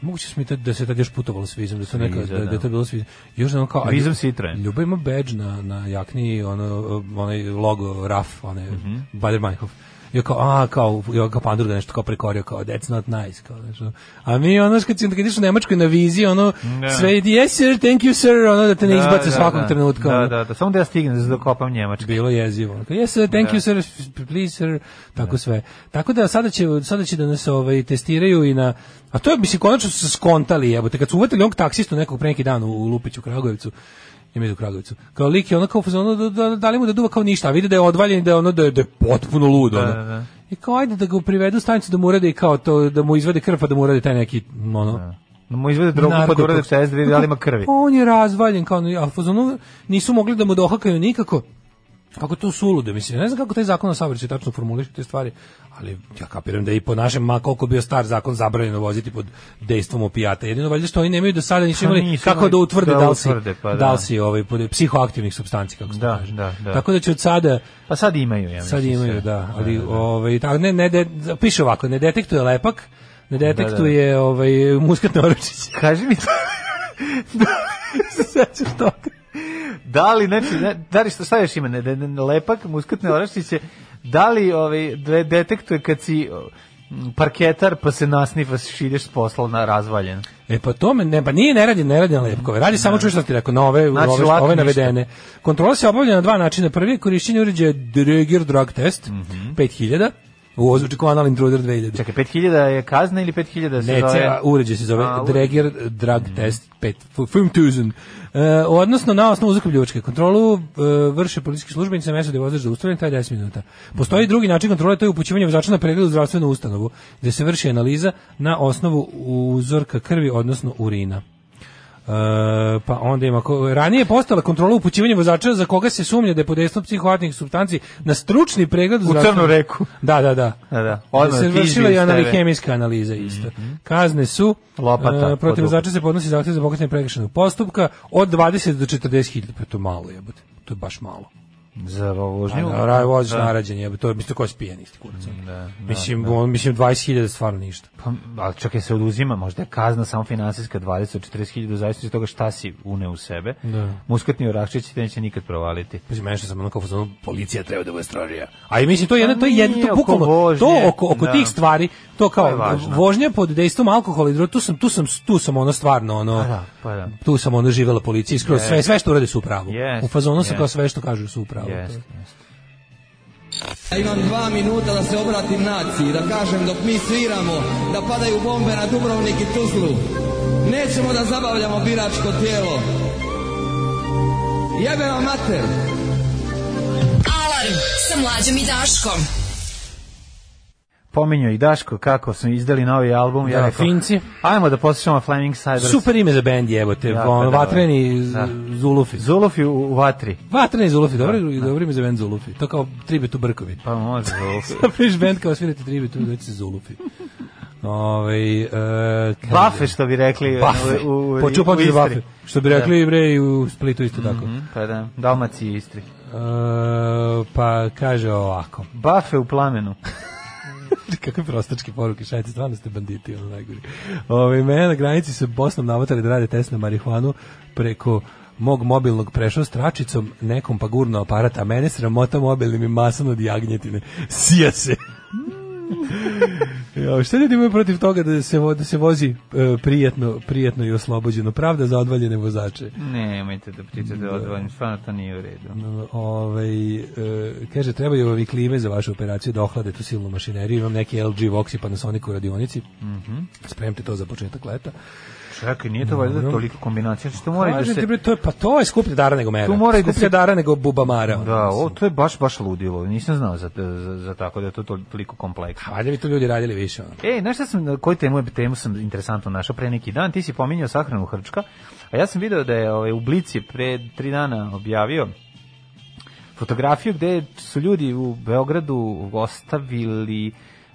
[SPEAKER 6] Moguće smo i tad, da se tad još putovalo s vizom, da je to, neka,
[SPEAKER 5] Viza,
[SPEAKER 6] da, da je
[SPEAKER 5] da.
[SPEAKER 6] to bilo s vizom. I Još ono kao, a
[SPEAKER 5] Vizom
[SPEAKER 6] Lju-
[SPEAKER 5] Citroen.
[SPEAKER 6] Ljuba ima badge na, na jakni, ono, onaj logo RAF, onaj
[SPEAKER 5] Mhm.
[SPEAKER 6] mm Bader-Meinhof. I ja kao, a, kao, ja kao pandur da nešto kao prekorio, kao, that's not nice, kao, nešto. A mi, ono, kad, si- kad ideš u Nemačkoj na vizi, ono,
[SPEAKER 5] Da.
[SPEAKER 6] sve ide, yes sir, thank you sir, ono, da te ne izbace svakog
[SPEAKER 5] da,
[SPEAKER 6] trenutka. ono.
[SPEAKER 5] Da, da, da, samo da ja stignem da se dokopam Njemačke.
[SPEAKER 6] Bilo je jezivo. Ono kao, Yes, sir, thank
[SPEAKER 5] Da.
[SPEAKER 6] you, sir, f- please, sir, tako sve. Tako da sada će, sada će da nas ovaj, testiraju i na... A to je, mislim, konačno su se skontali, jebote. Kad su uvatili onog taksistu nekog pre neki dan u, u Lupiću, u Kragujevcu, ima iz u Kragujevcu, kao lik je ono kao, u fazonu, da, da, da li mu da duva kao ništa, a vide da je odvaljen i da je, ono, da je, da je potpuno lud. ono.
[SPEAKER 5] da, da.
[SPEAKER 6] I kao, ajde da ga privedu u stanicu da mu urade i kao to, da mu izvade krv pa da mu urade taj neki, ono,
[SPEAKER 5] Da mu izvede drogu pa da urade
[SPEAKER 6] narkotoks.
[SPEAKER 5] test da vidi da li ima krvi.
[SPEAKER 6] Pa on je razvaljen kao, ono, a fazonu nisu mogli da mu dohakaju nikako. Kako to suludo, mislim, ja ne znam kako taj zakon o saobraćaju tačno formuliše te stvari, ali ja kapiram da je i po našem, ma koliko bio star zakon, zabranjeno voziti pod dejstvom opijata. Jedino valjda što oni nemaju do sada nisu
[SPEAKER 5] Pa
[SPEAKER 6] imali
[SPEAKER 5] nisu
[SPEAKER 6] kako
[SPEAKER 5] imali
[SPEAKER 6] da utvrde
[SPEAKER 5] da
[SPEAKER 6] da li si,
[SPEAKER 5] utvrde, pa da.
[SPEAKER 6] da li si ovaj, pod psihoaktivnih substanci, kako se to
[SPEAKER 5] Da,
[SPEAKER 6] kaže.
[SPEAKER 5] da, da.
[SPEAKER 6] Tako da će od sada,
[SPEAKER 5] Pa sad imaju, ja mislim.
[SPEAKER 6] sad imaju,
[SPEAKER 5] sve.
[SPEAKER 6] da, ali ovaj, ta- ne, ne, de- piše ovako, ne detektuje lepak, ne detektuje ovaj, muskatne oručiće.
[SPEAKER 5] Kaži mi to.
[SPEAKER 6] se sećaš toga?
[SPEAKER 5] Da li, znači, ne- da li šta, šta još ima? Ne, ne, ne, lepak, muskatne oraščiće. Da li ovaj, de, detektuje kad si mm, parketar pa se nasnifaš i ideš s posla na razvaljen?
[SPEAKER 6] E pa to me, ne, pa nije ne radi, ne radi na lepkove. Radi samo čuješ što ti rekao, na ove,
[SPEAKER 5] Znači,
[SPEAKER 6] ove,
[SPEAKER 5] lako
[SPEAKER 6] ove
[SPEAKER 5] ništa.
[SPEAKER 6] navedene. Kontrola se obavlja na dva načina. Prvi je korišćenje uređaja Dreger Drug Test,
[SPEAKER 5] Mhm.
[SPEAKER 6] 5000, u ozvuči kao Anal Intruder 2000.
[SPEAKER 5] Čekaj, 5000 je kazna ili 5000 se
[SPEAKER 6] Ne,
[SPEAKER 5] zove?
[SPEAKER 6] ceo uređaj se zove
[SPEAKER 5] A, Mm. u-
[SPEAKER 6] Dreger Drug Test 5, 5000. E, odnosno na osnovu uzakupljivačke kontrolu e, vrše policijski službenici na mesto da je vozač zaustavljen, taj 10 minuta. Postoji drugi način kontrole, to je upućivanje vozača na pregled u zdravstvenu ustanovu, gde se vrši analiza na osnovu uzorka krvi, odnosno urina. E, pa onda ima ko- ranije je postala kontrola upućivanja vozača za koga se sumnja da je pod dejstvom psihoaktivnih supstanci na stručni pregled u,
[SPEAKER 5] U
[SPEAKER 6] zdravstvenu-
[SPEAKER 5] Crnu reku.
[SPEAKER 6] Da, da, da.
[SPEAKER 5] Da, da.
[SPEAKER 6] Odmah,
[SPEAKER 5] Odmah
[SPEAKER 6] se
[SPEAKER 5] ti
[SPEAKER 6] vršila
[SPEAKER 5] izbije
[SPEAKER 6] i
[SPEAKER 5] iz tebe. Mhm.
[SPEAKER 6] analihemijska analiza isto. Kazne su
[SPEAKER 5] Lopata
[SPEAKER 6] e,
[SPEAKER 5] pod
[SPEAKER 6] protiv
[SPEAKER 5] ruku.
[SPEAKER 6] vozača se podnosi zahtjev za pokretanje prekršajnog postupka od 20 do 40 hiljada, pa to je malo jebote. To je baš malo.
[SPEAKER 5] Za vožnju?
[SPEAKER 6] A, ra, voziš narađen, jebe, to je, mislim, ko je spijen isti kurac. Da, mislim, On, mislim, 20.000 stvarno ništa.
[SPEAKER 5] Pa, ali čak je se oduzima, možda je kazna samo finansijska 20 od 40.000, zavisno od toga šta si une u sebe.
[SPEAKER 6] Da.
[SPEAKER 5] Muskatni oraščić te neće nikad provaliti.
[SPEAKER 6] Mislim, meni što sam ono kao fazonu, policija treba da bude strožija. A i mislim, to je
[SPEAKER 5] Pa
[SPEAKER 6] jedno, to je jedno, to je bukvalno, to oko, oko
[SPEAKER 5] da.
[SPEAKER 6] tih stvari, to
[SPEAKER 5] To
[SPEAKER 6] kao
[SPEAKER 5] je važno.
[SPEAKER 6] vožnja pod dejstvom alkohola i droga, tu sam, tu sam, tu sam ono stvarno, ono,
[SPEAKER 5] Pa da, pa da.
[SPEAKER 6] tu sam ono živela policija, iskroz,
[SPEAKER 5] Yes.
[SPEAKER 6] sve, sve što urade su u pravu.
[SPEAKER 5] Yes,
[SPEAKER 6] u fazonu sam
[SPEAKER 5] yes.
[SPEAKER 6] kao sve što kažu su u pravu. To je-
[SPEAKER 5] Jeste,
[SPEAKER 14] Ja imam dva minuta da se obratim naciji, da kažem dok mi sviramo, da padaju bombe na Dubrovnik i Tuzlu. Nećemo da zabavljamo biračko tijelo. Jebe vam mater!
[SPEAKER 10] Alarm sa mlađom i Daškom.
[SPEAKER 5] Pominjao i Daško kako su izdali novi album.
[SPEAKER 6] Da,
[SPEAKER 5] rekao,
[SPEAKER 6] Finci.
[SPEAKER 5] Ajmo da poslušamo Flaming Siders.
[SPEAKER 6] Super ime za bend jebote,
[SPEAKER 5] Da,
[SPEAKER 6] ono,
[SPEAKER 5] da, da.
[SPEAKER 6] vatreni z-
[SPEAKER 5] Da.
[SPEAKER 6] Zulufi.
[SPEAKER 5] Zulufi u, u vatri.
[SPEAKER 6] Vatreni Zulufi, dobro, dobro ime za bend Zulufi. To kao tribut u Brkovi.
[SPEAKER 5] Pa može Zulufi.
[SPEAKER 6] Napriš bend kao svirate tribut, uvijek se Zulufi. Ove, e, kaže-
[SPEAKER 5] Bafe, što bi rekli,
[SPEAKER 6] Bafe.
[SPEAKER 5] u- u- u-
[SPEAKER 6] Počupam
[SPEAKER 5] u
[SPEAKER 6] ti za
[SPEAKER 5] Istri.
[SPEAKER 6] bafe. Što bi rekli bre i u Splitu isto tako.
[SPEAKER 5] Mhm, pa da, Dalmaciji i Istri.
[SPEAKER 6] E, pa kaže ovako.
[SPEAKER 5] Bafe u plamenu.
[SPEAKER 6] Kakve prostačke poruke, šajte, stvarno ste banditi, ono najgori. Ove, mene na granici sa Bosnom navatali da rade test na marihuanu preko mog mobilnog prešao stračicom, nekom pa gurno aparat, a mene sramota mobilnim i masom od jagnjetine. Sija se. Ja, šta ljudi imaju protiv toga da se, vo- da se vozi e, prijetno, prijetno i oslobođeno? Pravda za odvaljene vozače.
[SPEAKER 5] Nemojte da pričate o odvojenim, stvarno to nije u redu.
[SPEAKER 6] Ovaj e, kaže, trebaju ovi klime za vašu operaciju da ohlade tu silnu mašineriju. Imam neki LG Vox i Panasonic u radionici.
[SPEAKER 5] Mhm.
[SPEAKER 6] Spremite to za početak leta.
[SPEAKER 5] Čekaj, nije to valjda
[SPEAKER 6] Dobro.
[SPEAKER 5] toliko kombinacija, što mora i da
[SPEAKER 6] Kažem ti,
[SPEAKER 5] se...
[SPEAKER 6] bre, to je, pa to je skuplje dara nego mera.
[SPEAKER 5] Tu mora i da
[SPEAKER 6] skuplje
[SPEAKER 5] se-
[SPEAKER 6] dara nego ono. bubamara.
[SPEAKER 5] Da, o, to je baš, baš ludilo. Nisam znao za, za, za tako da je to tol- toliko kompleksno.
[SPEAKER 6] Valjda bi to ljudi radili više. ono.
[SPEAKER 5] E, znaš šta sam, na koju temu, temu sam interesantno našao pre neki dan? Ti si pominjao sahranu Hrčka, a ja sam video da je ovaj, u Blici pre tri dana objavio fotografiju gde su ljudi u Beogradu ostavili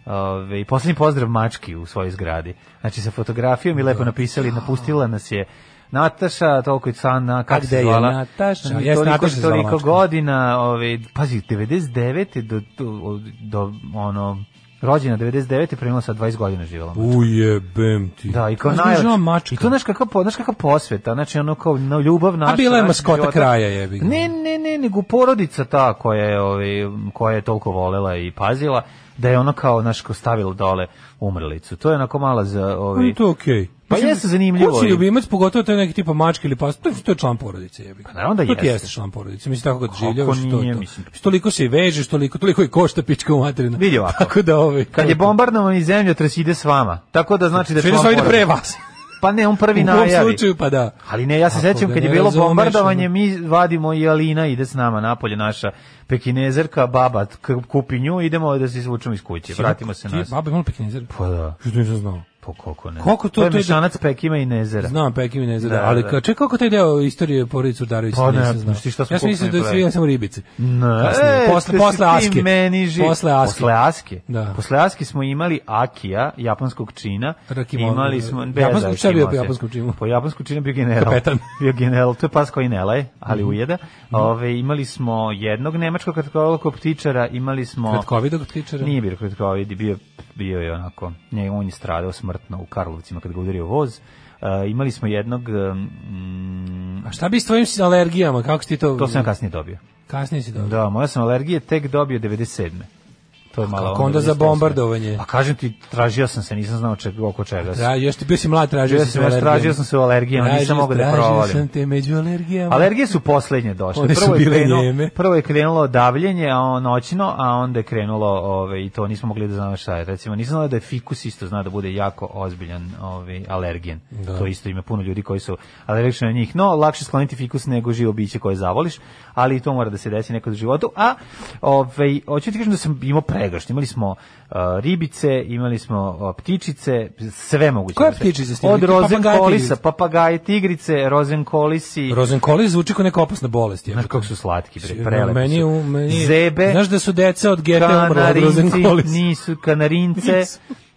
[SPEAKER 5] Ove, posljednji pozdrav mački u svojoj zgradi. Znači sa fotografijom i lepo napisali, napustila nas je Nataša, toliko i sana,
[SPEAKER 6] A
[SPEAKER 5] kako
[SPEAKER 6] gde
[SPEAKER 5] se
[SPEAKER 6] je
[SPEAKER 5] zvala?
[SPEAKER 6] Nataša?
[SPEAKER 5] Znači,
[SPEAKER 6] Jes,
[SPEAKER 5] toliko,
[SPEAKER 6] Nataša se zvala
[SPEAKER 5] toliko
[SPEAKER 6] mačka.
[SPEAKER 5] godina, ove, ovaj, pazi, 99. do, do, do ono, rođena 99. primila sa 20 godina živjela.
[SPEAKER 6] Ujebem ti.
[SPEAKER 5] Da, i kao
[SPEAKER 6] Znaš,
[SPEAKER 5] najjače.
[SPEAKER 6] žao mačka.
[SPEAKER 5] I to znaš kakav, po- znaš kakav posveta, znači ono kao no, ljubav naša.
[SPEAKER 6] A bila je
[SPEAKER 5] naša
[SPEAKER 6] maskota
[SPEAKER 5] života.
[SPEAKER 6] kraja, jebi ga.
[SPEAKER 5] Ne, ne, ne, nego porodica ta koja je, ovaj, koja je toliko volela i pazila, da je ono kao, znaš, kao stavila dole umrlicu. To je onako mala za... Ovaj,
[SPEAKER 6] Ali Mm, to je okej.
[SPEAKER 5] Pa
[SPEAKER 6] Mislim,
[SPEAKER 5] jeste zanimljivo.
[SPEAKER 6] Kući
[SPEAKER 5] i-
[SPEAKER 6] ljubimac, pogotovo to je neki tipa mačke ili pas, to je, to je član porodice. Jebi. Pa
[SPEAKER 5] naravno da
[SPEAKER 6] to ti
[SPEAKER 5] jeste.
[SPEAKER 6] jeste član porodice. Mislim, tako kad
[SPEAKER 5] Kako
[SPEAKER 6] življavaš, to je
[SPEAKER 5] nije,
[SPEAKER 6] to.
[SPEAKER 5] mislim.
[SPEAKER 6] Mislim, toliko se i vežeš, toliko, toliko i košta pička u materinu.
[SPEAKER 5] Vidi ovako.
[SPEAKER 6] Tako da ovaj...
[SPEAKER 5] Kad je bombardovan i zemljotres ide s vama. Tako da znači da
[SPEAKER 6] Sve da
[SPEAKER 5] član
[SPEAKER 6] ide
[SPEAKER 5] porodice.
[SPEAKER 6] pre vas.
[SPEAKER 5] Pa ne, on prvi
[SPEAKER 6] U ovom
[SPEAKER 5] najavi.
[SPEAKER 6] slučaju, pa da.
[SPEAKER 5] Ali ne, ja se
[SPEAKER 6] Ako
[SPEAKER 5] sećam
[SPEAKER 6] ga
[SPEAKER 5] kad je
[SPEAKER 6] ne
[SPEAKER 5] bilo
[SPEAKER 6] razumeš, ono-
[SPEAKER 5] bombardovanje, mi vadimo i Alina ide s nama napolje, naša pekinezerka, baba k- kupi nju, idemo da se izvučemo iz kuće, vratimo se
[SPEAKER 6] Ti je
[SPEAKER 5] nas.
[SPEAKER 6] Baba imala pekinizir.
[SPEAKER 5] Pa da.
[SPEAKER 6] Što nisam znao.
[SPEAKER 5] Pa koliko ne.
[SPEAKER 6] Koliko to-
[SPEAKER 5] je
[SPEAKER 6] to je-
[SPEAKER 5] mešanac pekima i nezera.
[SPEAKER 6] Znam Pekim ne
[SPEAKER 5] Da,
[SPEAKER 6] znam, ali
[SPEAKER 5] da.
[SPEAKER 6] ka, čekaj kako taj deo istorije porodice Urdarević
[SPEAKER 5] Pa ne,
[SPEAKER 6] nisam znao.
[SPEAKER 5] znaš ti šta smo
[SPEAKER 6] ja sam mislio da
[SPEAKER 5] kopnili
[SPEAKER 6] su
[SPEAKER 5] pre.
[SPEAKER 6] bile samo ribice.
[SPEAKER 5] Ne,
[SPEAKER 6] Kasnije,
[SPEAKER 5] e,
[SPEAKER 6] posle,
[SPEAKER 5] da si
[SPEAKER 6] posle
[SPEAKER 5] ti
[SPEAKER 6] Aske.
[SPEAKER 5] meni živ-
[SPEAKER 6] Posle Aske.
[SPEAKER 5] Posle Aske.
[SPEAKER 6] Da.
[SPEAKER 5] Posle Aske smo imali Akija, japanskog čina.
[SPEAKER 6] Rakimono,
[SPEAKER 5] imali smo...
[SPEAKER 6] da.
[SPEAKER 5] Be, da,
[SPEAKER 6] Japanskog- šta je bio po
[SPEAKER 5] Rakimono.
[SPEAKER 6] japanskom činu?
[SPEAKER 5] Po japanskom činu bio general.
[SPEAKER 6] Kapetan. Mhm.
[SPEAKER 5] bio general, to je pas koji ne laje, ali ujeda. Ove, imali smo jednog nemačkog kratkovidog ptičara, imali smo...
[SPEAKER 6] Kratkovidog ptičara?
[SPEAKER 5] Nije bio kratkovid, bio, bio je onako... Ne, on je stradao smrtno u Karlovcima kad ga udario voz. E, imali smo jednog... mm,
[SPEAKER 6] A šta bi s tvojim alergijama? Kako si ti to...
[SPEAKER 5] to sam ja kasnije dobio.
[SPEAKER 6] Kasnije si dobio.
[SPEAKER 5] Da, moja sam alergije tek dobio 97. To je malo. ono
[SPEAKER 6] Kako onda za
[SPEAKER 5] 98.
[SPEAKER 6] bombardovanje?
[SPEAKER 5] Pa kažem ti, tražio sam se, nisam znao čeg, oko čega. sam.
[SPEAKER 6] Da, još ti bio si mlad, tražio
[SPEAKER 5] Bio
[SPEAKER 6] si
[SPEAKER 5] sam
[SPEAKER 6] se
[SPEAKER 5] još-
[SPEAKER 6] alergijama.
[SPEAKER 5] tražio sam se u alergijama, nisam mogao da provalim.
[SPEAKER 6] Tražio sam te među alergijama.
[SPEAKER 5] Alergije su poslednje došle.
[SPEAKER 6] One su
[SPEAKER 5] prvo, je
[SPEAKER 6] bile
[SPEAKER 5] krenulo-
[SPEAKER 6] njeme.
[SPEAKER 5] prvo je krenulo davljenje a on, noćno, a onda je krenulo ove, i to nismo mogli da znamo šta je. Recimo, nisam znao da je fikus isto zna da bude jako ozbiljan ove, alergen.
[SPEAKER 6] Da.
[SPEAKER 5] To isto ima puno ljudi koji su alergični na njih. No, lakše skloniti fikus nego živo biće koje zavoliš, ali i to mora da se desi nekad u životu. A, ove, hoću ti kažem da sam imao pregršt. Imali smo a, ribice, imali smo a, ptičice, sve moguće.
[SPEAKER 6] Koje ptičice ste imali?
[SPEAKER 5] Od
[SPEAKER 6] Ti papagaje,
[SPEAKER 5] rozenkolisa,
[SPEAKER 6] tigrice?
[SPEAKER 5] papagaje, tigrice, rozenkolisi.
[SPEAKER 6] Rozenkoli zvuči kao neka opasna bolest.
[SPEAKER 5] Znaš
[SPEAKER 6] jebote.
[SPEAKER 5] kako su slatki, bre,
[SPEAKER 6] Sigurno,
[SPEAKER 5] prelepi
[SPEAKER 6] meni,
[SPEAKER 5] su.
[SPEAKER 6] u- meni,
[SPEAKER 5] Zebe,
[SPEAKER 6] Znaš da su deca od gete umrla od rozenkolis.
[SPEAKER 5] kanarinci, nisu kanarince,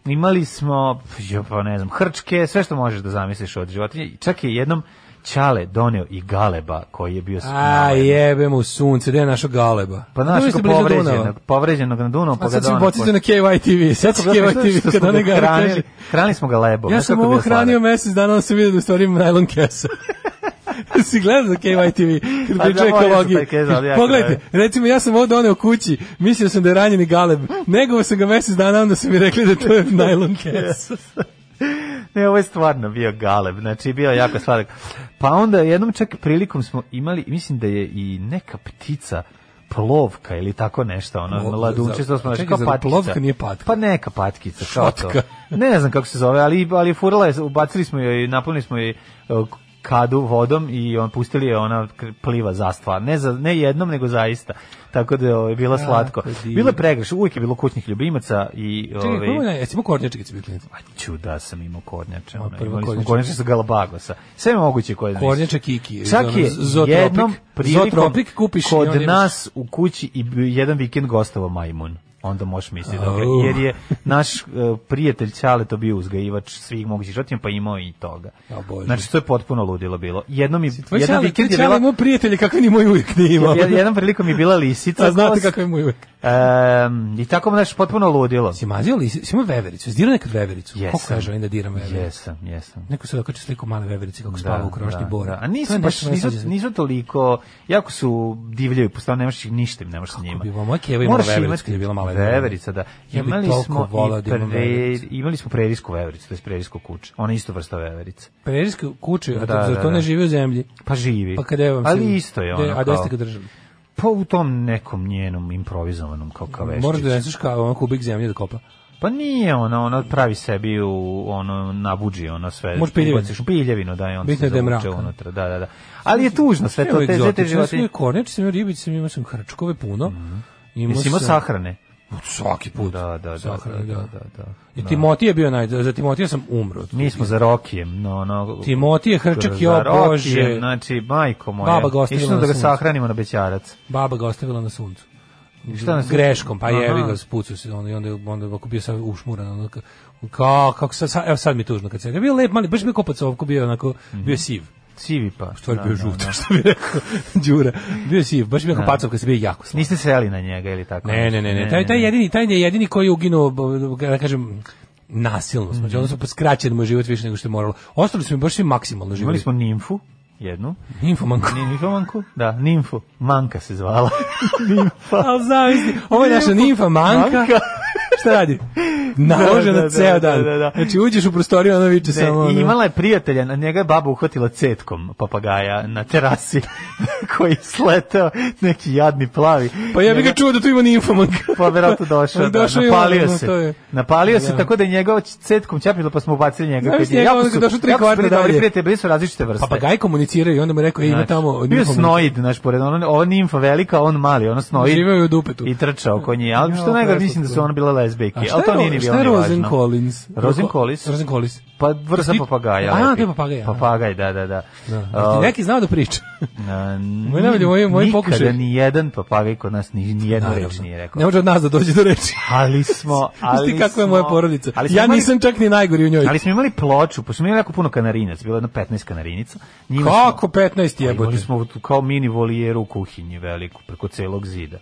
[SPEAKER 5] imali smo, jo, pa ne znam, hrčke, sve što možeš da zamisliš od životinja. Čak je jednom Ćale doneo i Galeba koji je bio s-
[SPEAKER 6] A jebe mu sunce, gde je našo galeba?
[SPEAKER 5] Pa znaš
[SPEAKER 6] Bili
[SPEAKER 5] ko
[SPEAKER 6] ste blizu
[SPEAKER 5] povređenog,
[SPEAKER 6] Dunava.
[SPEAKER 5] povređenog na Dunavu, pa
[SPEAKER 6] A
[SPEAKER 5] ga
[SPEAKER 6] sad ću
[SPEAKER 5] doneo.
[SPEAKER 6] podsjetio na KYTV, sad ću
[SPEAKER 5] Kako ga- što
[SPEAKER 6] KYTV
[SPEAKER 5] smo
[SPEAKER 6] kad one
[SPEAKER 5] ga
[SPEAKER 6] ga
[SPEAKER 5] hranili, hranili smo ga lebom.
[SPEAKER 6] Ja
[SPEAKER 5] Pa znaš
[SPEAKER 6] sam
[SPEAKER 5] kako je
[SPEAKER 6] ovo
[SPEAKER 5] bio sladak?
[SPEAKER 6] hranio mesec dana, onda sam vidio da u stvari ima najlon kesa. si gledao za KYTV, kad
[SPEAKER 5] Pa
[SPEAKER 6] priča
[SPEAKER 5] da,
[SPEAKER 6] o
[SPEAKER 5] volim
[SPEAKER 6] ekologiji.
[SPEAKER 5] sam taj kesa, ali jako
[SPEAKER 6] Pogledajte, recimo ja sam ovo doneo kući, mislio sam da je ranjeni galeb, negovao sam ga mesec dana, onda su mi rekli da to je najlon kes.
[SPEAKER 5] Ne, ovo je stvarno bio galeb, znači bio je jako sladak. Pa onda jednom čak prilikom smo imali, mislim da je i neka ptica plovka ili tako nešto, ono,
[SPEAKER 6] Plo-
[SPEAKER 5] mladunče,
[SPEAKER 6] za-
[SPEAKER 5] što smo našli,
[SPEAKER 6] čekaj,
[SPEAKER 5] kao
[SPEAKER 6] zar
[SPEAKER 5] patkica.
[SPEAKER 6] plovka nije patka?
[SPEAKER 5] Pa neka patkica, kao to.
[SPEAKER 6] Šotka.
[SPEAKER 5] Ne znam kako se zove, ali, ali furala je, ubacili smo joj, napunili smo joj e, kadu vodom i on pustili je ona kr- pliva zastva. Ne, za, ne jednom, nego zaista. Tako da je bila
[SPEAKER 6] Jako
[SPEAKER 5] slatko.
[SPEAKER 6] divno.
[SPEAKER 5] Bilo je pregreš, uvijek je bilo kućnih ljubimaca i...
[SPEAKER 6] Čekaj,
[SPEAKER 5] ovaj,
[SPEAKER 6] kako je, jesi imao kornjače kad si bio klinac?
[SPEAKER 5] Čuda Pa sam imao kornjače.
[SPEAKER 6] A,
[SPEAKER 5] Ono,
[SPEAKER 6] prvo
[SPEAKER 5] imali smo
[SPEAKER 6] kornjače.
[SPEAKER 5] kornjače sa Galabagosa. Sve moguće koje znaš.
[SPEAKER 6] Kornjače Kiki,
[SPEAKER 5] Čak
[SPEAKER 6] ono,
[SPEAKER 5] je
[SPEAKER 6] Zootropik.
[SPEAKER 5] jednom prilikom
[SPEAKER 6] Zootropik kupiš i
[SPEAKER 5] kod
[SPEAKER 6] onda imaš-
[SPEAKER 5] nas u kući i b- jedan vikend gostovao majmun. Onda možeš misliti da ga,
[SPEAKER 6] Au.
[SPEAKER 5] jer je naš e, prijatelj Ćale to bio uzgajivač svih mogućih životinja, pa imao je i toga.
[SPEAKER 6] Ja, Bože.
[SPEAKER 5] Znači, to je potpuno ludilo bilo. Jednom je,
[SPEAKER 6] Tvoj
[SPEAKER 5] jedan
[SPEAKER 6] čale, tvoj
[SPEAKER 5] vikend je
[SPEAKER 6] čale
[SPEAKER 5] bila...
[SPEAKER 6] imao prijatelje kakve ni moj uvijek nije imao.
[SPEAKER 5] Jed- jednom prilikom je bila lisica.
[SPEAKER 6] A znate
[SPEAKER 5] kos-
[SPEAKER 6] kako je moj uvijek.
[SPEAKER 5] Em, I tako, znači, potpuno ludilo.
[SPEAKER 6] Si mazio li, si imao vevericu? Si dirao nekad vevericu?
[SPEAKER 5] Jesam.
[SPEAKER 6] Koliko ja želim da diram vevericu?
[SPEAKER 5] Jesam, jesam.
[SPEAKER 6] Neko se dokače sliku male veverice kako spava u krošnji bora.
[SPEAKER 5] Da. A
[SPEAKER 6] To je
[SPEAKER 5] nisu,
[SPEAKER 6] nešto
[SPEAKER 5] baš,
[SPEAKER 6] što me
[SPEAKER 5] nisu,
[SPEAKER 6] sviđa.
[SPEAKER 5] nisu toliko, jako su divljaju, postavljaju, nemaš ih ništa, im nemaš s njima.
[SPEAKER 6] bi, moja keva imala
[SPEAKER 5] Moraš
[SPEAKER 6] vevericu
[SPEAKER 5] imati-
[SPEAKER 6] kad je bila mala.
[SPEAKER 5] Veverica, da.
[SPEAKER 6] Ja bi
[SPEAKER 5] Imali
[SPEAKER 6] toliko
[SPEAKER 5] smo,
[SPEAKER 6] volao
[SPEAKER 5] i
[SPEAKER 6] da imam
[SPEAKER 5] pre-
[SPEAKER 6] vevericu.
[SPEAKER 5] imali smo prerijsku vevericu, to je prerijsku kuče. Ona je isto vrsta veverice.
[SPEAKER 6] Perijske kuće, a
[SPEAKER 5] Da,
[SPEAKER 6] da,
[SPEAKER 5] da,
[SPEAKER 6] zato
[SPEAKER 5] da.
[SPEAKER 6] ne živi u zemlji.
[SPEAKER 5] Pa živi.
[SPEAKER 6] Pa kada je vam
[SPEAKER 5] Ali
[SPEAKER 6] se-
[SPEAKER 5] isto je
[SPEAKER 6] gde-
[SPEAKER 5] ono
[SPEAKER 6] A da
[SPEAKER 5] kao-
[SPEAKER 6] ste ga držali?
[SPEAKER 5] Pa u tom nekom njenom improvizovanom kao kaveščiću.
[SPEAKER 6] Moraš da neseš kao ono kubik zemlje da kopa.
[SPEAKER 5] Pa nije ona, ona pravi sebi u ono nabuđi, ono sve.
[SPEAKER 6] Može piljevinu.
[SPEAKER 5] ubaciš u piljevinu, da je on
[SPEAKER 6] Bitno je da je
[SPEAKER 5] zavuče
[SPEAKER 6] mrak.
[SPEAKER 5] unutra. Da, da, da. Ali je tužno sve to, te, sve
[SPEAKER 6] životinje.
[SPEAKER 5] te životinje.
[SPEAKER 6] Sve
[SPEAKER 5] Mhm.
[SPEAKER 6] kornjače sam imao ribić, sam imao sam hrčkove puno. Mm.
[SPEAKER 5] Jesi imao sahrane?
[SPEAKER 6] Svaki put.
[SPEAKER 5] Da, da, da,
[SPEAKER 6] Sahrane,
[SPEAKER 5] da,
[SPEAKER 6] da.
[SPEAKER 5] da, da, da.
[SPEAKER 6] I Timotije je bio naj... Za Timotija sam umro.
[SPEAKER 5] Mi smo za Rokijem, no, no...
[SPEAKER 6] Timotije Hrčak, jo
[SPEAKER 5] Za Rokijem,
[SPEAKER 6] Bože.
[SPEAKER 5] znači, majko moja.
[SPEAKER 6] Baba ga ostavila
[SPEAKER 5] Išli smo
[SPEAKER 6] na
[SPEAKER 5] da ga
[SPEAKER 6] suncu.
[SPEAKER 5] sahranimo na bećarac.
[SPEAKER 6] Baba ga ostavila na suncu.
[SPEAKER 5] šta na suncu?
[SPEAKER 6] Greškom, pa
[SPEAKER 5] Aha.
[SPEAKER 6] jevi ga, spucu se, onda, i onda, je- onda je ovako bio sam ušmuran, ono, ka- kao, kako sad, sad, evo sad mi je tužno kad se, bio je lep, mali, baš bio kao pacovku, bio je onako,
[SPEAKER 5] Mhm.
[SPEAKER 6] bio je siv.
[SPEAKER 5] Civi pa.
[SPEAKER 6] U stvari bio je žut, što bi rekao Đura. Bio je siv, baš bio kao
[SPEAKER 5] Da.
[SPEAKER 6] pacovka, se bio jako slab.
[SPEAKER 5] Niste seli na njega ili tako?
[SPEAKER 6] Ne, ne,
[SPEAKER 5] nešto?
[SPEAKER 6] ne, ne, taj, taj jedini, taj je jedini koji je uginuo, b- b- da kažem, nasilno,
[SPEAKER 5] Mhm.
[SPEAKER 6] znači, odnosno, skraćen mu je život više nego što je moralo. Ostali su mi baš svi maksimalno živjeli.
[SPEAKER 5] Imali smo nimfu, jednu.
[SPEAKER 6] Infomanku.
[SPEAKER 5] Ni- Nimfomanku? Da, nimfu. Manka se zvala. Nimfa.
[SPEAKER 6] Ali zavisni, ovo je naša nimfa manka.
[SPEAKER 5] Manka.
[SPEAKER 6] Šta radi? Naložena
[SPEAKER 5] Da, da, da,
[SPEAKER 6] ceo dan.
[SPEAKER 5] da, da, da.
[SPEAKER 6] Znači uđeš u prostoriju, ona viče
[SPEAKER 5] Ne,
[SPEAKER 6] samo... ono-
[SPEAKER 5] i imala je prijatelja, na njega je baba uhvatila cetkom papagaja na terasi koji je sleteo neki jadni plavi.
[SPEAKER 6] Pa ja bih
[SPEAKER 5] Njega-
[SPEAKER 6] ga čuo da tu ima nimfomanka.
[SPEAKER 5] Pa verovatno došao,
[SPEAKER 6] Ali
[SPEAKER 5] da,
[SPEAKER 6] došao i
[SPEAKER 5] napalio
[SPEAKER 6] ono, to
[SPEAKER 5] se.
[SPEAKER 6] je.
[SPEAKER 5] Napalio se
[SPEAKER 6] Da.
[SPEAKER 5] tako da je njega cetkom ćapilo pa smo ubacili njega.
[SPEAKER 6] Znaš
[SPEAKER 5] kad je-
[SPEAKER 6] njega,
[SPEAKER 5] jako
[SPEAKER 6] ono
[SPEAKER 5] su-
[SPEAKER 6] kad došao tri
[SPEAKER 5] jako su
[SPEAKER 6] kvarta
[SPEAKER 5] bili dobri
[SPEAKER 6] dalje.
[SPEAKER 5] prijatelji, bili su različite vrste.
[SPEAKER 6] Papagaj pa, komuniciraju i onda mu je rekao, e, ima
[SPEAKER 5] Znači,
[SPEAKER 6] tamo
[SPEAKER 5] bio je
[SPEAKER 6] nimfomanka.
[SPEAKER 5] snoid, znaš, pored ono, ova nimfa velika, a on mali, ono snoid.
[SPEAKER 6] Živeo je u dupetu.
[SPEAKER 5] I trčao oko nje, ali
[SPEAKER 6] Ja,
[SPEAKER 5] što najgore,
[SPEAKER 6] preslatko.
[SPEAKER 5] mislim da su ona bila lezbejke,
[SPEAKER 6] A šta
[SPEAKER 5] ali to
[SPEAKER 6] je-
[SPEAKER 5] nije ni
[SPEAKER 6] šta
[SPEAKER 5] bilo
[SPEAKER 6] je
[SPEAKER 5] ni važno.
[SPEAKER 6] Rosen Collins?
[SPEAKER 5] Rosen Collins?
[SPEAKER 6] Rosen Collins.
[SPEAKER 5] Pa vrsta
[SPEAKER 6] Ti-
[SPEAKER 5] papagaja.
[SPEAKER 6] A,
[SPEAKER 5] lepi.
[SPEAKER 6] to je papagaj, a.
[SPEAKER 5] Papagaj, da, da, da.
[SPEAKER 6] Da.
[SPEAKER 5] Uh,
[SPEAKER 6] Neki znao da priča.
[SPEAKER 5] na-
[SPEAKER 6] Moj najbolji- moj- moj
[SPEAKER 5] Nikada
[SPEAKER 6] pokušaj.
[SPEAKER 5] ni jedan papagaj kod nas ni, ni jednu
[SPEAKER 6] Naravno.
[SPEAKER 5] reč nije rekao.
[SPEAKER 6] Ne može od nas da dođe do reči.
[SPEAKER 5] Ali smo, ali
[SPEAKER 6] Isti kako je moja
[SPEAKER 5] smo-
[SPEAKER 6] porodica.
[SPEAKER 5] ali smo
[SPEAKER 6] Ja
[SPEAKER 5] imali-
[SPEAKER 6] nisam čak ni najgori u njoj.
[SPEAKER 5] Ali smo imali ploču, pa smo imali jako puno kanarinac, bilo je jedno 15 kanarinica. Njima smo-
[SPEAKER 6] Kako 15
[SPEAKER 5] Pa Imali
[SPEAKER 6] jebote?
[SPEAKER 5] smo tu kao mini volijeru u kuhinji veliku, preko celog zida.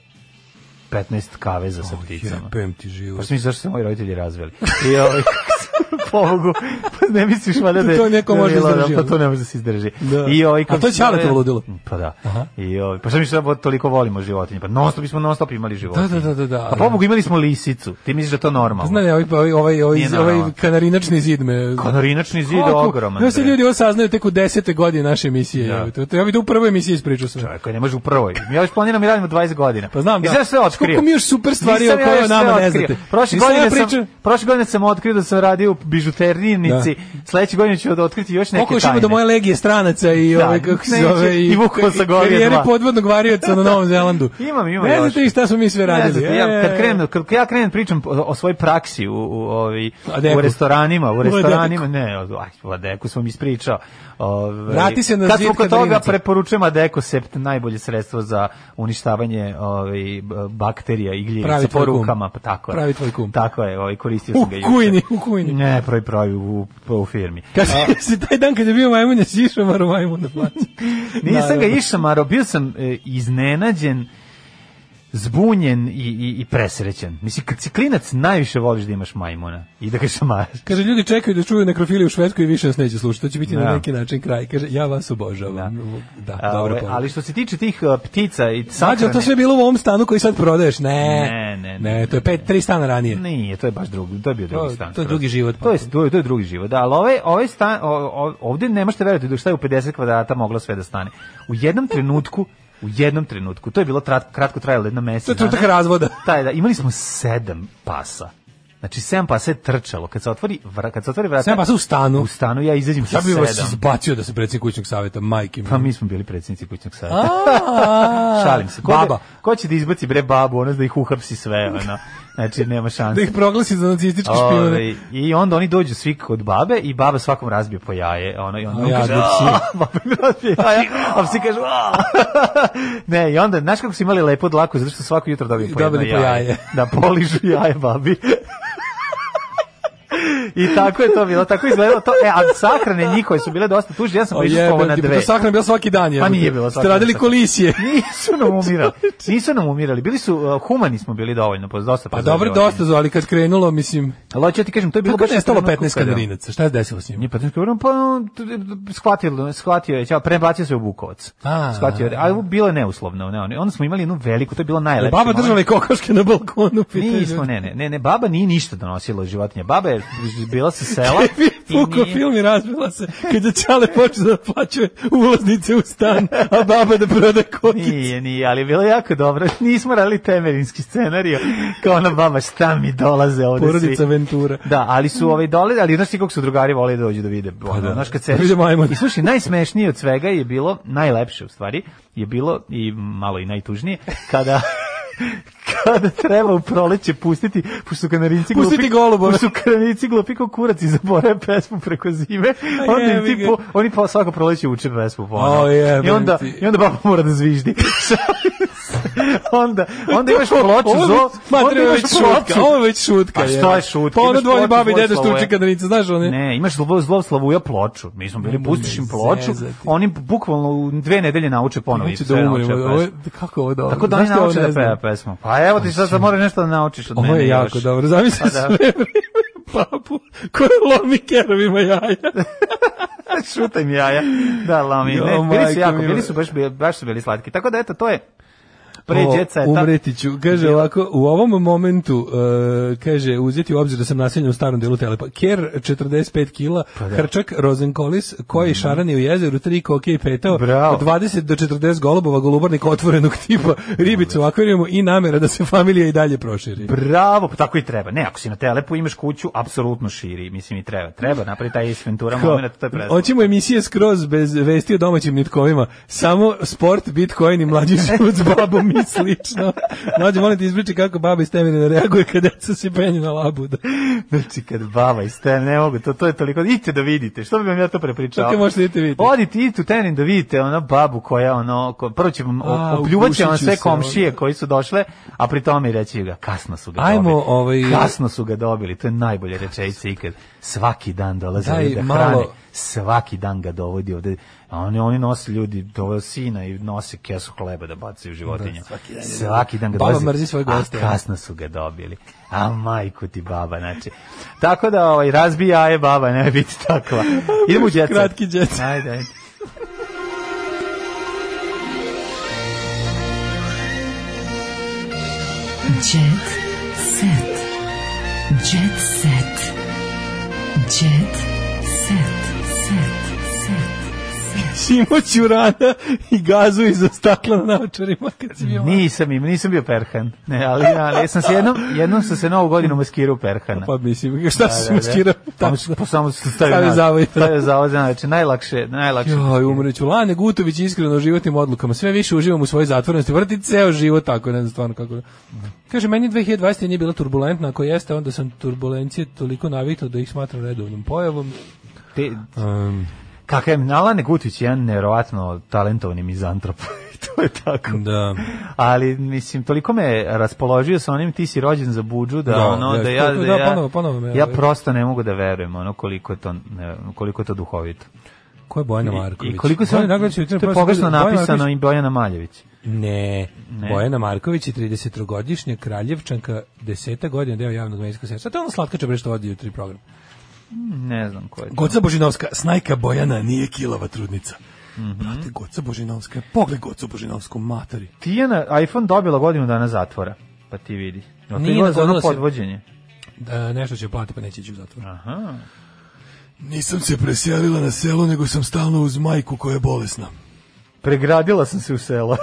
[SPEAKER 5] 15 kaveza
[SPEAKER 6] Oh,
[SPEAKER 5] sa pticama.
[SPEAKER 6] Jebem ti život.
[SPEAKER 5] Pa što misliš zašto se moji roditelji razveli? I ovaj, pobogu, pa ne misliš valjda da je-
[SPEAKER 6] To neko
[SPEAKER 5] da je
[SPEAKER 6] može
[SPEAKER 5] bilo-
[SPEAKER 6] izdrži,
[SPEAKER 5] Pa
[SPEAKER 6] ono.
[SPEAKER 5] to ne može da se izdrži.
[SPEAKER 6] Da.
[SPEAKER 5] I ovaj,
[SPEAKER 6] A
[SPEAKER 5] kako
[SPEAKER 6] to
[SPEAKER 5] se
[SPEAKER 6] Ćale
[SPEAKER 5] zove-
[SPEAKER 6] to ludilo?
[SPEAKER 5] Pa da.
[SPEAKER 6] Aha.
[SPEAKER 5] I ovaj, pa što misliš da toliko volimo životinje? Pa non stop, mi smo non stop imali životinje.
[SPEAKER 6] Da, da, da, da, da.
[SPEAKER 5] A pobogu imali smo lisicu. Ti misliš da je to normalno?
[SPEAKER 6] Zna ne, ovaj, ovaj, ovaj,
[SPEAKER 5] Nije
[SPEAKER 6] ovaj,
[SPEAKER 5] normalno.
[SPEAKER 6] ovaj kanarinačni zid me...
[SPEAKER 5] Kanarinačni zid je
[SPEAKER 6] Kako?
[SPEAKER 5] ogroman,
[SPEAKER 6] Ja se
[SPEAKER 5] bre.
[SPEAKER 6] ljudi ovo saznaju tek u desete godine naše emisije.
[SPEAKER 5] Da.
[SPEAKER 6] Ja. To, ja bih da u prvoj emisiji ispričao sam.
[SPEAKER 5] Čovjek, ne može u prvoj. Ja još planiram i radimo 20 godina.
[SPEAKER 6] Pa znam,
[SPEAKER 5] I
[SPEAKER 6] da.
[SPEAKER 5] sve sve otkrio.
[SPEAKER 6] Koliko mi još super stvari
[SPEAKER 5] Nisam
[SPEAKER 6] o kojoj
[SPEAKER 5] još sve
[SPEAKER 6] nama ne
[SPEAKER 5] otkrio.
[SPEAKER 6] znate.
[SPEAKER 5] Prošle
[SPEAKER 6] Nisam ja
[SPEAKER 5] godine, sam,
[SPEAKER 6] pričao-
[SPEAKER 5] prošle godine sam otkrio da sam radio u bižuternici. Sledeće godine ću da otkriti još neke
[SPEAKER 6] Koliko još ima
[SPEAKER 5] tajne.
[SPEAKER 6] do moje legije stranaca i
[SPEAKER 5] Da,
[SPEAKER 6] ovaj, kako se
[SPEAKER 5] neće.
[SPEAKER 6] zove
[SPEAKER 5] I Vukova sa Gorije
[SPEAKER 6] karijere
[SPEAKER 5] dva.
[SPEAKER 6] podvodnog varioca na Novom Zelandu.
[SPEAKER 5] Imam, imam
[SPEAKER 6] Ne
[SPEAKER 5] još.
[SPEAKER 6] znate vi šta smo mi sve radili.
[SPEAKER 5] Ne znate, ja, kad,
[SPEAKER 6] E.
[SPEAKER 5] krenem, kad ja krenem pričam o, o svojoj praksi u, u, ovi,
[SPEAKER 6] A deku?
[SPEAKER 5] u restoranima, u
[SPEAKER 6] U deku?
[SPEAKER 5] restoranima, ne, o- aj, o Adeku sam ispričao. Ove,
[SPEAKER 6] Vrati se na
[SPEAKER 5] kad smo
[SPEAKER 6] zid
[SPEAKER 5] kod toga
[SPEAKER 6] Kadrinaca.
[SPEAKER 5] preporučujem Adekosept, najbolje sredstvo za uništavanje ovi, bakterija i gljivica
[SPEAKER 6] Pravi
[SPEAKER 5] po
[SPEAKER 6] tvoj kum.
[SPEAKER 5] rukama, pa tako je.
[SPEAKER 6] Pravi tvoj kum.
[SPEAKER 5] Tako je, ovaj, koristio
[SPEAKER 6] U
[SPEAKER 5] sam ga juče.
[SPEAKER 6] kujni, u kujni.
[SPEAKER 5] Ne, proj proj u, u firmi.
[SPEAKER 6] Kad
[SPEAKER 5] A,
[SPEAKER 6] si taj dan kad je bio majmun, je si išao maro majmun na placu.
[SPEAKER 5] Nisam ga
[SPEAKER 6] Naravno.
[SPEAKER 5] išao, Maro, bio sam e, iznenađen, zbunjen i, i, i presrećen. Mislim, kad si klinac, najviše voliš da imaš majmuna i da ga šamaraš.
[SPEAKER 6] Kaže, ljudi čekaju da čuju nekrofili u Švedskoj i više nas neće slušati. To će biti
[SPEAKER 5] Da.
[SPEAKER 6] na neki način kraj. Kaže, ja vas obožavam. Da,
[SPEAKER 5] A,
[SPEAKER 6] dobro pa.
[SPEAKER 5] ove, ali što se tiče tih e, ptica i
[SPEAKER 6] Mađo,
[SPEAKER 5] sahrane...
[SPEAKER 6] to sve bilo u ovom stanu koji sad prodaješ. Ne,
[SPEAKER 5] Ne, ne, ne.
[SPEAKER 6] to je pet, tri stana ranije.
[SPEAKER 5] Nije, to je baš drugi, to je bio drugi stan.
[SPEAKER 6] to je
[SPEAKER 5] skroz.
[SPEAKER 6] drugi život. pa-
[SPEAKER 5] To je, to je, to je drugi život, da, ali ovaj, ovaj stan, o, o, ovdje ne možete veriti do šta je u 50 kvadrata moglo sve da stane. U jednom trenutku, u jednom trenutku, to je bilo trat, kratko trajalo jedno mesec.
[SPEAKER 6] To je trenutak
[SPEAKER 5] dana.
[SPEAKER 6] razvoda.
[SPEAKER 5] Taj, da, imali smo sedam pasa. Znači, sedam pasa je trčalo. Kad se otvori, vra, kad se otvori vrata...
[SPEAKER 6] Sedam pasa u stanu.
[SPEAKER 5] U stanu, ja izađem sa
[SPEAKER 6] Ja bih
[SPEAKER 5] sedam.
[SPEAKER 6] vas izbacio da se predsjednik kućnog savjeta, majke mi.
[SPEAKER 5] Pa mi smo bili predsjednici kućnog savjeta.
[SPEAKER 6] A.
[SPEAKER 5] Šalim se. Ko
[SPEAKER 6] Baba.
[SPEAKER 5] Da, ko će da izbaci bre babu, ono da ih uhapsi sve, ono. Znači, nema
[SPEAKER 6] Da
[SPEAKER 5] šanse.
[SPEAKER 6] ih proglasi za nacistički špijune.
[SPEAKER 5] Ove, Ovaj, I onda oni dođu svi kod babe i baba svakom razbije po jaje. Ono, I onda
[SPEAKER 6] A
[SPEAKER 5] on
[SPEAKER 6] ja
[SPEAKER 5] kaže,
[SPEAKER 6] bi psi.
[SPEAKER 5] "Aaa!" baba mi razbije jaje, a psi kažu, "Aaa!" ne, i onda, znaš kako su imali lepo dlaku, zato što svako jutro dobiju po jedno
[SPEAKER 6] Dobili po
[SPEAKER 5] jaje.
[SPEAKER 6] jaje.
[SPEAKER 5] Da poližu jaje babi. I tako je to bilo, tako je izgledalo to. E, a sahrane njihove su bile dosta tužne, ja sam
[SPEAKER 6] O
[SPEAKER 5] prišao
[SPEAKER 6] jebe,
[SPEAKER 5] na
[SPEAKER 6] ti, pa
[SPEAKER 5] dve.
[SPEAKER 6] to sahrana je bila svaki dan. jebe.
[SPEAKER 5] Pa nije bilo svaki
[SPEAKER 6] Ste radili
[SPEAKER 5] dan.
[SPEAKER 6] kolisije.
[SPEAKER 5] Nisu nam umirali. Nisu nam umirali. Bili su uh, humani smo bili dovoljno, pa dosta.
[SPEAKER 6] Pa dobro, dosta zove, ali kad krenulo, mislim...
[SPEAKER 5] Ali hoću ja ti kažem, to je bilo
[SPEAKER 6] Kako je
[SPEAKER 5] baš u
[SPEAKER 6] nestalo
[SPEAKER 5] trenutku
[SPEAKER 6] 15
[SPEAKER 5] kada-
[SPEAKER 6] kadrinaca? Šta je desilo s njima?
[SPEAKER 5] Nije 15 kadrinaca, pa on t- t- t- shvatilo, shvatio je, ćao, prebacio se u Bukovac.
[SPEAKER 6] A.
[SPEAKER 5] Shvatio je, ali bilo je neuslovno, ne, ono. onda smo imali jednu veliku, to je bilo najlepše. ono,
[SPEAKER 6] Baba držala i kokoške na balkonu. pitaju
[SPEAKER 5] Nismo,
[SPEAKER 6] ljudi.
[SPEAKER 5] ne, ne, ne, ne, baba nije ništa donosila od životinja. Baba je bila sa sela. i
[SPEAKER 6] Puko
[SPEAKER 5] nije-
[SPEAKER 6] film i razbila se kad je Čale počeo da plaćuje ulaznice u stan, a baba da proda kokice.
[SPEAKER 5] Nije, nije, ali je bilo jako dobro. Nismo radili temerinski scenariju. Kao ona baba, šta mi dolaze ovde
[SPEAKER 6] Porodica
[SPEAKER 5] svi.
[SPEAKER 6] Ventura.
[SPEAKER 5] Da, ali su ovaj dole, ali znaš ti kako su drugari vole da dođu da vide. Ono,
[SPEAKER 6] Pa da.
[SPEAKER 5] znaš kad se
[SPEAKER 6] Da vide majmuna.
[SPEAKER 5] I slušaj, najsmešnije od svega je bilo, najlepše u stvari, je bilo i malo i najtužnije kada kada treba u proleće pustiti, pošto su kanarinci glupi,
[SPEAKER 6] Pustiti golubove.
[SPEAKER 5] pošto su kanarici glupi kao kurac i zaborave pesmu preko zime,
[SPEAKER 6] A
[SPEAKER 5] onda im
[SPEAKER 6] jebi
[SPEAKER 5] ti
[SPEAKER 6] ga.
[SPEAKER 5] po, oni pa svako proleće uče pesmu po ono.
[SPEAKER 6] O, jebem
[SPEAKER 5] I onda,
[SPEAKER 6] ti.
[SPEAKER 5] i onda baba mora da zviždi. onda, onda imaš ploču zo,
[SPEAKER 6] Ma,
[SPEAKER 5] onda
[SPEAKER 6] treba
[SPEAKER 5] imaš
[SPEAKER 6] već šutka. Ovo je
[SPEAKER 5] ploču.
[SPEAKER 6] već šutka.
[SPEAKER 5] Pa šta
[SPEAKER 6] jebe.
[SPEAKER 5] je šutka?
[SPEAKER 6] Pa ono
[SPEAKER 5] Imaš
[SPEAKER 6] dvoje
[SPEAKER 5] ploču,
[SPEAKER 6] babe i
[SPEAKER 5] dvoje
[SPEAKER 6] dede struče
[SPEAKER 5] slavuje.
[SPEAKER 6] kadrinice, znaš one?
[SPEAKER 5] Ne, imaš zlo, zlo slavuja ploču. Mi smo bili,
[SPEAKER 6] Nemoj
[SPEAKER 5] pustiš
[SPEAKER 6] me
[SPEAKER 5] im ploču,
[SPEAKER 6] zezati.
[SPEAKER 5] oni bukvalno u dve nedelje nauče ponovi.
[SPEAKER 6] Hoću da umrem. Ovo je, kako je ovo dobro?
[SPEAKER 5] Tako da oni
[SPEAKER 6] Zašto ovo
[SPEAKER 5] nauče
[SPEAKER 6] ne
[SPEAKER 5] da
[SPEAKER 6] znam?
[SPEAKER 5] peva pesmu. Pa evo ti sad, sad moraš nešto da naučiš od mene.
[SPEAKER 6] Ovo je
[SPEAKER 5] još.
[SPEAKER 6] jako dobro. Zamisli
[SPEAKER 5] Pa da.
[SPEAKER 6] sve vreme papu koja lomi kerovima jaja.
[SPEAKER 5] Šutaj mi jaja. Da, lami.
[SPEAKER 6] Jo,
[SPEAKER 5] Ne, bili su
[SPEAKER 6] majko
[SPEAKER 5] jako,
[SPEAKER 6] mila.
[SPEAKER 5] bili su baš, baš su bili slatki. Tako da, eto, to je pre
[SPEAKER 6] O,
[SPEAKER 5] djeca je ta...
[SPEAKER 6] Umreti ću. Kaže ovako, u ovom momentu, uh, kaže, uzeti u obzir da sam naseljen u starom delu Telepa. Ker 45 kila,
[SPEAKER 5] Pa
[SPEAKER 6] Hrčak, Rozenkolis, koji šarani u jezeru, tri koke i petao,
[SPEAKER 5] Mhm. Bravo.
[SPEAKER 6] od 20 do 40 golubova, golubarnika otvorenog tipa, ribicu u akvarijemu i namera da se familija i dalje proširi.
[SPEAKER 5] Bravo, pa tako i treba. Ne, ako si na telepu imaš kuću, apsolutno širi, mislim i treba. Treba napraviti taj isventura moment, to je prezno.
[SPEAKER 6] Hoćemo emisije skroz bez vesti o domaćim nitkovima. Samo sport, bitcoin i mlađi život s babom i slično. Mlađe, molim te izbriči kako baba iz Temerina reaguje kad deca se penju na labuda.
[SPEAKER 5] Znači, kad baba iz ten, ne mogu, to, to je toliko, idite da vidite, što bi vam ja to prepričao?
[SPEAKER 6] Kako možete vidjeti vidjeti?
[SPEAKER 5] Odite, idite u tenin da vidite ona babu koja, ono, ko, prvo će vam,
[SPEAKER 6] A,
[SPEAKER 5] opljuvat će
[SPEAKER 6] ugušit
[SPEAKER 5] vam
[SPEAKER 6] ću
[SPEAKER 5] sve
[SPEAKER 6] se, ono.
[SPEAKER 5] komšije koji su došle, a pri tome i reći ga, kasno su ga
[SPEAKER 6] Ajmo,
[SPEAKER 5] dobili.
[SPEAKER 6] ovaj-
[SPEAKER 5] Kasno su ga dobili, to je najbolje rečejice ikad. Svaki dan dolaze
[SPEAKER 6] Daj,
[SPEAKER 5] ovdje da
[SPEAKER 6] malo-
[SPEAKER 5] hrane, svaki dan ga dovodi ovde. A Oni, oni nose ljudi, doveo sina i nose kesu hleba da bacaju životinje. svaki, dan ga
[SPEAKER 6] Baba
[SPEAKER 5] dolazi.
[SPEAKER 6] mrzi svoje goste,
[SPEAKER 5] A
[SPEAKER 6] ja.
[SPEAKER 5] kasno su ga dobili. A majku ti baba, znači. Tako da ovaj, razbija je baba, ne biti takva. Idemo u djeca.
[SPEAKER 6] Kratki jet set.
[SPEAKER 5] Ajde, ajde.
[SPEAKER 4] Jet set. Jet set. Jet set. Set. Set.
[SPEAKER 6] Simo Ćurana i gazu iza stakla na naočarima kad si bio mali.
[SPEAKER 5] Nisam im, nisam bio Perhan. Ne, ali, ali sam se jednom, jednom sam se novu godinu maskirao u Perhana.
[SPEAKER 6] Pa mislim, šta si maskirao?
[SPEAKER 5] Pa, pa samo sam stavio,
[SPEAKER 6] Stavio
[SPEAKER 5] na-
[SPEAKER 6] zavoj.
[SPEAKER 5] Stavio zavoj, znači najlakše, najlakše.
[SPEAKER 6] Joj, umreću. Lane Gutović iskreno o životnim odlukama. Sve više uživam u svojoj zatvorenosti. Vrti ceo život tako, ne znam stvarno kako. Kaže, meni 2020. nije bila turbulentna. Ako jeste, onda sam turbulencije toliko naviknuo da ih smatram redovnom pojavom. Um,
[SPEAKER 5] Te, kakav je Nalane Gutić, jedan nevjerovatno talentovni mizantrop. to je tako. Da. Ali, mislim, toliko me raspoložio sa onim ti si rođen za budžu, da,
[SPEAKER 6] Da,
[SPEAKER 5] ono,
[SPEAKER 6] da,
[SPEAKER 5] da, ja,
[SPEAKER 6] to-
[SPEAKER 5] da,
[SPEAKER 6] da,
[SPEAKER 5] ja,
[SPEAKER 6] ponovo- ponovo me-
[SPEAKER 5] ja prosto ne mogu da verujem ono koliko je to, ne, koliko je to duhovito.
[SPEAKER 6] Ko je Bojana
[SPEAKER 5] I-
[SPEAKER 6] Marković?
[SPEAKER 5] I koliko se
[SPEAKER 6] Bojana Marković je juče
[SPEAKER 5] to je
[SPEAKER 6] prosto-
[SPEAKER 5] pogrešno
[SPEAKER 6] Bojana
[SPEAKER 5] napisano
[SPEAKER 6] Marković-
[SPEAKER 5] i Bojana Maljević.
[SPEAKER 6] Ne,
[SPEAKER 5] Ne.
[SPEAKER 6] Bojana Marković je 33-godišnja kraljevčanka, deseta godina deo javnog medijskog servisa. To je ono slatkače bre što vodi jutri program.
[SPEAKER 5] Ne znam ko je to.
[SPEAKER 6] Goca Božinovska, snajka Bojana nije kilava trudnica.
[SPEAKER 5] Mhm.
[SPEAKER 6] Brate, Goca Božinovska, pogled Gocu Božinovsku, materi.
[SPEAKER 5] Tijana iPhone dobila godinu dana zatvora. Pa ti vidi. No,
[SPEAKER 6] Nije
[SPEAKER 5] Nije to je ono
[SPEAKER 6] dogodilo se-
[SPEAKER 5] podvođenje.
[SPEAKER 6] Da, nešto će platiti pa neće ići u zatvor.
[SPEAKER 5] Aha.
[SPEAKER 6] Nisam se preselila na selo, nego sam stalno uz majku koja je bolesna.
[SPEAKER 5] Pregradila sam se u selo.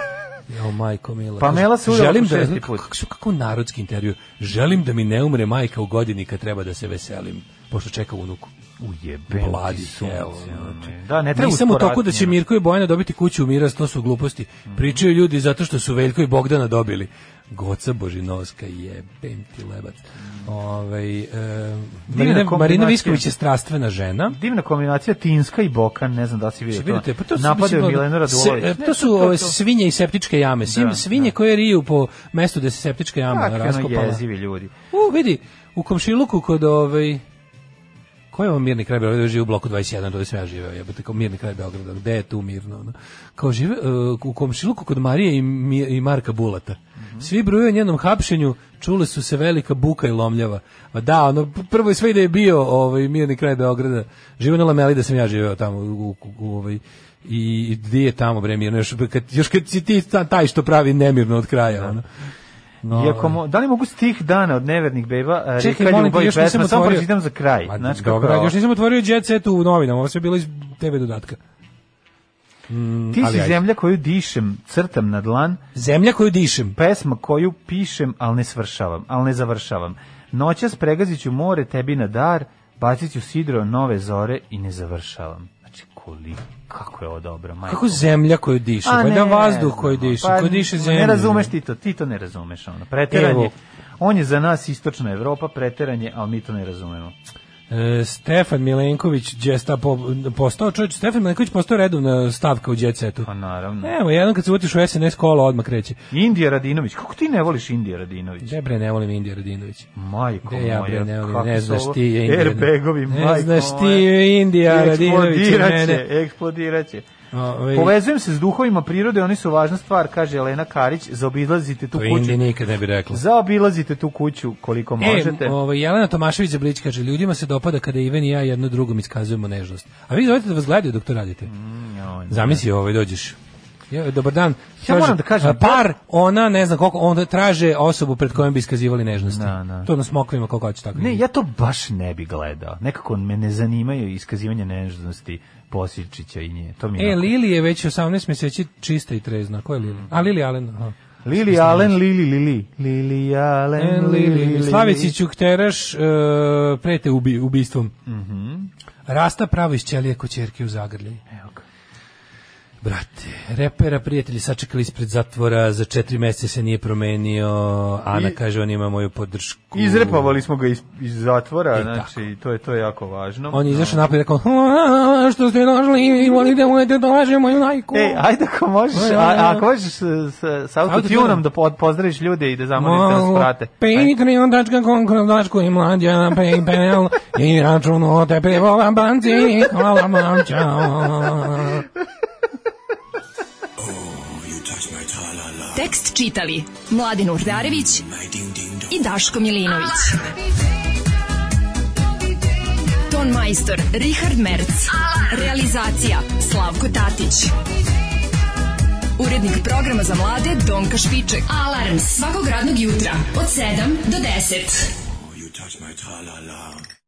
[SPEAKER 6] Jo, majko mila.
[SPEAKER 5] Pamela se udala
[SPEAKER 6] Želim
[SPEAKER 5] po
[SPEAKER 6] da,
[SPEAKER 5] šesti
[SPEAKER 6] kako, kako, kako narodski intervju. Želim da mi ne umre majka u godini kad treba da se veselim, pošto čeka unuku.
[SPEAKER 5] Ujebem
[SPEAKER 6] Bladi
[SPEAKER 5] ti sunce,
[SPEAKER 6] hell,
[SPEAKER 5] ono,
[SPEAKER 6] znači.
[SPEAKER 5] Da, ne treba
[SPEAKER 6] Nisam u toku da će
[SPEAKER 5] usporatnije.
[SPEAKER 6] Mirko i Bojana dobiti kuću u miraz, to su gluposti.
[SPEAKER 5] Mhm.
[SPEAKER 6] Pričaju ljudi zato što su Veljko i Bogdana dobili. Goca Božinovska, jebem ti lebac.
[SPEAKER 5] Mhm.
[SPEAKER 6] Ovaj, e, Marina,
[SPEAKER 5] kombinacija.
[SPEAKER 6] Marina Visković je strastvena žena.
[SPEAKER 5] Divna kombinacija Tinska i Bokan, ne znam da li si vidio
[SPEAKER 6] Znači,
[SPEAKER 5] to.
[SPEAKER 6] vidite, pa to su,
[SPEAKER 5] Napadaju
[SPEAKER 6] mislim,
[SPEAKER 5] Milenu
[SPEAKER 6] se-
[SPEAKER 5] Radulović.
[SPEAKER 6] e, to su ove svinje i septičke jame. Sim,
[SPEAKER 5] Da,
[SPEAKER 6] svinje koje riju po mestu gde se septička jama
[SPEAKER 5] Kakvi ono
[SPEAKER 6] raskopala.
[SPEAKER 5] jezivi ljudi.
[SPEAKER 6] U, vidi, u komšiluku kod ovaj Ko je ovo mirni kraj Beograda? Živi u bloku 21, dole sam ja živeo, jebate, kao mirni kraj Beograda. Gde je tu mirno? Ono? Kao žive uh, u komšiluku kod Marije i, Mi- i Marka Bulata. Svi bruje o njenom hapšenju, čule su se velika buka i lomljava. Pa da, ono, p- prvo je sve da je bio ovaj, mirni kraj Beograda. Živo na Lameli da sam ja živeo tamo u, u, u ovaj, i i gdje je tamo bre mirno još kad još kad si ti ta- taj što pravi nemirno od kraja ono. No,
[SPEAKER 5] Iako mo- da li mogu stih dana od nevernih beba a,
[SPEAKER 6] Čekaj,
[SPEAKER 5] Rika
[SPEAKER 6] molim te,
[SPEAKER 5] ljubav i
[SPEAKER 6] još nisam
[SPEAKER 5] pesma, samo
[SPEAKER 6] otvorio.
[SPEAKER 5] pročitam za kraj.
[SPEAKER 6] Ma,
[SPEAKER 5] Znači,
[SPEAKER 6] dobro,
[SPEAKER 5] kako-
[SPEAKER 6] još nisam otvorio Jet Set u novinama, ovo sve je bilo iz TV dodatka. Mm,
[SPEAKER 5] Ti
[SPEAKER 6] ali
[SPEAKER 5] si
[SPEAKER 6] ajde.
[SPEAKER 5] zemlja koju dišem, crtam na dlan.
[SPEAKER 6] Zemlja koju dišem.
[SPEAKER 5] Pesma koju pišem, ali ne svršavam, ali ne završavam. Noćas pregazit ću more tebi na dar, bacit ću sidro nove zore i ne završavam. Znači, koliko, kako je ovo dobro, majko.
[SPEAKER 6] Kako zemlja koju diše,
[SPEAKER 5] A
[SPEAKER 6] pa da
[SPEAKER 5] ne
[SPEAKER 6] vazduh
[SPEAKER 5] znam,
[SPEAKER 6] koji diše,
[SPEAKER 5] pa
[SPEAKER 6] koji diše zemlja.
[SPEAKER 5] Ne razumeš ti to, ti to ne razumeš. Ono. Preteranje,
[SPEAKER 6] Evo.
[SPEAKER 5] on je za nas istočna Evropa, preteranje, ali mi to ne razumemo.
[SPEAKER 6] E, Stefan Milenković Đesta po, postao čovjek, Stefan Milenković postao redovna stavka u Jet Setu.
[SPEAKER 5] Pa naravno.
[SPEAKER 6] Evo, jednom kad se utiš u SNS kola odmah kreće.
[SPEAKER 5] Indija Radinović, kako ti ne voliš Indija Radinović?
[SPEAKER 6] Ne bre, ne volim Indija Radinović.
[SPEAKER 5] Majko
[SPEAKER 6] E, ja bre,
[SPEAKER 5] moja,
[SPEAKER 6] ne volim,
[SPEAKER 5] kakvi
[SPEAKER 6] ne
[SPEAKER 5] su
[SPEAKER 6] znaš
[SPEAKER 5] ovo
[SPEAKER 6] ti je Indija.
[SPEAKER 5] airbagovi,
[SPEAKER 6] Ne
[SPEAKER 5] majko
[SPEAKER 6] znaš ti
[SPEAKER 5] moja.
[SPEAKER 6] je Indija Radinović.
[SPEAKER 5] Eksplodiraće,
[SPEAKER 6] mene.
[SPEAKER 5] eksplodiraće.
[SPEAKER 6] Ovaj-
[SPEAKER 5] Povezujem se s duhovima prirode, oni su važna stvar, kaže Elena Karić, zaobilazite tu
[SPEAKER 6] To
[SPEAKER 5] kuću.
[SPEAKER 6] Indija Pa nikad ne bi rekla.
[SPEAKER 5] Zaobilazite tu kuću koliko možete.
[SPEAKER 6] E, ovaj, Jelena Tomašević Zablić kaže, ljudima se dopada kada Ivan i ja jedno drugom iskazujemo nežnost. A vi zovete da vas gledaju dok to radite.
[SPEAKER 5] Mm, joj,
[SPEAKER 6] Zamisli ovaj, dođeš. Ja, dobar dan. Kaže,
[SPEAKER 5] moram da kažem,
[SPEAKER 6] a, Par, ona, ne znam koliko, onda traže osobu pred kojom bi iskazivali nežnost.
[SPEAKER 5] Da, da.
[SPEAKER 6] To na smokvima koliko hoće tako.
[SPEAKER 5] Ne, ja to baš ne bi gledao. Nekako me ne zanimaju iskazivanje nežnosti Posiljčića i nje. To mi je
[SPEAKER 6] E,
[SPEAKER 5] onako-
[SPEAKER 6] Lili je već 18 mjeseci čista i trezna. Ko je Lili?
[SPEAKER 5] Mm.
[SPEAKER 6] A, Lili Allen. aha.
[SPEAKER 5] Lili Alen, Lili, Lili. Lili Alen,
[SPEAKER 6] En,
[SPEAKER 5] Lili,
[SPEAKER 6] E, Lili,
[SPEAKER 5] Lili.
[SPEAKER 6] Slavici Ćukteraš e, prete ubi, ubistvom. Rasta pravo iz ćelije ko ćerke u zagrlji.
[SPEAKER 5] Mhm. Evo ga.
[SPEAKER 6] Brate, repera prijatelji sačekali ispred zatvora, za četiri mjeseca se nije promenio, Ana
[SPEAKER 5] I-
[SPEAKER 6] kaže on ima moju podršku.
[SPEAKER 5] Izrepovali smo ga iz, iz zatvora,
[SPEAKER 6] E,
[SPEAKER 5] znači to je to je jako važno.
[SPEAKER 6] On je izašao napolje i rekao, "A, što ste došli, volite moje te dolaže moju lajku.
[SPEAKER 5] Ej, E, ajde ako možeš,
[SPEAKER 6] Aj, aj,
[SPEAKER 5] a,
[SPEAKER 6] aj.
[SPEAKER 5] ako možeš sa, sa, sa autotunom
[SPEAKER 6] Autotunom.
[SPEAKER 5] da pod, pozdraviš ljude i da zamolite da nas prate. Ajde.
[SPEAKER 6] Patreon.com kroz Daško i mlađa na PayPal i račun o te privola banci. Hvala vam, čao.
[SPEAKER 4] Tekst čitali Mladin Urdarević i Daško Milinović. Ton majstor Richard Merc. Realizacija Slavko Tatić. Urednik programa za mlade Donka Špiček. Alarms svakog radnog jutra od 7 do 10.
[SPEAKER 12] You touch my tra-la-la.